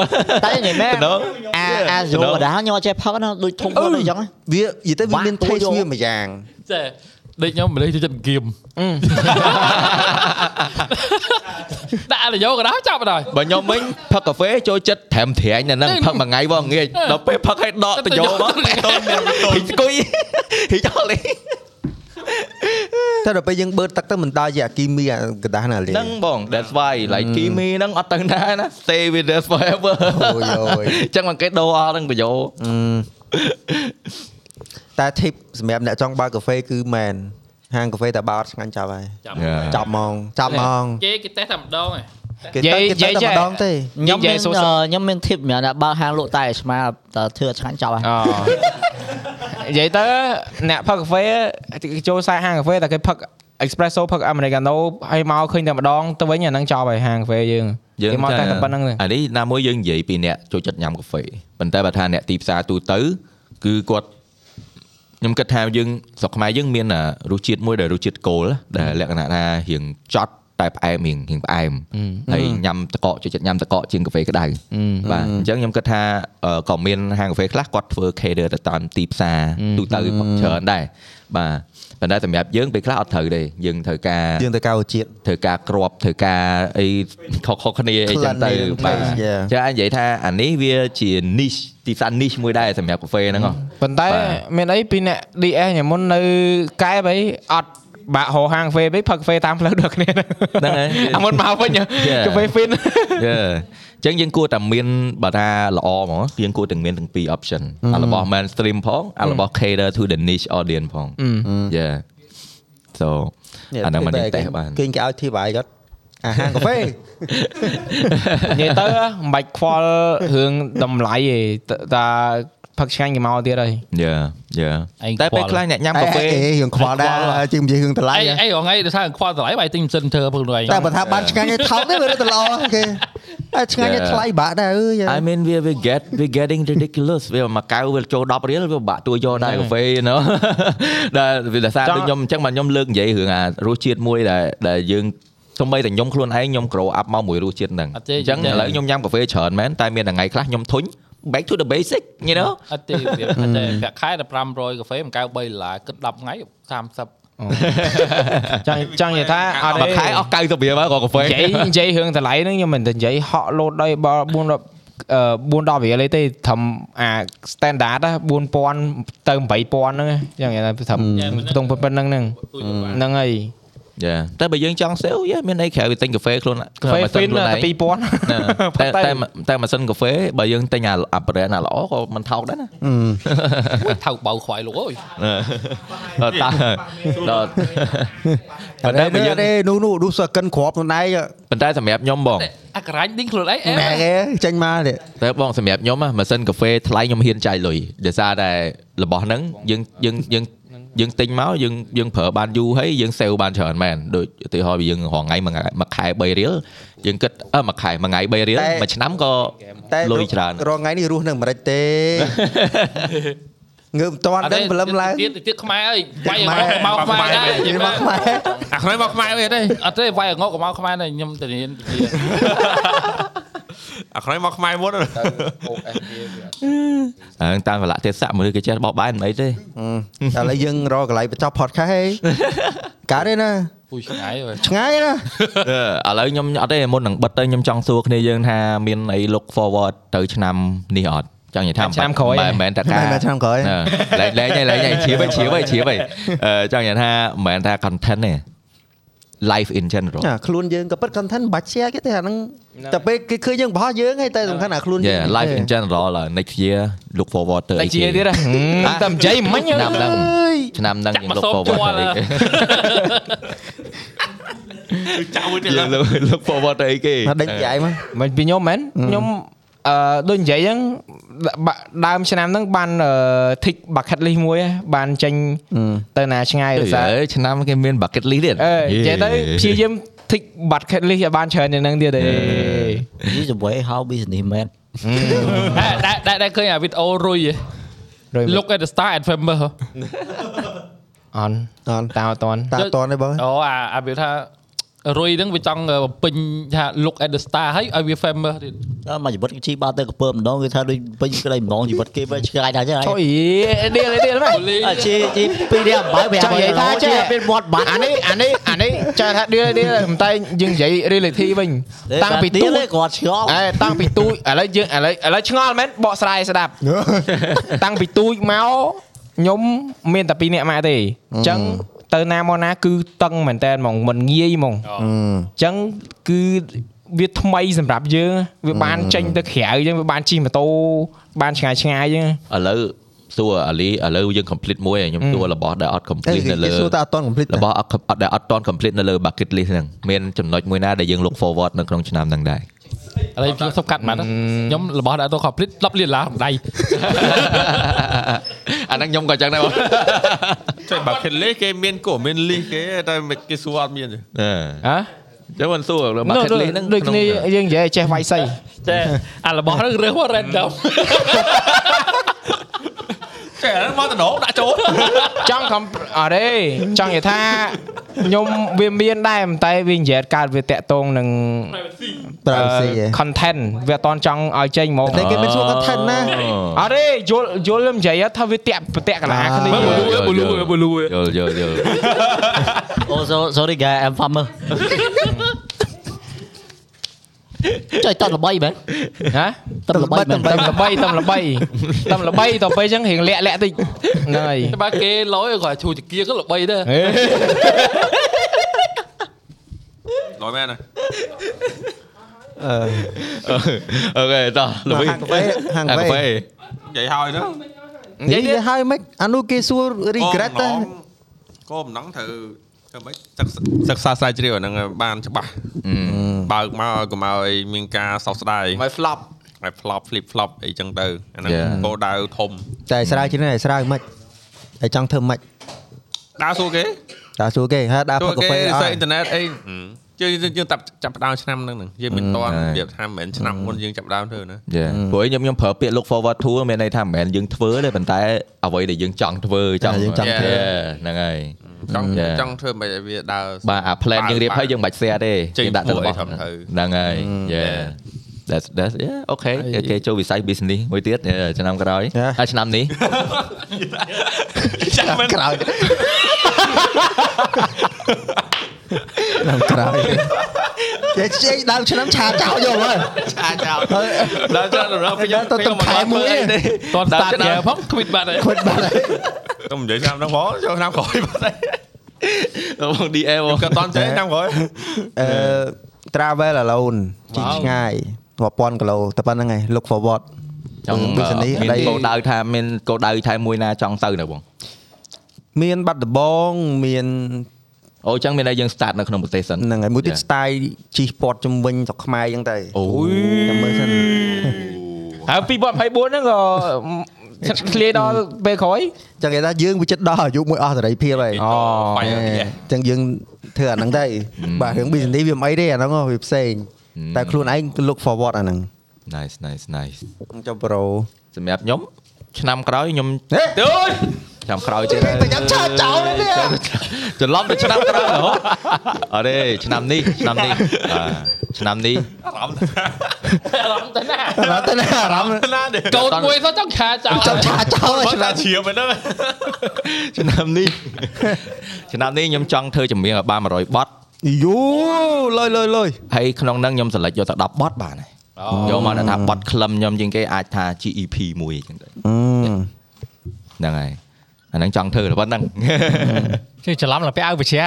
Speaker 6: តែនិយាយមែន
Speaker 3: ទៅដល់
Speaker 6: អាអាយោបដាខ្ញុំអត់ចេះផឹកណាដូចធំខ្លួនអីចឹងណា
Speaker 2: វានិយាយទៅវា
Speaker 6: វ៉ាក់
Speaker 2: មាន
Speaker 6: ទួ
Speaker 2: taste
Speaker 6: យក
Speaker 2: វាមួយយ៉ាង
Speaker 5: ទេដូចខ្ញុំម្លេះចូលចិត្តហ្គេម ដាក់ទៅយោក៏ដាស់ចាប់បណ្ដោយ
Speaker 3: បើខ្ញុំវិញផឹកកាហ្វេចូលចិត្តត្រាំត្រាញនៅហ្នឹងផឹកមួយថ្ងៃវងងាយដល់ពេលផឹកឲ្យដកតយោមក ហិចស្គុយហិចអស់លេ
Speaker 2: តែដល់ពេលយើងបឺតទឹកទៅមិនដល់ជាអាគីមីអាកដាស់ណាលេ
Speaker 3: ហ្នឹងបង that's why like គីមីហ្នឹងអត់ទៅណាណា stay with us forever
Speaker 2: អូយអូយ
Speaker 3: អញ្ចឹងមកគេដូរអស់ហ្នឹងតយោ
Speaker 2: តែ tip សម្រាប់អ្នកចង់បើកកាហ្វេគឺមែន ហាងកាហ្វេតាបោតស្ងាញ់ចាប់ហើយ
Speaker 5: ចាំ
Speaker 3: Yeah.
Speaker 2: ចាប់ហ្មងចាប់ហ្មង
Speaker 5: គេគេតេសតែម្ដងឯង
Speaker 2: គេ
Speaker 1: និយា
Speaker 2: ទៅ
Speaker 1: យ
Speaker 2: គេទៅ
Speaker 1: និយាយចេះ
Speaker 2: តែម្ដងទេ
Speaker 6: ខ្ញុំ
Speaker 1: និយា
Speaker 6: មា
Speaker 1: យ
Speaker 6: ន
Speaker 8: ờ,
Speaker 1: សួរ សុខ
Speaker 6: អឺខ្ញុំមានធីបម្រាប់ថាបើកហាងលក់តែអាឆ្មាតើធ្វើអត់ឆ្ងាញ់ចោល
Speaker 8: à. Ờ.
Speaker 6: ហើយ
Speaker 1: អូនិយាយទៅអ្នកផឹកកាហ្វេចូលខ្សែហាងកាហ្វេតែគេផឹក espresso ផឹក americano ហើយមកឃើញតែម្ដងទៅវិញអាហ្នឹងចប់ហើយហាងកាហ្វេយើង
Speaker 3: យើង
Speaker 1: គេមកតែតែប៉ុណ្្នឹងទេ
Speaker 3: អានេះណាមួយយើងនិយាយពីអ្នកចូលចិត្តញ៉ាំកាហ្វេប៉ុន្តែបើថាអ្នកទីផ្សារទូទៅគឺគាត់ខ្ញុំគិតថាយើងស្រុកខ្មែរយើងមានអារសជាតិមួយដែលរសជាតិគោលដែលលក្ខណៈថារៀងចត់តែផ្អែមរៀងរៀងផ្អែមហើយញ៉ាំតកកចូលចិត្តញ៉ាំតកកជាងកាហ្វេក្តៅបាទអញ្ចឹងខ្ញុំគិតថាអឺក៏មានហាងកាហ្វេខ្លះគាត់ធ្វើ cater ទៅតាមទីផ្សារទូទៅច្រើនដែរបាទប៉ុន្តែសម្រាប់យើងពេលខ្លះអត់ត្រូវទេយើងត្រូវការ
Speaker 2: យើងទៅកៅជាតិ
Speaker 3: ធ្វើការក្របធ្វើការអីខុសៗគ្នាអីចឹងទៅ
Speaker 2: Planning
Speaker 3: បាទ
Speaker 2: yeah.
Speaker 3: ចាអញនិយាយថាអានេះវាជា niche ទីផ្សារ niche មួយដែរសម្រាប់កាហ្វេហ្នឹងហ៎
Speaker 1: ប៉ុន្តែ
Speaker 3: បាទ
Speaker 1: មានអីពីអ្នក DS ញ៉ាំមុននៅកែបអីអត់បាក់ហោហាងកាហ្វេពេកផឹកកាហ្វេ តាមផ្លូវដូចគ្នា
Speaker 3: ហ្នឹងហើយ
Speaker 1: អាមុនមកវិញ
Speaker 3: Yeah.
Speaker 1: កាហ្វេ fin
Speaker 3: យេអញ្ចឹងយើងគួរតែមានបើថាល្អមកយើងគួរតែមានទាំងពីរ option អារបស់ mainstream ផងអារបស់ cater to the niche audience ផងយេ so អាហ្នឹងមិនទេបាន
Speaker 2: គេគេឲ្យធីបហើយគាត់អាហាងកាហ្វេ
Speaker 1: និយាយទៅមិនបាច់ខ្វល់រឿងតម្លៃទេតែផឹកឆ្ងាញ់គេមកទៀតហើយ
Speaker 3: យេយេ
Speaker 5: ឯង
Speaker 3: តែពេល
Speaker 5: ខ្វល់
Speaker 3: ខ្លះអ្នកញ៉ាំកាហ្វេ
Speaker 2: អេយើងខ្វល់ដែរជាងនិយាយរឿងតម្លៃ
Speaker 5: អីអីរហងៃដោយសារខ្វល់តម្លៃបាយទិញម៉ាស៊ីនធ្វើពួកនោះឯង
Speaker 2: តែបើថាបានឆ្ងាញ់ឲ្យថោកទេវារឿងទៅ ល្អគេហើយឆ្ងាញ់ឲ្យថ្លៃបាក់ដែរអើយ
Speaker 3: I mean we we get we getting ridiculous វាមកកៅវាចូល10រៀលវាបាក់ទួយកដែរកាហ្វេណូ ដែលវាដសារ
Speaker 1: ចង់
Speaker 3: ដូចខ្ញុំអញ្ចឹងបាទខ្ញុំលើកនិយាយរឿងអារសជាតិមួយដែលដែលយើងទោះបីតែខ្ញុំខ្លួនឯងខ្ញុំ grow up មកមួយរសជាតិហ្នឹង
Speaker 5: អត់ទេ
Speaker 3: អញ្ចឹងឥឡូវខ្ញុំញ៉ាំកាហ្វេច្រើនមែនតែមានថ្ងៃខ្លះខ្ញុំធុញ back to the basic you know
Speaker 5: អត់ទេវាអត់ទេប្រាក់ខែតែ500កាហ្វេមួយកែវ3ដុល្លារគិត10ថ្ងៃ30
Speaker 1: ចង់ចង់និយាយថាអត់
Speaker 3: មួយខែ
Speaker 1: ទេ
Speaker 3: អស់90រៀលហើយក៏កាហ្វេ
Speaker 1: និយា យនិយាយរឿងតម្លៃហ្នឹងខ្ញុំមិនទៅនិយាយហក់លោតដោយបើ4 4 10រៀលអីទេត្រឹមអា standard ណា4000ទៅ8000ហ្នឹងយ៉ាងណាត្រឹមខ្ទង់ប៉ុណ្្នឹងហ្នឹង
Speaker 5: ទូទៅបាន
Speaker 1: ហ្នឹងហើយ
Speaker 3: យ៉ាតែបើយើងចង់ sale យ៉ាមានអីក្រៅពីទិញកាហ្វេខ្លួន
Speaker 1: កាហ្វេ
Speaker 3: ទិញ
Speaker 1: fin
Speaker 3: ខ្លួនឯង
Speaker 1: តែ2000
Speaker 3: ណាតែតែតែម៉ាស៊ីនកាហ្វេបើយើងទិញអាអា brand ណាល្អក៏មិនថោកដែរណា
Speaker 5: មួយថៅបៅខ្វាយលោកអើយ
Speaker 3: ដល់តា ដល់ប៉ុន្តែបើ
Speaker 2: តែយើ
Speaker 3: យើ
Speaker 2: ង
Speaker 3: ង
Speaker 2: ទេនោះនោះឌូសកិនក្របខ្លួនឯង
Speaker 3: ប៉ុន្តែសម្រាប់ខ្ញុំបង
Speaker 5: អាការ៉ាញ់ទិញខ្លួនឯងអេ
Speaker 2: ម៉ែគេចេញមកទេ
Speaker 3: តែបងសម្រាប់ខ្ញុំណាម៉ាស៊ីនកាហ្វេថ្លៃខ្ញុំហ៊ានចាយលុយដោយសារតែរបស់ហ្នឹងយើងយើងយើងយើងទិញមកយើងយើងប្រើបានយូរហើយយើងសេវបានច្រើនមែនដូចឧទាហរណ៍វាយើងរងថ្ងៃមួយថ្ងៃមួយខែ3រៀលយើងគិតអឺមួយខែមួយថ្ងៃ3រៀលមួយឆ្នាំក៏
Speaker 2: តែ
Speaker 3: លុយច្រើន
Speaker 2: រងថ្ងៃនេះរស់នៅអាមេរិក ទេងើបមិនតាន់ដឹងព្រលឹមឡើង
Speaker 5: ទៀតទៀតខ្មែរអើយវាយឲ្យមកខ្មែរដែរនិយាយ
Speaker 2: មក
Speaker 5: មក
Speaker 2: ខ្មែរ
Speaker 4: អាខ្លួនមកខ្មែរវិញទេ
Speaker 5: អត់ទេវាយឲ្យងកក៏មកខ្មែរដែរខ្ញុំទៅរៀនវិជ្ជា
Speaker 4: អាខ្លួនមកខ្មែរមុ
Speaker 3: ហ
Speaker 4: ន
Speaker 3: ្នឹងតាមវលៈទេសៈមនុស្សគេចេះបោះបាយមិនអីទេ
Speaker 2: ឥឡូវយើងរកកន្លែងបញ្ចប់ podcast ហី កើតទេណា
Speaker 5: ពុយឆ្ងាយអើយ
Speaker 2: ឆ្ងាយណា
Speaker 3: អឺឥឡូវខ្ញុំអត់ទេមុននឹងបិទទៅខ្ញុំចង់សួរគ្នាយើងថាមានអី look forward ទៅឆ្នាំនេះអត់ចង់និយាយថា
Speaker 1: ឆ្នាំក្រោយ
Speaker 3: មិនមែនតែ
Speaker 2: ឆ្ងា
Speaker 3: ការ
Speaker 2: យមកឆ្នាំក្រោយ
Speaker 3: អឺលែងលែងហើយលែងហើយជ្រាបហើយជ្រាបហើយជ្រាបហើយអឺចង់និយាយថាមិនមែនថា content ទេ life in general
Speaker 2: ណាខ្លួនយើងក៏ប៉ិត content បាច់ share គេទេអាហ្នឹងតែពេលគេឃើញយើងបោះយើងហីតែសំខាន់អាខ្លួនយើង
Speaker 3: yeah life in general ឡើយ next year look forward ទៅ
Speaker 1: តែ
Speaker 3: អី
Speaker 1: ជា
Speaker 3: គេ
Speaker 1: ទៀតហ៎តែមិនចៃមិញ
Speaker 3: ឆ្នាំហ្នឹងឆ្នាំហ្នឹង
Speaker 5: ចា
Speaker 3: យើ
Speaker 5: ក់
Speaker 3: ង
Speaker 5: មក
Speaker 3: look
Speaker 5: សូមជ័
Speaker 3: forward
Speaker 5: រ
Speaker 3: ទៅអីគេ
Speaker 4: ចាំមួយទៀត
Speaker 3: យើង look- look forward Ờ. ទៅអីគេ
Speaker 2: មកដេញពីឯងមក
Speaker 1: មិនពីខ្ញុំមែនខ្ញុំអឺដូចនិយាយហ្នឹងបាក់ដើមឆ្នាំហ្នឹងបានអឺ tick bucket list មួយហ៎បានចេញទៅណាឆ្ងាយ
Speaker 3: អ
Speaker 1: ដោយសារ
Speaker 3: ើយឆ្នាំគេមាន bucket list ទៀត
Speaker 1: អេនិយាយទៅព្យាយាម tick bucket list ឲ្យបានច្រើនយ៉ាងហ្នឹងទៀតទេ
Speaker 6: នេះជាមួយ how business man
Speaker 5: តែតែតែតែឃើញអាវីដេអូរុយហ៎
Speaker 1: រយ
Speaker 5: Look at the star at famous ហ៎
Speaker 1: អន់
Speaker 2: អត់
Speaker 1: តាមអត់តាន់
Speaker 2: តាអត់តន់ទេបង
Speaker 5: អូអាអាវាថារុយហ្នឹងវាចង់បំពេញថា look at the star ហើយឲ្យវា famous ទៀត
Speaker 6: ដល់មកជីវិតជីបានទៅកពើម្ដងគេថាដូចពេញក្តីម្ដងជីវិតគេវាឆ្ងាយដែរចឹង
Speaker 1: ចុ
Speaker 6: ហើយ
Speaker 1: យអីដៀលអីដៀលមក
Speaker 5: លី
Speaker 6: អាជីជីពីរនេះអំបើវា
Speaker 1: ចង់និយាយថាចេះ
Speaker 6: ពេលមាត់បាត់
Speaker 1: អានេះអានេះអានេះចង់ថាដៀលអីដៀលមិនតែយើងនិយាយ reality វិញតាំងពី
Speaker 6: ទី
Speaker 1: ទូច
Speaker 6: គាត់ឆ្ងល់
Speaker 1: អេតាំងពីទូចឥឡូវយើងឥឡូវឥឡូវឆ្ងល់មែនបកស្រាយស្ដាប់ តាំងពីទូចមកខ្ញុំមានតែពីរនាក់ម៉ាក់ទេអញ្ចឹងទៅណាមកណាគឺតឹងមែនតើហ្មងមិនងាយហ្មង អញ្ចឹងគឺវាថ្មីសម្រាប់យើងវាបានចេញទៅក្រៅអញ្ចឹងវាបានជិះម៉ូតូបានឆ្ងាយឆ្ងាយអញ្ចឹង
Speaker 3: ឥឡូវ សួរអាលីឥឡូវយើង complete មួយហើយខ្ញុំសួររបស់ដែលអត់
Speaker 2: តែ
Speaker 3: complete
Speaker 2: គេ
Speaker 3: នៅលើ
Speaker 2: គេសួរតែអត់តន់ complete
Speaker 3: របស់អត់ com- អត់ដែលអត់តន់ complete នៅលើ bucket list ហ្នឹងមានចំណុចមួយណាដែលយើង look forward នៅក្នុងឆ្នាំហ្នឹងដែរ
Speaker 5: ឥឡូវខ្ញុំសុំកាត់បាត់ណាខ្ញុំរបស់ដាក់ទៅ complete 10លានឡាក្នុងដៃ
Speaker 3: អាហ្នឹងខ្ញុំក៏ចឹងដែរប ង
Speaker 4: ចុះ bucket list គេមានក៏មាន list គេតែមិនគេសួរអត់មានទេ
Speaker 1: ហ៎
Speaker 3: ចឹងមិនសួរលើ
Speaker 1: នោះ
Speaker 3: bucket list ហ្នឹង
Speaker 1: ដូចគ្នាយើងនិយាយឲ្យចេះវាយសី
Speaker 5: តែអា របស់ហ្នឹងរើសមក random
Speaker 4: ចុះអាហ្នឹងមកតំណងដាក់ចូល
Speaker 1: ចង់កំអរេចង់និយាយថាខ្ញុំវាមានដែរប៉ុន្តែវានិយាយកើតវាតាក់ទងនឹង
Speaker 2: ប្រើស៊ីឯង
Speaker 1: content វាអត់តន់ចង់ឲ្យចេញហ្ម
Speaker 2: តែ
Speaker 1: ក
Speaker 2: គេមិនសួរ content ណា
Speaker 1: អរេយល់យល់ខ្ញុំនិយាយថាវាតាក់ប្រតាក់កលាគ្នា
Speaker 2: អ่า
Speaker 3: បលូបលូយល់យល់យល់
Speaker 6: អូ so- sorry guy I'm farmer ចុយតល្បីមែន
Speaker 1: ណា
Speaker 6: តល្បីមែន
Speaker 1: តំល្បីតំល្បីតំល្បីតទៅពេលអញ្ចឹងរៀងលាក់លាក់តិចហ្នឹងហើយ
Speaker 5: តែបើគេលយគាត់ឈូចគៀក៏ល្បីដែរ
Speaker 1: ហេ
Speaker 4: ដល់មែនណា
Speaker 3: អូខេតោះល្វី
Speaker 2: ហាងកាហ្វេហាងកាហ្វេ
Speaker 4: និយាយហើយទៅ
Speaker 1: និ
Speaker 2: និ
Speaker 1: យាយទៀត
Speaker 2: យាយហើយមិនអានោះគេសួរ regret តែ
Speaker 4: ក៏មិនដឹងត្រូវធ្វើម៉េចសិក្សាសិក្សាស្រាវជ្រាវអាហ្នឹងឲ្យបានច្បាស់បើកមកកុំឲ្យមានការសោកស្ដាយ
Speaker 1: មក flop
Speaker 4: ឲ្យ flop flip flop អីចឹងទៅអាហ្នឹង
Speaker 3: Yeah.
Speaker 4: គោលដៅធំ
Speaker 2: តែស្រាវជ្រាវនេះស្រាវមិនហើយចង់ធ្វើមិន
Speaker 4: ដើរសួរគេ
Speaker 2: តែសួរគេហើយដើរ
Speaker 4: សួ
Speaker 2: ផឹ
Speaker 4: រ
Speaker 2: កកា
Speaker 4: គេ
Speaker 2: ហ្វេអ
Speaker 4: សើ
Speaker 2: ត់
Speaker 4: អ៊ីនធឺណិតអីយើងយើងចាប់ចាប់ផ្ដើមឆ្នាំហ្នឹងហ្នឹងយើងមិនតន់
Speaker 3: ហើយ
Speaker 4: របៀបថាមិនមែនឆ្នាំមុនយើងចាប់ផ្ដើមធ្វើណា
Speaker 3: យ៉ាព្រោះឯងខ្ញុំខ្ញុំប្រើពាក្យ look forward to មានន័យថាមិនមែនយើងធ្វើទេប៉ុន្តែអ្វីដែលយើងចង់ធ្វើចង់
Speaker 2: តែយើងចង់ធ្វើ
Speaker 3: យ៉ាហ្នឹងហើយ
Speaker 4: ចង់
Speaker 3: Yeah.
Speaker 4: ចង់ធ្វើមិនឲ្យវាដើរ
Speaker 3: បាទអា plan យើងរៀបហើយយើងមិនបាច់ share ទេ
Speaker 4: ចេញ
Speaker 3: យើងដាក់ទៅរបស់
Speaker 4: ធ្វើឲ្យធំទៅ
Speaker 3: ហ្នឹងហើយ yeah that's that's yeah okay គេគេចូលវិស័យ business មួយទៀត yeah ឆ្នាំក្រោយ
Speaker 2: Yeah.
Speaker 3: ហើយឆ្នាំ នេះ
Speaker 4: ចាំមិន
Speaker 2: ក្រោយដល់ក្រោយគេជិះដល់ឆ្នាំឆាចោលយកហើយ
Speaker 4: ឆាចោលដល់ចាំដល់ខ្ញុំ
Speaker 2: ដល់ទៅទៅខែមួយឯង
Speaker 5: តន់ start គេផងគ្វីតបាត់ហើយ
Speaker 2: ខុនបាត់ហើយ
Speaker 4: ខ្ញុំនិយាយឆ្នាំហ្នឹងផងចូលឆ្នាំក្រោយបា ត់ហើយ
Speaker 3: បង DM បង
Speaker 4: ក៏តន់ចេះឆ្នាំក្រោយ
Speaker 2: អឺ travel alone ជិះឆ្ងាយរាប់ពាន់គីឡូតែប៉ុណ្្នឹងឯង look forward
Speaker 3: ចង់
Speaker 2: វិសនី
Speaker 3: មាន
Speaker 2: អី
Speaker 3: គោលដៅថាមានគោលដៅថែមួយណាចង់ទៅនៅបង
Speaker 2: មានបាត់ដំបងមាន
Speaker 3: អូចឹងមានន័យយើង start នៅក្នុងប្រទេសសិន
Speaker 2: ហ្នឹងហើយមួយទៀត
Speaker 3: Yeah.
Speaker 2: style ជិះពាត់ជំវិញស្រុកខ្មែរអញ្ចឹងទៅ
Speaker 3: អូយ
Speaker 2: ចាំមើលសិន
Speaker 1: ហើយ2024ហ្នឹងក៏ឆាត់ឃ្លាដល់ពេលក្រោយ
Speaker 2: ចឹងគេថាយើងវាចិត្តដល់អាយុមួយអស់សេរីភាពហើយ
Speaker 1: អូ
Speaker 4: បាញ់
Speaker 2: អ
Speaker 4: ឲ្យ
Speaker 2: េចឹងយើងធ្វើអាហ្នឹងទៅបាទរឿង business វាមិនអីទេអាហ្នឹងហ៎វាផ្សេង
Speaker 3: ហ៊ឹម
Speaker 2: តែខ្លួនឯង look forward អាហ្នឹង
Speaker 3: nice nice nice
Speaker 2: ចុះប្រូ
Speaker 3: សម្រាប់ខ្ញុំឆ្នាំក្រោយខ្ញុំ
Speaker 2: ហេ
Speaker 3: ទៅឆ្នាំក្រោយទៀតហើយ
Speaker 2: ប្រចាំឆាចោលនេះ
Speaker 3: ច្រឡំទៅឆ្នាំក្រោយហ៎អរេឆ្នាំនេះឆ្នាំនេះបាទឆ្នាំនេះ
Speaker 4: អារម្មណ៍
Speaker 5: អារម្មណ៍ទៅណា
Speaker 2: អារម្មណ៍ទៅណាអារម្មណ៍
Speaker 4: ណាទេ
Speaker 5: កូនមួយទៅចង់ឆាចោល
Speaker 2: ចង់ឆាចោល
Speaker 4: បើ
Speaker 2: ឆ្នាំ
Speaker 4: តែជ្រាបមិនដឹង
Speaker 3: ឆ្នាំនេះឆ្នាំនេះខ្ញុំចង់ធ្វើចម្រៀងឲ្យបាន100បទ
Speaker 2: យូលុយលុយលុយ
Speaker 3: ហើយក្នុងហ្នឹងខ្ញុំសិលេចយកតែ10បទបានហើយយកមកដាក់ថាបទក្លឹមខ្ញុំជាងគេអាចថា GEP មួយអីចឹងទៅ
Speaker 2: អឺ
Speaker 3: ហ្នឹងហើយអាហ្នឹងចង់ធ្វើតែ ប៉ុណ្្នឹង
Speaker 7: ជិះច្រឡំឡើងពាក់អាវវិជ្ជា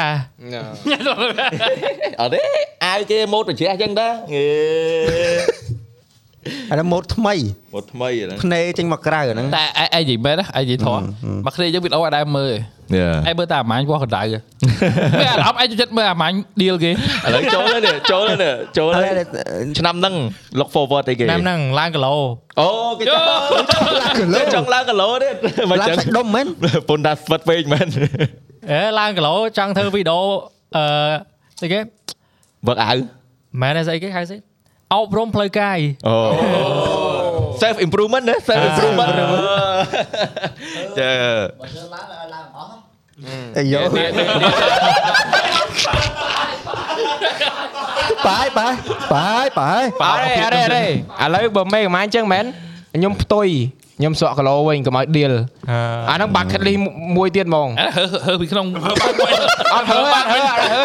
Speaker 3: អរេអាយគេម៉ូតប្រជាចឹងដែរងេ
Speaker 2: អាហ្នឹងម៉ូដថ្មី
Speaker 3: ម៉ូតថ្មីហ្នឹង
Speaker 2: ភ្នែកចេញមកក្រៅអាហ្នឹង
Speaker 5: តែឯងឯងនិយាយមែនណាឯងនិយាយធំមកគ្នាយើងវីដេអូឲ្យដែរមើលឯងមើលតែអាម៉ាញ់វោះកណ្ដៅ មានអារម្មណ៍ឯងចិត្តមើលអាម៉ាញ់ deal គេ
Speaker 3: ឥឡូវចូលហើយនេះចូលហើយនេះចូលហើយឆ្នាំហ្នឹង look forward អីគេ
Speaker 7: ឆ្នាំហ្នឹងឡើងគីឡូ
Speaker 3: អូគេចង់គេចង់ឡើងគីឡូទៀត មិន
Speaker 2: ឡើង
Speaker 3: ចឹង
Speaker 2: សាច់ដុំមែន
Speaker 3: ប៉ុន្តែស្វិតពេកមែន
Speaker 7: អេឡើងគីឡូចង់ធ្វើវីដេអូអឺស្អីគេ
Speaker 3: វឹកអាវ
Speaker 7: មែនទេស្អីគេហៅស្អីអប់រំផ្លូវកាយ
Speaker 3: អូ self improvement ណា self improvement ចើ
Speaker 2: អាយូបាយបាយបាយបាយ
Speaker 1: អរេអរេអរេឥឡូវបើមេកម្លាំងអញ្ចឹងមែនខ្ញុំផ្ទុយខ្ញុំសក់គីឡូវិញកុំឲ្យ deal អាហ្នឹង bucket list មួយទៀតហ្មង
Speaker 5: អាហឺហឺពី ក្នុង
Speaker 1: អត់ហើអត់ហើអត់ហើ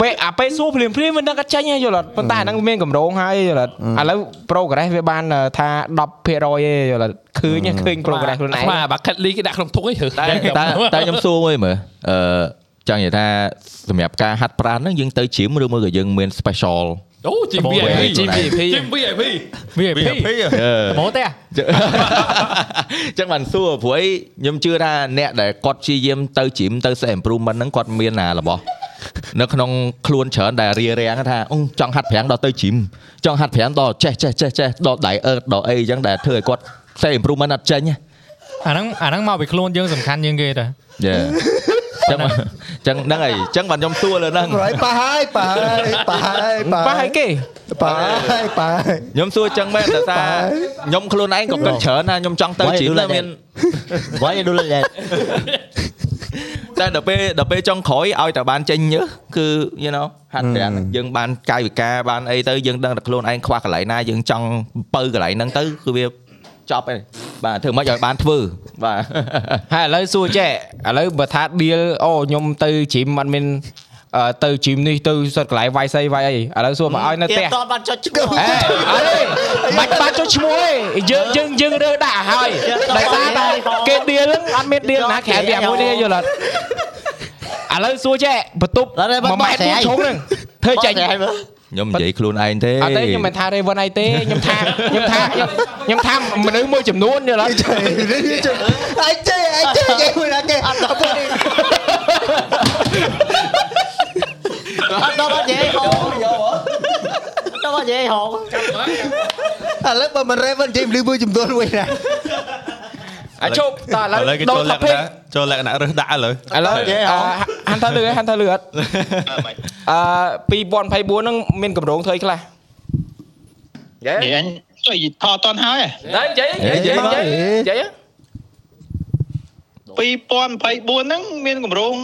Speaker 1: ពេលអាពេលសួរភ្លាមភ្លាមមិនដឹងកាត់ចាញ់ទេយល់អត់ប៉ុន្តែអាហ្នឹងមានកម្រងហើយយល់អត់ឥឡូវ progress វាបានអឺថា10%ទេយល់អត់ឃើញទេឃើញ progress ខ្លួនឯង
Speaker 5: បាទ bucket list គេដាក់ក្នុងធុងអីហឺ
Speaker 3: តែតែខ្ញុំសួរមួយមើលអឺចង់និយាយថាសម្រាប់ការហាត់ប្រាណហ្នឹងយើងទៅជ្រាមឬមួយក៏យើងមាន special
Speaker 5: អូជី
Speaker 7: Double
Speaker 5: VIP
Speaker 3: VIP
Speaker 5: ជី
Speaker 1: VIP
Speaker 5: VIP
Speaker 7: VIP
Speaker 4: VIP
Speaker 7: ប្រមោទេអា
Speaker 3: ចឹង ចឹងបានសួរព្រោះអីខ្ញុំជឿថាអ្នកដែលគាត់ព្យាយាមទៅជ្រីមទៅសេះ improvement ហ្នឹងគាត់មានអារបស់នៅក្នុងខ្លួនច្រើនដែលរារាំងថាអ៊ុងចង់ហាត់ប្រាំងដល់ទៅជ្រីមចង់ហាត់ប្រាំងដល់ចេះចេះចេះចេះដល់ diet ដល់អីចឹងដែលធ្វើឲ្យគាត់សេះ improvement អត់ចេញ
Speaker 7: អាហ្នឹងអាហ្នឹងមកពីខ្លួនយើងសំខាន់យើងគេតា
Speaker 3: យេចឹងចឹងហ្នឹងហើយចឹងបានខ្ញុំសួរលើហ្នឹង
Speaker 2: ក្រោយប៉ះហើយប៉ះហើយប៉ះហើយ
Speaker 1: ប៉ះឲ្យគេ
Speaker 2: ប៉ះហើយប៉ះហើយ
Speaker 3: ខ្ញុំសួរចឹងមែនតែថាខ្ញុំខ្លួនឯងក៏គិតច្រើនថាខ្ញុំចង់ទៅ
Speaker 6: Why
Speaker 3: ជ្រីម
Speaker 6: do
Speaker 3: តែ
Speaker 6: like
Speaker 3: មាន
Speaker 6: Why you do like that
Speaker 3: តែដល់ពេលដល់ពេលចុងក្រោយឲ្យតែបានចេញញើសគឺ you know ហាត់ប្រាណយើងបានកាយវិការបានអីទៅយើងដឹងតែខ្លួនឯងខ្វះកន្លែងណាយើងចង់បើកន្លែងហ្នឹងទៅគឺវាចប់ហើយបាទធ្វើម៉េចឲ្យបានធ្វើបាទ
Speaker 1: ហើយឥឡូវសួរចេះឥឡូវបើថា deal អូខ្ញុំទៅជីមអត់មានអឺទៅជីមនេះទៅសុទ្ធកន្លែងវាយសីវាយអីឥឡូវសួរមកឲ្យនៅផ្ទះ
Speaker 6: តបានចុចឈ្មោះ
Speaker 1: អេអត់ទេមិនបាច់ចុះឈ្មោះទេយើងយើងយើងរើដាក់ហើយដោយសារតែគេដៀលហ្នឹងអត់មានដៀលណាក្រែពីអាមួយនេះយល់អត់ឥឡូវសួរចេះបន្ទប់
Speaker 6: ឥឡូវបាត់
Speaker 1: 1ម៉ែត្រ
Speaker 6: បាត់ស្រ័
Speaker 1: មួយ
Speaker 6: យ
Speaker 1: ឈុងហ្នឹងធ្វើចេញអត់
Speaker 3: ខ្ញុំនិយាយខ្លួនឯងទេ
Speaker 1: ទេខ្ញុំមិនថា Raven អីទេខ្ញុំថាខ្ញុំថាខ្ញុំថាមនុស្សមួយចំនួនយល់អត់
Speaker 2: អាយចេអាយចេនិយាយមួយណាគេអត់ដល់នេះ
Speaker 6: អត់ដល់បាត់និយាយហងយកដល់បាត់និយាយហង
Speaker 2: ឥឡូវបើមិនរេមិននិយាយមនុស្សមួយចំនួនមួយណា
Speaker 1: អាជប់តើឥ
Speaker 4: ឥ
Speaker 1: ឡូ
Speaker 4: ឡូវ
Speaker 1: វ
Speaker 4: គេ
Speaker 1: ដូ
Speaker 4: ចូល
Speaker 1: រ
Speaker 4: ល
Speaker 1: ថា
Speaker 4: ក្ខ
Speaker 1: ភិក
Speaker 4: ណៈចូលលក្ខណៈរើសដាក់ឥឡូវ
Speaker 1: ឥឡូវហាន់ថាលឺហាន់ថាលឺអត់អឺ2024ហ្នឹងមានកម្រងធ្វើអីខ្លះយេ
Speaker 8: និយាយចុយថតអត់តន់ហើយ
Speaker 1: តែនិយាយនិយាយនិយាយនិយាយ
Speaker 8: 2024ហ្នឹងមានកម្រង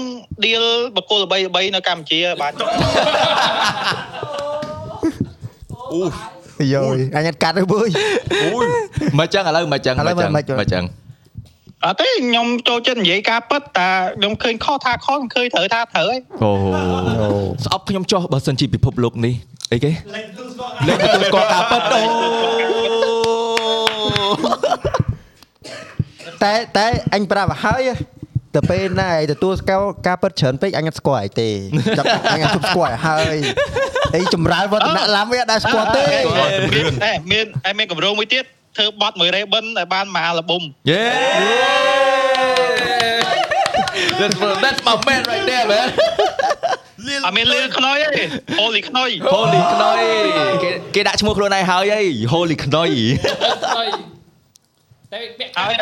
Speaker 8: deal បកគលល្បីល្បីនៅកម្ពុជាបាទ
Speaker 2: យោយអញអត់កាត់ទេបុយ
Speaker 3: មិនចឹងឥឡូវមិនចឹង
Speaker 2: ឥឡូវ
Speaker 3: មិនចឹង
Speaker 2: មិនចឹង
Speaker 3: មិនចឹង
Speaker 8: អត់ទេខ្ញុំចូលចិត្តនិយាយការពិតតាខ្ញុំឃើញខុសថាខុសខ្ញុំឃើញត្រូវថាត្រូវហើយ
Speaker 3: អូស្អប់ខ្ញុំចុះបើសិនជាពិភពលោកនេះអីគេលេខទទួលស្គាល់ការពិតអូ
Speaker 2: តែតែអញប្រាប់ឲ្យហើយតែពេលណាឯងទទួលស្គាល់ការពិតច្រើនពេកអញអត់ស្គាល់អីទេចាប់អញអត់ស្គាល់ឲ្យហើយអីចម្រើនវឌ្ឍនៈឡាមវាអត់ដែរស្គាល់ទេ
Speaker 8: តែមានតែមានកម្រងមួយទៀតធ្វើបត់មួយ Raven ឲ្យបានមហាលប៊ុំ
Speaker 3: យេ That's that's my man right there man
Speaker 8: អត់មានលឺខ្នុយ ទេអូលីខ្នុយ
Speaker 3: Holy ខ្នុយគេគេដាក់ឈ្មោះខ្លួនឯងហើយអី Holy ខ្នុយ
Speaker 5: ហើយតែពាក់កា
Speaker 8: ហើ យ
Speaker 5: យ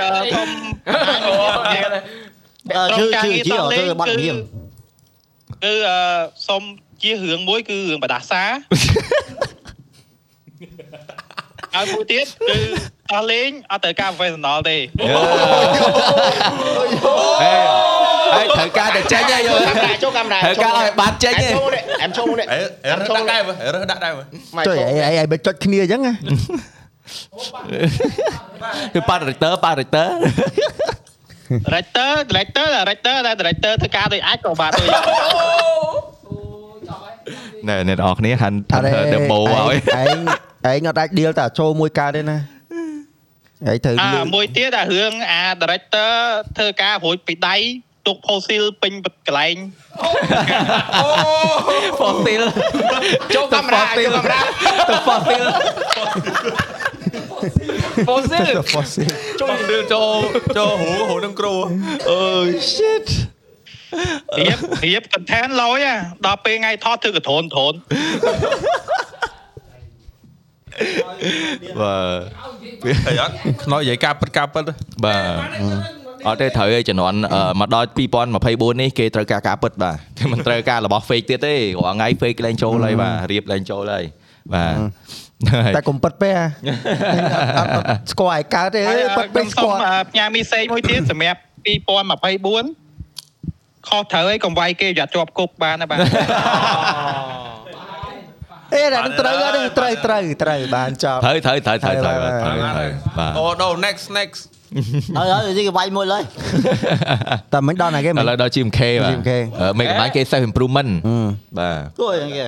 Speaker 8: ដល់ខ្ញុំ
Speaker 6: ជឺជឺជីអត់ទៅបាត់រៀម
Speaker 8: គឺអឺសុំជារឿងមួយ គឺរឿងបដា សាហើយមួយទៀតគឺអស់លេងអត់ត្រូវការ professional ទេ
Speaker 3: ហេហេត្រូវការតែចេញ ហើយយល់
Speaker 8: ចូលកាមេរ៉ា
Speaker 3: ត្រូវការឲ្យបានចេញហ៎
Speaker 8: អែមចូលនេះ
Speaker 4: អេរើសដាក់ដែរមើលរើសដាក់ដែរមើល
Speaker 2: ចុយអីអីអីមិនចុចគ្នាអញ្ចឹងណា
Speaker 3: គឺ parameter parameter
Speaker 8: director director director តែ director ធ្វើការដូចអាចក៏បានដូចយ៉ាង
Speaker 3: ណែ អ្នកនរអគ្នាហាន់ថាន់ demo ឲ្យ
Speaker 2: ឯងឯងអត់អាចដៀលតែចូលមួយកើតទេណាឯងត្រូវ
Speaker 8: អា
Speaker 2: លឺ
Speaker 8: មួយទៀតអារឿងអា director ធ្វើការរួចពីដៃទុក fossil ពេញកន្លែង
Speaker 3: fossil
Speaker 1: ចូលកាមេរ៉ាចូលកាមេរ៉ា
Speaker 3: ទៅ fossil
Speaker 1: fossil
Speaker 4: ចូលរឿងចូលចូលហូហូនឹងគ្រូ
Speaker 3: អើយ shit
Speaker 8: រៀបរៀប content ឡយអាដល់ពេលថ្ងៃថតធ្វើកត្រូនត្រូន
Speaker 3: បាទ
Speaker 4: អីអត់ខ្នងនិយាយការពិតការពិត
Speaker 3: បាទអត់ទេត្រូវឯចំនួនមកដល់2024នេះគេត្រូវការការពិត បាទគេមិនត្រូវការរបស់ fake ទៀតទេរាល់ថ្ងៃ fake ឡើងចូលហើយបាទរៀបឡើងចូលហើយបាទ ហ្នឹងហើយ
Speaker 2: តែកុំប៉ិតពេកអា អត់អត់ស្គាល់ឲ្យកើតទេអើយប៉ិតពេកស្គាល់
Speaker 8: ខ្ញុំសូមផ្ញើមីសេមួយទៀតសម្រាប់2024ខុសត្រូវឲ្យកុំវាយគេយ៉ាត់ជាប់គុកបានណាបាទ
Speaker 2: អេដល់ត្រូវហើយនេះត្រូវត្រូវត្រូវបានចប់
Speaker 3: ត្រូវត្រូវត្រូវត្រូវត្រូវ
Speaker 2: ត្រូវ
Speaker 3: ត្រូវ
Speaker 2: បាទ
Speaker 3: ត្រូវបាទ
Speaker 4: អូដូ next next
Speaker 6: ហើយហើយនេះគេវាយមួយឡើយ
Speaker 2: តែមិនដល់ណាគេ
Speaker 3: ឥ
Speaker 2: មិន
Speaker 3: ឡូវដល់ GMK បាទ
Speaker 2: GMK
Speaker 3: អឺមេកំបាញ់គេ self improvement
Speaker 2: ហឹម
Speaker 3: បាទ
Speaker 6: គួរយ៉ាងគេ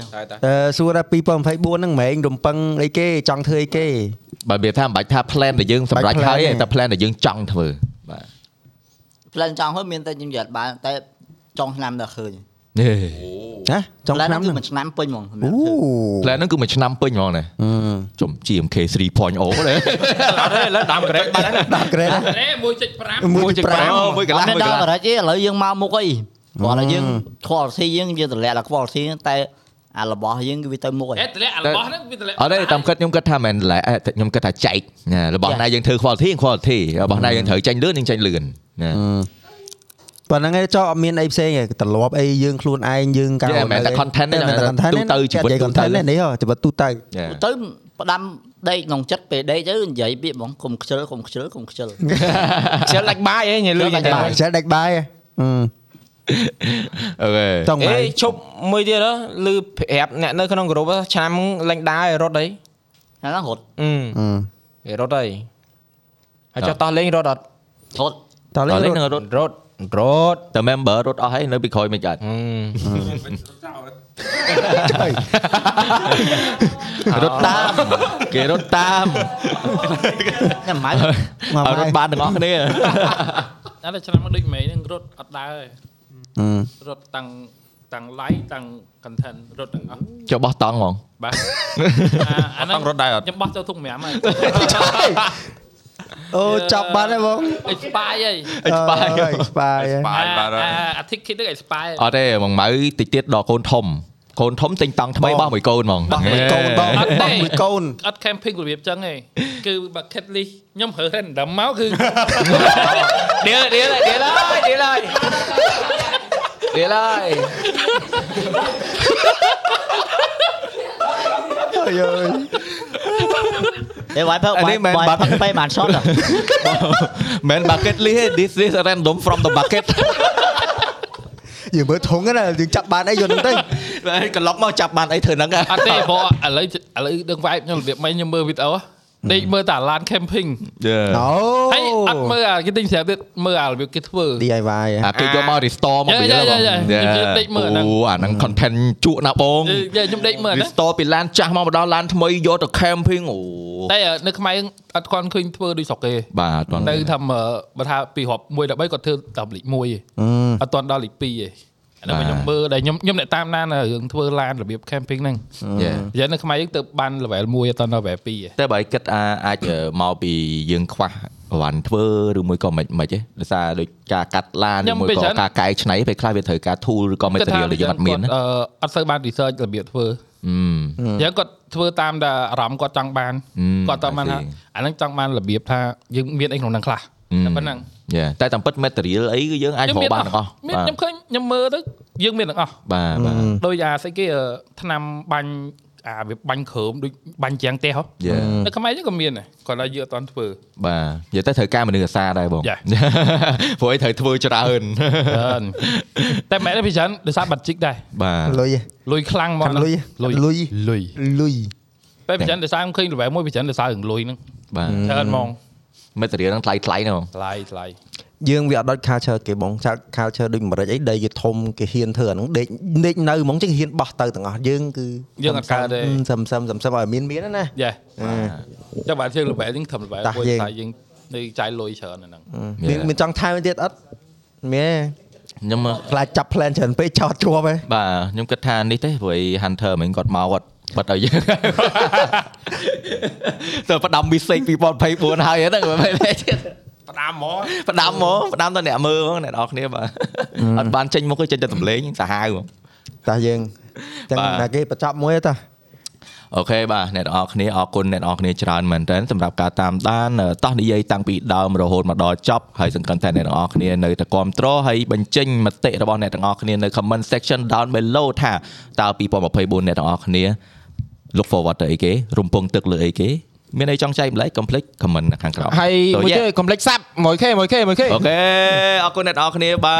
Speaker 2: អឺសួរថា2024ហ្នឹងមិនឯងរំពឹងអីគេចង់ធ្វើអីគេ
Speaker 3: បើនិយាយថាមិនបាច់ថា plan ដែលយើងសម្រេច
Speaker 2: បាច់ plan
Speaker 3: ហើយទេ
Speaker 2: ទេ
Speaker 3: តែ plan ដែលយើងចង់ធ្វើបាទ
Speaker 6: ផ្លែចង់ហ្នឹងមានតែខ្ញុំយល់បានតែចុងឆ្នាំដល់ឃើញ
Speaker 3: ហេ
Speaker 2: ណាចុងឆ្នាំ
Speaker 6: គឺ
Speaker 2: ហ្នឹង
Speaker 6: មួយឆ្នាំពេញហ្មងស
Speaker 2: អូ
Speaker 6: ម្រាប់ធ្វើ
Speaker 3: ផ្លែហ្នឹងគឺមួយឆ្នាំពេញហ្មងណាចំ GMK 3.0ដែរ
Speaker 1: អត់ទេឥឡូវដាំក្រេបបាត់ហើយ
Speaker 2: ដល់ក្រេត
Speaker 5: រ៉េ1.5
Speaker 2: 1.5
Speaker 3: 1.5មួយកន្លះ
Speaker 6: បា
Speaker 3: មួយក
Speaker 6: ត់
Speaker 3: ន្លះ
Speaker 6: ដល់បរិយាឥឡូវយើងមកមុខអីព្រោះឥឡូវយើង
Speaker 2: អឺ
Speaker 6: quality យើងយើងតម្លាក់ដល់ quality ហ្នឹងតែអារបស់យើងគឺវាទៅមុខហើយ
Speaker 5: ហេតលាក់អារបស់ហ្នឹងវាតលាក់
Speaker 3: អត់ទេតាមគិតខ្ញុំគិតថាមិនឡែអេខ្ញុំគិតថាចែកណារបស់
Speaker 6: ចែក
Speaker 3: ណាយើងធ្វើ quality quality របស់ណាយើងត្រូវចាញ់លឿនយើងចាញ់លឿនណា
Speaker 2: ប៉ុណ្ណឹងឯងចោលអត់មានអីផ្សេងឯងទ្រលាប់អីយើងខ្លួនឯងយើង
Speaker 3: យេមិនមែនតែ content ទេ
Speaker 2: តែ content
Speaker 3: ទូទៅជីវិតទូទៅ
Speaker 2: ទៅនេះហ៎ជីវិតទូទៅ
Speaker 3: យេ
Speaker 6: ទៅផ្ដាំដេកក្នុងចិត្តពេលដេកទៅនិយាយពាក្យហ្មងកុំខ្ជិលកុំខ្ជិលកុំខ្ជិល
Speaker 1: ខ្ជិលដាច់បាយឯងញ៉ៃលុយ
Speaker 6: ខ្ជិលដា
Speaker 1: ញ៉ៃ
Speaker 6: ច់បាយ
Speaker 2: ចេះដាច់បាយហ៎
Speaker 3: អូខេ
Speaker 2: ចង់ហើ
Speaker 1: អេ
Speaker 2: យ
Speaker 1: ឈប់មួយទៀតហ៎លឺប្រាប់អ្នកនៅក្នុងក្រុមឆ្នាំលេងដើរឲ្យរត់អី
Speaker 6: ហ្នឹងរត់
Speaker 1: អឺ
Speaker 2: អឺ
Speaker 1: វារត់ហើយហើយចុះតោះលេងរត់អត់
Speaker 6: រត់
Speaker 2: តោះ
Speaker 3: តោះលេ
Speaker 2: លេ
Speaker 3: ង
Speaker 2: ង
Speaker 3: នឹងរ
Speaker 1: រ
Speaker 3: ត់
Speaker 1: ត់រត់រត់
Speaker 3: តើ member រត់អស់ហើយនៅពីក្រោយមិនអត់
Speaker 1: ហឹម
Speaker 3: រត់តាមគេរត់តាម
Speaker 6: ខ្ញុំមិន
Speaker 2: មក
Speaker 3: ឲ្យរ
Speaker 2: បាយ
Speaker 3: ត់បានទាំងអស់គ្នា
Speaker 5: អានេះឆ្នាំមកដូចមេហ្នឹងរត់អត់ដើរទេ
Speaker 2: អឺ
Speaker 5: រត់តាំងតាំង live តាំង content រត់ទាំងអស់
Speaker 3: ចុះបោះតង់ហ្មង
Speaker 5: បាទអាអាហ្នឹង
Speaker 4: តង់រត់ដែរអត់
Speaker 5: ខ្ញុំបោះចូលធុក5ហើយ
Speaker 2: អូចាប់បាត់ហើយបង
Speaker 5: អេស្ប៉ាយហើយ
Speaker 3: អិចបាយ
Speaker 2: អើយស្បាយ ហើយ
Speaker 4: បាទបាទ
Speaker 5: អាអាធីកគិតហ្នឹងអេស្ប៉ាយ
Speaker 3: អត់ទេបងម៉ៅតិចទៀតដល់កូនធំកូនធំទិញតង់ថ្មីបោះមួយកូនហ្មង
Speaker 2: បោះ មួយកូនបងបោះមួយកូន
Speaker 5: អត់ camping របៀបចឹងទេគឺបា bucket list ខ្ញុំរើ random មកគឺ
Speaker 1: ដៀលដៀលដៀលហើយដៀលហើយដៀលហើយ
Speaker 2: អើយអើយ
Speaker 6: ទេវាយផឹក
Speaker 3: អា
Speaker 6: បា
Speaker 3: នេះ
Speaker 6: យ
Speaker 3: មិន
Speaker 6: បាយ
Speaker 3: បាត់
Speaker 6: ផឹកពេលបាន shot
Speaker 3: មិន bucket list ទេ this is random from the bucket
Speaker 2: យើងមើលធុងហ្នឹងណាយើងចាប់បានអីយន់ហ្នឹងទៅ
Speaker 3: ហើយកន្លប់មកចាប់បានអីធ្វើហ្នឹង
Speaker 5: អត់ទេព្រោះឥឡូវឥឡូវដឹងវាយខ្ញុំរបៀបម៉េចខ្ញុំមើលវីដេអូដេកមើលតាឡាន camping
Speaker 2: អូ
Speaker 5: ហើយអត់មើលអាគេទិញស្រាប់ទៀតមើលអារបៀបគេធ្វើ
Speaker 2: DIY ហ៎
Speaker 3: អាគេយកមក restore មកពី
Speaker 5: Yeah, yeah, yeah, yeah. ខ្ញុំដេកមើលអាហ្នឹង
Speaker 3: អូអាហ្នឹង content ជក់ណាស់បង
Speaker 5: អឺយ៉ាខ្ញុំដេកមើលណា
Speaker 3: restore ពីឡានចាស់មកមកដល់ឡានថ្មីយកទៅ camping អូ
Speaker 5: តែនៅខ្មែរអត់គាត់ឃើញធ្វើដូចស្រុកគេ
Speaker 3: បាទអត់ទាន់
Speaker 5: នៅថាមើបើថាពីរាប់1ដល់3គាត់ធ្វើតាមលេខ1ឯងអត់ទាន់ដល់លេខ2ឯងអា
Speaker 3: បា
Speaker 5: ហ្នោះ
Speaker 3: ទ
Speaker 5: ខ្ញុំមើលដែលខ្ញុំខ្ញុំអ្នកតាមដានរឿងធ្វើឡានរបៀប camping ហ្នឹង
Speaker 3: Yeah.
Speaker 5: យ៉ាងនៅខ្មែរយើងទៅបាន level 1អត់ទាន់ដល់ level 2ឯង
Speaker 3: តែបើឲ្យគិតអាអាចអឺមកពីយើងខ្វះប្រវ័នធ្វើឬមួយក៏មិនមិនទេដោយសារដូចការកាត់ឡានឬមួយក៏ការកែច្នៃពេលខ្លះវាត្រូវការ tool ឬក៏ material ដែលយើងអត់មានណា
Speaker 5: គាត់អឺអត់សូវបាន research របៀបធ្វើ
Speaker 3: អឺ
Speaker 5: យ៉ាងគាត់ធ្វើតាមតែអារម្មណ៍គាត់ចង់បាន
Speaker 3: អឺ
Speaker 5: គាត់តាមបាន
Speaker 3: I
Speaker 5: ថា
Speaker 3: see.
Speaker 5: អាហ្នឹងចង់បានរបៀបថាយើងមានអីក្នុងហ្នឹងខ្លះ
Speaker 3: អឺ
Speaker 5: តែប៉ុណ្ណឹង
Speaker 3: Yeah. តែតាមពិត material អីគឺយើងអាចរកបានទាំងអស់
Speaker 5: មាន
Speaker 3: បាទ
Speaker 5: ខ្ញុំឃើញខ្ញុំមើលទៅយើងមានទាំងអស់
Speaker 3: បាទបាទ
Speaker 5: ដោយអាស្អីគេអឺថ្នាំបាញ់អាវាបាញ់ក្រោមដូចបាញ់ជាងទេហ៎
Speaker 3: Yeah.
Speaker 5: នៅខ្មែរយើងក៏មានដែរគាត់ថាយើងអត់ទាន់ធ្វើ
Speaker 3: បាទនិយាយទៅត្រូវការមនុស្សអាសាដែរបង
Speaker 5: Yeah.
Speaker 3: ព្រោះឯងត្រូវធ្វើច្រើន
Speaker 5: ច្រើនតែម៉ែនេះពីច្រើនដោយសារបាត់ជីកដែរ
Speaker 3: បាទ
Speaker 2: លុយហ៎
Speaker 5: លុយខ្លាំងមក
Speaker 2: ខាងលុយ
Speaker 5: លុយ
Speaker 2: លុយ
Speaker 5: លុយ
Speaker 2: លុយ
Speaker 5: តែពីច្រើនដោយសារខ្ញុំឃើញល្បែងមួយពីច្រើនដោយសាររឿងលុយហ្នឹង
Speaker 3: បាទ
Speaker 5: ច្រើនហ្មង
Speaker 3: material ហ្នឹងថ្លៃថ្លៃណាស់បង
Speaker 5: ថ្លៃថ្លៃ
Speaker 2: យើងវាអត់ដូច culture គេបងចាក់ culture ដូចអាមេរិកអីដីគេធំគេហ៊ានធ្វើអាហ្នឹងដេកដេកនៅហ្មងចឹងហ៊ានបោះទៅទាំងអស់យើងគឺ
Speaker 5: យើងអត់កើតទេ
Speaker 2: សឹមសឹមសឹមសឹមឲ្យមានមានណា
Speaker 5: យ៉ាចាំបាទជើងល្បែងហ្នឹងធ្វើល្បែង
Speaker 2: តាស់
Speaker 5: មួយ
Speaker 2: យើង
Speaker 5: ថាយើងនៅចាយលុយច្រើនអាហ្នឹង
Speaker 2: មានមានចង់ថែមទៀតអត់មានទេ
Speaker 3: ខ្ញុំ
Speaker 2: ខ្លាចចាប់ plan ច្រើនពេកចោតជាប់ហ៎
Speaker 3: បាទខ្ញុំគិតថានេះទេព្រោះឯ Hunter មិញគាត់មកគាត់បាត់ឲ្យយើងទៅផ្ដាំ mistake 2024ហើយហ្នឹងមិនមែនទេទៀត
Speaker 4: ផ្ដាំហ្មង
Speaker 3: ផ្ដាំហ្មងផ្ដាំទៅអ្នកមើលហ្មងអ្នកនរគ្នាបាទអត់បានចេញមកទេចេញតែសម្លេងសាហាវហ្មង
Speaker 2: តាយើងចឹង
Speaker 3: បាទ
Speaker 2: តែគេបញ្ចប់មួយទេតា
Speaker 3: អូខេបាទអ្នកនរគ្នាអរគុណអ្នកនរគ្នាច្រើនមែនទែនសម្រាប់ការតាមដានអឺតោះនិយាយតាំងពីដើមរហូតមកដល់ចប់ហើយសង្ឃឹមថាអ្នកនរគ្នានៅតែគ្រប់គ្រងហើយបញ្ចេញមតិរបស់អ្នកទាំងអស់គ្នានៅ comment section down below ថាតើ2024អ្នកទាំងអស់គ្នា look forward ទៅអីគេរំពឹងទឹកលើអីគេមានអីចង់ចែកម្លែក complete comment នៅខាងក្រោម
Speaker 1: ហើយមួយទៀតកុំភ្លេចសាប់ 1k 1k 1k
Speaker 3: អូខេអរគុណអ្នកនរគ្នាបា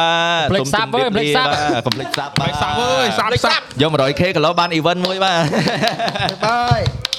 Speaker 3: ទ
Speaker 1: កុំភ្លេច Sub អើយកុំភ្លេច Sub
Speaker 3: បាទ complete sub បាទ
Speaker 4: សាប់អើយសាប់សាប់
Speaker 3: យក 100k កន្លោបាន event មួយបាទ
Speaker 2: បាយ